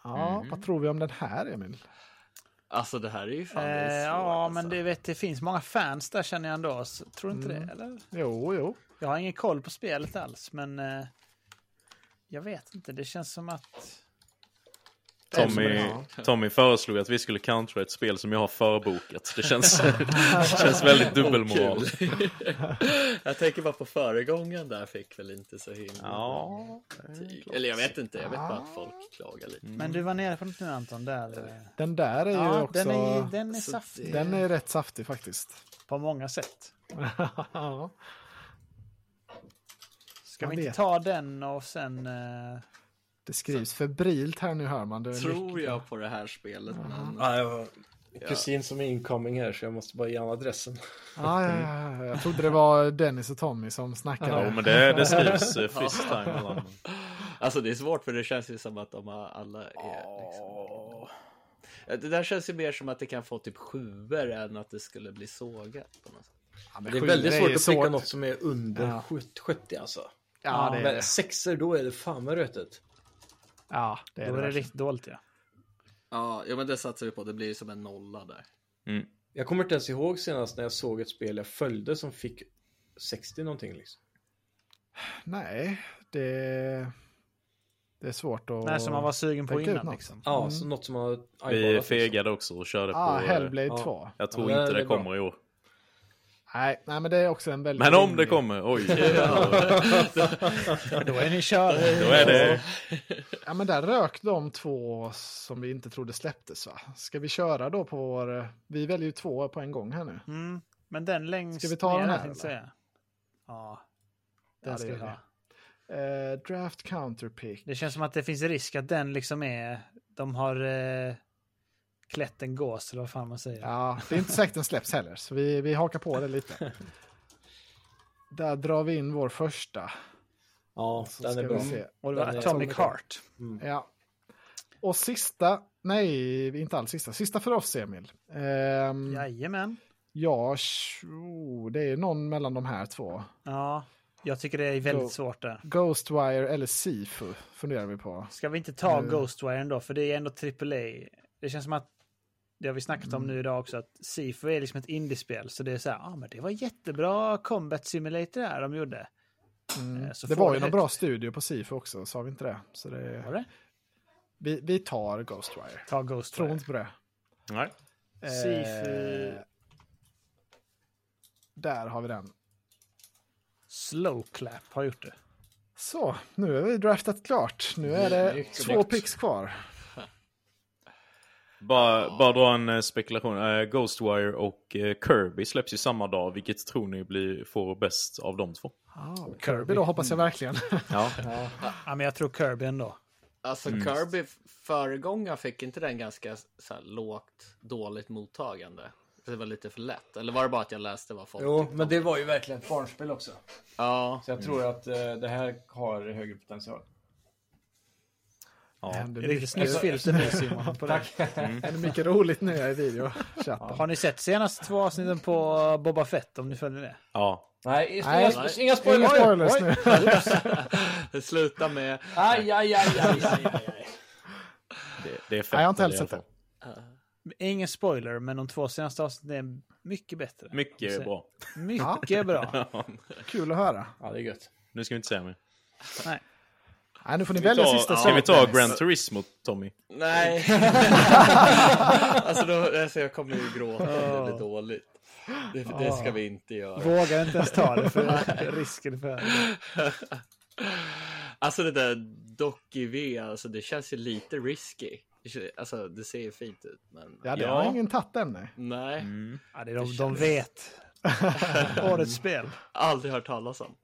[SPEAKER 3] Ja,
[SPEAKER 2] Mm.
[SPEAKER 3] vad tror vi om den här Emil?
[SPEAKER 4] Alltså det här är ju fan det
[SPEAKER 2] Eh,
[SPEAKER 4] är svårt,
[SPEAKER 2] ja,
[SPEAKER 4] alltså. Mm.
[SPEAKER 2] men det, vet, det finns många fans där känner jag ändå. Så, tror du inte det? Eller?
[SPEAKER 3] Jo, jo.
[SPEAKER 2] Jag har ingen koll på spelet alls, men eh, jag vet inte. Det känns som att...
[SPEAKER 7] Tommy, Tommy föreslog att vi skulle countera ett spel som jag har förbokat. Det känns, det känns väldigt dubbelmoral.
[SPEAKER 4] Kul. jag tänker bara på föregången där fick väl inte så himla
[SPEAKER 7] Ja,
[SPEAKER 4] betyg. Eller jag vet inte, jag vet bara att folk klagar lite.
[SPEAKER 2] Men du var nere på något nu Anton. Där. eh,
[SPEAKER 3] Den där är ju
[SPEAKER 2] Ja,
[SPEAKER 3] också...
[SPEAKER 2] den är, den är saftig
[SPEAKER 3] den är rätt saftig faktiskt.
[SPEAKER 2] på många sätt.
[SPEAKER 3] ja.
[SPEAKER 2] Ska
[SPEAKER 3] Man
[SPEAKER 2] vi inte
[SPEAKER 3] vet.
[SPEAKER 2] ta den och sen... eh,
[SPEAKER 3] Det skrivs febrilt här nu hör man. Det är
[SPEAKER 4] Tror jag på det här spelet, men
[SPEAKER 1] Ja, jag har en kusin som är incoming här så jag måste bara ge honom adressen.
[SPEAKER 3] Ja, ja, ja, ja. Jag trodde det var Dennis och Tommy som snackade.
[SPEAKER 7] jo, men det, det skrivs eh, friskt här emellan.
[SPEAKER 4] alltså det är svårt för det känns ju som att de har- alla är liksom... Det där känns ju mer som att det kan få typ sjuor än att det skulle bli sågat. På något sätt.
[SPEAKER 3] Ja, men
[SPEAKER 1] Det är
[SPEAKER 3] sju,
[SPEAKER 1] väldigt
[SPEAKER 3] ju
[SPEAKER 1] svårt att pricka
[SPEAKER 3] svårt.
[SPEAKER 1] något som är under
[SPEAKER 3] Ja.
[SPEAKER 1] 70 alltså.
[SPEAKER 3] Ja, det är
[SPEAKER 1] Men
[SPEAKER 3] det.
[SPEAKER 1] sexer, då är det fan med rötet.
[SPEAKER 3] Ja, det är
[SPEAKER 2] Då är
[SPEAKER 3] det.
[SPEAKER 2] det
[SPEAKER 3] verkligen.
[SPEAKER 2] riktigt dåligt ja.
[SPEAKER 4] Ja, ja, men det satsar vi på. Det blir ju som en nolla där.
[SPEAKER 1] Jag kommer inte ens ihåg senast när jag såg ett spel jag följde som fick 60 någonting liksom.
[SPEAKER 3] Nej, det, det är svårt att...
[SPEAKER 2] Nej, som man var sugen på
[SPEAKER 3] tänka ut
[SPEAKER 2] innan
[SPEAKER 3] något.
[SPEAKER 2] liksom.
[SPEAKER 1] Ja, så något som har eyeballat,
[SPEAKER 7] Vi
[SPEAKER 1] liksom.
[SPEAKER 7] fegade också och körde på...
[SPEAKER 3] Ja, ah,
[SPEAKER 7] eh,
[SPEAKER 3] Hellblade
[SPEAKER 1] Ja.
[SPEAKER 3] 2.
[SPEAKER 7] Jag tror
[SPEAKER 1] Ja,
[SPEAKER 7] inte
[SPEAKER 1] det
[SPEAKER 7] det
[SPEAKER 1] är bra.
[SPEAKER 7] kommer i år.
[SPEAKER 3] Nej, nej, men det är också en väldigt...
[SPEAKER 7] Men om det
[SPEAKER 3] rimlig-
[SPEAKER 7] kommer, oj.
[SPEAKER 2] Då är ni körda.
[SPEAKER 7] Då är det...
[SPEAKER 3] Ja, men där rök de två som vi inte trodde släpptes, va? Ska vi köra då på vår... Vi väljer ju två på en gång här nu.
[SPEAKER 2] Mm. Men den längst
[SPEAKER 3] Ska vi ta
[SPEAKER 2] ner
[SPEAKER 3] den här,
[SPEAKER 2] tänkte jag
[SPEAKER 3] eller?
[SPEAKER 2] säga. Ja,
[SPEAKER 3] Ja,
[SPEAKER 2] den
[SPEAKER 3] det
[SPEAKER 2] ska
[SPEAKER 3] gör
[SPEAKER 2] vi
[SPEAKER 3] vi.
[SPEAKER 2] ha.
[SPEAKER 3] Eh, draft counterpick.
[SPEAKER 2] Det känns som att det finns risk att den liksom är... De har eh, klätt en gås eller vad fan man säger.
[SPEAKER 3] Ja, det är inte säkert den släpps heller, så vi, vi hakar på det lite. Där drar vi in vår första.
[SPEAKER 1] Ja,
[SPEAKER 3] Så
[SPEAKER 1] den
[SPEAKER 3] ska
[SPEAKER 1] är
[SPEAKER 3] vi
[SPEAKER 1] bra.
[SPEAKER 3] se.
[SPEAKER 2] Och det var
[SPEAKER 1] den är-
[SPEAKER 2] Atomic Heart.
[SPEAKER 3] Ja. Och sista, nej, inte alls sista. Sista för oss, Emil.
[SPEAKER 2] Mm.
[SPEAKER 3] Ehm,
[SPEAKER 2] Jajamän.
[SPEAKER 3] ja, tjo, det är någon mellan de här två.
[SPEAKER 2] Ja, jag tycker det är väldigt
[SPEAKER 3] Go.
[SPEAKER 2] svårt där.
[SPEAKER 3] Ghostwire eller Sifu funderar vi på.
[SPEAKER 2] Ska vi inte ta
[SPEAKER 3] Eh.
[SPEAKER 2] Ghostwire ändå? För det är ändå AAA. Det känns som att, det har vi snackat
[SPEAKER 3] Mm.
[SPEAKER 2] om nu idag också, att Sifu är liksom ett indiespel. Så det är så här, ja ah, men det var jättebra combat simulator där de gjorde. Eh, så
[SPEAKER 3] Mm. det var ju
[SPEAKER 2] får det
[SPEAKER 3] någon
[SPEAKER 2] högt.
[SPEAKER 3] bra studio på Sifu också, sa vi inte det? Så
[SPEAKER 2] Var
[SPEAKER 3] det
[SPEAKER 2] det?
[SPEAKER 3] vi, vi tar Ghostwire.
[SPEAKER 2] Ta
[SPEAKER 3] Tror
[SPEAKER 2] Ghostwire.
[SPEAKER 3] inte på det.
[SPEAKER 7] Nej.
[SPEAKER 2] Sifu
[SPEAKER 3] Eh, där har vi den.
[SPEAKER 2] Slow Clap har gjort det.
[SPEAKER 3] Så, nu är vi draftat klart. Nu är det
[SPEAKER 9] Mycket
[SPEAKER 3] två
[SPEAKER 9] snyggt.
[SPEAKER 3] picks kvar.
[SPEAKER 7] Bara, bara dra en eh, spekulation. Eh, Ghostwire och eh, Kirby släpps ju samma dag. Vilket tror ni blir, får bäst av de två?
[SPEAKER 3] Ah, Kirby då hoppas jag verkligen.
[SPEAKER 7] Ja.
[SPEAKER 2] Ja, men jag tror Kirby ändå.
[SPEAKER 4] Alltså Kirby f- föregångaren fick inte den ganska så här, lågt, dåligt mottagande? Det var lite för lätt. Eller var det bara att jag läste vad folk...
[SPEAKER 1] Jo, men det var ju verkligen ett barnspel också.
[SPEAKER 4] Ja,
[SPEAKER 3] Mm.
[SPEAKER 9] Så jag tror att eh, det här har högre potential.
[SPEAKER 7] Ja.
[SPEAKER 3] Händer
[SPEAKER 2] Det är riktigt snyggt
[SPEAKER 3] mycket,
[SPEAKER 2] filter nu Simon. På det.
[SPEAKER 3] händer mycket roligt nu här i videochatten.
[SPEAKER 2] Har ni sett senaste två avsnitten på Boba Fett om ni följer det?
[SPEAKER 7] ja.
[SPEAKER 1] Nej, inga,
[SPEAKER 3] Nej.
[SPEAKER 1] inga spoilers!
[SPEAKER 3] Inga spoilers
[SPEAKER 1] Oj.
[SPEAKER 3] nu.
[SPEAKER 4] det slutar med...
[SPEAKER 1] Aj, aj, aj, aj, aj, aj.
[SPEAKER 7] Det, det är fett.
[SPEAKER 3] Nej, jag har inte
[SPEAKER 7] i
[SPEAKER 3] heller
[SPEAKER 7] alla
[SPEAKER 3] sett
[SPEAKER 7] fall.
[SPEAKER 3] det.
[SPEAKER 2] Ingen spoiler, men de två senaste avsnitten är mycket bättre.
[SPEAKER 7] Mycket bra.
[SPEAKER 2] Mycket bra.
[SPEAKER 3] Kul att höra.
[SPEAKER 1] Ja, det är gött.
[SPEAKER 7] Nu ska vi inte säga mer.
[SPEAKER 2] Nej.
[SPEAKER 3] Nej, nu får ni
[SPEAKER 7] Ska vi
[SPEAKER 3] välja
[SPEAKER 7] ta-
[SPEAKER 3] sista
[SPEAKER 7] Ska vi ta
[SPEAKER 3] sak.
[SPEAKER 7] Gran Turismo, Tommy?
[SPEAKER 4] Nej! alltså, då, alltså jag kommer ju gråta om det blir dåligt. Det, det ska vi inte göra.
[SPEAKER 2] Vågar inte ens ta det för risken för...
[SPEAKER 4] Alltså det där Docky V, alltså det känns ju lite risky. Det kän- Alltså det ser ju fint ut, men
[SPEAKER 3] Ja, det
[SPEAKER 7] Ja. Mm.
[SPEAKER 3] har ingen tagit än. nej.
[SPEAKER 4] nej.
[SPEAKER 2] Ja, det är de, de vet. Årets spel.
[SPEAKER 4] Aldrig hört talas om.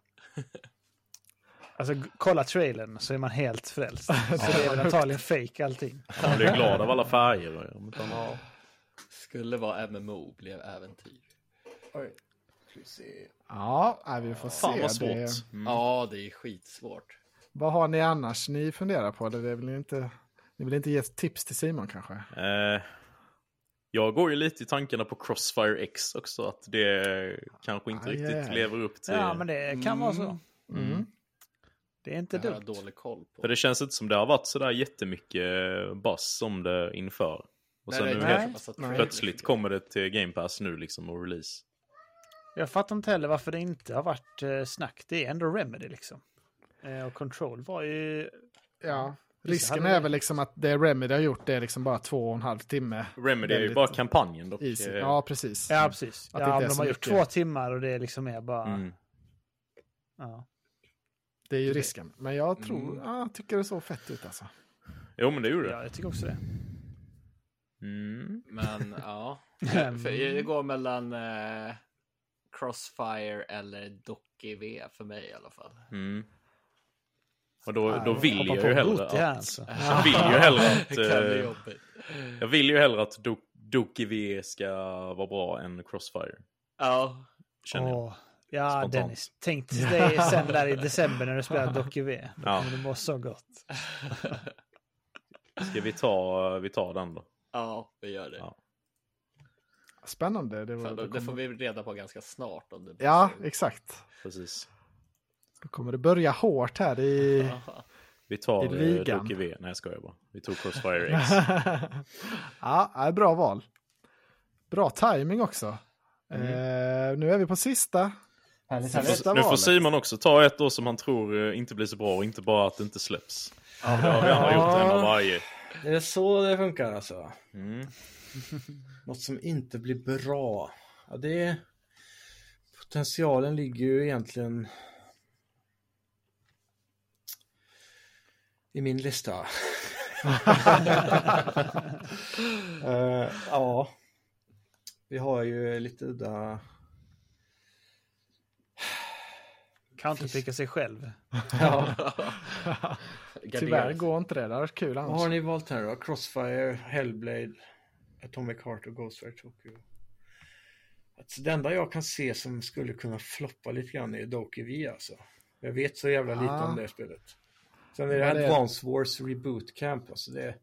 [SPEAKER 2] Alltså, g- kolla trailern så är man helt frälst. Så det är väl antagligen fake allting.
[SPEAKER 7] Man blir glad av alla färger. Om inte annat.
[SPEAKER 4] Skulle vara MMO, blev äventyr.
[SPEAKER 1] Oj. Ska vi se.
[SPEAKER 3] Ja, nej, vi får se.
[SPEAKER 7] Fan vad svårt.
[SPEAKER 3] Det,
[SPEAKER 4] Ja, det är skitsvårt.
[SPEAKER 3] vad har ni annars ni funderar på? Det vill ni, inte, ni vill inte ge tips till Simon kanske?
[SPEAKER 7] Eh, jag går ju lite i tankarna på Crossfire X också. Att det kanske inte
[SPEAKER 3] Aj,
[SPEAKER 7] riktigt
[SPEAKER 3] aj, aj.
[SPEAKER 7] lever upp till...
[SPEAKER 2] Ja, men det kan vara så.
[SPEAKER 3] Mm.
[SPEAKER 2] Det är inte
[SPEAKER 4] Det har jag
[SPEAKER 2] dumt.
[SPEAKER 4] dålig koll på.
[SPEAKER 7] För det känns inte som det har varit sådär jättemycket buzz om det inför. Och sen
[SPEAKER 4] Nej, det
[SPEAKER 7] nu
[SPEAKER 4] är kanske
[SPEAKER 7] helt
[SPEAKER 4] massa
[SPEAKER 3] Nej.
[SPEAKER 4] trailers.
[SPEAKER 7] plötsligt kommer det till Game Pass nu liksom och release.
[SPEAKER 2] Jag fattar inte heller varför det inte har varit eh, snack. Det är ändå Remedy liksom. Eh, Och Control var ju...
[SPEAKER 3] Ja.
[SPEAKER 2] Visst,
[SPEAKER 3] Risken
[SPEAKER 2] hade-
[SPEAKER 3] är väl liksom att det Remedy har gjort det är liksom bara två och en halv timme.
[SPEAKER 7] Remedy är ju
[SPEAKER 3] Väldigt
[SPEAKER 7] bara kampanjen dock.
[SPEAKER 3] i sig.
[SPEAKER 7] Eh,
[SPEAKER 3] Ja, precis.
[SPEAKER 2] Ja, precis.
[SPEAKER 3] Att det
[SPEAKER 2] ja,
[SPEAKER 3] inte är
[SPEAKER 2] men de
[SPEAKER 3] så
[SPEAKER 2] har gjort
[SPEAKER 3] mycket.
[SPEAKER 2] två timmar och det är liksom är bara...
[SPEAKER 7] Mm.
[SPEAKER 2] Ja.
[SPEAKER 3] Det är ju risken. Men jag tror, ja, jag tycker det såg fett ut alltså.
[SPEAKER 7] Jo men det gjorde det.
[SPEAKER 2] ja, jag tycker också det.
[SPEAKER 7] Mm.
[SPEAKER 4] Men ja, för det går mellan eh, Crossfire eller Docky V för mig i alla fall.
[SPEAKER 7] Mm. Och då, då
[SPEAKER 3] jag
[SPEAKER 7] vill jag
[SPEAKER 2] Hoppa
[SPEAKER 7] ju
[SPEAKER 2] på
[SPEAKER 7] hellre
[SPEAKER 2] Booty här
[SPEAKER 7] att... Äh,
[SPEAKER 2] alltså.
[SPEAKER 7] Jag vill ju hellre att...
[SPEAKER 4] Det kan bli
[SPEAKER 7] eh,
[SPEAKER 4] jobbigt.
[SPEAKER 7] jag vill ju hellre att Do- Doki V ska vara bra än Crossfire.
[SPEAKER 4] Ja,
[SPEAKER 7] Känner jag.
[SPEAKER 2] Åh, Ja,
[SPEAKER 7] Spontant.
[SPEAKER 2] Dennis. Tänk till dig sen där i december när du spelar Docky V. Då
[SPEAKER 7] Ja.
[SPEAKER 2] kommer det vara så gott.
[SPEAKER 7] Ska vi ta, vi tar den då?
[SPEAKER 4] ja, vi gör det.
[SPEAKER 7] Ja.
[SPEAKER 3] Spännande. Det, var,
[SPEAKER 4] Fan,
[SPEAKER 3] då
[SPEAKER 4] det, det
[SPEAKER 3] kommer,
[SPEAKER 4] får vi reda på ganska snart om det blir
[SPEAKER 3] Ja,
[SPEAKER 4] så.
[SPEAKER 3] exakt.
[SPEAKER 7] Precis.
[SPEAKER 3] Då kommer det börja hårt här i...
[SPEAKER 7] Vi
[SPEAKER 3] I
[SPEAKER 7] tar eh,
[SPEAKER 3] ligan.
[SPEAKER 7] Doki V. Nej jag skojar bara. Vi tog Crossfire X.
[SPEAKER 3] ja, ja, bra val. Bra timing också. Eh, nu är vi på sista.
[SPEAKER 9] Härligt,
[SPEAKER 3] härligt.
[SPEAKER 9] härligt.
[SPEAKER 3] Sista
[SPEAKER 7] Nu får
[SPEAKER 3] valet.
[SPEAKER 7] Simon också ta ett år som han tror eh, inte blir så bra och inte bara att det inte släpps. För Det har vi alla gjort en av varje.
[SPEAKER 1] Det är så det funkar alltså.
[SPEAKER 7] Mm.
[SPEAKER 1] Något som inte blir bra. Ja, det... Potentialen ligger ju egentligen i min lista. Eh, ja, vi har ju lite udda...
[SPEAKER 2] Kan inte picka sig själv.
[SPEAKER 3] Tyvärr går inte det. Det är kul
[SPEAKER 1] Vad har
[SPEAKER 3] annars.
[SPEAKER 1] ni valt här då? Crossfire, Hellblade, Atomic Heart och Ghostwire Tokyo. Alltså, det enda jag kan se som skulle kunna floppa lite grann är Doki V alltså. Jag vet så jävla lite
[SPEAKER 3] Ah.
[SPEAKER 1] om det spelet. Sen är det
[SPEAKER 3] Vad är det?
[SPEAKER 1] Advance Wars Reboot Camp. Alltså det är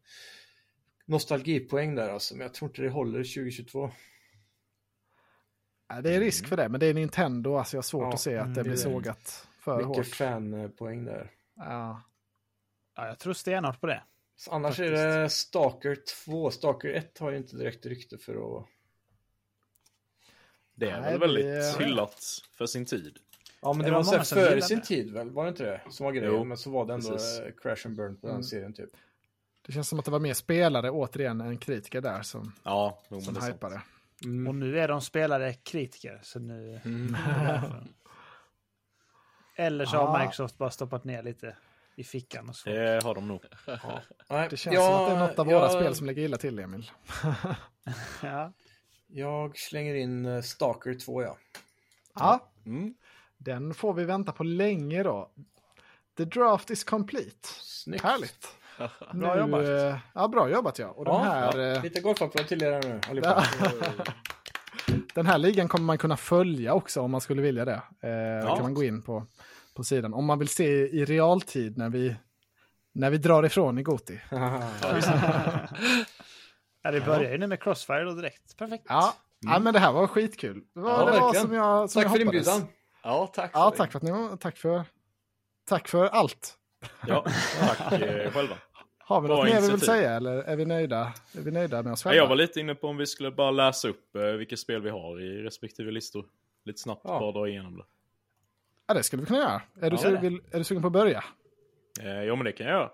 [SPEAKER 1] nostalgipoäng där alltså, men jag tror inte det håller 2022.
[SPEAKER 3] Ja, Det är risk för det, men det är Nintendo. Alltså jag har svårt
[SPEAKER 1] Ja,
[SPEAKER 3] att se att det
[SPEAKER 1] mm,
[SPEAKER 3] blir
[SPEAKER 1] det är det.
[SPEAKER 3] sågat för
[SPEAKER 1] Mycket
[SPEAKER 3] hårt.
[SPEAKER 1] fanpoäng där.
[SPEAKER 3] Ja.
[SPEAKER 2] Ja, jag tror stenhårt på det.
[SPEAKER 1] Så annars är det Stalker 2. Stalker 1 har ju inte direkt rykte för att...
[SPEAKER 7] Det är
[SPEAKER 3] Nej,
[SPEAKER 7] väl väldigt
[SPEAKER 3] det-
[SPEAKER 7] hyllat för sin tid.
[SPEAKER 1] Ja, men
[SPEAKER 2] Är
[SPEAKER 1] det
[SPEAKER 2] det
[SPEAKER 1] var
[SPEAKER 2] många
[SPEAKER 1] så här
[SPEAKER 2] som
[SPEAKER 1] före
[SPEAKER 2] gillar
[SPEAKER 1] sin
[SPEAKER 2] det?
[SPEAKER 1] tid väl? Var det inte det som var grejen?
[SPEAKER 7] Jo,
[SPEAKER 1] men så var det ändå
[SPEAKER 7] precis.
[SPEAKER 1] eh, crash and burn på den
[SPEAKER 3] Mm.
[SPEAKER 1] serien typ.
[SPEAKER 3] Det känns som att det var mer spelare återigen än kritiker där som,
[SPEAKER 7] Ja, jo, men
[SPEAKER 3] som
[SPEAKER 7] det är sant.
[SPEAKER 3] hypade.
[SPEAKER 2] Och nu är de spelare kritiker. Så nu... Därför. Eller så
[SPEAKER 3] Ah.
[SPEAKER 2] har Microsoft bara stoppat ner lite i fickan och så.
[SPEAKER 7] Det Eh, har de nog.
[SPEAKER 1] Nej,
[SPEAKER 3] Det känns som att det är något av våra spel som ligger illa till, Emil.
[SPEAKER 2] Ja.
[SPEAKER 1] Jag slänger in eh, Stalker 2 ja.
[SPEAKER 3] Ja,
[SPEAKER 7] Mm.
[SPEAKER 3] den får vi vänta på länge då. The draft is complete.
[SPEAKER 1] Snyggt.
[SPEAKER 3] Härligt.
[SPEAKER 2] Bra
[SPEAKER 3] Nu,
[SPEAKER 2] jobbat.
[SPEAKER 3] eh, Ja, bra jobbat ja. Och den,
[SPEAKER 1] Ja,
[SPEAKER 3] här, eh,
[SPEAKER 1] Lite golfapplåd till er nu allihopa.
[SPEAKER 3] Ja. den här ligan kommer man kunna följa också om man skulle vilja det. Eh, Då kan man gå in på, på sidan. Om man vill se i realtid när vi, när vi drar ifrån i Goti.
[SPEAKER 2] ja, det börjar ju nu med Crossfire då direkt. Perfekt.
[SPEAKER 3] Ja.
[SPEAKER 7] Mm.
[SPEAKER 3] ja, men det här var skitkul. Det var,
[SPEAKER 4] Ja,
[SPEAKER 3] det var
[SPEAKER 1] verkligen.
[SPEAKER 3] som jag som
[SPEAKER 1] Tack
[SPEAKER 3] jag
[SPEAKER 1] för
[SPEAKER 3] hoppades.
[SPEAKER 1] inbjudan.
[SPEAKER 4] Ja, tack.
[SPEAKER 3] Ja,
[SPEAKER 4] för det.
[SPEAKER 3] tack för att ni var- tack för, tack för allt.
[SPEAKER 7] Ja, tack eh, själva.
[SPEAKER 3] Har vi
[SPEAKER 7] Bra
[SPEAKER 3] något mer vi vill
[SPEAKER 7] initiativ.
[SPEAKER 3] säga eller är vi nöjda? Är vi nöjda med oss
[SPEAKER 7] Ja,
[SPEAKER 3] själva?
[SPEAKER 7] Jag var lite inne på om vi skulle bara läsa upp eh, vilka spel vi har i respektive listor. Lite snabbt
[SPEAKER 1] Ja.
[SPEAKER 7] bara dra igenom det.
[SPEAKER 3] Ja, det skulle vi kunna göra. Är du,
[SPEAKER 7] Ja,
[SPEAKER 3] sugen-
[SPEAKER 7] det.
[SPEAKER 3] vill, är du sugen på att börja?
[SPEAKER 7] Eh, ja, men det kan jag göra.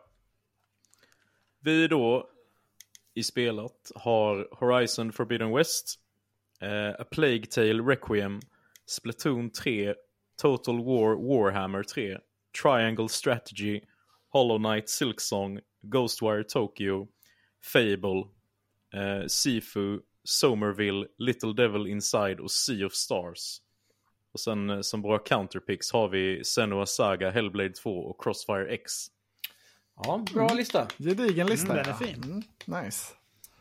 [SPEAKER 7] Vi då i spelet har Horizon Forbidden West, eh, A Plague Tale Requiem, Splatoon 3, Total War Warhammer 3, Triangle Strategy, Hollow Knight Silksong, Ghostwire Tokyo, Fable, eh, Sifu, Somerville, Little Devil Inside och Sea of Stars. Och sen eh, som våra counterpicks har vi Senua Saga, Hellblade 2 och Crossfire X.
[SPEAKER 1] Ja, bra lista.
[SPEAKER 3] Gedigen lista.
[SPEAKER 2] Mm, den
[SPEAKER 3] ja.
[SPEAKER 2] är fin.
[SPEAKER 3] Mm, nice.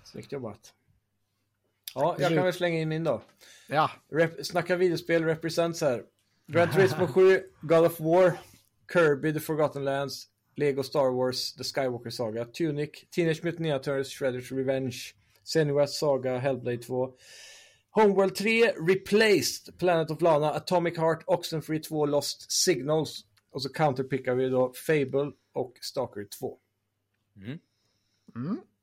[SPEAKER 1] Snyggt jobbat. Ja, jag kan väl slänga in min då.
[SPEAKER 3] Ja,
[SPEAKER 1] Rep- snacka videospel represents här. Gran Turismo 7, God of War, Kirby, The Forgotten Lands, Lego Star Wars, The Skywalker Saga, Tunic, Teenage Mutant Ninja Turtles, Shredder's Revenge, Senua's Saga, Hellblade 2, Homeworld 3, Replaced, Planet of Lana, Atomic Heart, Oxenfree 2, Lost Signals och så counterpickar vi då Fable och Stalker 2.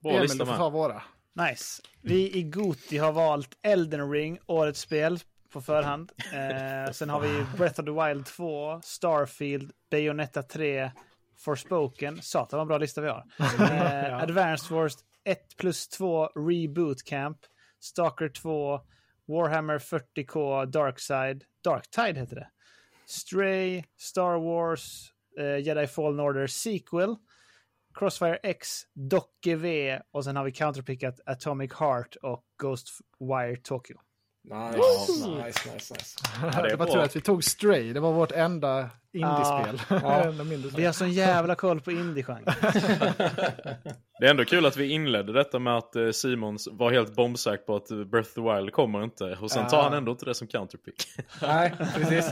[SPEAKER 7] Bra
[SPEAKER 3] Emil,
[SPEAKER 7] lista
[SPEAKER 3] du får
[SPEAKER 7] med.
[SPEAKER 3] ta våra.
[SPEAKER 2] Nice. Vi i Goti har valt Elden Ring, årets spel, på förhand. Eh, sen har vi Breath of the Wild 2, Starfield, Bayonetta 3, Forspoken. Satan vad bra lista vi har. Eh, Advanced Wars 1 plus 2, Reboot Camp, Stalker 2, Warhammer 40K, Darkside, Darktide heter det. Stray, Star Wars, eh, Jedi Fallen Order Sequel, Crossfire X, Docke V och sen har vi counterpickat Atomic Heart och Ghostwire Tokyo.
[SPEAKER 1] Nice, nice, nice, nice.
[SPEAKER 7] Ja, det
[SPEAKER 3] Det
[SPEAKER 7] är
[SPEAKER 3] var
[SPEAKER 7] bra.
[SPEAKER 3] tur att vi tog Stray. Det var vårt enda indiespel. Enda mindre spel.
[SPEAKER 2] Vi har sån jävla koll på indie-genren.
[SPEAKER 7] Det är ändå kul att vi inledde detta med att eh, Simons var helt bombsäker på att eh, Breath of the Wild kommer inte. Och sen tar
[SPEAKER 3] Ah.
[SPEAKER 7] han ändå inte det som counterpick.
[SPEAKER 1] Nej, precis.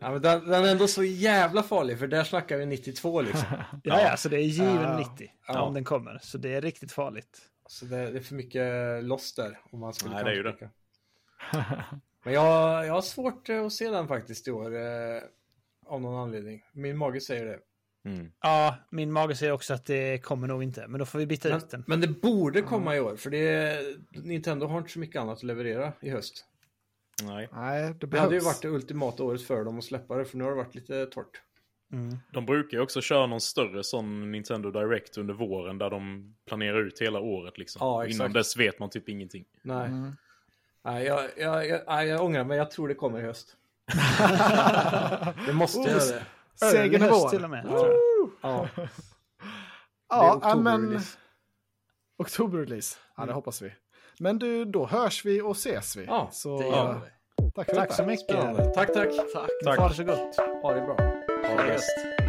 [SPEAKER 1] Ja, men den, den är ändå så jävla farlig, för där snackar vi 92 liksom.
[SPEAKER 2] Ja, ja, så det är given 90
[SPEAKER 1] Ja.
[SPEAKER 2] om den kommer. Så det är riktigt farligt.
[SPEAKER 1] Så det, det är för mycket loss där. Om man skulle
[SPEAKER 7] Nej, det är ju det.
[SPEAKER 1] kanske tänka. Men jag, jag har svårt eh, att se den faktiskt i år. Eh, av någon anledning. Min mage säger det.
[SPEAKER 2] Ja, min mage säger också att det kommer nog inte, men då får vi byta ut
[SPEAKER 1] Men,
[SPEAKER 2] den.
[SPEAKER 1] men det borde komma i år. För det, Nintendo har inte så mycket annat att leverera i höst.
[SPEAKER 7] Nej.
[SPEAKER 3] Nej, det
[SPEAKER 1] Det hade ju
[SPEAKER 3] behövs.
[SPEAKER 1] varit det ultimata året för dem att släppa det. För nu har det varit lite torrt.
[SPEAKER 7] De brukar ju också köra någon större sån Nintendo Direct under våren där de planerar ut hela året liksom.
[SPEAKER 1] Ja,
[SPEAKER 7] Och Innan
[SPEAKER 1] exakt.
[SPEAKER 7] dess vet man typ ingenting.
[SPEAKER 3] Mm.
[SPEAKER 1] Nej. Nej, jag, jag, jag, nej, jag ångrar mig. Jag tror det kommer i höst. Det måste göra det.
[SPEAKER 3] Segern är
[SPEAKER 2] Early höst
[SPEAKER 3] vår.
[SPEAKER 2] till och med. tror jag.
[SPEAKER 1] Ja.
[SPEAKER 3] Ja,
[SPEAKER 1] Det är
[SPEAKER 3] ja, men...
[SPEAKER 1] oktoberrelease.
[SPEAKER 3] Oktoberrelease. Ja, det hoppas vi. Men du, då hörs vi och ses vi.
[SPEAKER 1] Ja,
[SPEAKER 3] så,
[SPEAKER 1] det gör vi.
[SPEAKER 3] Tack, för
[SPEAKER 2] Tack
[SPEAKER 3] detta.
[SPEAKER 2] så mycket.
[SPEAKER 1] Spännande. Tack, tack.
[SPEAKER 4] Tack.
[SPEAKER 2] Ha det så gott.
[SPEAKER 1] Ha det bra.
[SPEAKER 4] Ha det bäst.